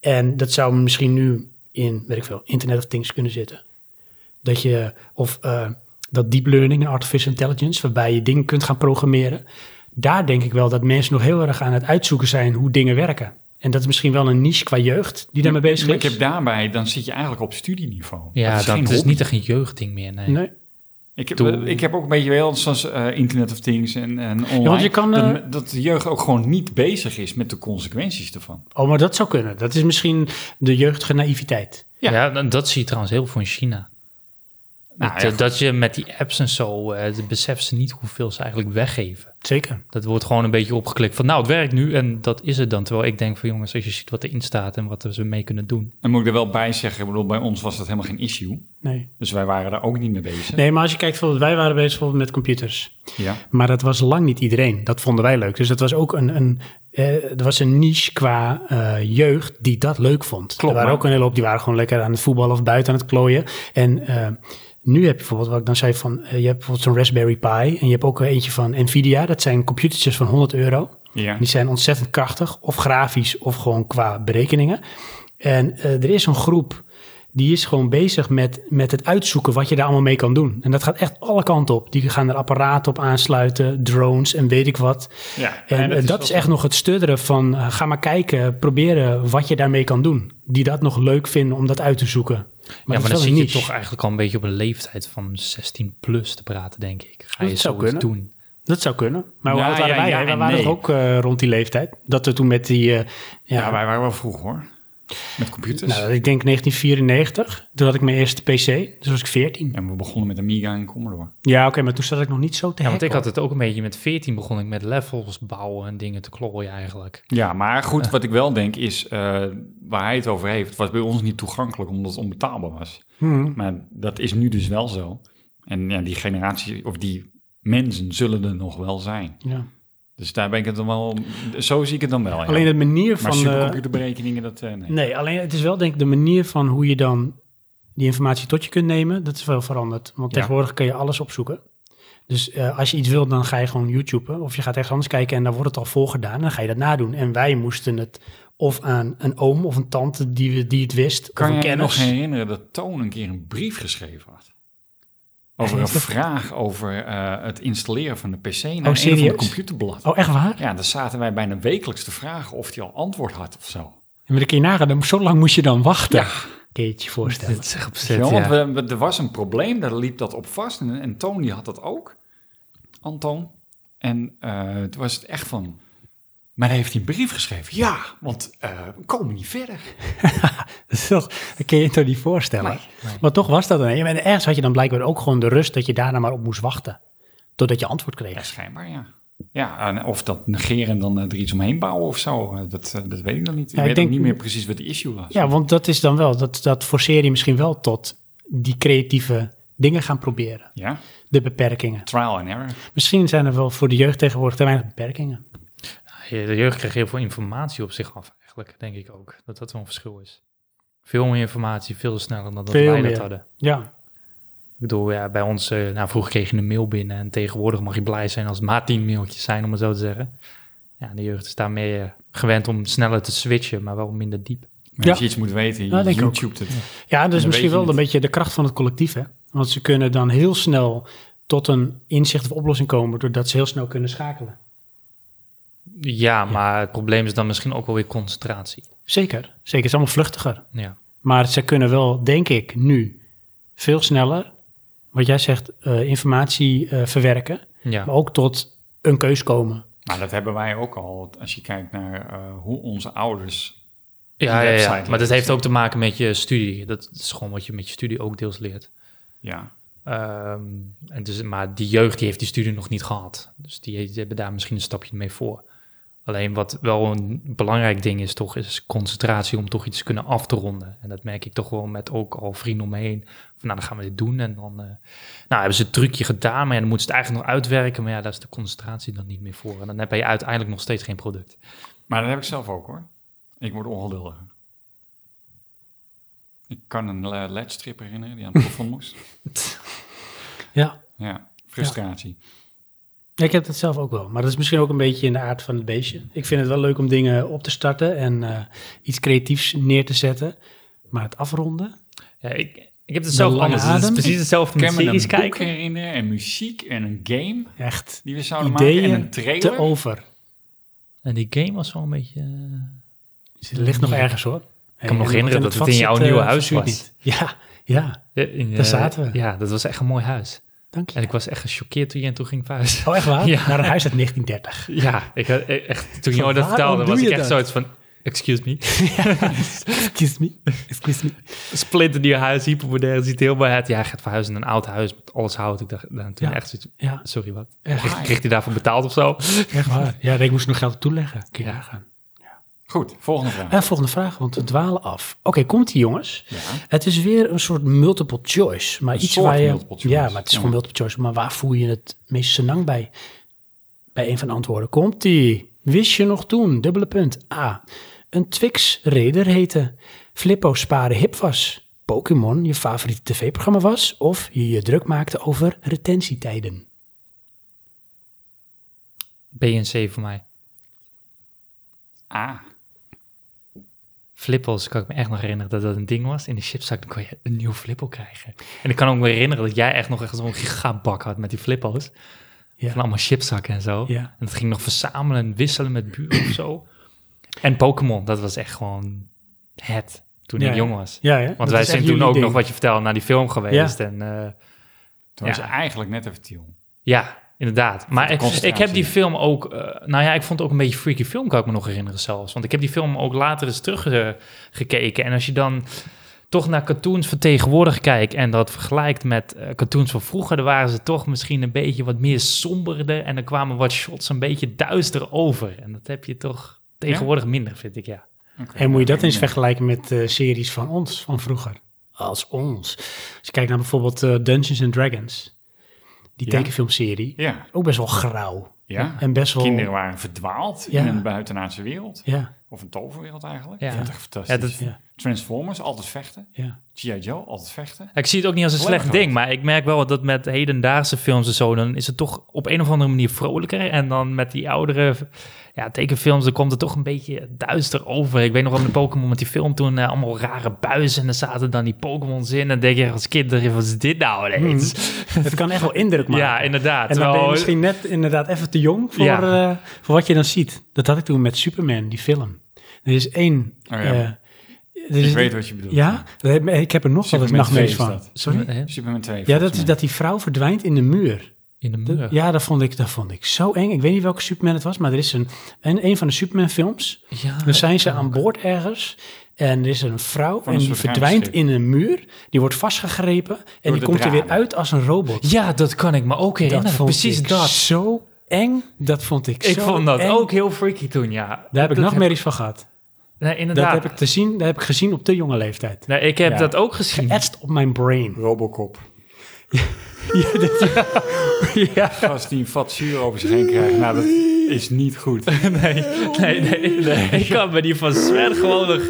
B: En dat zou misschien nu in, weet ik veel, Internet of Things kunnen zitten. Dat je, of eh, dat deep learning en artificial intelligence, waarbij je dingen kunt gaan programmeren. Daar denk ik wel dat mensen nog heel erg aan het uitzoeken zijn hoe dingen werken. En dat is misschien wel een niche qua jeugd die daarmee bezig
C: Maar
B: is.
C: ik heb daarbij, dan zit je eigenlijk op studieniveau.
A: Ja, dat is,
C: geen hobby.
A: niet echt een jeugdding meer. Nee.
B: Nee.
C: Ik heb, eh,
A: Doe-
C: ik heb ook een beetje wel, zoals eh, Internet of Things en, en online,
B: want je kan,
C: dat,
B: eh,
C: dat de jeugd ook gewoon niet bezig is met de consequenties ervan.
B: Oh, maar dat zou kunnen. Dat is misschien de jeugdige naïviteit.
A: Ja. dan- dat zie je trouwens heel veel in China.
C: Nou,
A: dat,
C: ja,
A: eh,
C: goed.
A: dat je met die apps en zo, eh beseffen ze niet hoeveel ze eigenlijk weggeven.
B: Zeker.
A: Dat wordt gewoon een beetje opgeklikt van, nou, het werkt nu en dat is het dan. Terwijl ik denk van, jongens, als je ziet wat erin staat en wat ze mee kunnen doen.
C: En moet ik er wel bij zeggen, ik bedoel, bij ons was dat helemaal geen issue.
B: Nee.
C: Dus wij waren daar ook niet mee bezig.
B: Nee, maar als je kijkt, bijvoorbeeld, wij waren bezig bijvoorbeeld met computers.
C: Ja.
B: Maar dat was lang niet iedereen. Dat vonden wij leuk. Dus dat was ook een, een, eh, er was een niche qua eh, jeugd die dat leuk vond. er waren
C: maar-
B: ook een hele hoop die waren gewoon lekker aan het voetballen of buiten aan het klooien. En eh, nu heb je bijvoorbeeld, wat ik dan zei, van, eh, je hebt bijvoorbeeld zo'n Raspberry Pi. En je hebt ook eentje van Nvidia. Dat zijn computertjes van 100 euro.
C: Ja.
B: Die zijn ontzettend krachtig, of grafisch, of gewoon qua berekeningen. En eh, er is een groep die is gewoon bezig met, met het uitzoeken wat je daar allemaal mee kan doen. En dat gaat echt alle kanten op. Die gaan er apparaten op aansluiten, drones en weet ik wat.
C: ja.
B: En,
C: Ja,
B: eh, dat,
C: wel
B: is,
C: zo.
B: echt nog het studderen van eh, ga maar kijken, proberen wat je daarmee kan doen. Die dat nog leuk vinden om dat uit te zoeken. Maar
A: ja,
B: dat
A: maar
B: is
A: dan
B: wel
A: zit
B: een
A: je
B: niche.
A: toch eigenlijk al een beetje op een leeftijd van 16 plus te praten, denk ik. Ga je
B: Dat zou
A: zo
B: kunnen.
A: doen?
B: Dat zou kunnen. Maar hoe
C: Ja,
B: oud waren
C: ja,
B: wij?
C: ja
B: hè? wij
C: en
B: waren
C: nee.
B: toch ook eh, rond die leeftijd. Dat we toen met die... eh,
C: Ja, wij waren wel vroeg hoor. Met computers.
B: Nou, ik denk 1994. Toen had ik mijn eerste PC. Dus was ik 14.
C: En we begonnen met Amiga en Commodore.
B: Ja, oké, maar toen zat ik nog niet zo te
A: Ja, want
B: hacken,
A: ik had het ook een beetje met 14 begon ik met levels bouwen en dingen te klooien eigenlijk.
C: Ja, maar goed, wat ik wel denk is, eh, waar hij het over heeft, was bij ons niet toegankelijk omdat het onbetaalbaar was.
B: hoor. Hmm.
C: Maar dat is nu dus wel zo. En ja, die generatie, of die mensen zullen er nog wel zijn.
B: Ja.
C: Dus daar ben ik het dan wel, zo zie ik het dan wel. ja.
B: Alleen de manier
C: maar
B: van... eh,
C: supercomputerberekeningen, dat eh, nee.
B: nee, alleen het is wel denk ik de manier van hoe je dan die informatie tot je kunt nemen. Dat is wel veranderd. Want
C: Ja.
B: tegenwoordig kun je alles opzoeken. Dus eh, als je iets wilt, dan ga je gewoon YouTuben. Of je gaat ergens anders kijken en dan wordt het al voorgedaan. En dan ga je dat nadoen. En wij moesten het of aan een oom of een tante die, we- die het wist. of
C: Kan
B: een
C: je je nog
B: kennis.
C: herinneren dat Toon een keer een brief geschreven had? Over
B: Ja,
C: een
B: is dat- Oh,
C: vraag over eh, het installeren van de PC naar een van de
B: serieus?
C: computerblad.
B: Oh, echt waar?
C: Ja, dan zaten wij bijna wekelijks te vragen of hij al antwoord had of zo.
B: Maar dan kun je nagaan, dan- zo lang moest je dan wachten. Kun je het je voorstellen.
A: Dit is echt
C: Ja,
A: opzet,
C: want
A: ja.
C: we, we- er was een probleem, daar liep dat op vast en, en Toon die had dat ook. Anton. En eh, toen was het echt van... Maar hij heeft die brief geschreven. Ja, want eh, we komen niet verder.
B: Dat, is toch, dat kun je je toch niet voorstellen. Maar toch was dat een. En ergens had je dan blijkbaar ook gewoon de rust dat je daarna maar op moest wachten. Totdat je antwoord
C: Ja,
B: kreeg.
C: schijnbaar, ja. Ja, en of dat negeren en dan eh, er iets omheen bouwen of zo. eh, Dat, eh, dat weet ik dan niet. Ik
B: Ja, ik
C: weet
B: denk-
C: ook niet meer precies wat de issue was.
B: Ja, want dat is dan wel, dat, dat forceer je misschien wel tot die creatieve dingen gaan proberen.
C: Ja,
B: De beperkingen.
C: trial and error.
B: Misschien zijn er wel voor de jeugd tegenwoordig te weinig beperkingen.
A: Je- De jeugd krijgt heel veel informatie op zich af, eigenlijk, denk ik ook. Dat dat wel een verschil is. Veel meer informatie, veel sneller dan dat
B: Veel
A: wij dat
B: meer.
A: hadden.
B: Ja,
A: Ik bedoel, ja, bij ons, eh, nou, vroeger kreeg je een mail binnen en tegenwoordig mag je blij zijn als het maar tien mailtjes zijn, om het zo te zeggen. Ja, de jeugd is daar meer eh, gewend om sneller te switchen, maar wel minder diep.
C: Maar
B: Ja.
C: Als je iets moet weten, je
B: Ja, denk ik ook.
C: YouTube het.
B: ja dat is
C: Dan
B: dus misschien
C: weet je
B: wel een
C: het.
B: beetje de kracht van het collectief. Hè? Want ze kunnen dan heel snel tot een inzicht of oplossing komen doordat ze heel snel kunnen schakelen.
A: Ja, maar het probleem is dan misschien ook wel weer concentratie.
B: Zeker, zeker. Het is allemaal vluchtiger.
A: Ja.
B: Maar ze kunnen wel, denk ik, nu veel sneller, wat jij zegt, eh, informatie eh, verwerken.
A: ja.
B: Maar ook tot een keus komen.
C: Maar Nou, dat hebben wij ook al. Als je kijkt naar eh, hoe onze ouders...
A: Ja,
C: die
A: ja, ja,
C: website
A: maar dat
C: lezen.
A: heeft ook te maken met je studie. Dat is gewoon wat je met je studie ook deels leert.
C: Ja,
A: Ehm, en dus, maar die jeugd die heeft die studie nog niet gehad. Dus die, die hebben daar misschien een stapje mee voor. Alleen wat wel een belangrijk ding is toch, is concentratie om toch iets te kunnen af te ronden. En dat merk ik toch wel met ook al vrienden om me heen. Van nou, dan gaan we dit doen. En dan eh, nou, hebben ze het trucje gedaan, maar ja, dan moeten ze het eigenlijk nog uitwerken. Maar ja, daar is de concentratie dan niet meer voor. En dan heb je uiteindelijk nog steeds geen product.
C: maar dat heb ik zelf ook hoor. Ik word ongeduldiger. Ik kan een le- ledstrip herinneren die aan het plafond moest.
B: Ja.
C: Ja, frustratie.
B: Ik heb dat zelf ook wel. Maar dat is misschien ook een beetje in de aard van het beestje. Ik vind het wel leuk om dingen op te starten en eh, iets creatiefs neer te zetten. Maar het afronden.
A: Ja, ik, ik heb het zelf
B: lange
A: anders. Het is
B: adem.
A: precies hetzelfde
C: Ik
A: met
C: kan me
A: series
C: een boek
A: kijken.
C: herinneren en muziek en een game
B: Echt
C: die we zouden maken. En
B: ideeën
C: een trailer.
B: te over.
A: En die game was wel een beetje...
B: Dus het ligt nog ergens hoor.
A: Ik kan me nog
B: en-
A: herinneren
B: en
A: dat het
B: vat
A: in jouw
B: zit, eh,
A: nieuwe
B: het
A: huis
B: vuur
A: was.
B: niet. Ja, ja,
A: eh, in,
B: Daar
A: eh,
B: zaten we.
A: Ja, dat was echt een mooi huis.
B: dank je.
A: En ik was echt gechoqueerd toen jij toen ging verhuizen.
B: Oh, echt waar?
A: Ja.
B: Naar een huis uit 1930.
A: Ja, ik, had- eh, echt, toen
B: Van
A: je me dat
B: waarom
A: vertelde,
B: doe
A: was ik
B: je
A: echt
B: dat?
A: zoiets van... Excuse me.
B: Excuse me. Excuse me.
A: Splinternieuw huis, hypermodern, ziet er heel mooi uit. Ja, hij gaat verhuizen naar een oud huis met alles hout. Ik dacht nou, toen
B: Ja.
A: echt zoiets
B: Ja,
A: Sorry, wat?
B: echt,
A: Kreeg hij daarvoor betaald of zo?
B: echt waar. Ja, ik moest nog geld toeleggen. Kun je
A: Ja.
B: gaan.
C: Goed, volgende vraag.
B: Eh, volgende vraag, want we dwalen af. Oké, komt die jongens.
C: Ja.
B: Het is weer een soort multiple choice. Maar
C: Een
B: iets
C: soort
B: waar je,
C: multiple choice.
B: Ja, maar het is
C: Ja.
B: gewoon multiple choice. Maar waar voel je het meest senang bij? Bij een van de antwoorden komt die. Wist je nog toen, dubbele punt, A. Een Twix-reder heette. Flippo sparen hip was. Pokémon je favoriete tv-programma was. Of je je druk maakte over retentietijden.
A: BNC voor mij.
C: Ah,
A: Flippels, kan ik me echt nog herinneren dat dat een ding was. In de chipzak dan kon je een nieuw flippel krijgen. En ik kan ook me herinneren dat jij echt nog echt zo'n gigabak had met die flippels.
B: Ja.
A: Van allemaal chipzakken en zo.
B: Ja.
A: En dat ging nog verzamelen en wisselen met buren of zo. En Pokémon, dat was echt gewoon het toen
B: Ja,
A: ik
B: ja.
A: jong was.
B: Ja, ja.
A: Want wij zijn toen ook nog, wat je vertelde, naar die film geweest. En eh,
C: toen
A: Ja.
C: was eigenlijk net even Tiel.
A: ja, inderdaad. Maar ik,
C: concentratie.
A: ik heb die film ook... eh, nou ja, ik vond het ook een beetje een freaky film, kan ik me nog herinneren zelfs. Want ik heb die film ook later eens teruggekeken. En als je dan toch naar cartoons van tegenwoordig kijkt... en dat vergelijkt met eh, cartoons van vroeger... dan waren ze toch misschien een beetje wat meer somberder... en er kwamen wat shots een beetje duister over. En dat heb je toch tegenwoordig minder, vind ik, ja.
C: Oké.
B: En moet je dat eens
C: Nee.
B: vergelijken met eh, series van ons, van vroeger? Als ons. Als je kijkt naar bijvoorbeeld eh, Dungeons and Dragons. Die
C: Ja.
B: tekenfilmserie.
C: Ja,
B: Ook best wel grauw.
C: ja.
B: En best wel...
C: Kinderen waren verdwaald
B: Ja.
C: in een buitenaardse wereld.
B: Ja,
C: Of een toverwereld eigenlijk.
A: Ja.
C: Ja. Dat is echt fantastisch.
A: Ja, dat-
B: ja,
C: Transformers, altijd vechten.
B: ja.
C: G.I. Joe, altijd vechten.
A: Ik zie het ook niet als een
C: Lekker
A: slecht
C: wat.
A: ding, maar ik merk wel dat met hedendaagse films en zo, dan is het toch op een of andere manier vrolijker. En dan met die oudere ja, tekenfilms, dan komt het toch een beetje duister over. Ik weet nog wel met Pokémon, met die film toen, eh, allemaal rare buizen en er zaten dan die Pokémons in. En dan denk je als kind, wat is dit nou ineens?
B: Het kan echt wel indruk maken.
A: Ja, inderdaad.
B: En dan ben je
A: Terwijl-
B: misschien net inderdaad even te jong voor,
A: Ja.
B: eh, voor wat je dan ziet. Dat had ik toen met Superman, die film. Er is één...
C: Oh, ja.
B: eh, er is-
C: Ik weet wat je bedoelt.
B: Ja? Dat heb- Ik heb er nog wel eens
C: Superman
B: nachtmerries
C: 2
B: van.
C: is dat.
A: Sorry?
C: Superman 2.
B: Ja,
C: volgens
B: dat, is
C: mij.
B: dat die vrouw verdwijnt in de muur.
A: In de
B: De-
A: muur.
B: ja, dat vond, ik, dat vond ik zo eng. Ik weet niet welke Superman het was, maar er is een, een, een van de Superman-films.
A: Ja,
B: Dan zijn ze aan boord ergens en er is een vrouw
C: Van
B: en
C: een
B: die
C: soort
B: verdwijnt
C: ruimteschip.
B: in een muur. Die wordt vastgegrepen en die
C: de
B: komt er weer
C: draden.
B: uit als een robot.
A: ja, dat kan ik me ook herinneren.
B: dat vond
A: Precies
B: ik
A: dat.
B: zo eng. Dat vond ik,
A: Ik
B: zo
A: vond dat
B: eng.
A: ook heel freaky toen, ja.
B: Daar heb ik
A: Dat
B: nachtmerries van gehad.
A: Nee, inderdaad.
B: Dat heb ik, te zien, dat heb ik gezien op te jonge leeftijd.
A: nee, ik heb
C: Ja.
A: dat ook gezien.
B: Etst op mijn brain.
C: Robocop.
A: ja.
C: Als die een vat zuur over zich heen krijgt, nou dat is niet goed.
A: Nee, nee, nee, Ik kan me die van Sven gewoon nog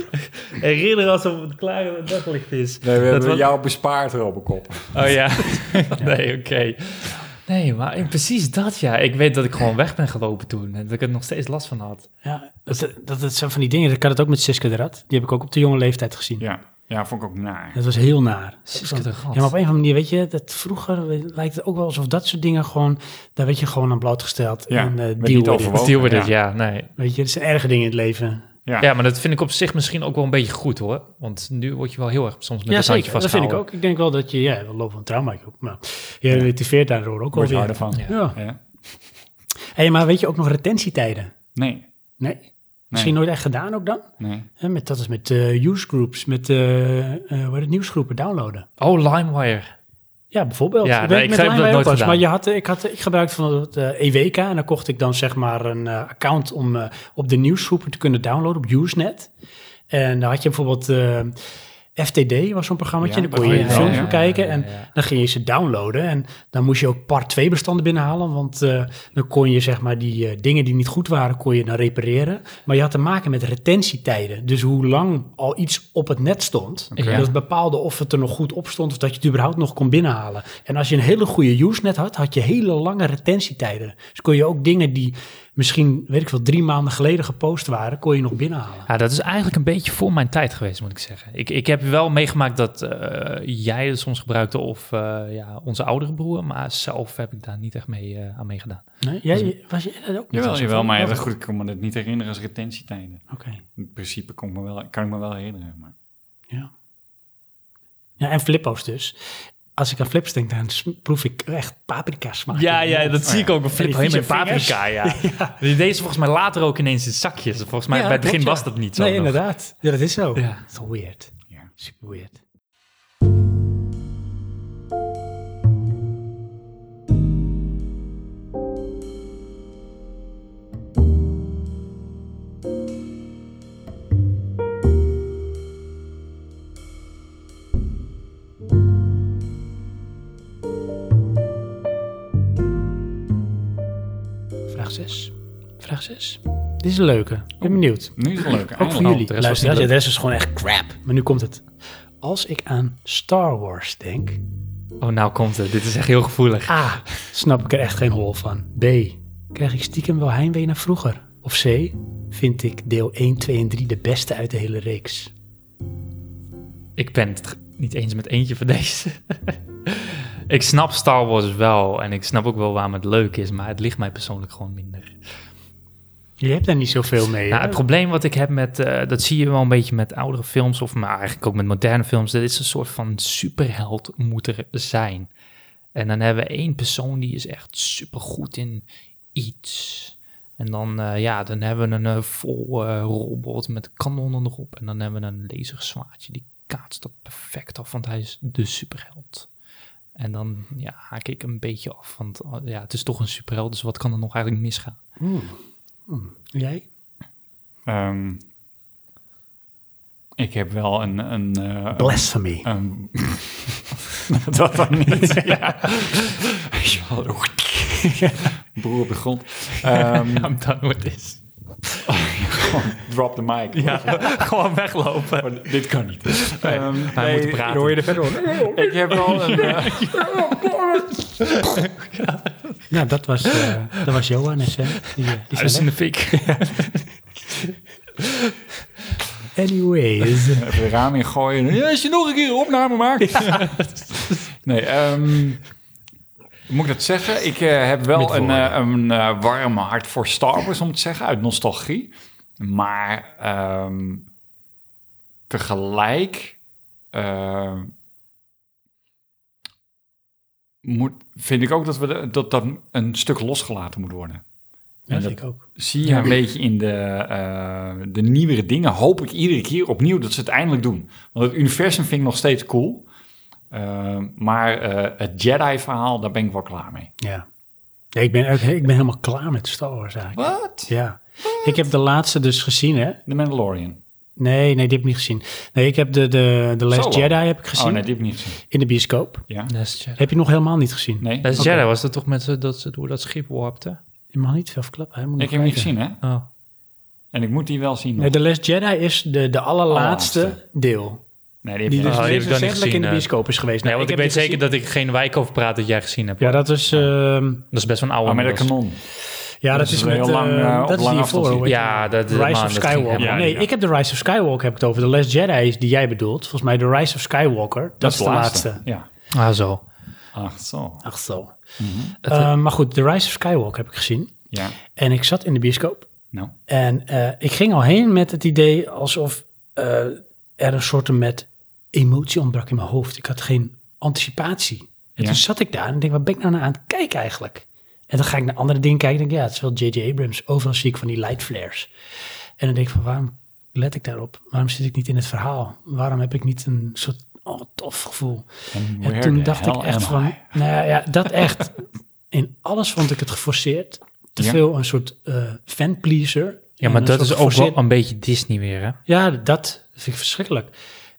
A: herinneren alsof het klaar daglicht is.
C: Nee, we hebben
A: was-
C: jou bespaard, Robocop.
A: Oh ja. nee, oké. Nee, maar ik- precies dat ja. Ik weet dat ik gewoon weg ben gelopen toen. En dat ik er nog steeds last van had.
B: Ja, dat, dat, dat zijn van die dingen. Dat kan het ook met Siska de Rat. Die heb ik ook op de jonge leeftijd gezien.
C: Ja, ja vond ik ook naar.
B: Dat was heel naar.
A: Siska de Rat.
B: Ja, maar op een of andere manier, weet je, dat vroeger lijkt het ook wel alsof dat soort dingen gewoon, daar werd je gewoon aan blootgesteld.
C: Ja,
B: en eh,
C: werd
B: deal
C: niet
B: with it.
C: overwogen.
A: Deal with
C: Ja.
A: it, ja. Nee.
B: Weet je, er zijn erge dingen in het leven.
C: Ja.
A: Ja, maar dat vind ik op zich misschien ook wel een beetje goed hoor. Want nu word je wel heel erg soms met een handje
B: dat vind ik
A: vastgehouden.
B: ook. Ik denk wel dat je, ja, we lopen een trauma op, maar je relativeert daardoor ook
C: Word je
B: alweer.
C: harder van.
A: Ja.
B: Ja.
C: Ja.
B: Hey, maar weet je ook nog retentietijden?
C: Nee,
B: Nee? Misschien nooit echt gedaan ook dan?
C: nee.
B: Hè, met, dat is met eh usegroups, met eh eh, hoe heet het, nieuwsgroepen downloaden.
A: Oh, LimeWire.
B: Ja, bijvoorbeeld.
A: Ja,
B: Ik
A: nee,
B: weet
A: ik
B: met
A: heb
B: Lime
A: dat
B: Wire
A: nooit
B: ook wel eens, Maar
A: gedaan.
B: je had, eh, ik, had, eh, ik gebruikte van het eh, EWK en dan kocht ik dan zeg maar een eh, account om eh, op de nieuwsgroepen te kunnen downloaden op Usenet. En dan had je bijvoorbeeld eh, FTD was zo'n programmaatje.
C: Ja,
B: en dan kon je
A: oh, ja,
B: films
C: ja,
B: bekijken
A: ja,
B: en
A: ja, ja.
B: dan ging je ze downloaden. En dan moest je ook part 2 bestanden binnenhalen, want eh, dan kon je zeg maar die eh, dingen die niet goed waren, kon je dan repareren. Maar je had te maken met retentietijden. Dus hoe lang al iets op het net stond.
A: Oké.
B: Dat bepaalde of het er nog goed op stond of dat je het überhaupt nog kon binnenhalen. En als je een hele goede usenet had, had je hele lange retentietijden. Dus kon je ook dingen die misschien, weet ik veel, drie maanden geleden gepost waren, kon je nog binnenhalen.
A: Ja, dat is eigenlijk een beetje voor mijn tijd geweest, moet ik zeggen. Ik, ik heb wel meegemaakt dat eh, jij het soms gebruikte of eh, ja, onze oudere broer, maar zelf heb ik daar niet echt mee, eh, aan meegedaan.
B: Nee? Jij, was je dat ook? niet
C: Jawel,
B: zo?
C: jawel, maar ja, dat
B: Oh,
C: goed, ik kan me dat niet herinneren als retentietijden.
B: Oké,
C: In principe kan ik me wel, kan ik me wel herinneren. Maar.
B: ja. Ja, en flippo's dus. Als ik aan flips denk, dan s- proef ik echt paprika smaak.
A: dat
C: zie ik ook.
A: Een
B: flip helemaal paprika,
A: ja. Deze volgens mij later ook ineens in zakjes. Volgens mij
B: Ja,
A: bij het
B: klopt,
A: begin
B: ja.
A: was dat niet zo.
B: Nee,
A: nog.
B: inderdaad. Ja, dat is zo.
A: Ja.
B: Dat is wel weird.
C: Ja.
B: Super weird. Vraag 6. Vraag 6. Dit is een leuke. Ik ben benieuwd.
C: Nu is het leuk.
B: Ook voor
C: eindelijk.
B: jullie.
A: de rest was
B: Luister,
A: niet
B: de rest is gewoon echt crap. Maar nu komt het. Als ik aan Star Wars denk...
A: Oh, nou komt het. Dit is echt heel gevoelig.
B: A. Snap ik er echt geen hol van. B. Krijg ik stiekem wel heimwee naar vroeger. Of C. Vind ik deel 1, 2 en 3 de beste uit de hele reeks.
A: Ik ben het niet eens met eentje van deze. ik snap Star Wars wel en ik snap ook wel waarom het leuk is, maar het ligt mij persoonlijk gewoon minder.
B: Je hebt daar niet zoveel mee.
A: Nou,
B: hè?
A: het probleem wat ik heb met, eh, dat zie je wel een beetje met oudere films, of maar eigenlijk ook met moderne films, dat is een soort van superheld moet er zijn. En dan hebben we één persoon die is echt supergoed in iets. En dan, eh, ja, dan hebben we een eh, vol eh, robot met kanonnen erop. En dan hebben we een laserzwaardje. Die kaatst dat perfect af, want hij is de superheld. En dan ja, haak ik een beetje af, want oh, ja, het is toch een superheld. Dus wat kan er nog eigenlijk misgaan?
B: Hmm. Hmm. Jij?
C: Ehm, ik heb wel een... een, eh,
B: Blasphemy.
C: een- dat dan niet. ja. Ja, oeh. Broer op de grond. Ehm,
A: Nou, dan wordt het.
C: drop the mic.
A: Ja, gewoon weglopen.
C: Maar dit kan niet.
A: Nee,
C: Ehm,
A: wij moeten praten.
C: Hoor je er verder hoor. Ik heb wel een... eh,
B: Nou, dat was, eh, dat was Johan en Sven. Die, eh, die zijn
A: de fik.
B: weg. Anyways.
C: Even de raam in gooien. Ja, als je nog een keer een opname maakt. Nee, ehm, moet ik dat zeggen? Ik eh, heb wel een, eh, een eh, warm hart voor Star Wars, om het te zeggen, uit nostalgie. Maar ehm, eh, tegelijk ehm, moet, vind ik ook dat, we de- dat dat een stuk losgelaten moet worden.
B: Dat
C: dat-
B: vind ik ook.
C: Zie je een beetje in de, eh, de nieuwere dingen, hoop ik iedere keer opnieuw dat ze het eindelijk doen. Want het universum vind ik nog steeds cool. Eh, maar eh, het Jedi-verhaal, daar ben ik wel klaar mee.
B: Ja. Ja, ik, ben, ook- ik ben helemaal klaar met Star Wars eigenlijk.
C: Wat?
B: Ja. Ik heb de laatste dus gezien, hè?
C: The Mandalorian.
B: Nee, nee, die heb ik niet gezien. Nee, ik heb de, de, de Last
C: Solo.
B: Jedi heb ik gezien
C: Oh nee, die heb ik niet gezien.
B: in de bioscoop.
C: Ja?
A: Last Jedi.
B: Heb je nog helemaal niet gezien?
C: Nee?
A: Last
B: Oké.
A: Jedi was dat toch met ze dat ze door dat schip warpte?
B: Je mag niet veel verklappen. hè? Moet nog
C: Ik heb hem niet
B: kijken.
C: gezien, hè?
A: Oh.
C: En ik moet die wel zien. nog.
B: Nee, de Last Jedi is de, de allerlaatste
C: Allerlaatste.
B: deel.
C: Nee, die heb
B: Die
C: ik
B: dus
A: Oh,
C: niet
A: die
B: meest
A: heb ik dan niet
B: recentelijk in de
A: gezien, eh.
B: bioscoop is geweest.
A: Nee, want ik,
B: heb
A: weet
B: die
A: zeker
B: gezien.
A: dat ik geen wijk over praat dat jij gezien hebt.
B: Ja, dat is... ehm,
A: Dat is best wel een oude.
C: Oh, met een
A: inmiddels.
C: kanon.
B: Ja, dat,
C: is
B: is
C: wel
B: met
C: heel lang,
B: eh,
C: eh, op
B: dat is
C: lange
B: die
C: afstand
B: voor.
C: zien.
B: hoe heet
A: Ja,
B: die?
A: dat- dat-
B: Rise
A: man,
B: of
A: dat ging
B: Skywalker.
C: helemaal
B: nee,
C: niet, ja.
B: ik heb de Rise of Skywalker heb ik het over. De Last Jedi is die jij bedoelt. Volgens mij de Rise of Skywalker. Dat, is de laatste.
C: Ja.
A: Ah, zo.
C: Ach zo.
B: Ach zo.
A: Het-
B: Eh, maar goed, de Rise of Skywalker heb ik gezien.
C: Ja.
B: En ik zat in de bioscoop.
C: Nou.
B: En eh, ik ging al heen met het idee alsof eh, er een soort met emotie ontbrak in mijn hoofd. Ik had geen anticipatie. En
C: Ja.
B: toen zat ik daar en denk, wat ben ik nou naar aan het kijken eigenlijk? En dan ga ik naar andere dingen kijken en denk, ja, het is wel J.J. Abrams. Overal zie ik van die light flares. En dan denk ik van, waarom let ik daarop? Waarom zit ik niet in het verhaal? Waarom heb ik niet een soort, oh, tof gevoel?
C: En
B: En toen dacht ik echt van, nou ja, dat echt. In alles vond ik het geforceerd. Te
C: Ja.
B: veel een soort eh fanpleaser.
A: Ja,
B: En
A: maar
B: een
A: dat
B: soort
A: is ook
B: geforceerd-
A: wel een beetje Disney weer, hè?
B: Ja, dat vind ik verschrikkelijk.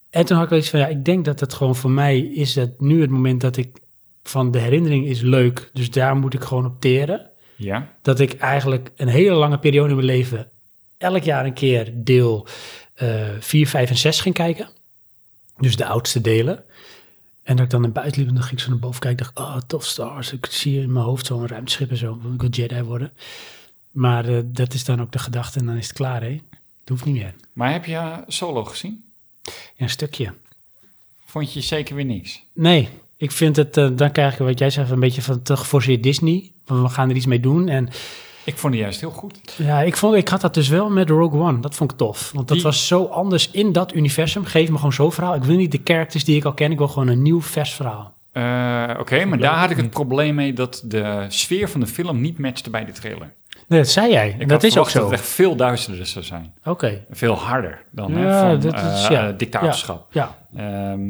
B: En toen had ik wel iets van, ja, ik denk dat het gewoon voor mij is dat nu het moment dat ik van de herinnering is leuk. Dus daar moet ik gewoon op teren.
C: Ja.
B: Dat ik eigenlijk een hele lange periode in mijn leven elk jaar een keer deel eh 4, 5 en 6 ging kijken. Dus de oudste delen. En dat ik dan naar buiten liep en dan ging ik zo naar boven kijken. dacht, oh, tof stars. Ik zie in mijn hoofd zo'n ruimteschip en zo. Ik wil Jedi worden. Maar eh, dat is dan ook de gedachte en dan is het klaar, hè? Het hoeft niet meer.
C: Maar heb je eh, Solo gezien?
B: Ja, een stukje.
C: Vond je zeker weer niks?
B: Nee, ik vind het, eh, dan krijg ik wat jij zegt, een beetje van te geforceerd Disney. Van we gaan er iets mee doen. En
C: Ik vond het juist heel goed.
B: ja, ik, vond, ik had dat dus wel met Rogue One. Dat vond ik tof. Want dat
C: Die-
B: was zo anders in dat universum. Geef me gewoon zo'n verhaal. Ik wil niet de characters die ik al ken. Ik wil gewoon een nieuw, vers verhaal.
C: Eh, Oké, maar daar had ik het probleem mee dat de sfeer van de film niet matchte bij de trailer.
B: Nee, dat zei jij.
C: Ik had
B: dat is ook
C: verwacht
B: zo.
C: Dat het
B: Oké.
C: echt veel duisterder zou zijn. Veel harder dan hè,
B: Ja,
C: van
B: dat is- ja.
C: eh, dictatorschap.
B: Ja.
C: Ehm,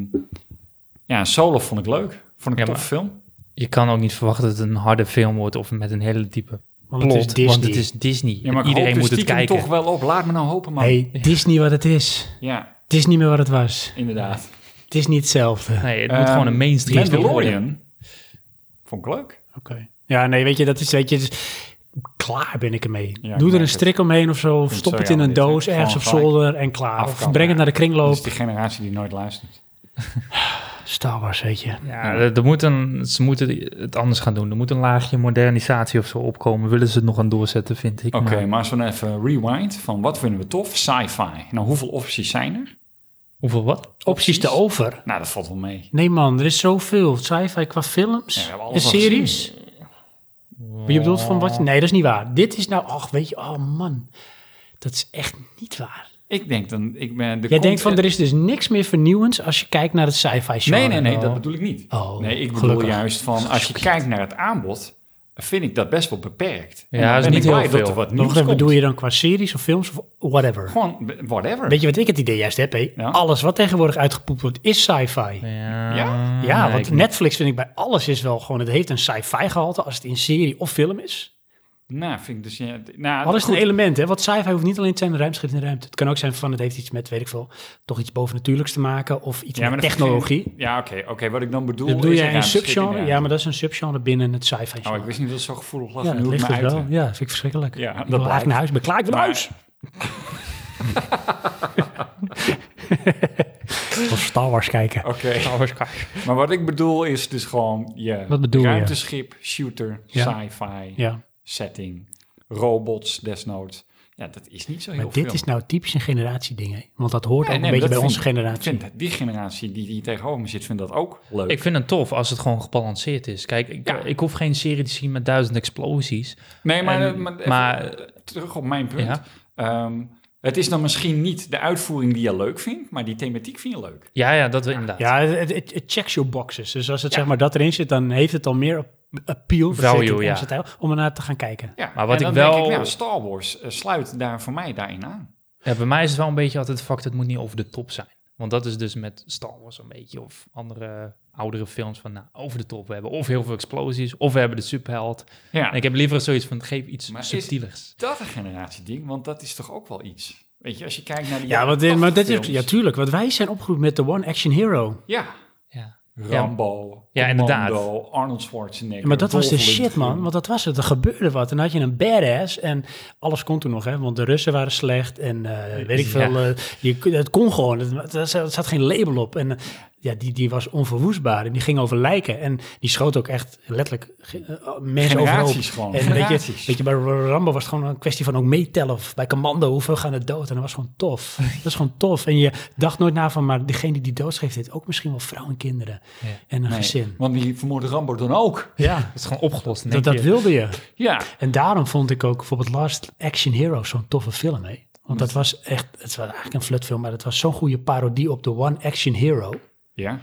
C: ja, Solo vond ik leuk. Vond ik
A: Ja,
C: een tof film.
A: Je kan ook niet verwachten dat het een harde film wordt of met een hele diepe
B: Want
A: plot.
B: het is Disney.
A: Want het is Disney.
C: Ja, maar ik
A: Iedereen
C: hoopte
A: moet het
C: stiekem
A: kijken.
C: toch wel op. Laat me nou hopen, man.
B: Hey, het is niet wat het is.
C: Ja,
B: Het is niet meer wat het was.
C: inderdaad.
B: Het is niet hetzelfde. Oké.
A: Nee, het moet gewoon een mainstream film worden.
C: Ehm, Mandalorian vond ik leuk.
B: Ja, nee, weet je, dat is, weet je, het is- klaar ben ik ermee.
C: ik
B: Doe
C: merk
B: er een
C: het.
B: strik omheen of zo. Of
C: het
B: stop
C: zo
B: het in een
C: jammer dit, hè.
B: doos ergens op
C: Gewoon gelijk
B: zolder en klaar. Of
C: afkappen.
B: breng het naar de
C: Dat
B: kringloop.
C: is die generatie die nooit luistert.
B: Star Wars, weet je.
A: Ja, er, er moet een, ze moeten het anders gaan doen. Er moet een laagje modernisatie of zo opkomen. Willen ze het nog aan doorzetten, vind ik.
C: Oké,
A: Maar
C: maar als we dan even rewind van wat vinden we tof? Sci-fi. Nou, hoeveel opties zijn er?
A: hoeveel wat?
B: Opties te over.
C: Nou, dat valt wel mee.
B: Nee man, er is zoveel. Sci-fi
C: Ja,
B: qua
C: we
B: films
C: hebben
B: en
C: alles al
B: series. Maar je bedoelt van wat? Nee, dat is niet waar. Dit is nou, ach weet je, oh man. Dat is echt niet waar.
C: Ik denk dan, ik ben...
B: Jij denkt van, er is dus niks meer vernieuwends als je kijkt naar het sci-fi
C: Nee,
B: genre.
C: nee, nee,
A: Oh.
C: dat bedoel ik niet.
B: Oh,
C: nee, ik bedoel
B: gelukkig.
C: juist van, als je kijkt naar het aanbod, vind ik dat best wel beperkt. En
A: Ja,
C: dan
A: dat is
C: ben
A: niet
C: ik blij
A: heel
C: Dat
A: veel.
C: er wat
B: Maar
C: nieuws
B: wat
C: komt.
B: bedoel je dan qua series of films of whatever?
C: Gewoon, b- whatever.
B: Weet je wat ik het idee juist heb, hé?
C: Ja.
B: Alles wat tegenwoordig uitgepoept wordt, is sci-fi.
A: Ja,
C: Ja?
B: Ja,
A: nee,
B: want
A: ik-
B: Netflix vind ik bij alles is wel gewoon... Het heeft een sci-fi gehalte als het in serie of film is.
C: Nou, vind ik dus... Ja, d- nou,
B: Alles is
C: goed.
B: een element, hè? Want sci-fi hoeft niet alleen te zijn een ruimschip in de ruimte. Het kan ook zijn van het heeft iets met, weet ik veel, toch iets bovennatuurlijks te maken of iets
C: Ja, maar
B: met
C: dat
B: technologie.
C: vind ik- ja, oké, oké. wat ik dan bedoel
B: Dat bedoel
C: is
B: jij een
C: ruimteschip
B: subgenre?
C: inderdaad.
B: Ja, maar dat is een subgenre binnen het sci-fi.
C: Oh,
B: genre.
C: ik wist niet dat het zo gevoelig was.
B: ja,
C: Nu
B: dat
C: hoef ik
B: ligt
C: me
B: dus
C: uit te-
B: wel. Ja, dat vind ik verschrikkelijk.
C: Ja,
B: ik
C: dat
B: wil
C: blijkt.
B: eigenlijk naar huis. Ik ben klaar, ik wil naar huis. Of Star Wars kijken.
C: Oké.
A: Star Wars kijken.
C: Maar wat ik bedoel is dus gewoon je
B: Wat bedoel je?
C: ruimteschip, shooter,
B: Ja.
C: sci-fi,
B: Ja,
C: setting, robots desnoods. Ja, dat is niet zo heel
B: maar
C: veel.
B: dit is nou typisch een generatieding, hè? Want dat hoort
C: Nee, nee,
B: ook een
C: maar
B: beetje bij
C: dat
B: onze
C: vind-
B: generatie.
C: Ik vind die generatie die hier tegenover me zit, vindt dat ook leuk.
A: Ik vind het tof als het gewoon gebalanceerd is. Kijk, ik,
C: Ja.
A: ik hoef geen serie te zien met duizend explosies.
C: nee, maar,
A: en-
C: maar, even
A: maar-
C: terug op mijn punt.
A: Ja.
C: Ehm, Het is dan misschien niet de uitvoering die je leuk vindt, maar die thematiek vind je leuk.
A: Ja, ja, dat inderdaad.
B: Ja, het, het, het checks your boxes. Dus als het zeg maar dat erin zit, dan heeft het al meer ap- appeal
A: Value,
B: verzet ik
A: ja.
B: onze tijl, om ernaar te gaan kijken.
C: Ja,
A: Maar wat
C: en
A: ik
C: dan
A: wel-
C: Denk ik, nou, Star Wars eh, sluit daar voor mij daarin aan.
A: Ja, bij mij is het wel een beetje altijd het fact, het moet niet over de top zijn. Want dat is dus met Star Wars een beetje, of andere oudere films van, nou, over de top. We hebben of heel veel explosies, of we hebben de superheld.
C: Ja,
A: En ik heb liever zoiets van, geef iets
C: Maar is-
A: subtielers.
C: dat een generatieding, want dat is toch ook wel iets. Weet je, als je kijkt naar die
B: Ja,
C: jaren
B: want, eh, maar dat
C: 80
B: is,
C: films.
B: ja, tuurlijk. Want wij zijn opgegroeid met de One Action Hero.
C: Ja,
A: Ja.
C: Rambo,
A: Ja, inderdaad.
C: Commando, Arnold Schwarzenegger.
B: Ja, maar dat was de
C: Dolph
B: shit,
C: Lundgren.
B: man. Want dat was het. Er gebeurde wat. En dan had je een badass. En alles kon toen nog, hè. Want de Russen waren slecht. En eh, weet ik
A: Ja.
B: veel. eh, je, het kon gewoon. Het, er zat- er zat geen label op. En eh, ja, die, die was onverwoestbaar. En die ging over lijken. En die schoot ook echt letterlijk ge- eh, mensen overhoop.
C: Generaties gewoon.
B: En weet je,
C: Generaties.
B: weet je, bij Rambo was het gewoon een kwestie van ook meetellen. Of bij Commando, hoeveel gaan er dood? En dat was gewoon tof. dat is gewoon tof. En je dacht nooit na van, maar degene die doodschreef, heeft ook misschien wel vrouwen en kinderen.
A: Ja.
B: En een
C: Nee,
B: gezin.
C: Want die vermoordde Rambo dan ook.
B: Ja,
A: Dat is gewoon opgelost.
B: dat, dat wilde je.
C: Ja,
B: En daarom vond ik ook bijvoorbeeld Last Action Hero zo'n toffe film, hè. Want dat was echt, het was eigenlijk een flutfilm, maar het was zo'n goede parodie op de One Action Hero.
C: ja.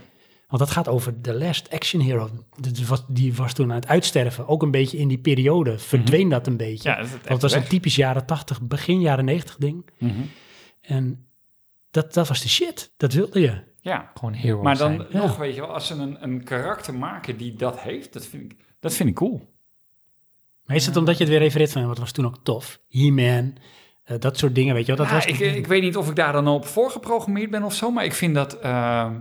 B: Want dat gaat over The Last Action Hero. Dat was- Die was toen aan het uitsterven. Ook een beetje in die periode verdween dat een beetje.
C: ja dat is het
B: Want
C: echt
B: het was
C: weg.
B: een typisch jaren 80, begin jaren 90 ding.
C: Mhm.
B: En dat, dat was de shit. Dat wilde je.
C: Ja,
A: Gewoon hero
C: maar dan
A: zijn.
B: ja.
C: nog, weet je wel, als ze een, een karakter maken die dat heeft, dat vind ik, dat vind ik cool.
B: Maar is het omdat je het weer refereert van, wat was toen ook tof? He-Man, eh, dat soort dingen, weet je wel.
C: Ja,
B: Dat was
C: ik,
A: eh,
C: ik weet niet of ik daar dan op voorgeprogrammeerd ben of zo, maar ik vind dat... eh,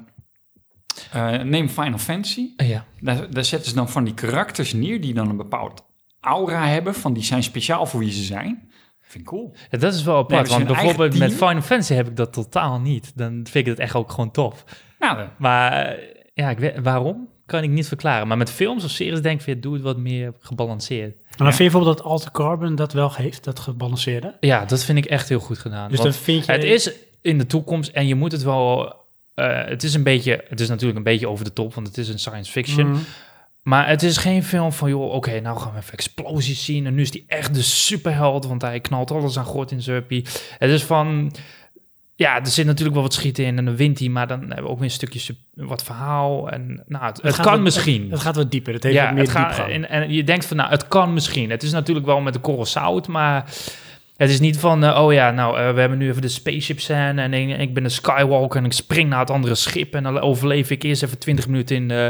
C: eh, neem Final Fantasy.
A: Oh, Ja.
C: Daar, daar zetten ze dan van die karakters neer die dan een bepaald aura hebben, van die zijn speciaal voor wie ze zijn. Vind ik cool.
A: Ja, dat is wel apart,
C: Nee, maar
A: want
C: zo'n eigen
A: bijvoorbeeld met
C: team-
A: Final Fantasy heb ik dat totaal niet. Dan vind ik het echt ook gewoon tof.
C: Nou, dan-
A: Maar eh, ja, ik weet, waarom? Kan ik niet verklaren. Maar met films of series denk ik, weer, doe het wat meer gebalanceerd.
B: Maar vind je bijvoorbeeld dat Alter Carbon dat wel heeft, dat gebalanceerde?
A: Ja, dat vind ik echt heel goed gedaan.
B: Dus
A: Want
B: dan vind je...
A: Het is in de toekomst en je moet het wel. eh, het is een beetje. Het is natuurlijk een beetje over de top, want het is een science fiction.
C: Mm.
B: Mhm.
A: Maar het is geen film van, joh, oké, nou gaan we even explosies zien. En nu is die echt de superheld, want hij knalt alles aan gort in Zurpie. Het is van. Ja, er zit natuurlijk wel wat schieten in en dan wint hij, maar dan hebben we ook weer een stukje sub- wat verhaal. En, nou, het, het
B: gaat
A: kan
B: wat-
A: misschien.
B: Het gaat wat dieper. Het heeft wat meer
A: het gaat-
B: diepgang.
A: En, en je denkt van, nou, het kan misschien. Het is natuurlijk wel met de korrel zout, maar het is niet van, eh, oh ja, nou, eh, we hebben nu even de spaceship scène en ik, ik ben een Skywalker en ik spring naar het andere schip en dan overleef ik eerst even 20 minuten in, eh,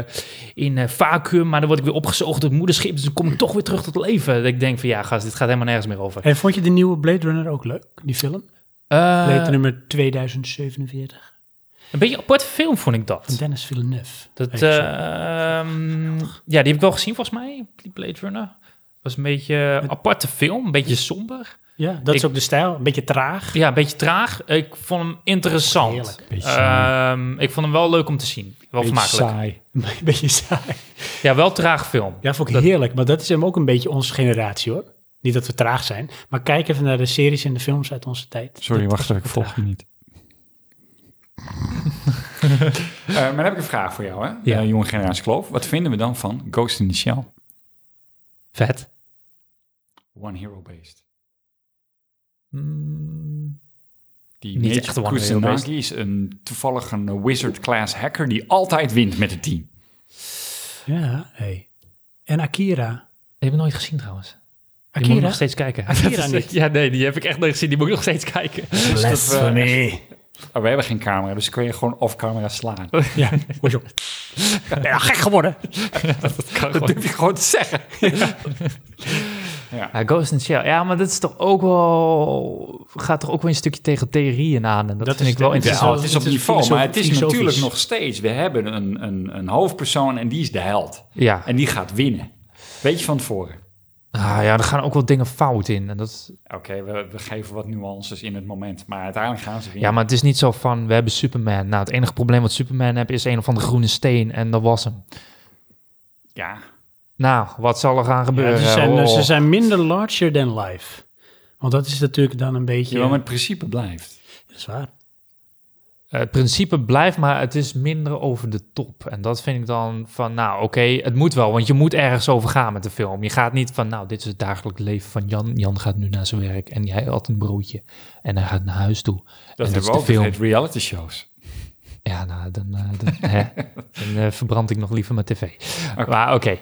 A: in eh, vacuüm, maar dan word ik weer opgezogen door het moederschip, dus dan kom ik toch weer terug tot leven. Dat ik denk van, ja, gast, dit gaat helemaal nergens meer over.
B: En vond je de nieuwe Blade Runner ook leuk, die film?
A: Eh,
B: Blade nummer 2047
A: een beetje een apart film vond ik
B: van
A: dat.
B: Dennis Villeneuve.
A: dat
B: Regisseur.
A: eh, ehm, ja, die heb ik wel gezien volgens mij, die Blade Runner. was een beetje een aparte film, een beetje somber.
B: ja, dat is
A: ik-
B: ook de stijl. Een beetje traag.
A: Ja, een beetje traag. Ik vond hem interessant.
B: Heerlijk.
C: Beetje
A: Ehm, ik vond hem wel leuk om te zien. Wel vermakelijk.
C: saai.
B: Een beetje saai.
A: Ja, wel traag film.
B: Ja, vond ik
A: Dat-
B: heerlijk. Maar dat is hem ook een beetje onze generatie, hoor. Niet dat we traag zijn. Maar kijk even naar de series en de films uit onze tijd.
C: Sorry,
B: Dat-
C: wacht even, ik volg je niet. Eh, maar dan heb ik een vraag voor jou, hè?
A: Ja.
C: Eh, jonge generatie Kloof. Wat vinden we dan van Ghost in the Shell?
A: Vet.
C: One Hero Based.
A: Mm,
C: Die
A: Niet
C: Mitch
A: echt One Hero
C: Kusanagi is een toevallig een eh, wizard-class hacker die altijd wint met het team.
B: Ja, hey. En Akira.
A: die heb ik nooit gezien trouwens. Die moet ik
B: Akira?
A: nog steeds kijken.
B: Akira niet.
A: Ja, nee, die heb ik echt nooit gezien. Die moet ik nog steeds kijken.
B: eh, Blasphemy.
C: Oh, we hebben geen camera, dus kun je gewoon off-camera slaan.
B: Ja, word je ben je nou gek geworden.
A: Dat
C: Dat
A: kan gewoon.
C: durf je gewoon te zeggen.
A: Ja, Ghost in the Shell. Ja, maar dat is toch ook wel... Gaat toch ook wel een stukje tegen theorieën aan. En dat,
B: Dat
A: vind
B: is
A: ik wel
B: de-
C: Het is,
A: interessant.
B: wel-
C: het is op
B: het is
C: niveau, maar het is
B: filosofisch.
C: natuurlijk nog steeds. We hebben een, een, een hoofdpersoon en die is de held.
A: Ja.
C: En die gaat winnen. Weet je van tevoren.
A: Ah, ja, er gaan ook wel dingen fout in. En dat,
C: Oké, we, we geven wat nuances in het moment, maar uiteindelijk gaan ze winnen.
A: Ja, maar het is niet zo van, we hebben Superman. Nou, het enige probleem wat Superman heeft is een of andere groene steen en dat was hem.
C: Ja,
A: Nou, wat zal er gaan
B: Ja,
A: gebeuren?
B: ze, zijn, eh,
A: Oh.
B: ze zijn minder larger than life. Want dat is natuurlijk dan een beetje...
C: ja. maar het principe blijft.
B: Dat is waar.
A: eh, het principe blijft, maar het is minder over de top. En dat vind ik dan van, nou oké, het moet wel, want je moet ergens over gaan met de film. Je gaat niet van, nou, dit is het dagelijks leven van Jan. Jan gaat nu naar zijn werk en jij had een broodje en hij gaat naar huis toe.
C: Dat
A: en
C: hebben we ook
A: de
C: veel.
A: film.
C: reality shows.
A: Ja, nou, dan, eh, dan, hè, dan eh, verbrand ik nog liever mijn tv. Maar oké.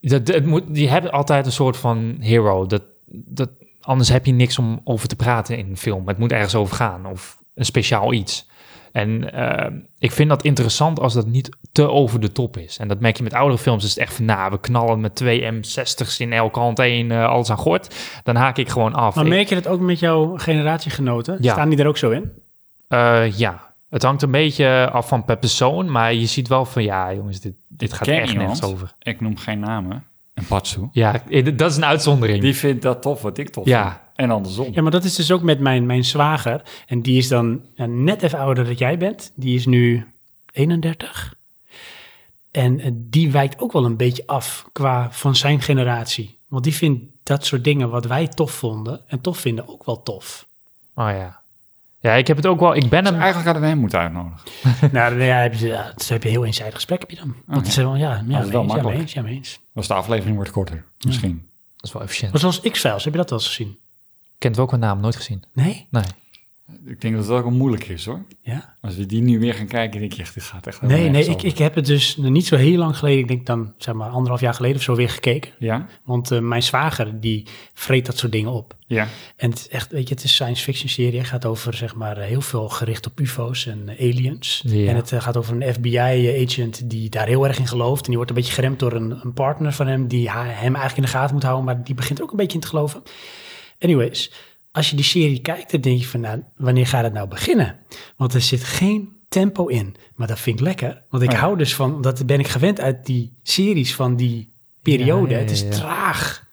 A: Dat, dat moet, je hebt altijd een soort van hero. Dat, dat, anders heb je niks om over te praten in een film. Het moet ergens over gaan of een speciaal iets. En eh, ik vind dat interessant als dat niet te over de top is. En dat merk je met oudere films. Is het echt van, nou, we knallen met twee M60's in elke hand één, eh, alles aan gort. Dan haak ik gewoon af.
B: Maar
A: Ik-
B: merk je dat ook met jouw generatiegenoten?
A: Ja.
B: Staan die er ook zo in?
A: eh, ja, het hangt een beetje af van per persoon, maar je ziet wel van ja, jongens, dit, dit gaat
C: ken
A: echt
C: iemand.
A: nergens over.
C: Ik noem geen namen. En Patsu.
A: Ja, eh, d- dat is een uitzondering.
C: Die vindt dat tof wat ik tof
A: Ja.
C: vind. En andersom.
B: Ja, maar dat is dus ook met mijn, mijn zwager. En die is dan ja, net even ouder dan jij bent. Die is nu 31. En eh, die wijkt ook wel een beetje af qua van zijn generatie. Want die vindt dat soort dingen wat wij tof vonden en tof vinden ook wel tof.
A: Oh ja. Ja, ik heb het ook wel. Ik ben
C: Dus
A: hem.
C: eigenlijk hadden we hem moeten uitnodigen.
B: nou, dan heb je, ja, dat heb je een heel eenzijdig gesprek heb je dan. Want
C: ja.
B: ze wel, ja, ja, mee
C: wel
B: eens, ja, mee
C: makkelijk.
B: eens, ja, mee eens.
C: Dus de aflevering wordt korter. Misschien.
A: Dat is wel efficiënt.
B: Maar zoals X-Files, heb je dat wel eens gezien?
A: Kent ook een naam, nooit gezien.
B: Nee?
A: Nee.
C: Ik denk dat dat ook wel moeilijk is hoor.
B: Ja.
C: Als we die nu weer gaan kijken, denk je echt, dit gaat echt helemaal
B: Nee, nee,
C: nergens
B: ik,
C: over.
B: ik heb het dus niet zo heel lang geleden, ik denk dan zeg maar anderhalf jaar geleden of zo weer gekeken.
C: Ja?
B: Want eh, mijn zwager die vreet dat soort dingen op.
C: Ja.
B: En het is echt, weet je, het is science fiction serie. Het gaat over zeg maar eh, heel veel gericht op UFO's en eh, aliens.
A: Ja.
B: En het eh, gaat over een FBI-agent eh, die daar heel erg in gelooft. En die wordt een beetje geremd door een, een partner van hem die ha- hem eigenlijk in de gaten moet houden. Maar die begint er ook een beetje in te geloven. Anyways, als je die serie kijkt, dan denk je van, nou, wanneer gaat het nou beginnen? Want er zit geen tempo in. Maar dat vind ik lekker, want ik
C: Oh ja.
B: hou dus van, dat ben ik gewend uit die series van die periode.
A: Ja, ja,
B: het is
A: ja.
B: traag.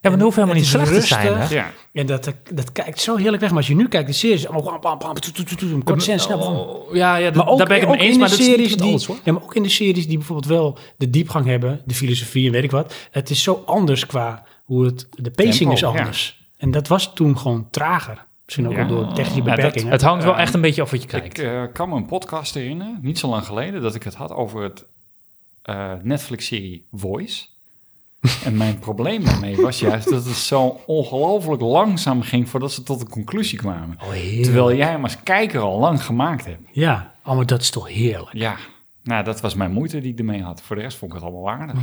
A: Ja, maar dan hoeft helemaal
B: Het
A: niet
B: is
A: slecht te
B: rustig.
A: zijn. Hè?
C: Ja.
B: En dat, dat kijkt zo heerlijk weg. Maar als je nu kijkt, de series, allemaal wam, wam, wam, toet, toet, toet, toet, kort en snel. wam.
A: Oh, ja, ja, d-
B: Maar ook,
A: daar ben ik het
B: ook
A: mee eens.
B: in
A: Maar
B: de
A: dat is
B: series
A: niet
B: die,
A: alles hoor.
B: ja, maar ook in de series die bijvoorbeeld wel de diepgang hebben, de filosofie en weet ik wat. Het is zo anders qua hoe het, de pacing
C: Tempo,
B: is
C: ja.
B: anders. En dat was toen gewoon trager. Misschien ook
C: Ja.
B: wel door technische
C: Ja, dat-
B: beperkingen.
A: Het hangt wel
C: Ehm,
A: echt een beetje af wat je
C: Ik
A: kijkt.
C: eh, kan me een podcast herinneren, niet zo lang geleden, dat ik het had over het eh, Netflix-serie Voice. En mijn probleem daarmee was juist dat het zo ongelooflijk langzaam ging voordat ze tot een conclusie kwamen.
B: Oh, heerlijk.
C: Terwijl jij hem als kijker al lang gemaakt hebt.
B: Ja, oh, maar dat is toch heerlijk.
C: Ja, nou dat was mijn moeite die ik ermee had. Voor de rest vond ik het allemaal waardig.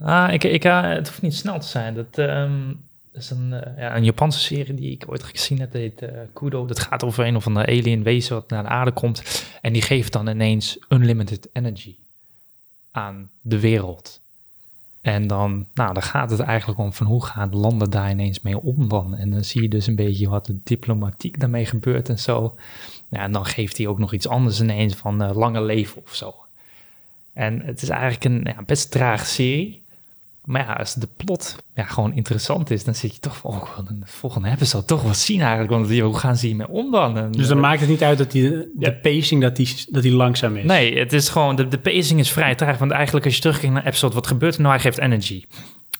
A: Ah, ik, ik, eh, het hoeft niet snel te zijn. Dat ehm, is een, eh, ja, een Japanse serie die ik ooit gezien heb. Dat heet eh, Kudo. Dat gaat over een of ander alien wezen wat naar de aarde komt. En die geeft dan ineens unlimited energy aan de wereld. En dan, nou, dan gaat het eigenlijk om van hoe gaan landen daar ineens mee om dan? En dan zie je dus een beetje wat de diplomatiek daarmee gebeurt en zo. Ja, en dan geeft hij ook nog iets anders ineens van eh, lange leven of zo. En het is eigenlijk een ja, best traag serie. Maar ja, als de plot ja, gewoon interessant is, dan zit je toch van, oh, wel, de volgende hebben ze al toch wat zien eigenlijk. Want ja, hoe gaan ze hiermee om dan? En,
B: Dus dan
A: eh,
B: maakt het niet uit dat die, de
A: Ja.
B: pacing dat die, dat die langzaam is.
A: Nee, het is gewoon, de, de pacing is vrij traag. Want eigenlijk als je terugkijkt naar episode, wat gebeurt er nou? Hij geeft energy.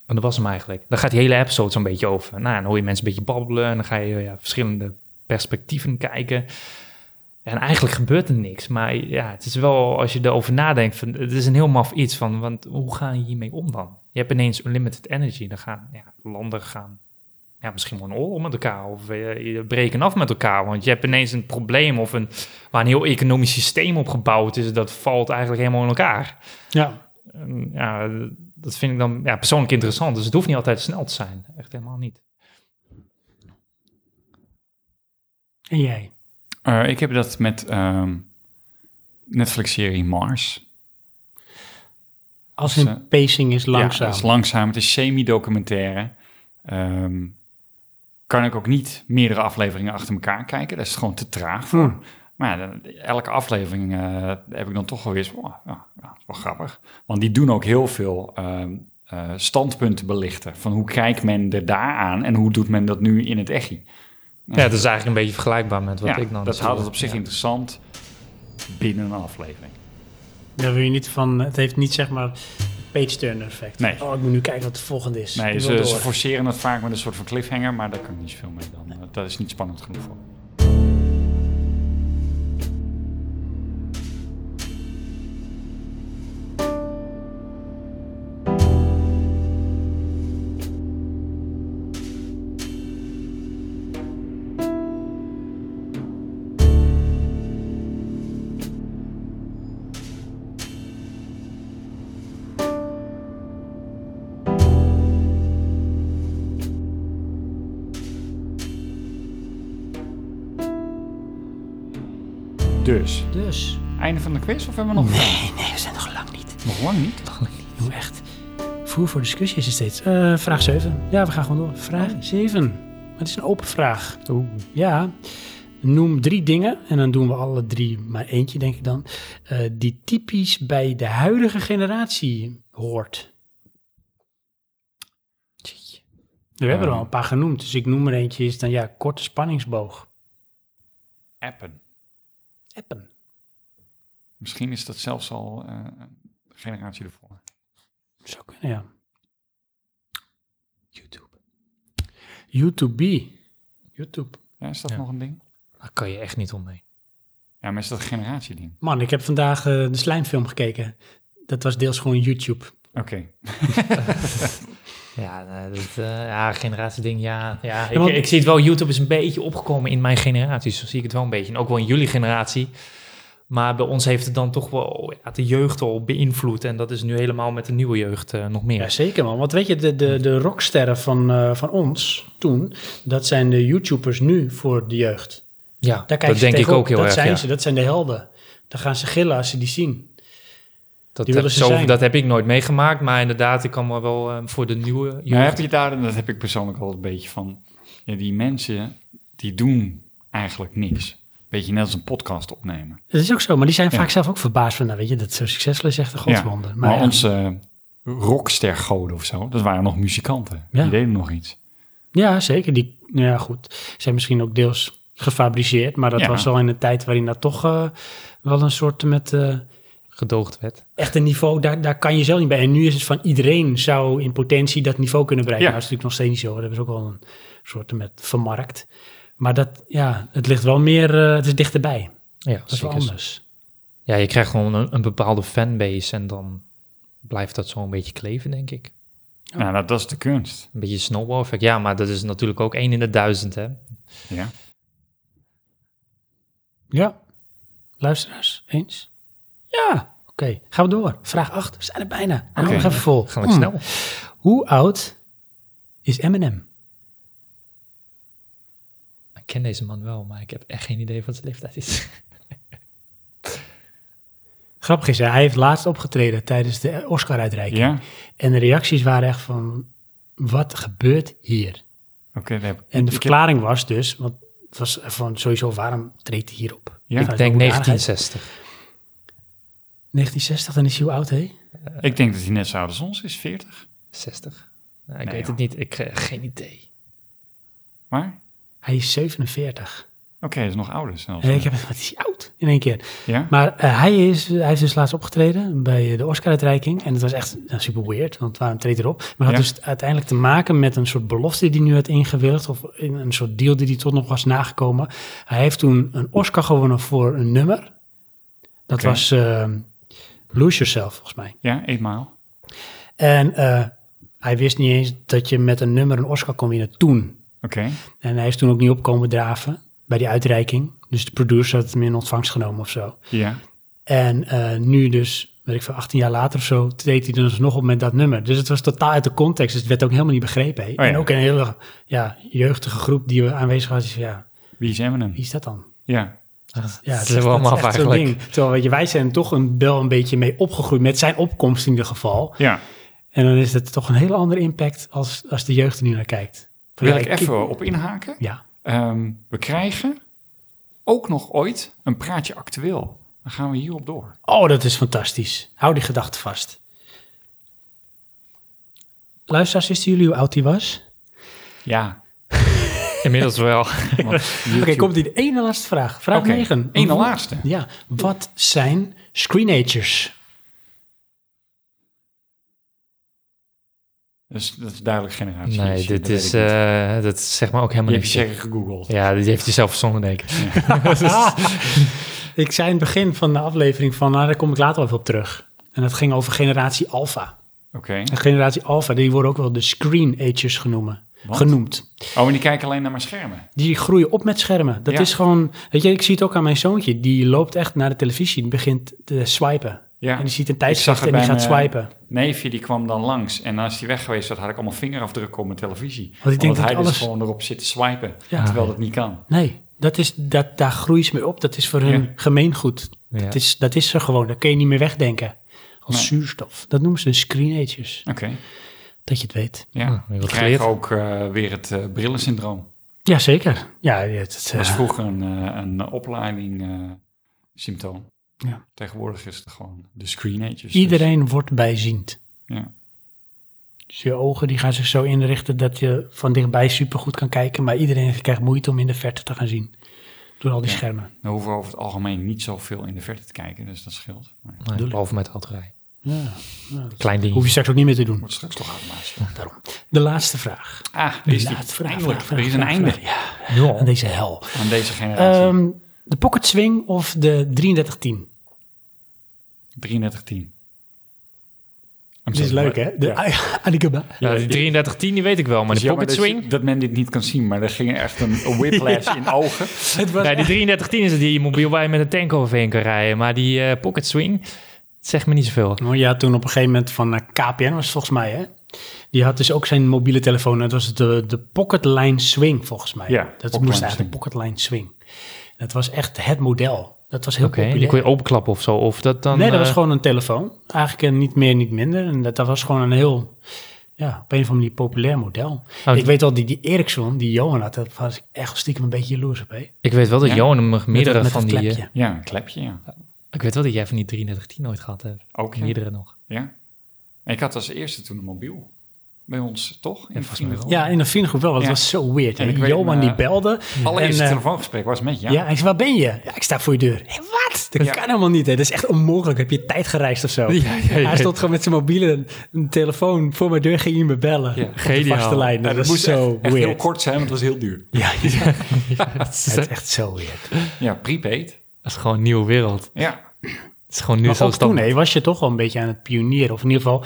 A: En dat was hem eigenlijk. Dan gaat die hele episode zo'n beetje over. Nou, dan hoor je mensen een beetje babbelen. En dan ga je ja, verschillende perspectieven kijken. En eigenlijk gebeurt er niks. Maar ja, het is wel, als je erover nadenkt, van, het is een heel maf iets van, want hoe ga je hiermee om dan? Je hebt ineens unlimited energy. Dan gaan ja, landen gaan ja, misschien wel een oorlog met elkaar. Of eh, je breken af met elkaar. Want je hebt ineens een probleem of een, waar een heel economisch systeem op gebouwd is. Dat valt eigenlijk helemaal in elkaar.
B: Ja.
A: En, ja, dat vind ik dan ja, persoonlijk interessant. Dus het hoeft niet altijd snel te zijn. Echt helemaal niet.
B: En jij?
C: Eh, ik heb dat met ehm, Netflix-serie Mars.
B: Als
C: Dus,
B: hun pacing is langzaam.
C: Ja, het is langzaam. Het is semi-documentaire. Ehm, kan ik ook niet meerdere afleveringen achter elkaar kijken. Dat is gewoon te traag voor.
B: Hm.
C: Maar ja, dan- elke aflevering eh, heb ik dan toch wel weer eens... "Oh, ja, ja, dat is wel grappig. Want die doen ook heel veel ehm, eh, standpunten belichten. Van hoe kijkt men er daar aan en hoe doet men dat nu in het echi.
A: Ja, het is eigenlijk een beetje vergelijkbaar met wat
C: Ja,
A: ik dan...
C: dat
A: doe.
C: houdt het op zich
A: Ja.
C: interessant binnen een aflevering.
B: Daar wil je niet van, het heeft niet zeg maar page turner effect.
C: Nee.
B: Oh, ik moet nu kijken wat de volgende is.
C: Nee,
B: Ik
C: ze,
B: wil
C: ze
B: door.
C: forceren het vaak met een soort van cliffhanger, maar daar kan ik niet zoveel mee dan. Eh, Dat is niet spannend genoeg voor. Dus,
B: Dus.
C: einde van de quiz of hebben we nog
B: Nee, nee, we zijn nog lang niet.
C: Nog lang niet.
B: Hoe echt? Voer voor discussie is er steeds. Eh, vraag 7. Ja, we gaan gewoon door. Vraag 7. Maar Het is een open vraag. Ja. Noem drie dingen, en dan doen we alle drie maar eentje, denk ik dan, eh, die typisch bij de huidige generatie hoort. Tjie. We hebben er
C: Eh.
B: al een paar genoemd, dus ik noem er eentje, is dan ja, korte spanningsboog.
C: Appen.
B: Appen.
C: Misschien is dat zelfs al eh, een generatie ervoor.
B: Zou kunnen, ja. YouTube. YouTube. YouTube.
C: Ja, is dat
A: Ja.
C: nog een ding?
A: Daar kan je echt niet om mee.
C: Ja, maar is dat een generatieding?
B: Man, ik heb vandaag eh, de slijmfilm gekeken. Dat was deels gewoon YouTube.
C: Oké.
A: Ja, eh, dat, eh, ja generatieding, ja. ja ik,
B: want-
A: ik zie het wel, YouTube is een beetje opgekomen in mijn generatie. Zo zie ik het wel een beetje. En ook wel in jullie generatie. Maar bij ons heeft het dan toch wel ja, de jeugd al beïnvloed. En dat is nu helemaal met de nieuwe jeugd eh, nog meer.
B: Ja, zeker man. Want weet je, de, de, de rocksterren van, eh, van ons toen, dat zijn de YouTubers nu voor de jeugd.
A: Ja,
B: Daar kijken
A: dat
B: ze
A: denk ik
B: tegenop.
A: ook heel
B: dat
A: erg.
B: Zijn
A: ja.
B: ze, dat zijn de helden. Dan gaan ze gillen als ze die zien.
A: Dat,
B: Die
A: heb,
B: willen ze
A: zo,
B: zijn.
A: dat heb ik nooit meegemaakt, maar inderdaad, ik kan me wel eh, voor de nieuwe
C: Maar
A: jeugd...
C: Nou, heb je daar, en dat heb ik persoonlijk al een beetje van, ja, die mensen die doen eigenlijk niks. Beetje net als een podcast opnemen.
B: Dat is ook zo, maar die zijn
C: Ja.
B: vaak zelf ook verbaasd van, nou weet je, dat zo succesvol is echt een godswonder.
C: Ja,
B: maar
C: maar
B: ja,
C: onze rockstergoden of zo, dat waren nog muzikanten.
B: Ja.
C: Die deden nog iets.
B: ja, zeker. Die, ja goed, zijn misschien ook deels gefabriceerd, maar dat
C: Ja.
B: was al in een tijd waarin dat toch eh, wel een soort met... eh,
A: gedoogd werd.
B: echt een niveau, daar, daar kan je zelf niet bij. En nu is het van iedereen zou in potentie dat niveau kunnen bereiken.
C: Ja.
B: Maar Dat is natuurlijk nog steeds niet zo. Daar hebben ze ook wel een soort met vermarkt. Maar dat, ja, het ligt wel meer, eh, het is dichterbij.
A: Ja,
B: Dat is wel
A: zeker.
B: anders.
A: Ja, je krijgt gewoon een, een bepaalde fanbase en dan blijft dat zo een beetje kleven, denk ik.
C: Nou, dat, dat is de kunst.
A: Een beetje snowball effect. Ja, maar dat is natuurlijk ook één in de duizend, hè.
C: Ja.
B: Ja. Luisteraars, eens? Ja. Oké, gaan we door. Vraag 8. We zijn er bijna. Hou
C: Oké.
B: nog even vol.
A: Gaan we
B: Hmm.
A: snel.
B: Hoe oud is Eminem?
A: Ik ken deze man wel, maar ik heb echt geen idee wat zijn leeftijd is.
B: Grappig is, hè, hij heeft laatst opgetreden tijdens de Oscar-uitreiking.
C: Ja?
B: En de reacties waren echt van, wat gebeurt hier?
C: Oké, daar heb ik-
B: En de
C: ik heb-
B: verklaring was dus, want het was van sowieso, waarom treedt hij hierop?
C: Ja.
B: Nou,
C: Ik
A: ik
B: is
A: denk
B: wel een aardigheid.
A: 1960.
B: 1960, dan is hij hoe oud, hè?
C: Ik denk dat hij net zo oud als ons is, 40.
A: 60? Nou, ik
C: Nee,
A: weet het niet. Ik eh, geen idee.
C: Maar, oké,
B: Hij is 47.
C: hij is nog ouder zelfs.
B: En ik heb, wat is hij oud in één keer?
C: Ja?
B: Maar eh, hij, is, hij heeft dus laatst opgetreden bij eh, de Oscar-uitreiking. En het was echt nou, super weird, want waarom treedt hij erop? Maar het had
C: Ja.
B: dus uiteindelijk te maken met een soort belofte die hij nu had ingewilligd. Of in een soort deal die hij tot nog was nagekomen. Hij heeft toen een Oscar gewonnen voor een nummer. Dat
C: Oké.
B: was eh, Lose Yourself, volgens mij.
C: Ja, eenmaal.
B: En eh, hij wist niet eens dat je met een nummer een Oscar kon winnen toen.
C: Oké.
B: En hij is toen ook niet opkomen draven bij die uitreiking. Dus de producer had hem in ontvangst genomen of zo.
C: Ja.
B: En eh, nu dus, weet ik veel, 18 jaar later of zo, deed hij dus nog op met dat nummer. Dus het was totaal uit de context. Dus het werd ook helemaal niet begrepen.
A: Oh
B: hè.
C: ja.
B: En ook een hele ja, jeugdige groep die aanwezig was. die zei, Ja,
C: Wie is Eminem?
B: wie is dat dan?
C: Ja.
B: Ja,
A: dat is wel allemaal
B: echt zo'n
A: eigenlijk.
B: ding. Terwijl, weet je, wij zijn toch een, wel een beetje mee opgegroeid met zijn opkomst in ieder geval.
C: Ja.
B: En dan is het toch een hele andere impact als, als de jeugd er nu naar kijkt. Van,
C: Wil
B: ja,
C: ik even op inhaken?
B: Ja.
C: Ehm, we krijgen ook nog ooit een praatje actueel. Dan gaan we hierop door.
B: Oh, dat is fantastisch. Hou die gedachte vast. Luisteraars, wisten jullie hoe oud hij was?
C: Ja.
A: Inmiddels wel.
B: Oké, komt die de ene laatste vraag. Vraag
C: Oké,
B: 9.
C: één na laatste.
B: Ja. Wat zijn screenagers?
C: Dus dat is duidelijk generatie.
A: Nee,
C: shit,
A: dit
C: dat weet
A: is,
C: ik niet.
A: eh, dat is zeg maar ook
C: Je
A: helemaal
C: hebt je
A: niet.
C: zeker gegoogeld.
A: Ja, die heeft hij zelf verzonnen, denk ik.
B: ik zei in het begin van de aflevering van, nou, daar kom ik later wel even op terug. En dat ging over generatie alpha.
C: Oké.
B: En generatie alpha, die worden ook wel de screenagers genoemen,
C: Wat?
B: genoemd.
C: Oh, en die kijken alleen naar mijn schermen.
B: Die groeien op met schermen. Dat
C: Ja.
B: is gewoon, weet je, ik zie het ook aan mijn zoontje. Die loopt echt naar de televisie en begint te swipen.
C: Ja.
B: En die ziet een
C: Ik
B: tijdschrift
C: zag
B: en
C: het
B: die
C: bij eh,
B: gaat
C: mijn-
B: swipen.
C: Neefje die kwam dan langs. En als hij weg geweest was, had ik allemaal vingerafdrukken op mijn televisie.
B: denk
C: Omdat
B: dat
C: hij
B: alles-
C: dus gewoon erop zit te swipen.
B: Ja.
C: Terwijl dat niet kan.
B: Nee, dat is, dat, daar groeien ze mee op. Dat is voor hun
C: Ja.
B: gemeengoed.
A: Ja.
B: Dat, is, dat is er gewoon. Dat kun je niet meer wegdenken. Als
C: Nee.
B: zuurstof. Dat noemen ze een screenagers.
C: Oké,
B: Dat je het weet.
A: Ah,
C: ja.
A: weer
C: Je
A: wat
C: krijgt
A: geleerd.
C: ook eh, weer het eh, brillensyndroom.
B: Jazeker. Ja, het, het,
C: Dat was
B: eh,
C: vroeger een, eh, een opleiding eh, symptoom.
B: Ja.
C: Tegenwoordig is het gewoon de screenagers. dus-
B: iedereen wordt bijziend.
C: Ja.
B: Dus je ogen die gaan zich zo inrichten dat je van dichtbij supergoed kan kijken. Maar iedereen krijgt moeite om in de verte te gaan zien. Door al die
C: Ja.
B: schermen.
C: Dan hoeven we over het algemeen niet zoveel in de verte te kijken, dus dat scheelt. Maar het
A: Nee,
B: Bedoel ik.
A: behalve met autorij.
B: Ja.
A: Klein ding.
B: Hoef je straks ook niet meer te doen.
C: wordt straks toch automatisch.
B: Daarom. De laatste vraag.
C: Ah, er is
B: de
C: die.
B: laatste vraag.
C: Eindelijk,
B: vraag,
C: er is een
B: vraag,
C: einde
B: vraag. Ja, aan
A: Ja.
B: deze hel.
C: aan deze generatie.
B: Ehm, de pocket swing of de 3310?
C: 3310.
B: Dat is leuk, hè? De Aligaba.
A: Ja, die 3310 die weet ik wel, maar de pocket swing.
C: Dat, men dit niet kan zien, maar er ging echt een een whiplash in ogen.
B: Het was
A: Nee, die 3310 is het die je mobiel bij met een tank overheen kan rijden. Maar die eh, pocket swing, het zegt me niet zoveel.
B: Nou ja, toen op een gegeven moment van eh, KPN was het volgens mij, hè? Die had dus ook zijn mobiele telefoon. Dat was de, de Pocketline Swing, volgens mij.
C: Ja,
B: dat
C: Pocketline
B: moest eigenlijk de
C: Swing.
B: Pocketline Swing. Dat was echt het model. Dat was heel
A: Oké, die
B: populair.
A: kon je openklappen of zo. Of dat dan,
B: nee, dat
A: eh,
B: was gewoon een telefoon. Eigenlijk eh, niet meer, niet minder. En dat, dat was gewoon een heel, ja, op een of andere manier populair model.
A: Oh,
B: ik weet wel, die, die Ericsson, die Johan had, daar was ik echt stiekem een beetje jaloers op, hè?
A: Ik weet wel dat
C: Ja?
A: Johan hem meerdere
B: met dat,
A: van
B: met
A: die...
B: dat
A: eh,
B: klepje.
C: Ja, een klepje, ja.
A: ik weet wel dat jij van die 3310 nooit gehad hebt.
C: Ook, ja.
A: Meerdere nog.
C: ja. En ik had als eerste toen een mobiel. Bij ons, toch? In de
A: volgens mij wel.
C: vriendengroep.
B: Ja, in een vriendengroep wel, want
C: Ja.
B: het was zo weird.
C: En
B: hè?
C: ik weet,
B: Johan
C: eh,
B: die belde.
C: Allereerste
B: en, eh,
C: telefoongesprek was met jou.
B: Ja, hij zei, waar ben je? Ja, ik sta voor je deur. Hé, wat? Dat
C: Ja.
B: kan helemaal niet, hè. Dat is echt onmogelijk. Heb je tijd gereisd of zo?
A: Ja, ja, ja.
B: Hij stond gewoon met zijn mobiele een telefoon voor mijn deur, ging hij me bellen.
C: Ja,
B: Op de
A: geniaal.
B: vaste lijn.
C: En
B: Dat
C: dat
B: was
C: moest
B: zo
C: echt, echt heel
B: weird.
C: kort zijn, want het was heel duur.
B: Ja, ja,
A: Dat
B: het is echt zo weird.
C: Ja, prepaid.
A: is gewoon een nieuwe wereld.
C: Ja,
A: Het is gewoon nu
B: Maar
A: zo
B: ook toen
A: standaard.
B: hè, was je toch wel een beetje aan het pionieren. Of in ieder geval,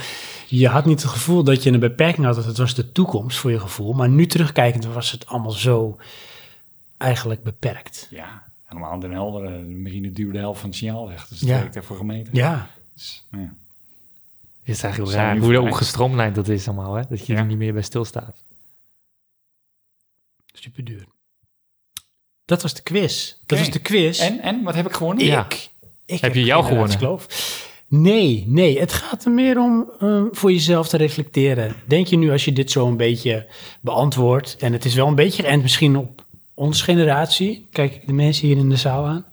B: je had niet het gevoel dat je een beperking had. Dat het was de toekomst voor je gevoel. Maar nu terugkijkend was het allemaal zo eigenlijk beperkt.
C: ja. helemaal Den Helder. eh, De marine duwde de helft van het signaal weg. Dus dat
B: Ja.
C: heb ik daarvoor gemeten.
B: Ja,
C: Dus, ja.
A: Het is eigenlijk heel
C: Zijn
A: raar
C: nu
A: hoe, dat- hoe
C: voorbij.
A: gestroomlijnd dat is allemaal. Hè? Dat je
C: Ja.
A: er niet meer bij stilstaat.
B: super duur. Dat was de quiz. Dat
C: Oké.
B: was de quiz.
C: En, en, wat heb ik gewonnen?
A: Ja.
B: Ik,
A: Heb je jou
B: geen
A: gewonnen?
B: raadskloof. Nee, nee. Het gaat er meer om eh, voor jezelf te reflecteren. Denk je nu als je dit zo een beetje beantwoordt... en het is wel een beetje geënt misschien op onze generatie... kijk ik de mensen hier in de zaal aan...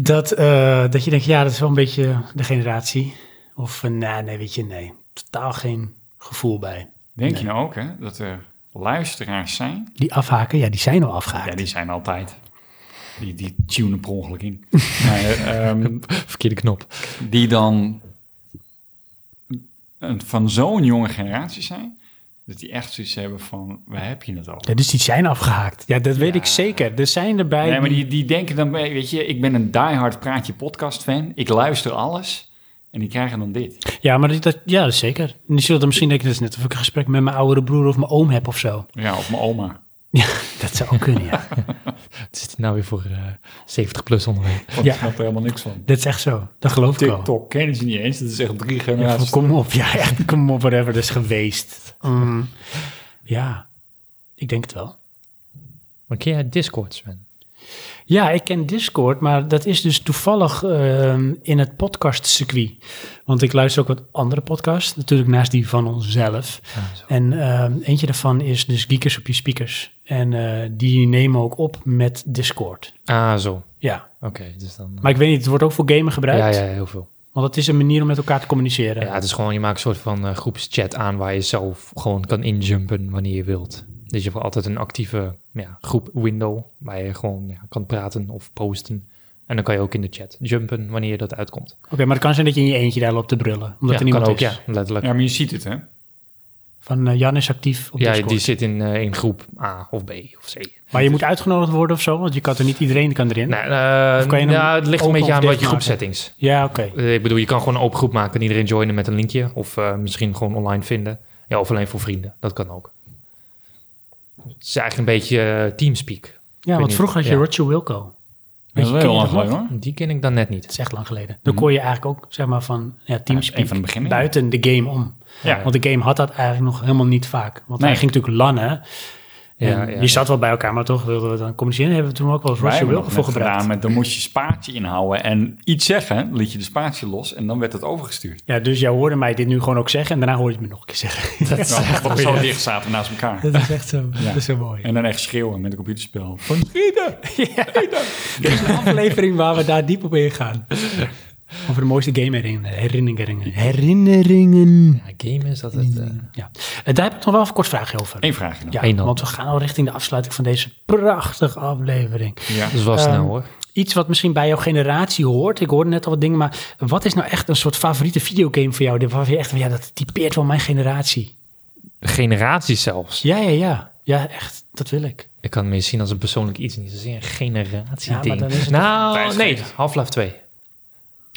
B: dat, eh, dat je denkt, ja, dat is wel een beetje de generatie. Of, eh, nou, nee, weet je, nee. Totaal geen gevoel bij.
C: Denk je nou ook, hè, dat er luisteraars zijn?
B: Die afhaken, ja, die zijn al afgehaakt.
C: Ja, die zijn altijd. Die, die tunen per ongeluk in. maar, ehm,
A: Verkeerde knop.
C: die dan een- van zo'n jonge generatie zijn, dat die echt zoiets hebben van, waar heb je het al?
B: Ja, dus die zijn afgehaakt. Ja, dat weet
C: Ja.
B: ik zeker. Er zijn erbij...
C: Nee, maar die, die denken dan, eh, weet je, ik ben een diehard praatje podcast fan, ik luister alles en die krijgen dan dit.
B: Ja, maar dat, dat- ja, dat is zeker. En die zullen dan misschien denken, dat is net of ik een gesprek met mijn oudere broer of mijn oom heb of zo.
C: Ja, of mijn oma.
B: Ja, dat zou ook kunnen, ja.
A: Het zit nou weer voor eh, 70 plus onderweg.
C: Want
B: Ja.
C: ik snap er helemaal niks van.
B: Dat is echt zo. Dat geloof ik wel.
C: TikTok kennen ze niet eens, dat is echt drie
B: Ja,
C: generaties.
B: kom op, ja, echt, kom op, whatever dat is geweest. Mm, ja, ik denk het wel.
A: Maar ken jij Discord, Sven?
B: Ja, ik ken Discord, maar dat is dus toevallig ehm, in het podcastcircuit. Want ik luister ook wat andere podcasts, natuurlijk naast die van onszelf.
A: Ah, zo.
B: En ehm, eentje daarvan is dus Geekers op je speakers. En eh, die nemen ook op met Discord.
A: Ah, zo. Oké,
B: Ja,
A: dus dan... eh,
B: Maar ik weet niet, het wordt ook voor gamen
A: ja,
B: gebruikt.
A: ja, heel veel.
B: Want het is een manier om met elkaar te communiceren.
A: Ja, het is gewoon, je maakt een soort van eh, groepschat aan waar je zelf gewoon kan injumpen wanneer je wilt. Dus je hebt altijd een actieve ja, groep window waar je gewoon ja, kan praten of posten. En dan kan je ook in de chat jumpen wanneer dat uitkomt.
B: Oké, maar het kan zijn dat je in je eentje daar loopt te brullen. Omdat
A: ja,
B: er niemand
A: kan ook,
B: is.
A: ja, letterlijk.
C: Ja, maar je ziet het, hè?
B: Van eh, Jan is actief op
A: Ja,
B: Discord.
A: die zit in, eh, in groep A of B of C.
B: Maar je moet uitgenodigd worden of zo, want je kan er niet iedereen kan erin.
A: Nee, eh,
B: Of kan je hem
A: ja, het ligt een
B: open
A: beetje
B: of
A: aan wat je
B: dicht maken?
A: groepsettings.
B: Ja, oké.
A: Eh, Ik bedoel, je kan gewoon een open groep maken en iedereen joinen met een linkje. Of eh, misschien gewoon online vinden. Ja, of alleen voor vrienden. Dat kan ook. Het is eigenlijk een beetje eh, teamspeak.
B: Ja, want
A: niet,
B: vroeger had je
A: ja.
B: Roger Wilco.
C: Dat is
B: ken
C: heel
B: je
C: lang
B: dat nog?
C: geleden, hoor.
A: Die ken ik dan net niet.
B: Dat is echt lang geleden. Dan
A: Mhm.
B: kon je eigenlijk ook, zeg maar, van ja, Teamspeak
C: een van de beginnen.
B: buiten de game om.
C: Ja.
B: Want de game had dat eigenlijk nog helemaal niet vaak. Want
C: Nee.
B: hij ging natuurlijk lannen.
A: Ja,
B: En
A: ja,
B: die
A: ja.
B: zat wel bij elkaar, maar toch wilden we dan communiceren. Hebben we toen ook wel eens
C: Wij
B: Roger
C: hebben
B: Wilk
C: nog
B: voor
C: net
B: gebruikt.
C: gedaan met, dan moest je spaatje inhouden en iets zeggen, liet je de spaatje los en dan werd het overgestuurd.
B: Ja, dus jij hoorde mij dit nu gewoon ook zeggen en daarna hoorde je het me nog een keer zeggen.
A: Dat is echt
C: Dat
A: mooi,
C: zo
A: hè?
C: dicht zaten naast elkaar.
B: Dat is echt zo. Dat is zo mooi.
C: En dan echt schreeuwen met een computerspel. Van Frieden!
B: Er is een aflevering waar we daar diep op ingaan. Over de mooiste gameherinneringen. Herinneringen. Herinneringen.
A: Ja, game is dat het. eh,
B: Ja. Eh, Daar heb ik nog wel even kort vraagje over.
C: Eén vraagje dan.
B: Ja,
A: Eén dan.
B: want we gaan al richting de afsluiting van deze prachtige aflevering.
C: Ja.
A: dat is
B: Ehm,
A: wel snel hoor.
B: Iets wat misschien bij jouw generatie hoort. Ik hoorde net al wat dingen, maar wat is nou echt een soort favoriete videogame voor jou? Die- Waarvan je echt van, ja, dat typeert wel mijn generatie.
A: Generatie zelfs.
B: Ja, ja, ja. Ja, echt. Dat wil ik.
A: Ik kan het meer zien als een persoonlijk iets, niet zozeer een generatie
B: Ja, maar dan is
A: ding.
B: het
A: Nou,
C: toch-
A: nee, Half-Life 2.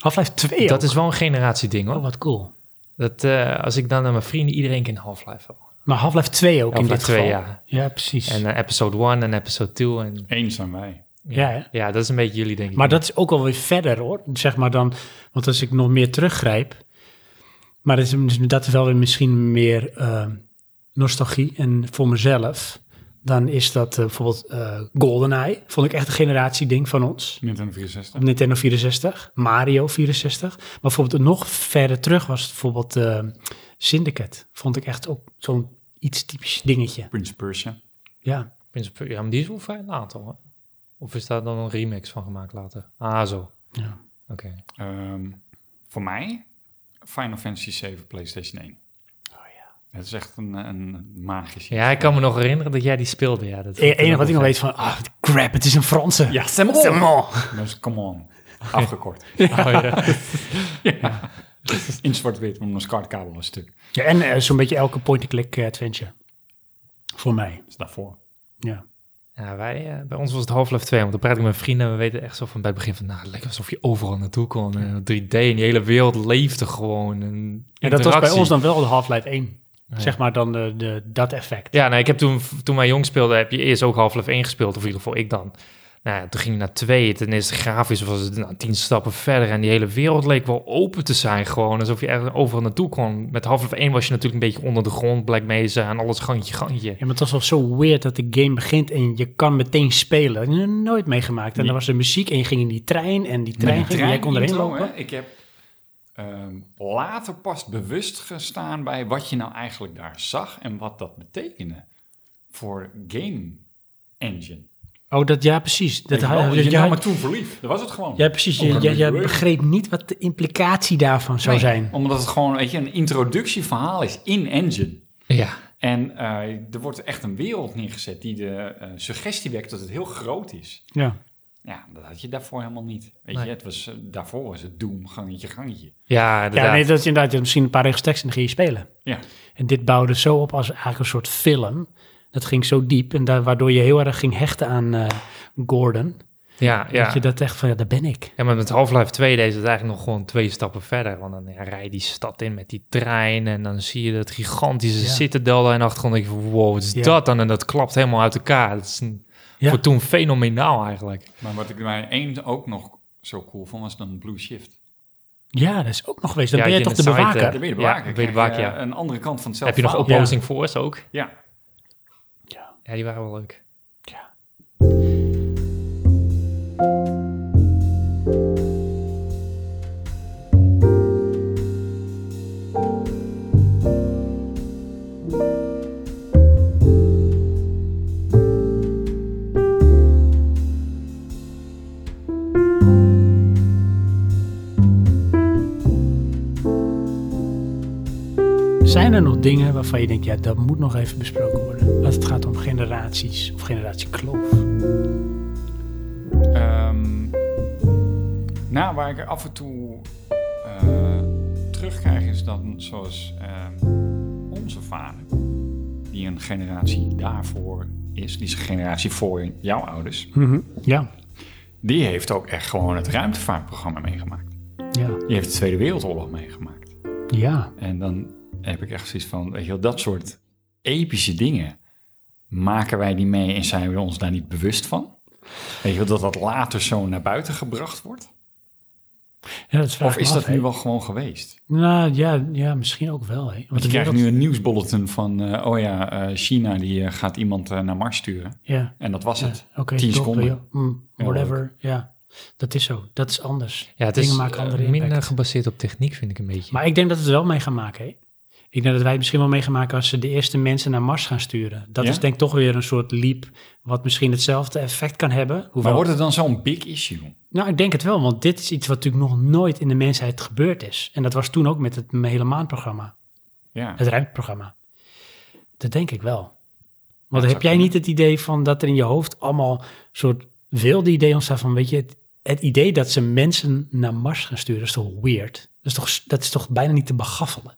B: Half-Life 2
A: Dat is wel een generatie ding
B: Oh,
A: hoor.
B: wat cool.
A: Dat, eh, als ik dan naar mijn vrienden, iedereen kent Half-Life al.
B: Maar Half-Life 2 ook in
A: Half-Life
B: dit
A: 2,
B: geval.
A: ja.
B: Ja, precies.
A: En eh, episode 1 en episode 2. En,
C: Eén zijn wij.
B: ja, hè?
A: ja, dat is een beetje jullie denk ik.
B: Maar dat is ook alweer verder hoor. Zeg maar dan, want als ik nog meer teruggrijp. Maar dat is, dat is wel weer misschien meer eh, nostalgie. En voor mezelf, dan is dat eh, bijvoorbeeld eh, GoldenEye. Vond ik echt een generatieding van ons.
C: Nintendo
B: Op
C: 64.
B: Nintendo 64, Mario 64. Maar bijvoorbeeld nog verder terug was het bijvoorbeeld eh, Syndicate. Vond ik echt ook zo'n iets typisch dingetje.
C: Prince Persia.
B: Ja.
A: Prince of Persia, Ja, maar die is wel vrij laat hoor. Of is daar dan een remix van gemaakt later? Ah, zo.
B: Ja.
A: Oké.
C: Ehm, voor mij Final Fantasy 7 PlayStation 1. Het is echt een, een magisch.
A: Ja, ik kan me nog herinneren dat jij die speelde. Ja, dat
B: Het enige E- wat ik nog weet van, ah crap, het is een Franse.
C: Ja,
B: Simon.
C: Dus come on. Afgekort.
A: Oh,
C: In zwart-wit, want mijn SCART-kabel was stuk.
B: Ja, en eh, zo'n beetje elke point-and-click eh, adventure. Voor mij,
C: Dat is daarvoor.
B: ja.
A: Ja, wij, eh, bij ons was het Half-Life 2, want dan praat ik met mijn vrienden en we weten echt zo van bij het begin van, nou, lekker alsof je overal naartoe kon. En 3D en die hele wereld leefde gewoon. En
B: En dat was bij
A: interactie.
B: ons dan wel de Half-Life 1. Zeg maar dan de, de, dat effect.
A: Ja, nou, ik heb toen, toen wij jong speelden, heb je eerst ook Half-Life 1 gespeeld, of in ieder geval ik dan. Nou, ja, toen ging je naar 2, ten eerste grafisch was het nou, tien stappen verder en die hele wereld leek wel open te zijn gewoon, alsof je er overal naartoe kon. Met Half-Life 1 was je natuurlijk een beetje onder de grond, Black Mesa en alles gangje, gangje.
B: Ja, maar het was wel zo weird dat de game begint en je kan meteen spelen. Dat heb ik nog nooit meegemaakt. En
C: Nee.
B: dan was er muziek en je ging in die trein en die trein,
C: Met die
B: ging, en jij kon erin
C: trein-intro,
B: lopen.
C: hè, Ik heb ehm, later pas bewust gestaan bij wat je nou eigenlijk daar zag en wat dat betekende voor game engine.
B: Oh, dat, ja precies. Dat,
C: Weet je
B: had-
C: wel,
B: ja,
C: je
B: ja,
C: nam me toen verliefd. Dat was het gewoon.
B: ja, precies. Je,
C: Omdat
B: je,
C: het
B: je
C: leuk
B: begreep niet wat de implicatie daarvan zou
C: Nee,
B: zijn.
C: Omdat het gewoon weet je, een introductieverhaal is in engine.
A: Ja.
C: En eh, er wordt echt een wereld neergezet die de eh, suggestie wekt dat het heel groot is.
B: Ja.
C: Ja, dat had je daarvoor helemaal niet. Weet
A: Nee.
C: je, het was, eh, daarvoor was het doem, gangetje, gangetje.
A: Ja, inderdaad.
B: Ja, nee, dat is inderdaad je had misschien een paar regels tekst en dan ging je spelen.
C: Ja.
B: En dit bouwde zo op als eigenlijk een soort film. Dat ging zo diep en daar, waardoor je heel erg ging hechten aan eh, Gordon.
A: ja, ja.
B: Dat je dat echt van, ja, daar ben ik.
A: Ja, maar met Half-Life 2 deze is het eigenlijk nog gewoon twee stappen verder. Want dan ja, rij je die stad in met die trein en dan zie je dat gigantische
B: Ja.
A: citadel daar in de achtergrond. En denk je van, wow, wat is
B: Ja.
A: dat dan? En dat klapt helemaal uit elkaar. Dat is een-
B: Ja.
A: voor toen fenomenaal eigenlijk.
C: Maar wat ik bij één ook nog zo cool vond, was dan Blue Shift.
B: Ja, dat is ook nog geweest. Dan
A: Ja,
B: ben je
A: je
B: toch de
A: in het site,
B: bewaker.
A: eh,
C: Dan ben je de
A: Ja,
C: bewaker.
A: dan ben je
C: Krijg je
A: de bewaker, ja.
C: eh, een andere kant van hetzelfde
A: Heb je nog
C: verhaal.
B: Ja.
A: Opposing Force ook?
C: Ja.
A: Ja, die waren wel leuk.
B: Zijn er nog dingen waarvan je denkt, ja, dat moet nog even besproken worden? Als het gaat om generaties of generatiekloof.
C: Ehm, nou, waar ik er af en toe eh, terugkrijg is dat, zoals ehm, onze vader, die een generatie daarvoor is, die is een generatie voor jouw ouders,
A: Hm.
B: Ja,
C: die heeft ook echt gewoon het ruimtevaartprogramma meegemaakt.
B: ja,
C: Die heeft de Tweede Wereldoorlog meegemaakt.
B: ja.
C: En dan heb ik echt zoiets van, weet je wel, dat soort epische dingen, maken wij die mee en zijn we ons daar niet bewust van? Weet je wel, dat dat later zo naar buiten gebracht wordt?
B: Ja, dat vraag
C: Of
B: ik
C: is
B: me
C: dat
B: af, hè.
C: nu wel gewoon geweest?
B: Nou ja, ja misschien ook wel. Hè. Want
C: Want je krijgt nu een nieuwsbulletin van, eh, oh ja, eh, China die eh, gaat iemand eh, naar Mars sturen.
B: Ja,
C: En dat was
B: ja.
C: het.
B: oké.
C: Tien
B: top,
C: seconden.
B: ja. Mm,
C: Ja,
B: whatever, ja. Dat is zo. Dat is anders.
A: Ja, het
B: Dingen
A: is
B: maken
A: eh,
B: andere
A: minder
B: impact.
A: gebaseerd op techniek, vind ik een beetje.
B: Maar ik denk dat we het wel mee gaan maken. Hè? Ik denk dat wij het misschien wel mee gaan maken als ze de eerste mensen naar Mars gaan sturen. Dat
C: Ja?
B: is denk ik toch weer een soort leap wat misschien hetzelfde effect kan hebben. Hoewel,
C: Maar wordt het dan zo'n big issue?
B: Nou, ik denk het wel, want dit is iets wat natuurlijk nog nooit in de mensheid gebeurd is. En dat was toen ook met het hele maanprogramma,
C: Ja.
B: het ruimteprogramma. Dat denk ik wel. Want
C: zou
B: heb jij
C: kunnen.
B: niet het idee van dat er in je hoofd allemaal soort wilde idee ontstaat van, weet je, het, het idee dat ze mensen naar Mars gaan sturen is toch weird? Dat is toch, dat is toch bijna niet te begaffelen?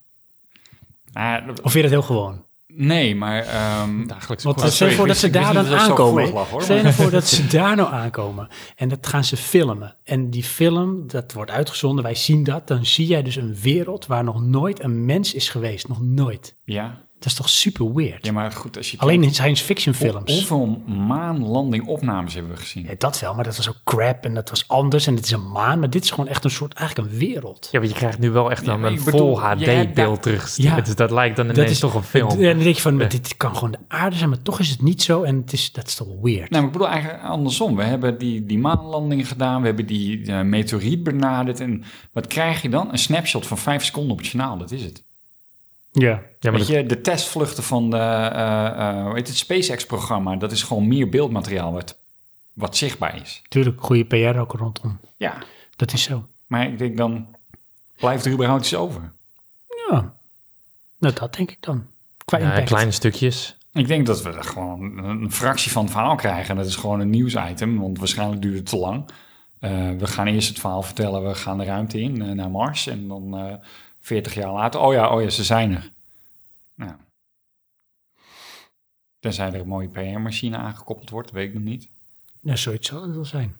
C: Ah,
B: Of vind je dat heel gewoon?
C: nee, maar... ehm,
A: Dagelijks
B: Want
C: Oh,
A: kort.
B: stel
C: sorry,
B: je voor
C: ik
B: dat
C: wist-
B: ze
C: ik wist niet
B: daar dan
C: dat het zo
B: aankomen.
C: gevoelig lag, hoor.
B: Stel je voor dat ze daar nou aankomen. En dat gaan ze filmen. En die film, dat wordt uitgezonden. Wij zien dat. Dan zie jij dus een wereld waar nog nooit een mens is geweest. Nog nooit.
C: ja,
B: Dat is toch super weird?
C: ja, maar goed, als je...
B: Alleen
C: kijkt,
B: in science fiction
C: hoe-
B: films.
C: hoeveel maanlanding opnames hebben we gezien?
B: Ja, dat wel, maar dat was ook crap en dat was anders en dit is een maan. Maar dit is gewoon echt een soort, eigenlijk een wereld.
A: Ja, maar je krijgt nu wel echt
C: Ja,
A: dan
C: maar
A: een
C: ik bedoel,
A: vol
C: je hebt daar-
A: HD-beeld teruggestuurd.
B: Ja.
A: Dus dat lijkt dan ineens toch een film.
B: En dan denk je van, maar
A: Ja.
B: dit kan gewoon de aarde zijn, maar toch is het niet zo. En het is, dat is toch
C: Nou,
B: weird.
C: maar ik bedoel eigenlijk andersom. We hebben die, die maanlanding gedaan, we hebben die eh, meteoriet benaderd. En wat krijg je dan? Een snapshot van vijf seconden op het journaal, dat is het.
B: ja.
A: ja, maar
C: Weet
A: dat,
C: je, de testvluchten van de, eh, eh, hoe heet het SpaceX-programma, dat is gewoon meer beeldmateriaal wat, wat zichtbaar is.
B: Tuurlijk, goede PR ook rondom.
C: Ja,
B: Dat is zo.
C: maar ik denk dan, blijft er überhaupt iets over?
B: Ja, nou dat denk ik dan. Qua
A: ja,
B: impact.
A: kleine stukjes.
C: Ik denk dat we er gewoon een fractie van het verhaal krijgen. Dat is gewoon een nieuwsitem, want waarschijnlijk duurt het te lang. Eh, we gaan eerst het verhaal vertellen, we gaan de ruimte in eh, naar Mars. En dan eh 40 jaar later, oh ja, oh ja, ze zijn er. Nou. Tenzij er een mooie PR-machine aangekoppeld wordt, weet ik nog niet.
B: Ja, zoiets zal Nou, het wel zijn.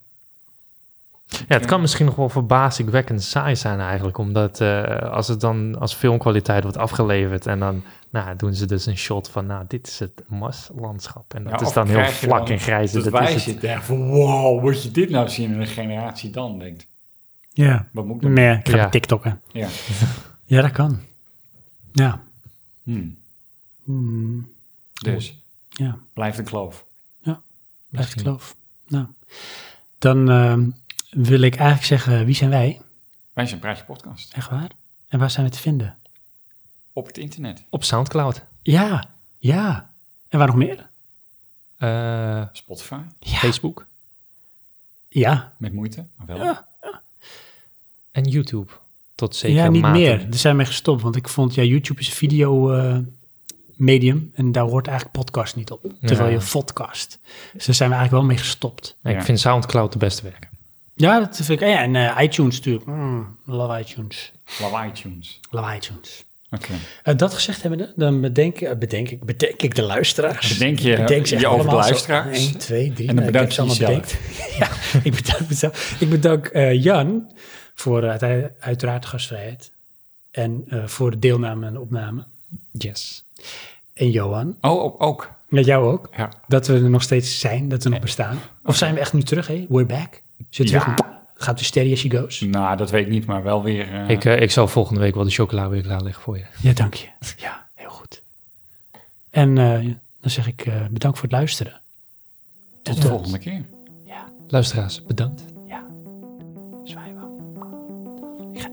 A: Ja, het kan misschien nog wel verbazingwekkend saai zijn eigenlijk. Omdat eh, als het dan als filmkwaliteit wordt afgeleverd... en dan nou, doen ze dus een shot van... nou, dit is het Marslandschap. En dat
C: Ja,
A: is
C: of
A: dan heel
C: krijg je
A: vlak
C: dan
A: en grijs. en
C: Dat, Dus
A: dat
C: wij
A: is het.
C: zitten echt van, wow, moet je dit nou zien? En een generatie dan denkt,
B: Ja.
C: wat moet ik dan?
B: Nee, ik ga
A: Ja.
B: ja. TikTokken.
C: Ja.
B: Ja, dat kan. Ja.
C: Hm.
B: Hmm,
C: Dus,
B: Ja,
C: blijft een kloof.
B: blijft ik geloof. Nou. Dan ehm, wil ik eigenlijk zeggen, wie zijn wij?
C: Wij zijn Praatje Podcast.
B: Echt waar? En waar zijn we te vinden?
C: Op het internet.
A: Op Soundcloud.
B: Ja, ja. En waar nog meer?
A: Eh,
C: Spotify.
A: Facebook
B: Ja,
C: Met moeite, maar wel.
B: Ja.
A: en YouTube. Tot zeker
B: ja niet
A: mate.
B: meer. Daar zijn we mee gestopt, want ik vond, ja, YouTube is een video eh, medium en daar hoort eigenlijk podcast niet op. Terwijl
A: Ja.
B: je podcast. Dus daar zijn we eigenlijk wel mee gestopt.
A: Nee,
C: Ja.
A: Ik vind Soundcloud de beste werken.
B: Ja, dat vind ik. Ja, en eh, iTunes natuurlijk. Mm, love iTunes.
C: Love iTunes.
B: Love iTunes.
C: Oké.
B: Eh, dat gezegd hebbende, dan bedenk, eh, bedenk, ik, bedenk ik de luisteraars.
C: Bedenk je- eh,
B: ze echt
C: je over de
B: allemaal zo.
C: luisteraars.
B: 1, 2, 3.
C: En dan bedank je
B: ja, ik bedank mezelf. Ik bedank eh, Jan voor eh, uitei- uiteraard gastvrijheid. En eh, voor de deelname en opname.
A: Yes.
B: En Johan,
C: Oh, ook. ook.
B: met jou ook.
C: Ja.
B: Dat we er nog steeds zijn, dat we
C: Eh,
B: nog bestaan. Of zijn we echt nu terug, hè? We're back. Zitten we
C: Ja.
B: terug? Gaat de steady as she goes?
C: Nou, dat weet ik niet, maar wel weer... eh,
A: Ik, eh, ik zal volgende week wel de chocola weer klaarleggen voor je.
B: Ja, dank je. Ja, heel goed. En eh, dan zeg ik eh, bedankt voor het luisteren.
C: tot de volgende keer.
B: Ja,
A: Luisteraars, bedankt.
B: ja. Zwaai wel. Ik ga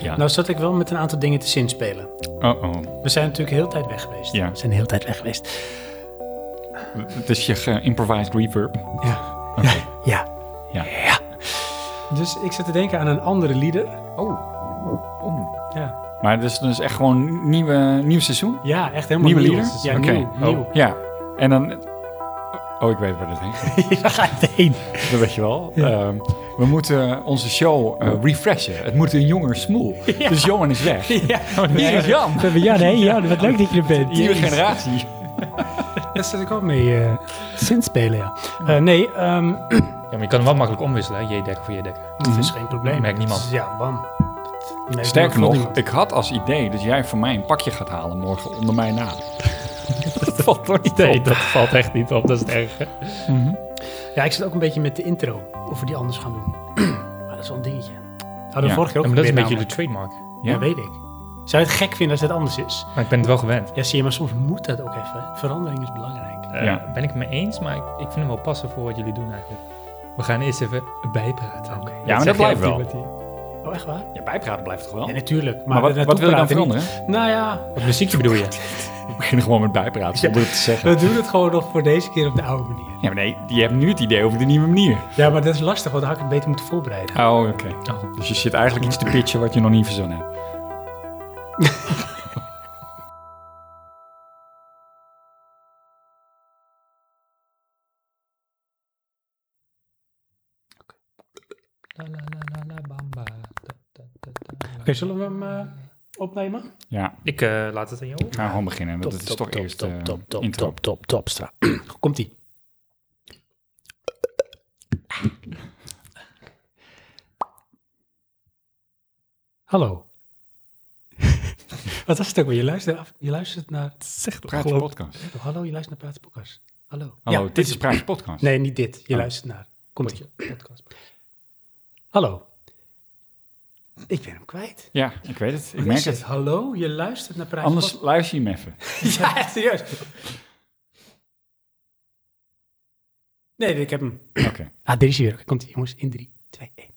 C: Ja.
B: Nou zat ik wel met een aantal dingen te zinspelen.
C: Oh, oh.
B: We zijn natuurlijk heel tijd weg geweest.
C: Ja.
B: We zijn heel tijd weg geweest.
C: Het is je geïmprovised reverb.
B: Ja.
C: Oké.
B: Ja.
C: Ja.
B: Dus ik zat te denken aan een andere lieder.
C: Oh. Oh.
B: Ja,
C: Maar het is dus echt gewoon nieuwe, nieuw seizoen.
B: Ja, echt helemaal
C: Nieuwe
B: nieuw. Oh.
C: liederen?
B: Ja,
C: Oké.
B: nieuw. nieuw.
C: Ja. En dan... Oh, ik weet waar dit heen gaat.
B: Daar gaat het heen.
C: Dat weet je wel. Ehm, we moeten onze show eh, refreshen. Het moet een jonger smoel. Dus Johan is weg.
B: Ja.
C: Hier is Jan.
B: Oh, We hebben Jan, hè? Jan, wat leuk dat je er bent.
C: Nieuwe
B: Jezus.
C: generatie.
B: Daar zit ik ook mee eh sinds spelen, ja. Eh, nee, ehm,
A: Ja, maar je kan hem wel makkelijk omwisselen, hè? J-dekker voor J-dekker.
B: het is geen probleem.
A: Merkt niemand.
B: Het is- Ja, bam. Dat merkt
C: Sterker
B: niemand.
C: nog, ik had als idee dat jij voor mij een pakje gaat halen morgen onder mijn naam. dat valt toch niet
A: Nee,
C: op.
A: dat valt echt niet op. Dat is het erg.
B: Ja, ik zit ook een beetje met de intro. Of we die anders gaan doen. maar dat is wel een dingetje. Hadden we
C: Ja,
B: vorige keer ook
A: dat is een
B: geprobeerd
A: beetje jullie
B: namelijk.
A: trademark.
C: Ja?
B: Ja, weet ik. Zou je het gek vinden als het anders is?
A: Maar ik ben het wel gewend.
B: Ja, zie je, maar soms moet dat ook even. Verandering is belangrijk.
A: Eh,
C: Ja.
A: Ben ik het mee eens, maar ik, ik vind hem wel passen voor wat jullie doen eigenlijk. We gaan eerst even bijpraten.
B: Oké.
C: Ja, maar dat blijft wel.
B: Oh, echt waar?
C: Ja, bijpraten blijft toch wel?
B: Ja, natuurlijk. Maar,
C: maar wat,
B: daarnaartoe
C: wat wil je dan
B: praten
C: veranderen?
B: niet. Nou ja,
A: Wat muziekje bedoel je?
C: We beginnen gewoon met bijpraten, zonder het te zeggen.
B: we doen het gewoon nog voor deze keer op de oude manier.
C: Ja, maar nee, je hebt nu het idee over de nieuwe manier.
B: Ja, maar dat is lastig, want dan had ik het beter moeten voorbereiden.
C: Oh, oké. Dus je zit eigenlijk iets te pitchen wat je nog niet verzonnen hebt.
B: Oké, zullen we hem eh, opnemen?
C: Ja,
A: Ik eh, laat het aan jou.
C: nou gewoon beginnen. want
B: Top,
C: Dat is
B: top,
C: toch
B: top,
C: eerst
B: top,
C: eh,
B: top, top,
C: intro.
B: top, top, topstra. Komt-ie. Hallo. Wat was het ook weer? Je luistert, af, je luistert naar... Zeg
C: Praat je podcast.
B: Hallo, je luistert naar Praatje Podcast. Hallo.
C: Hallo,
B: Ja,
C: dit is Praatje podcast.
B: Nee, niet dit. Je
C: Oh.
B: luistert naar... Komt-ie. Hallo. Ik ben hem kwijt.
C: Ja, ik weet het. Ik
B: Wat
C: merk
B: is
C: het.
B: Hallo, je luistert naar Praatje
C: Anders luister je hem even.
B: Ja, echt serieus. Nee, ik heb hem.
C: Oké.
B: Ah, dit is hier. Komt ie, jongens. In 3, 2, 1.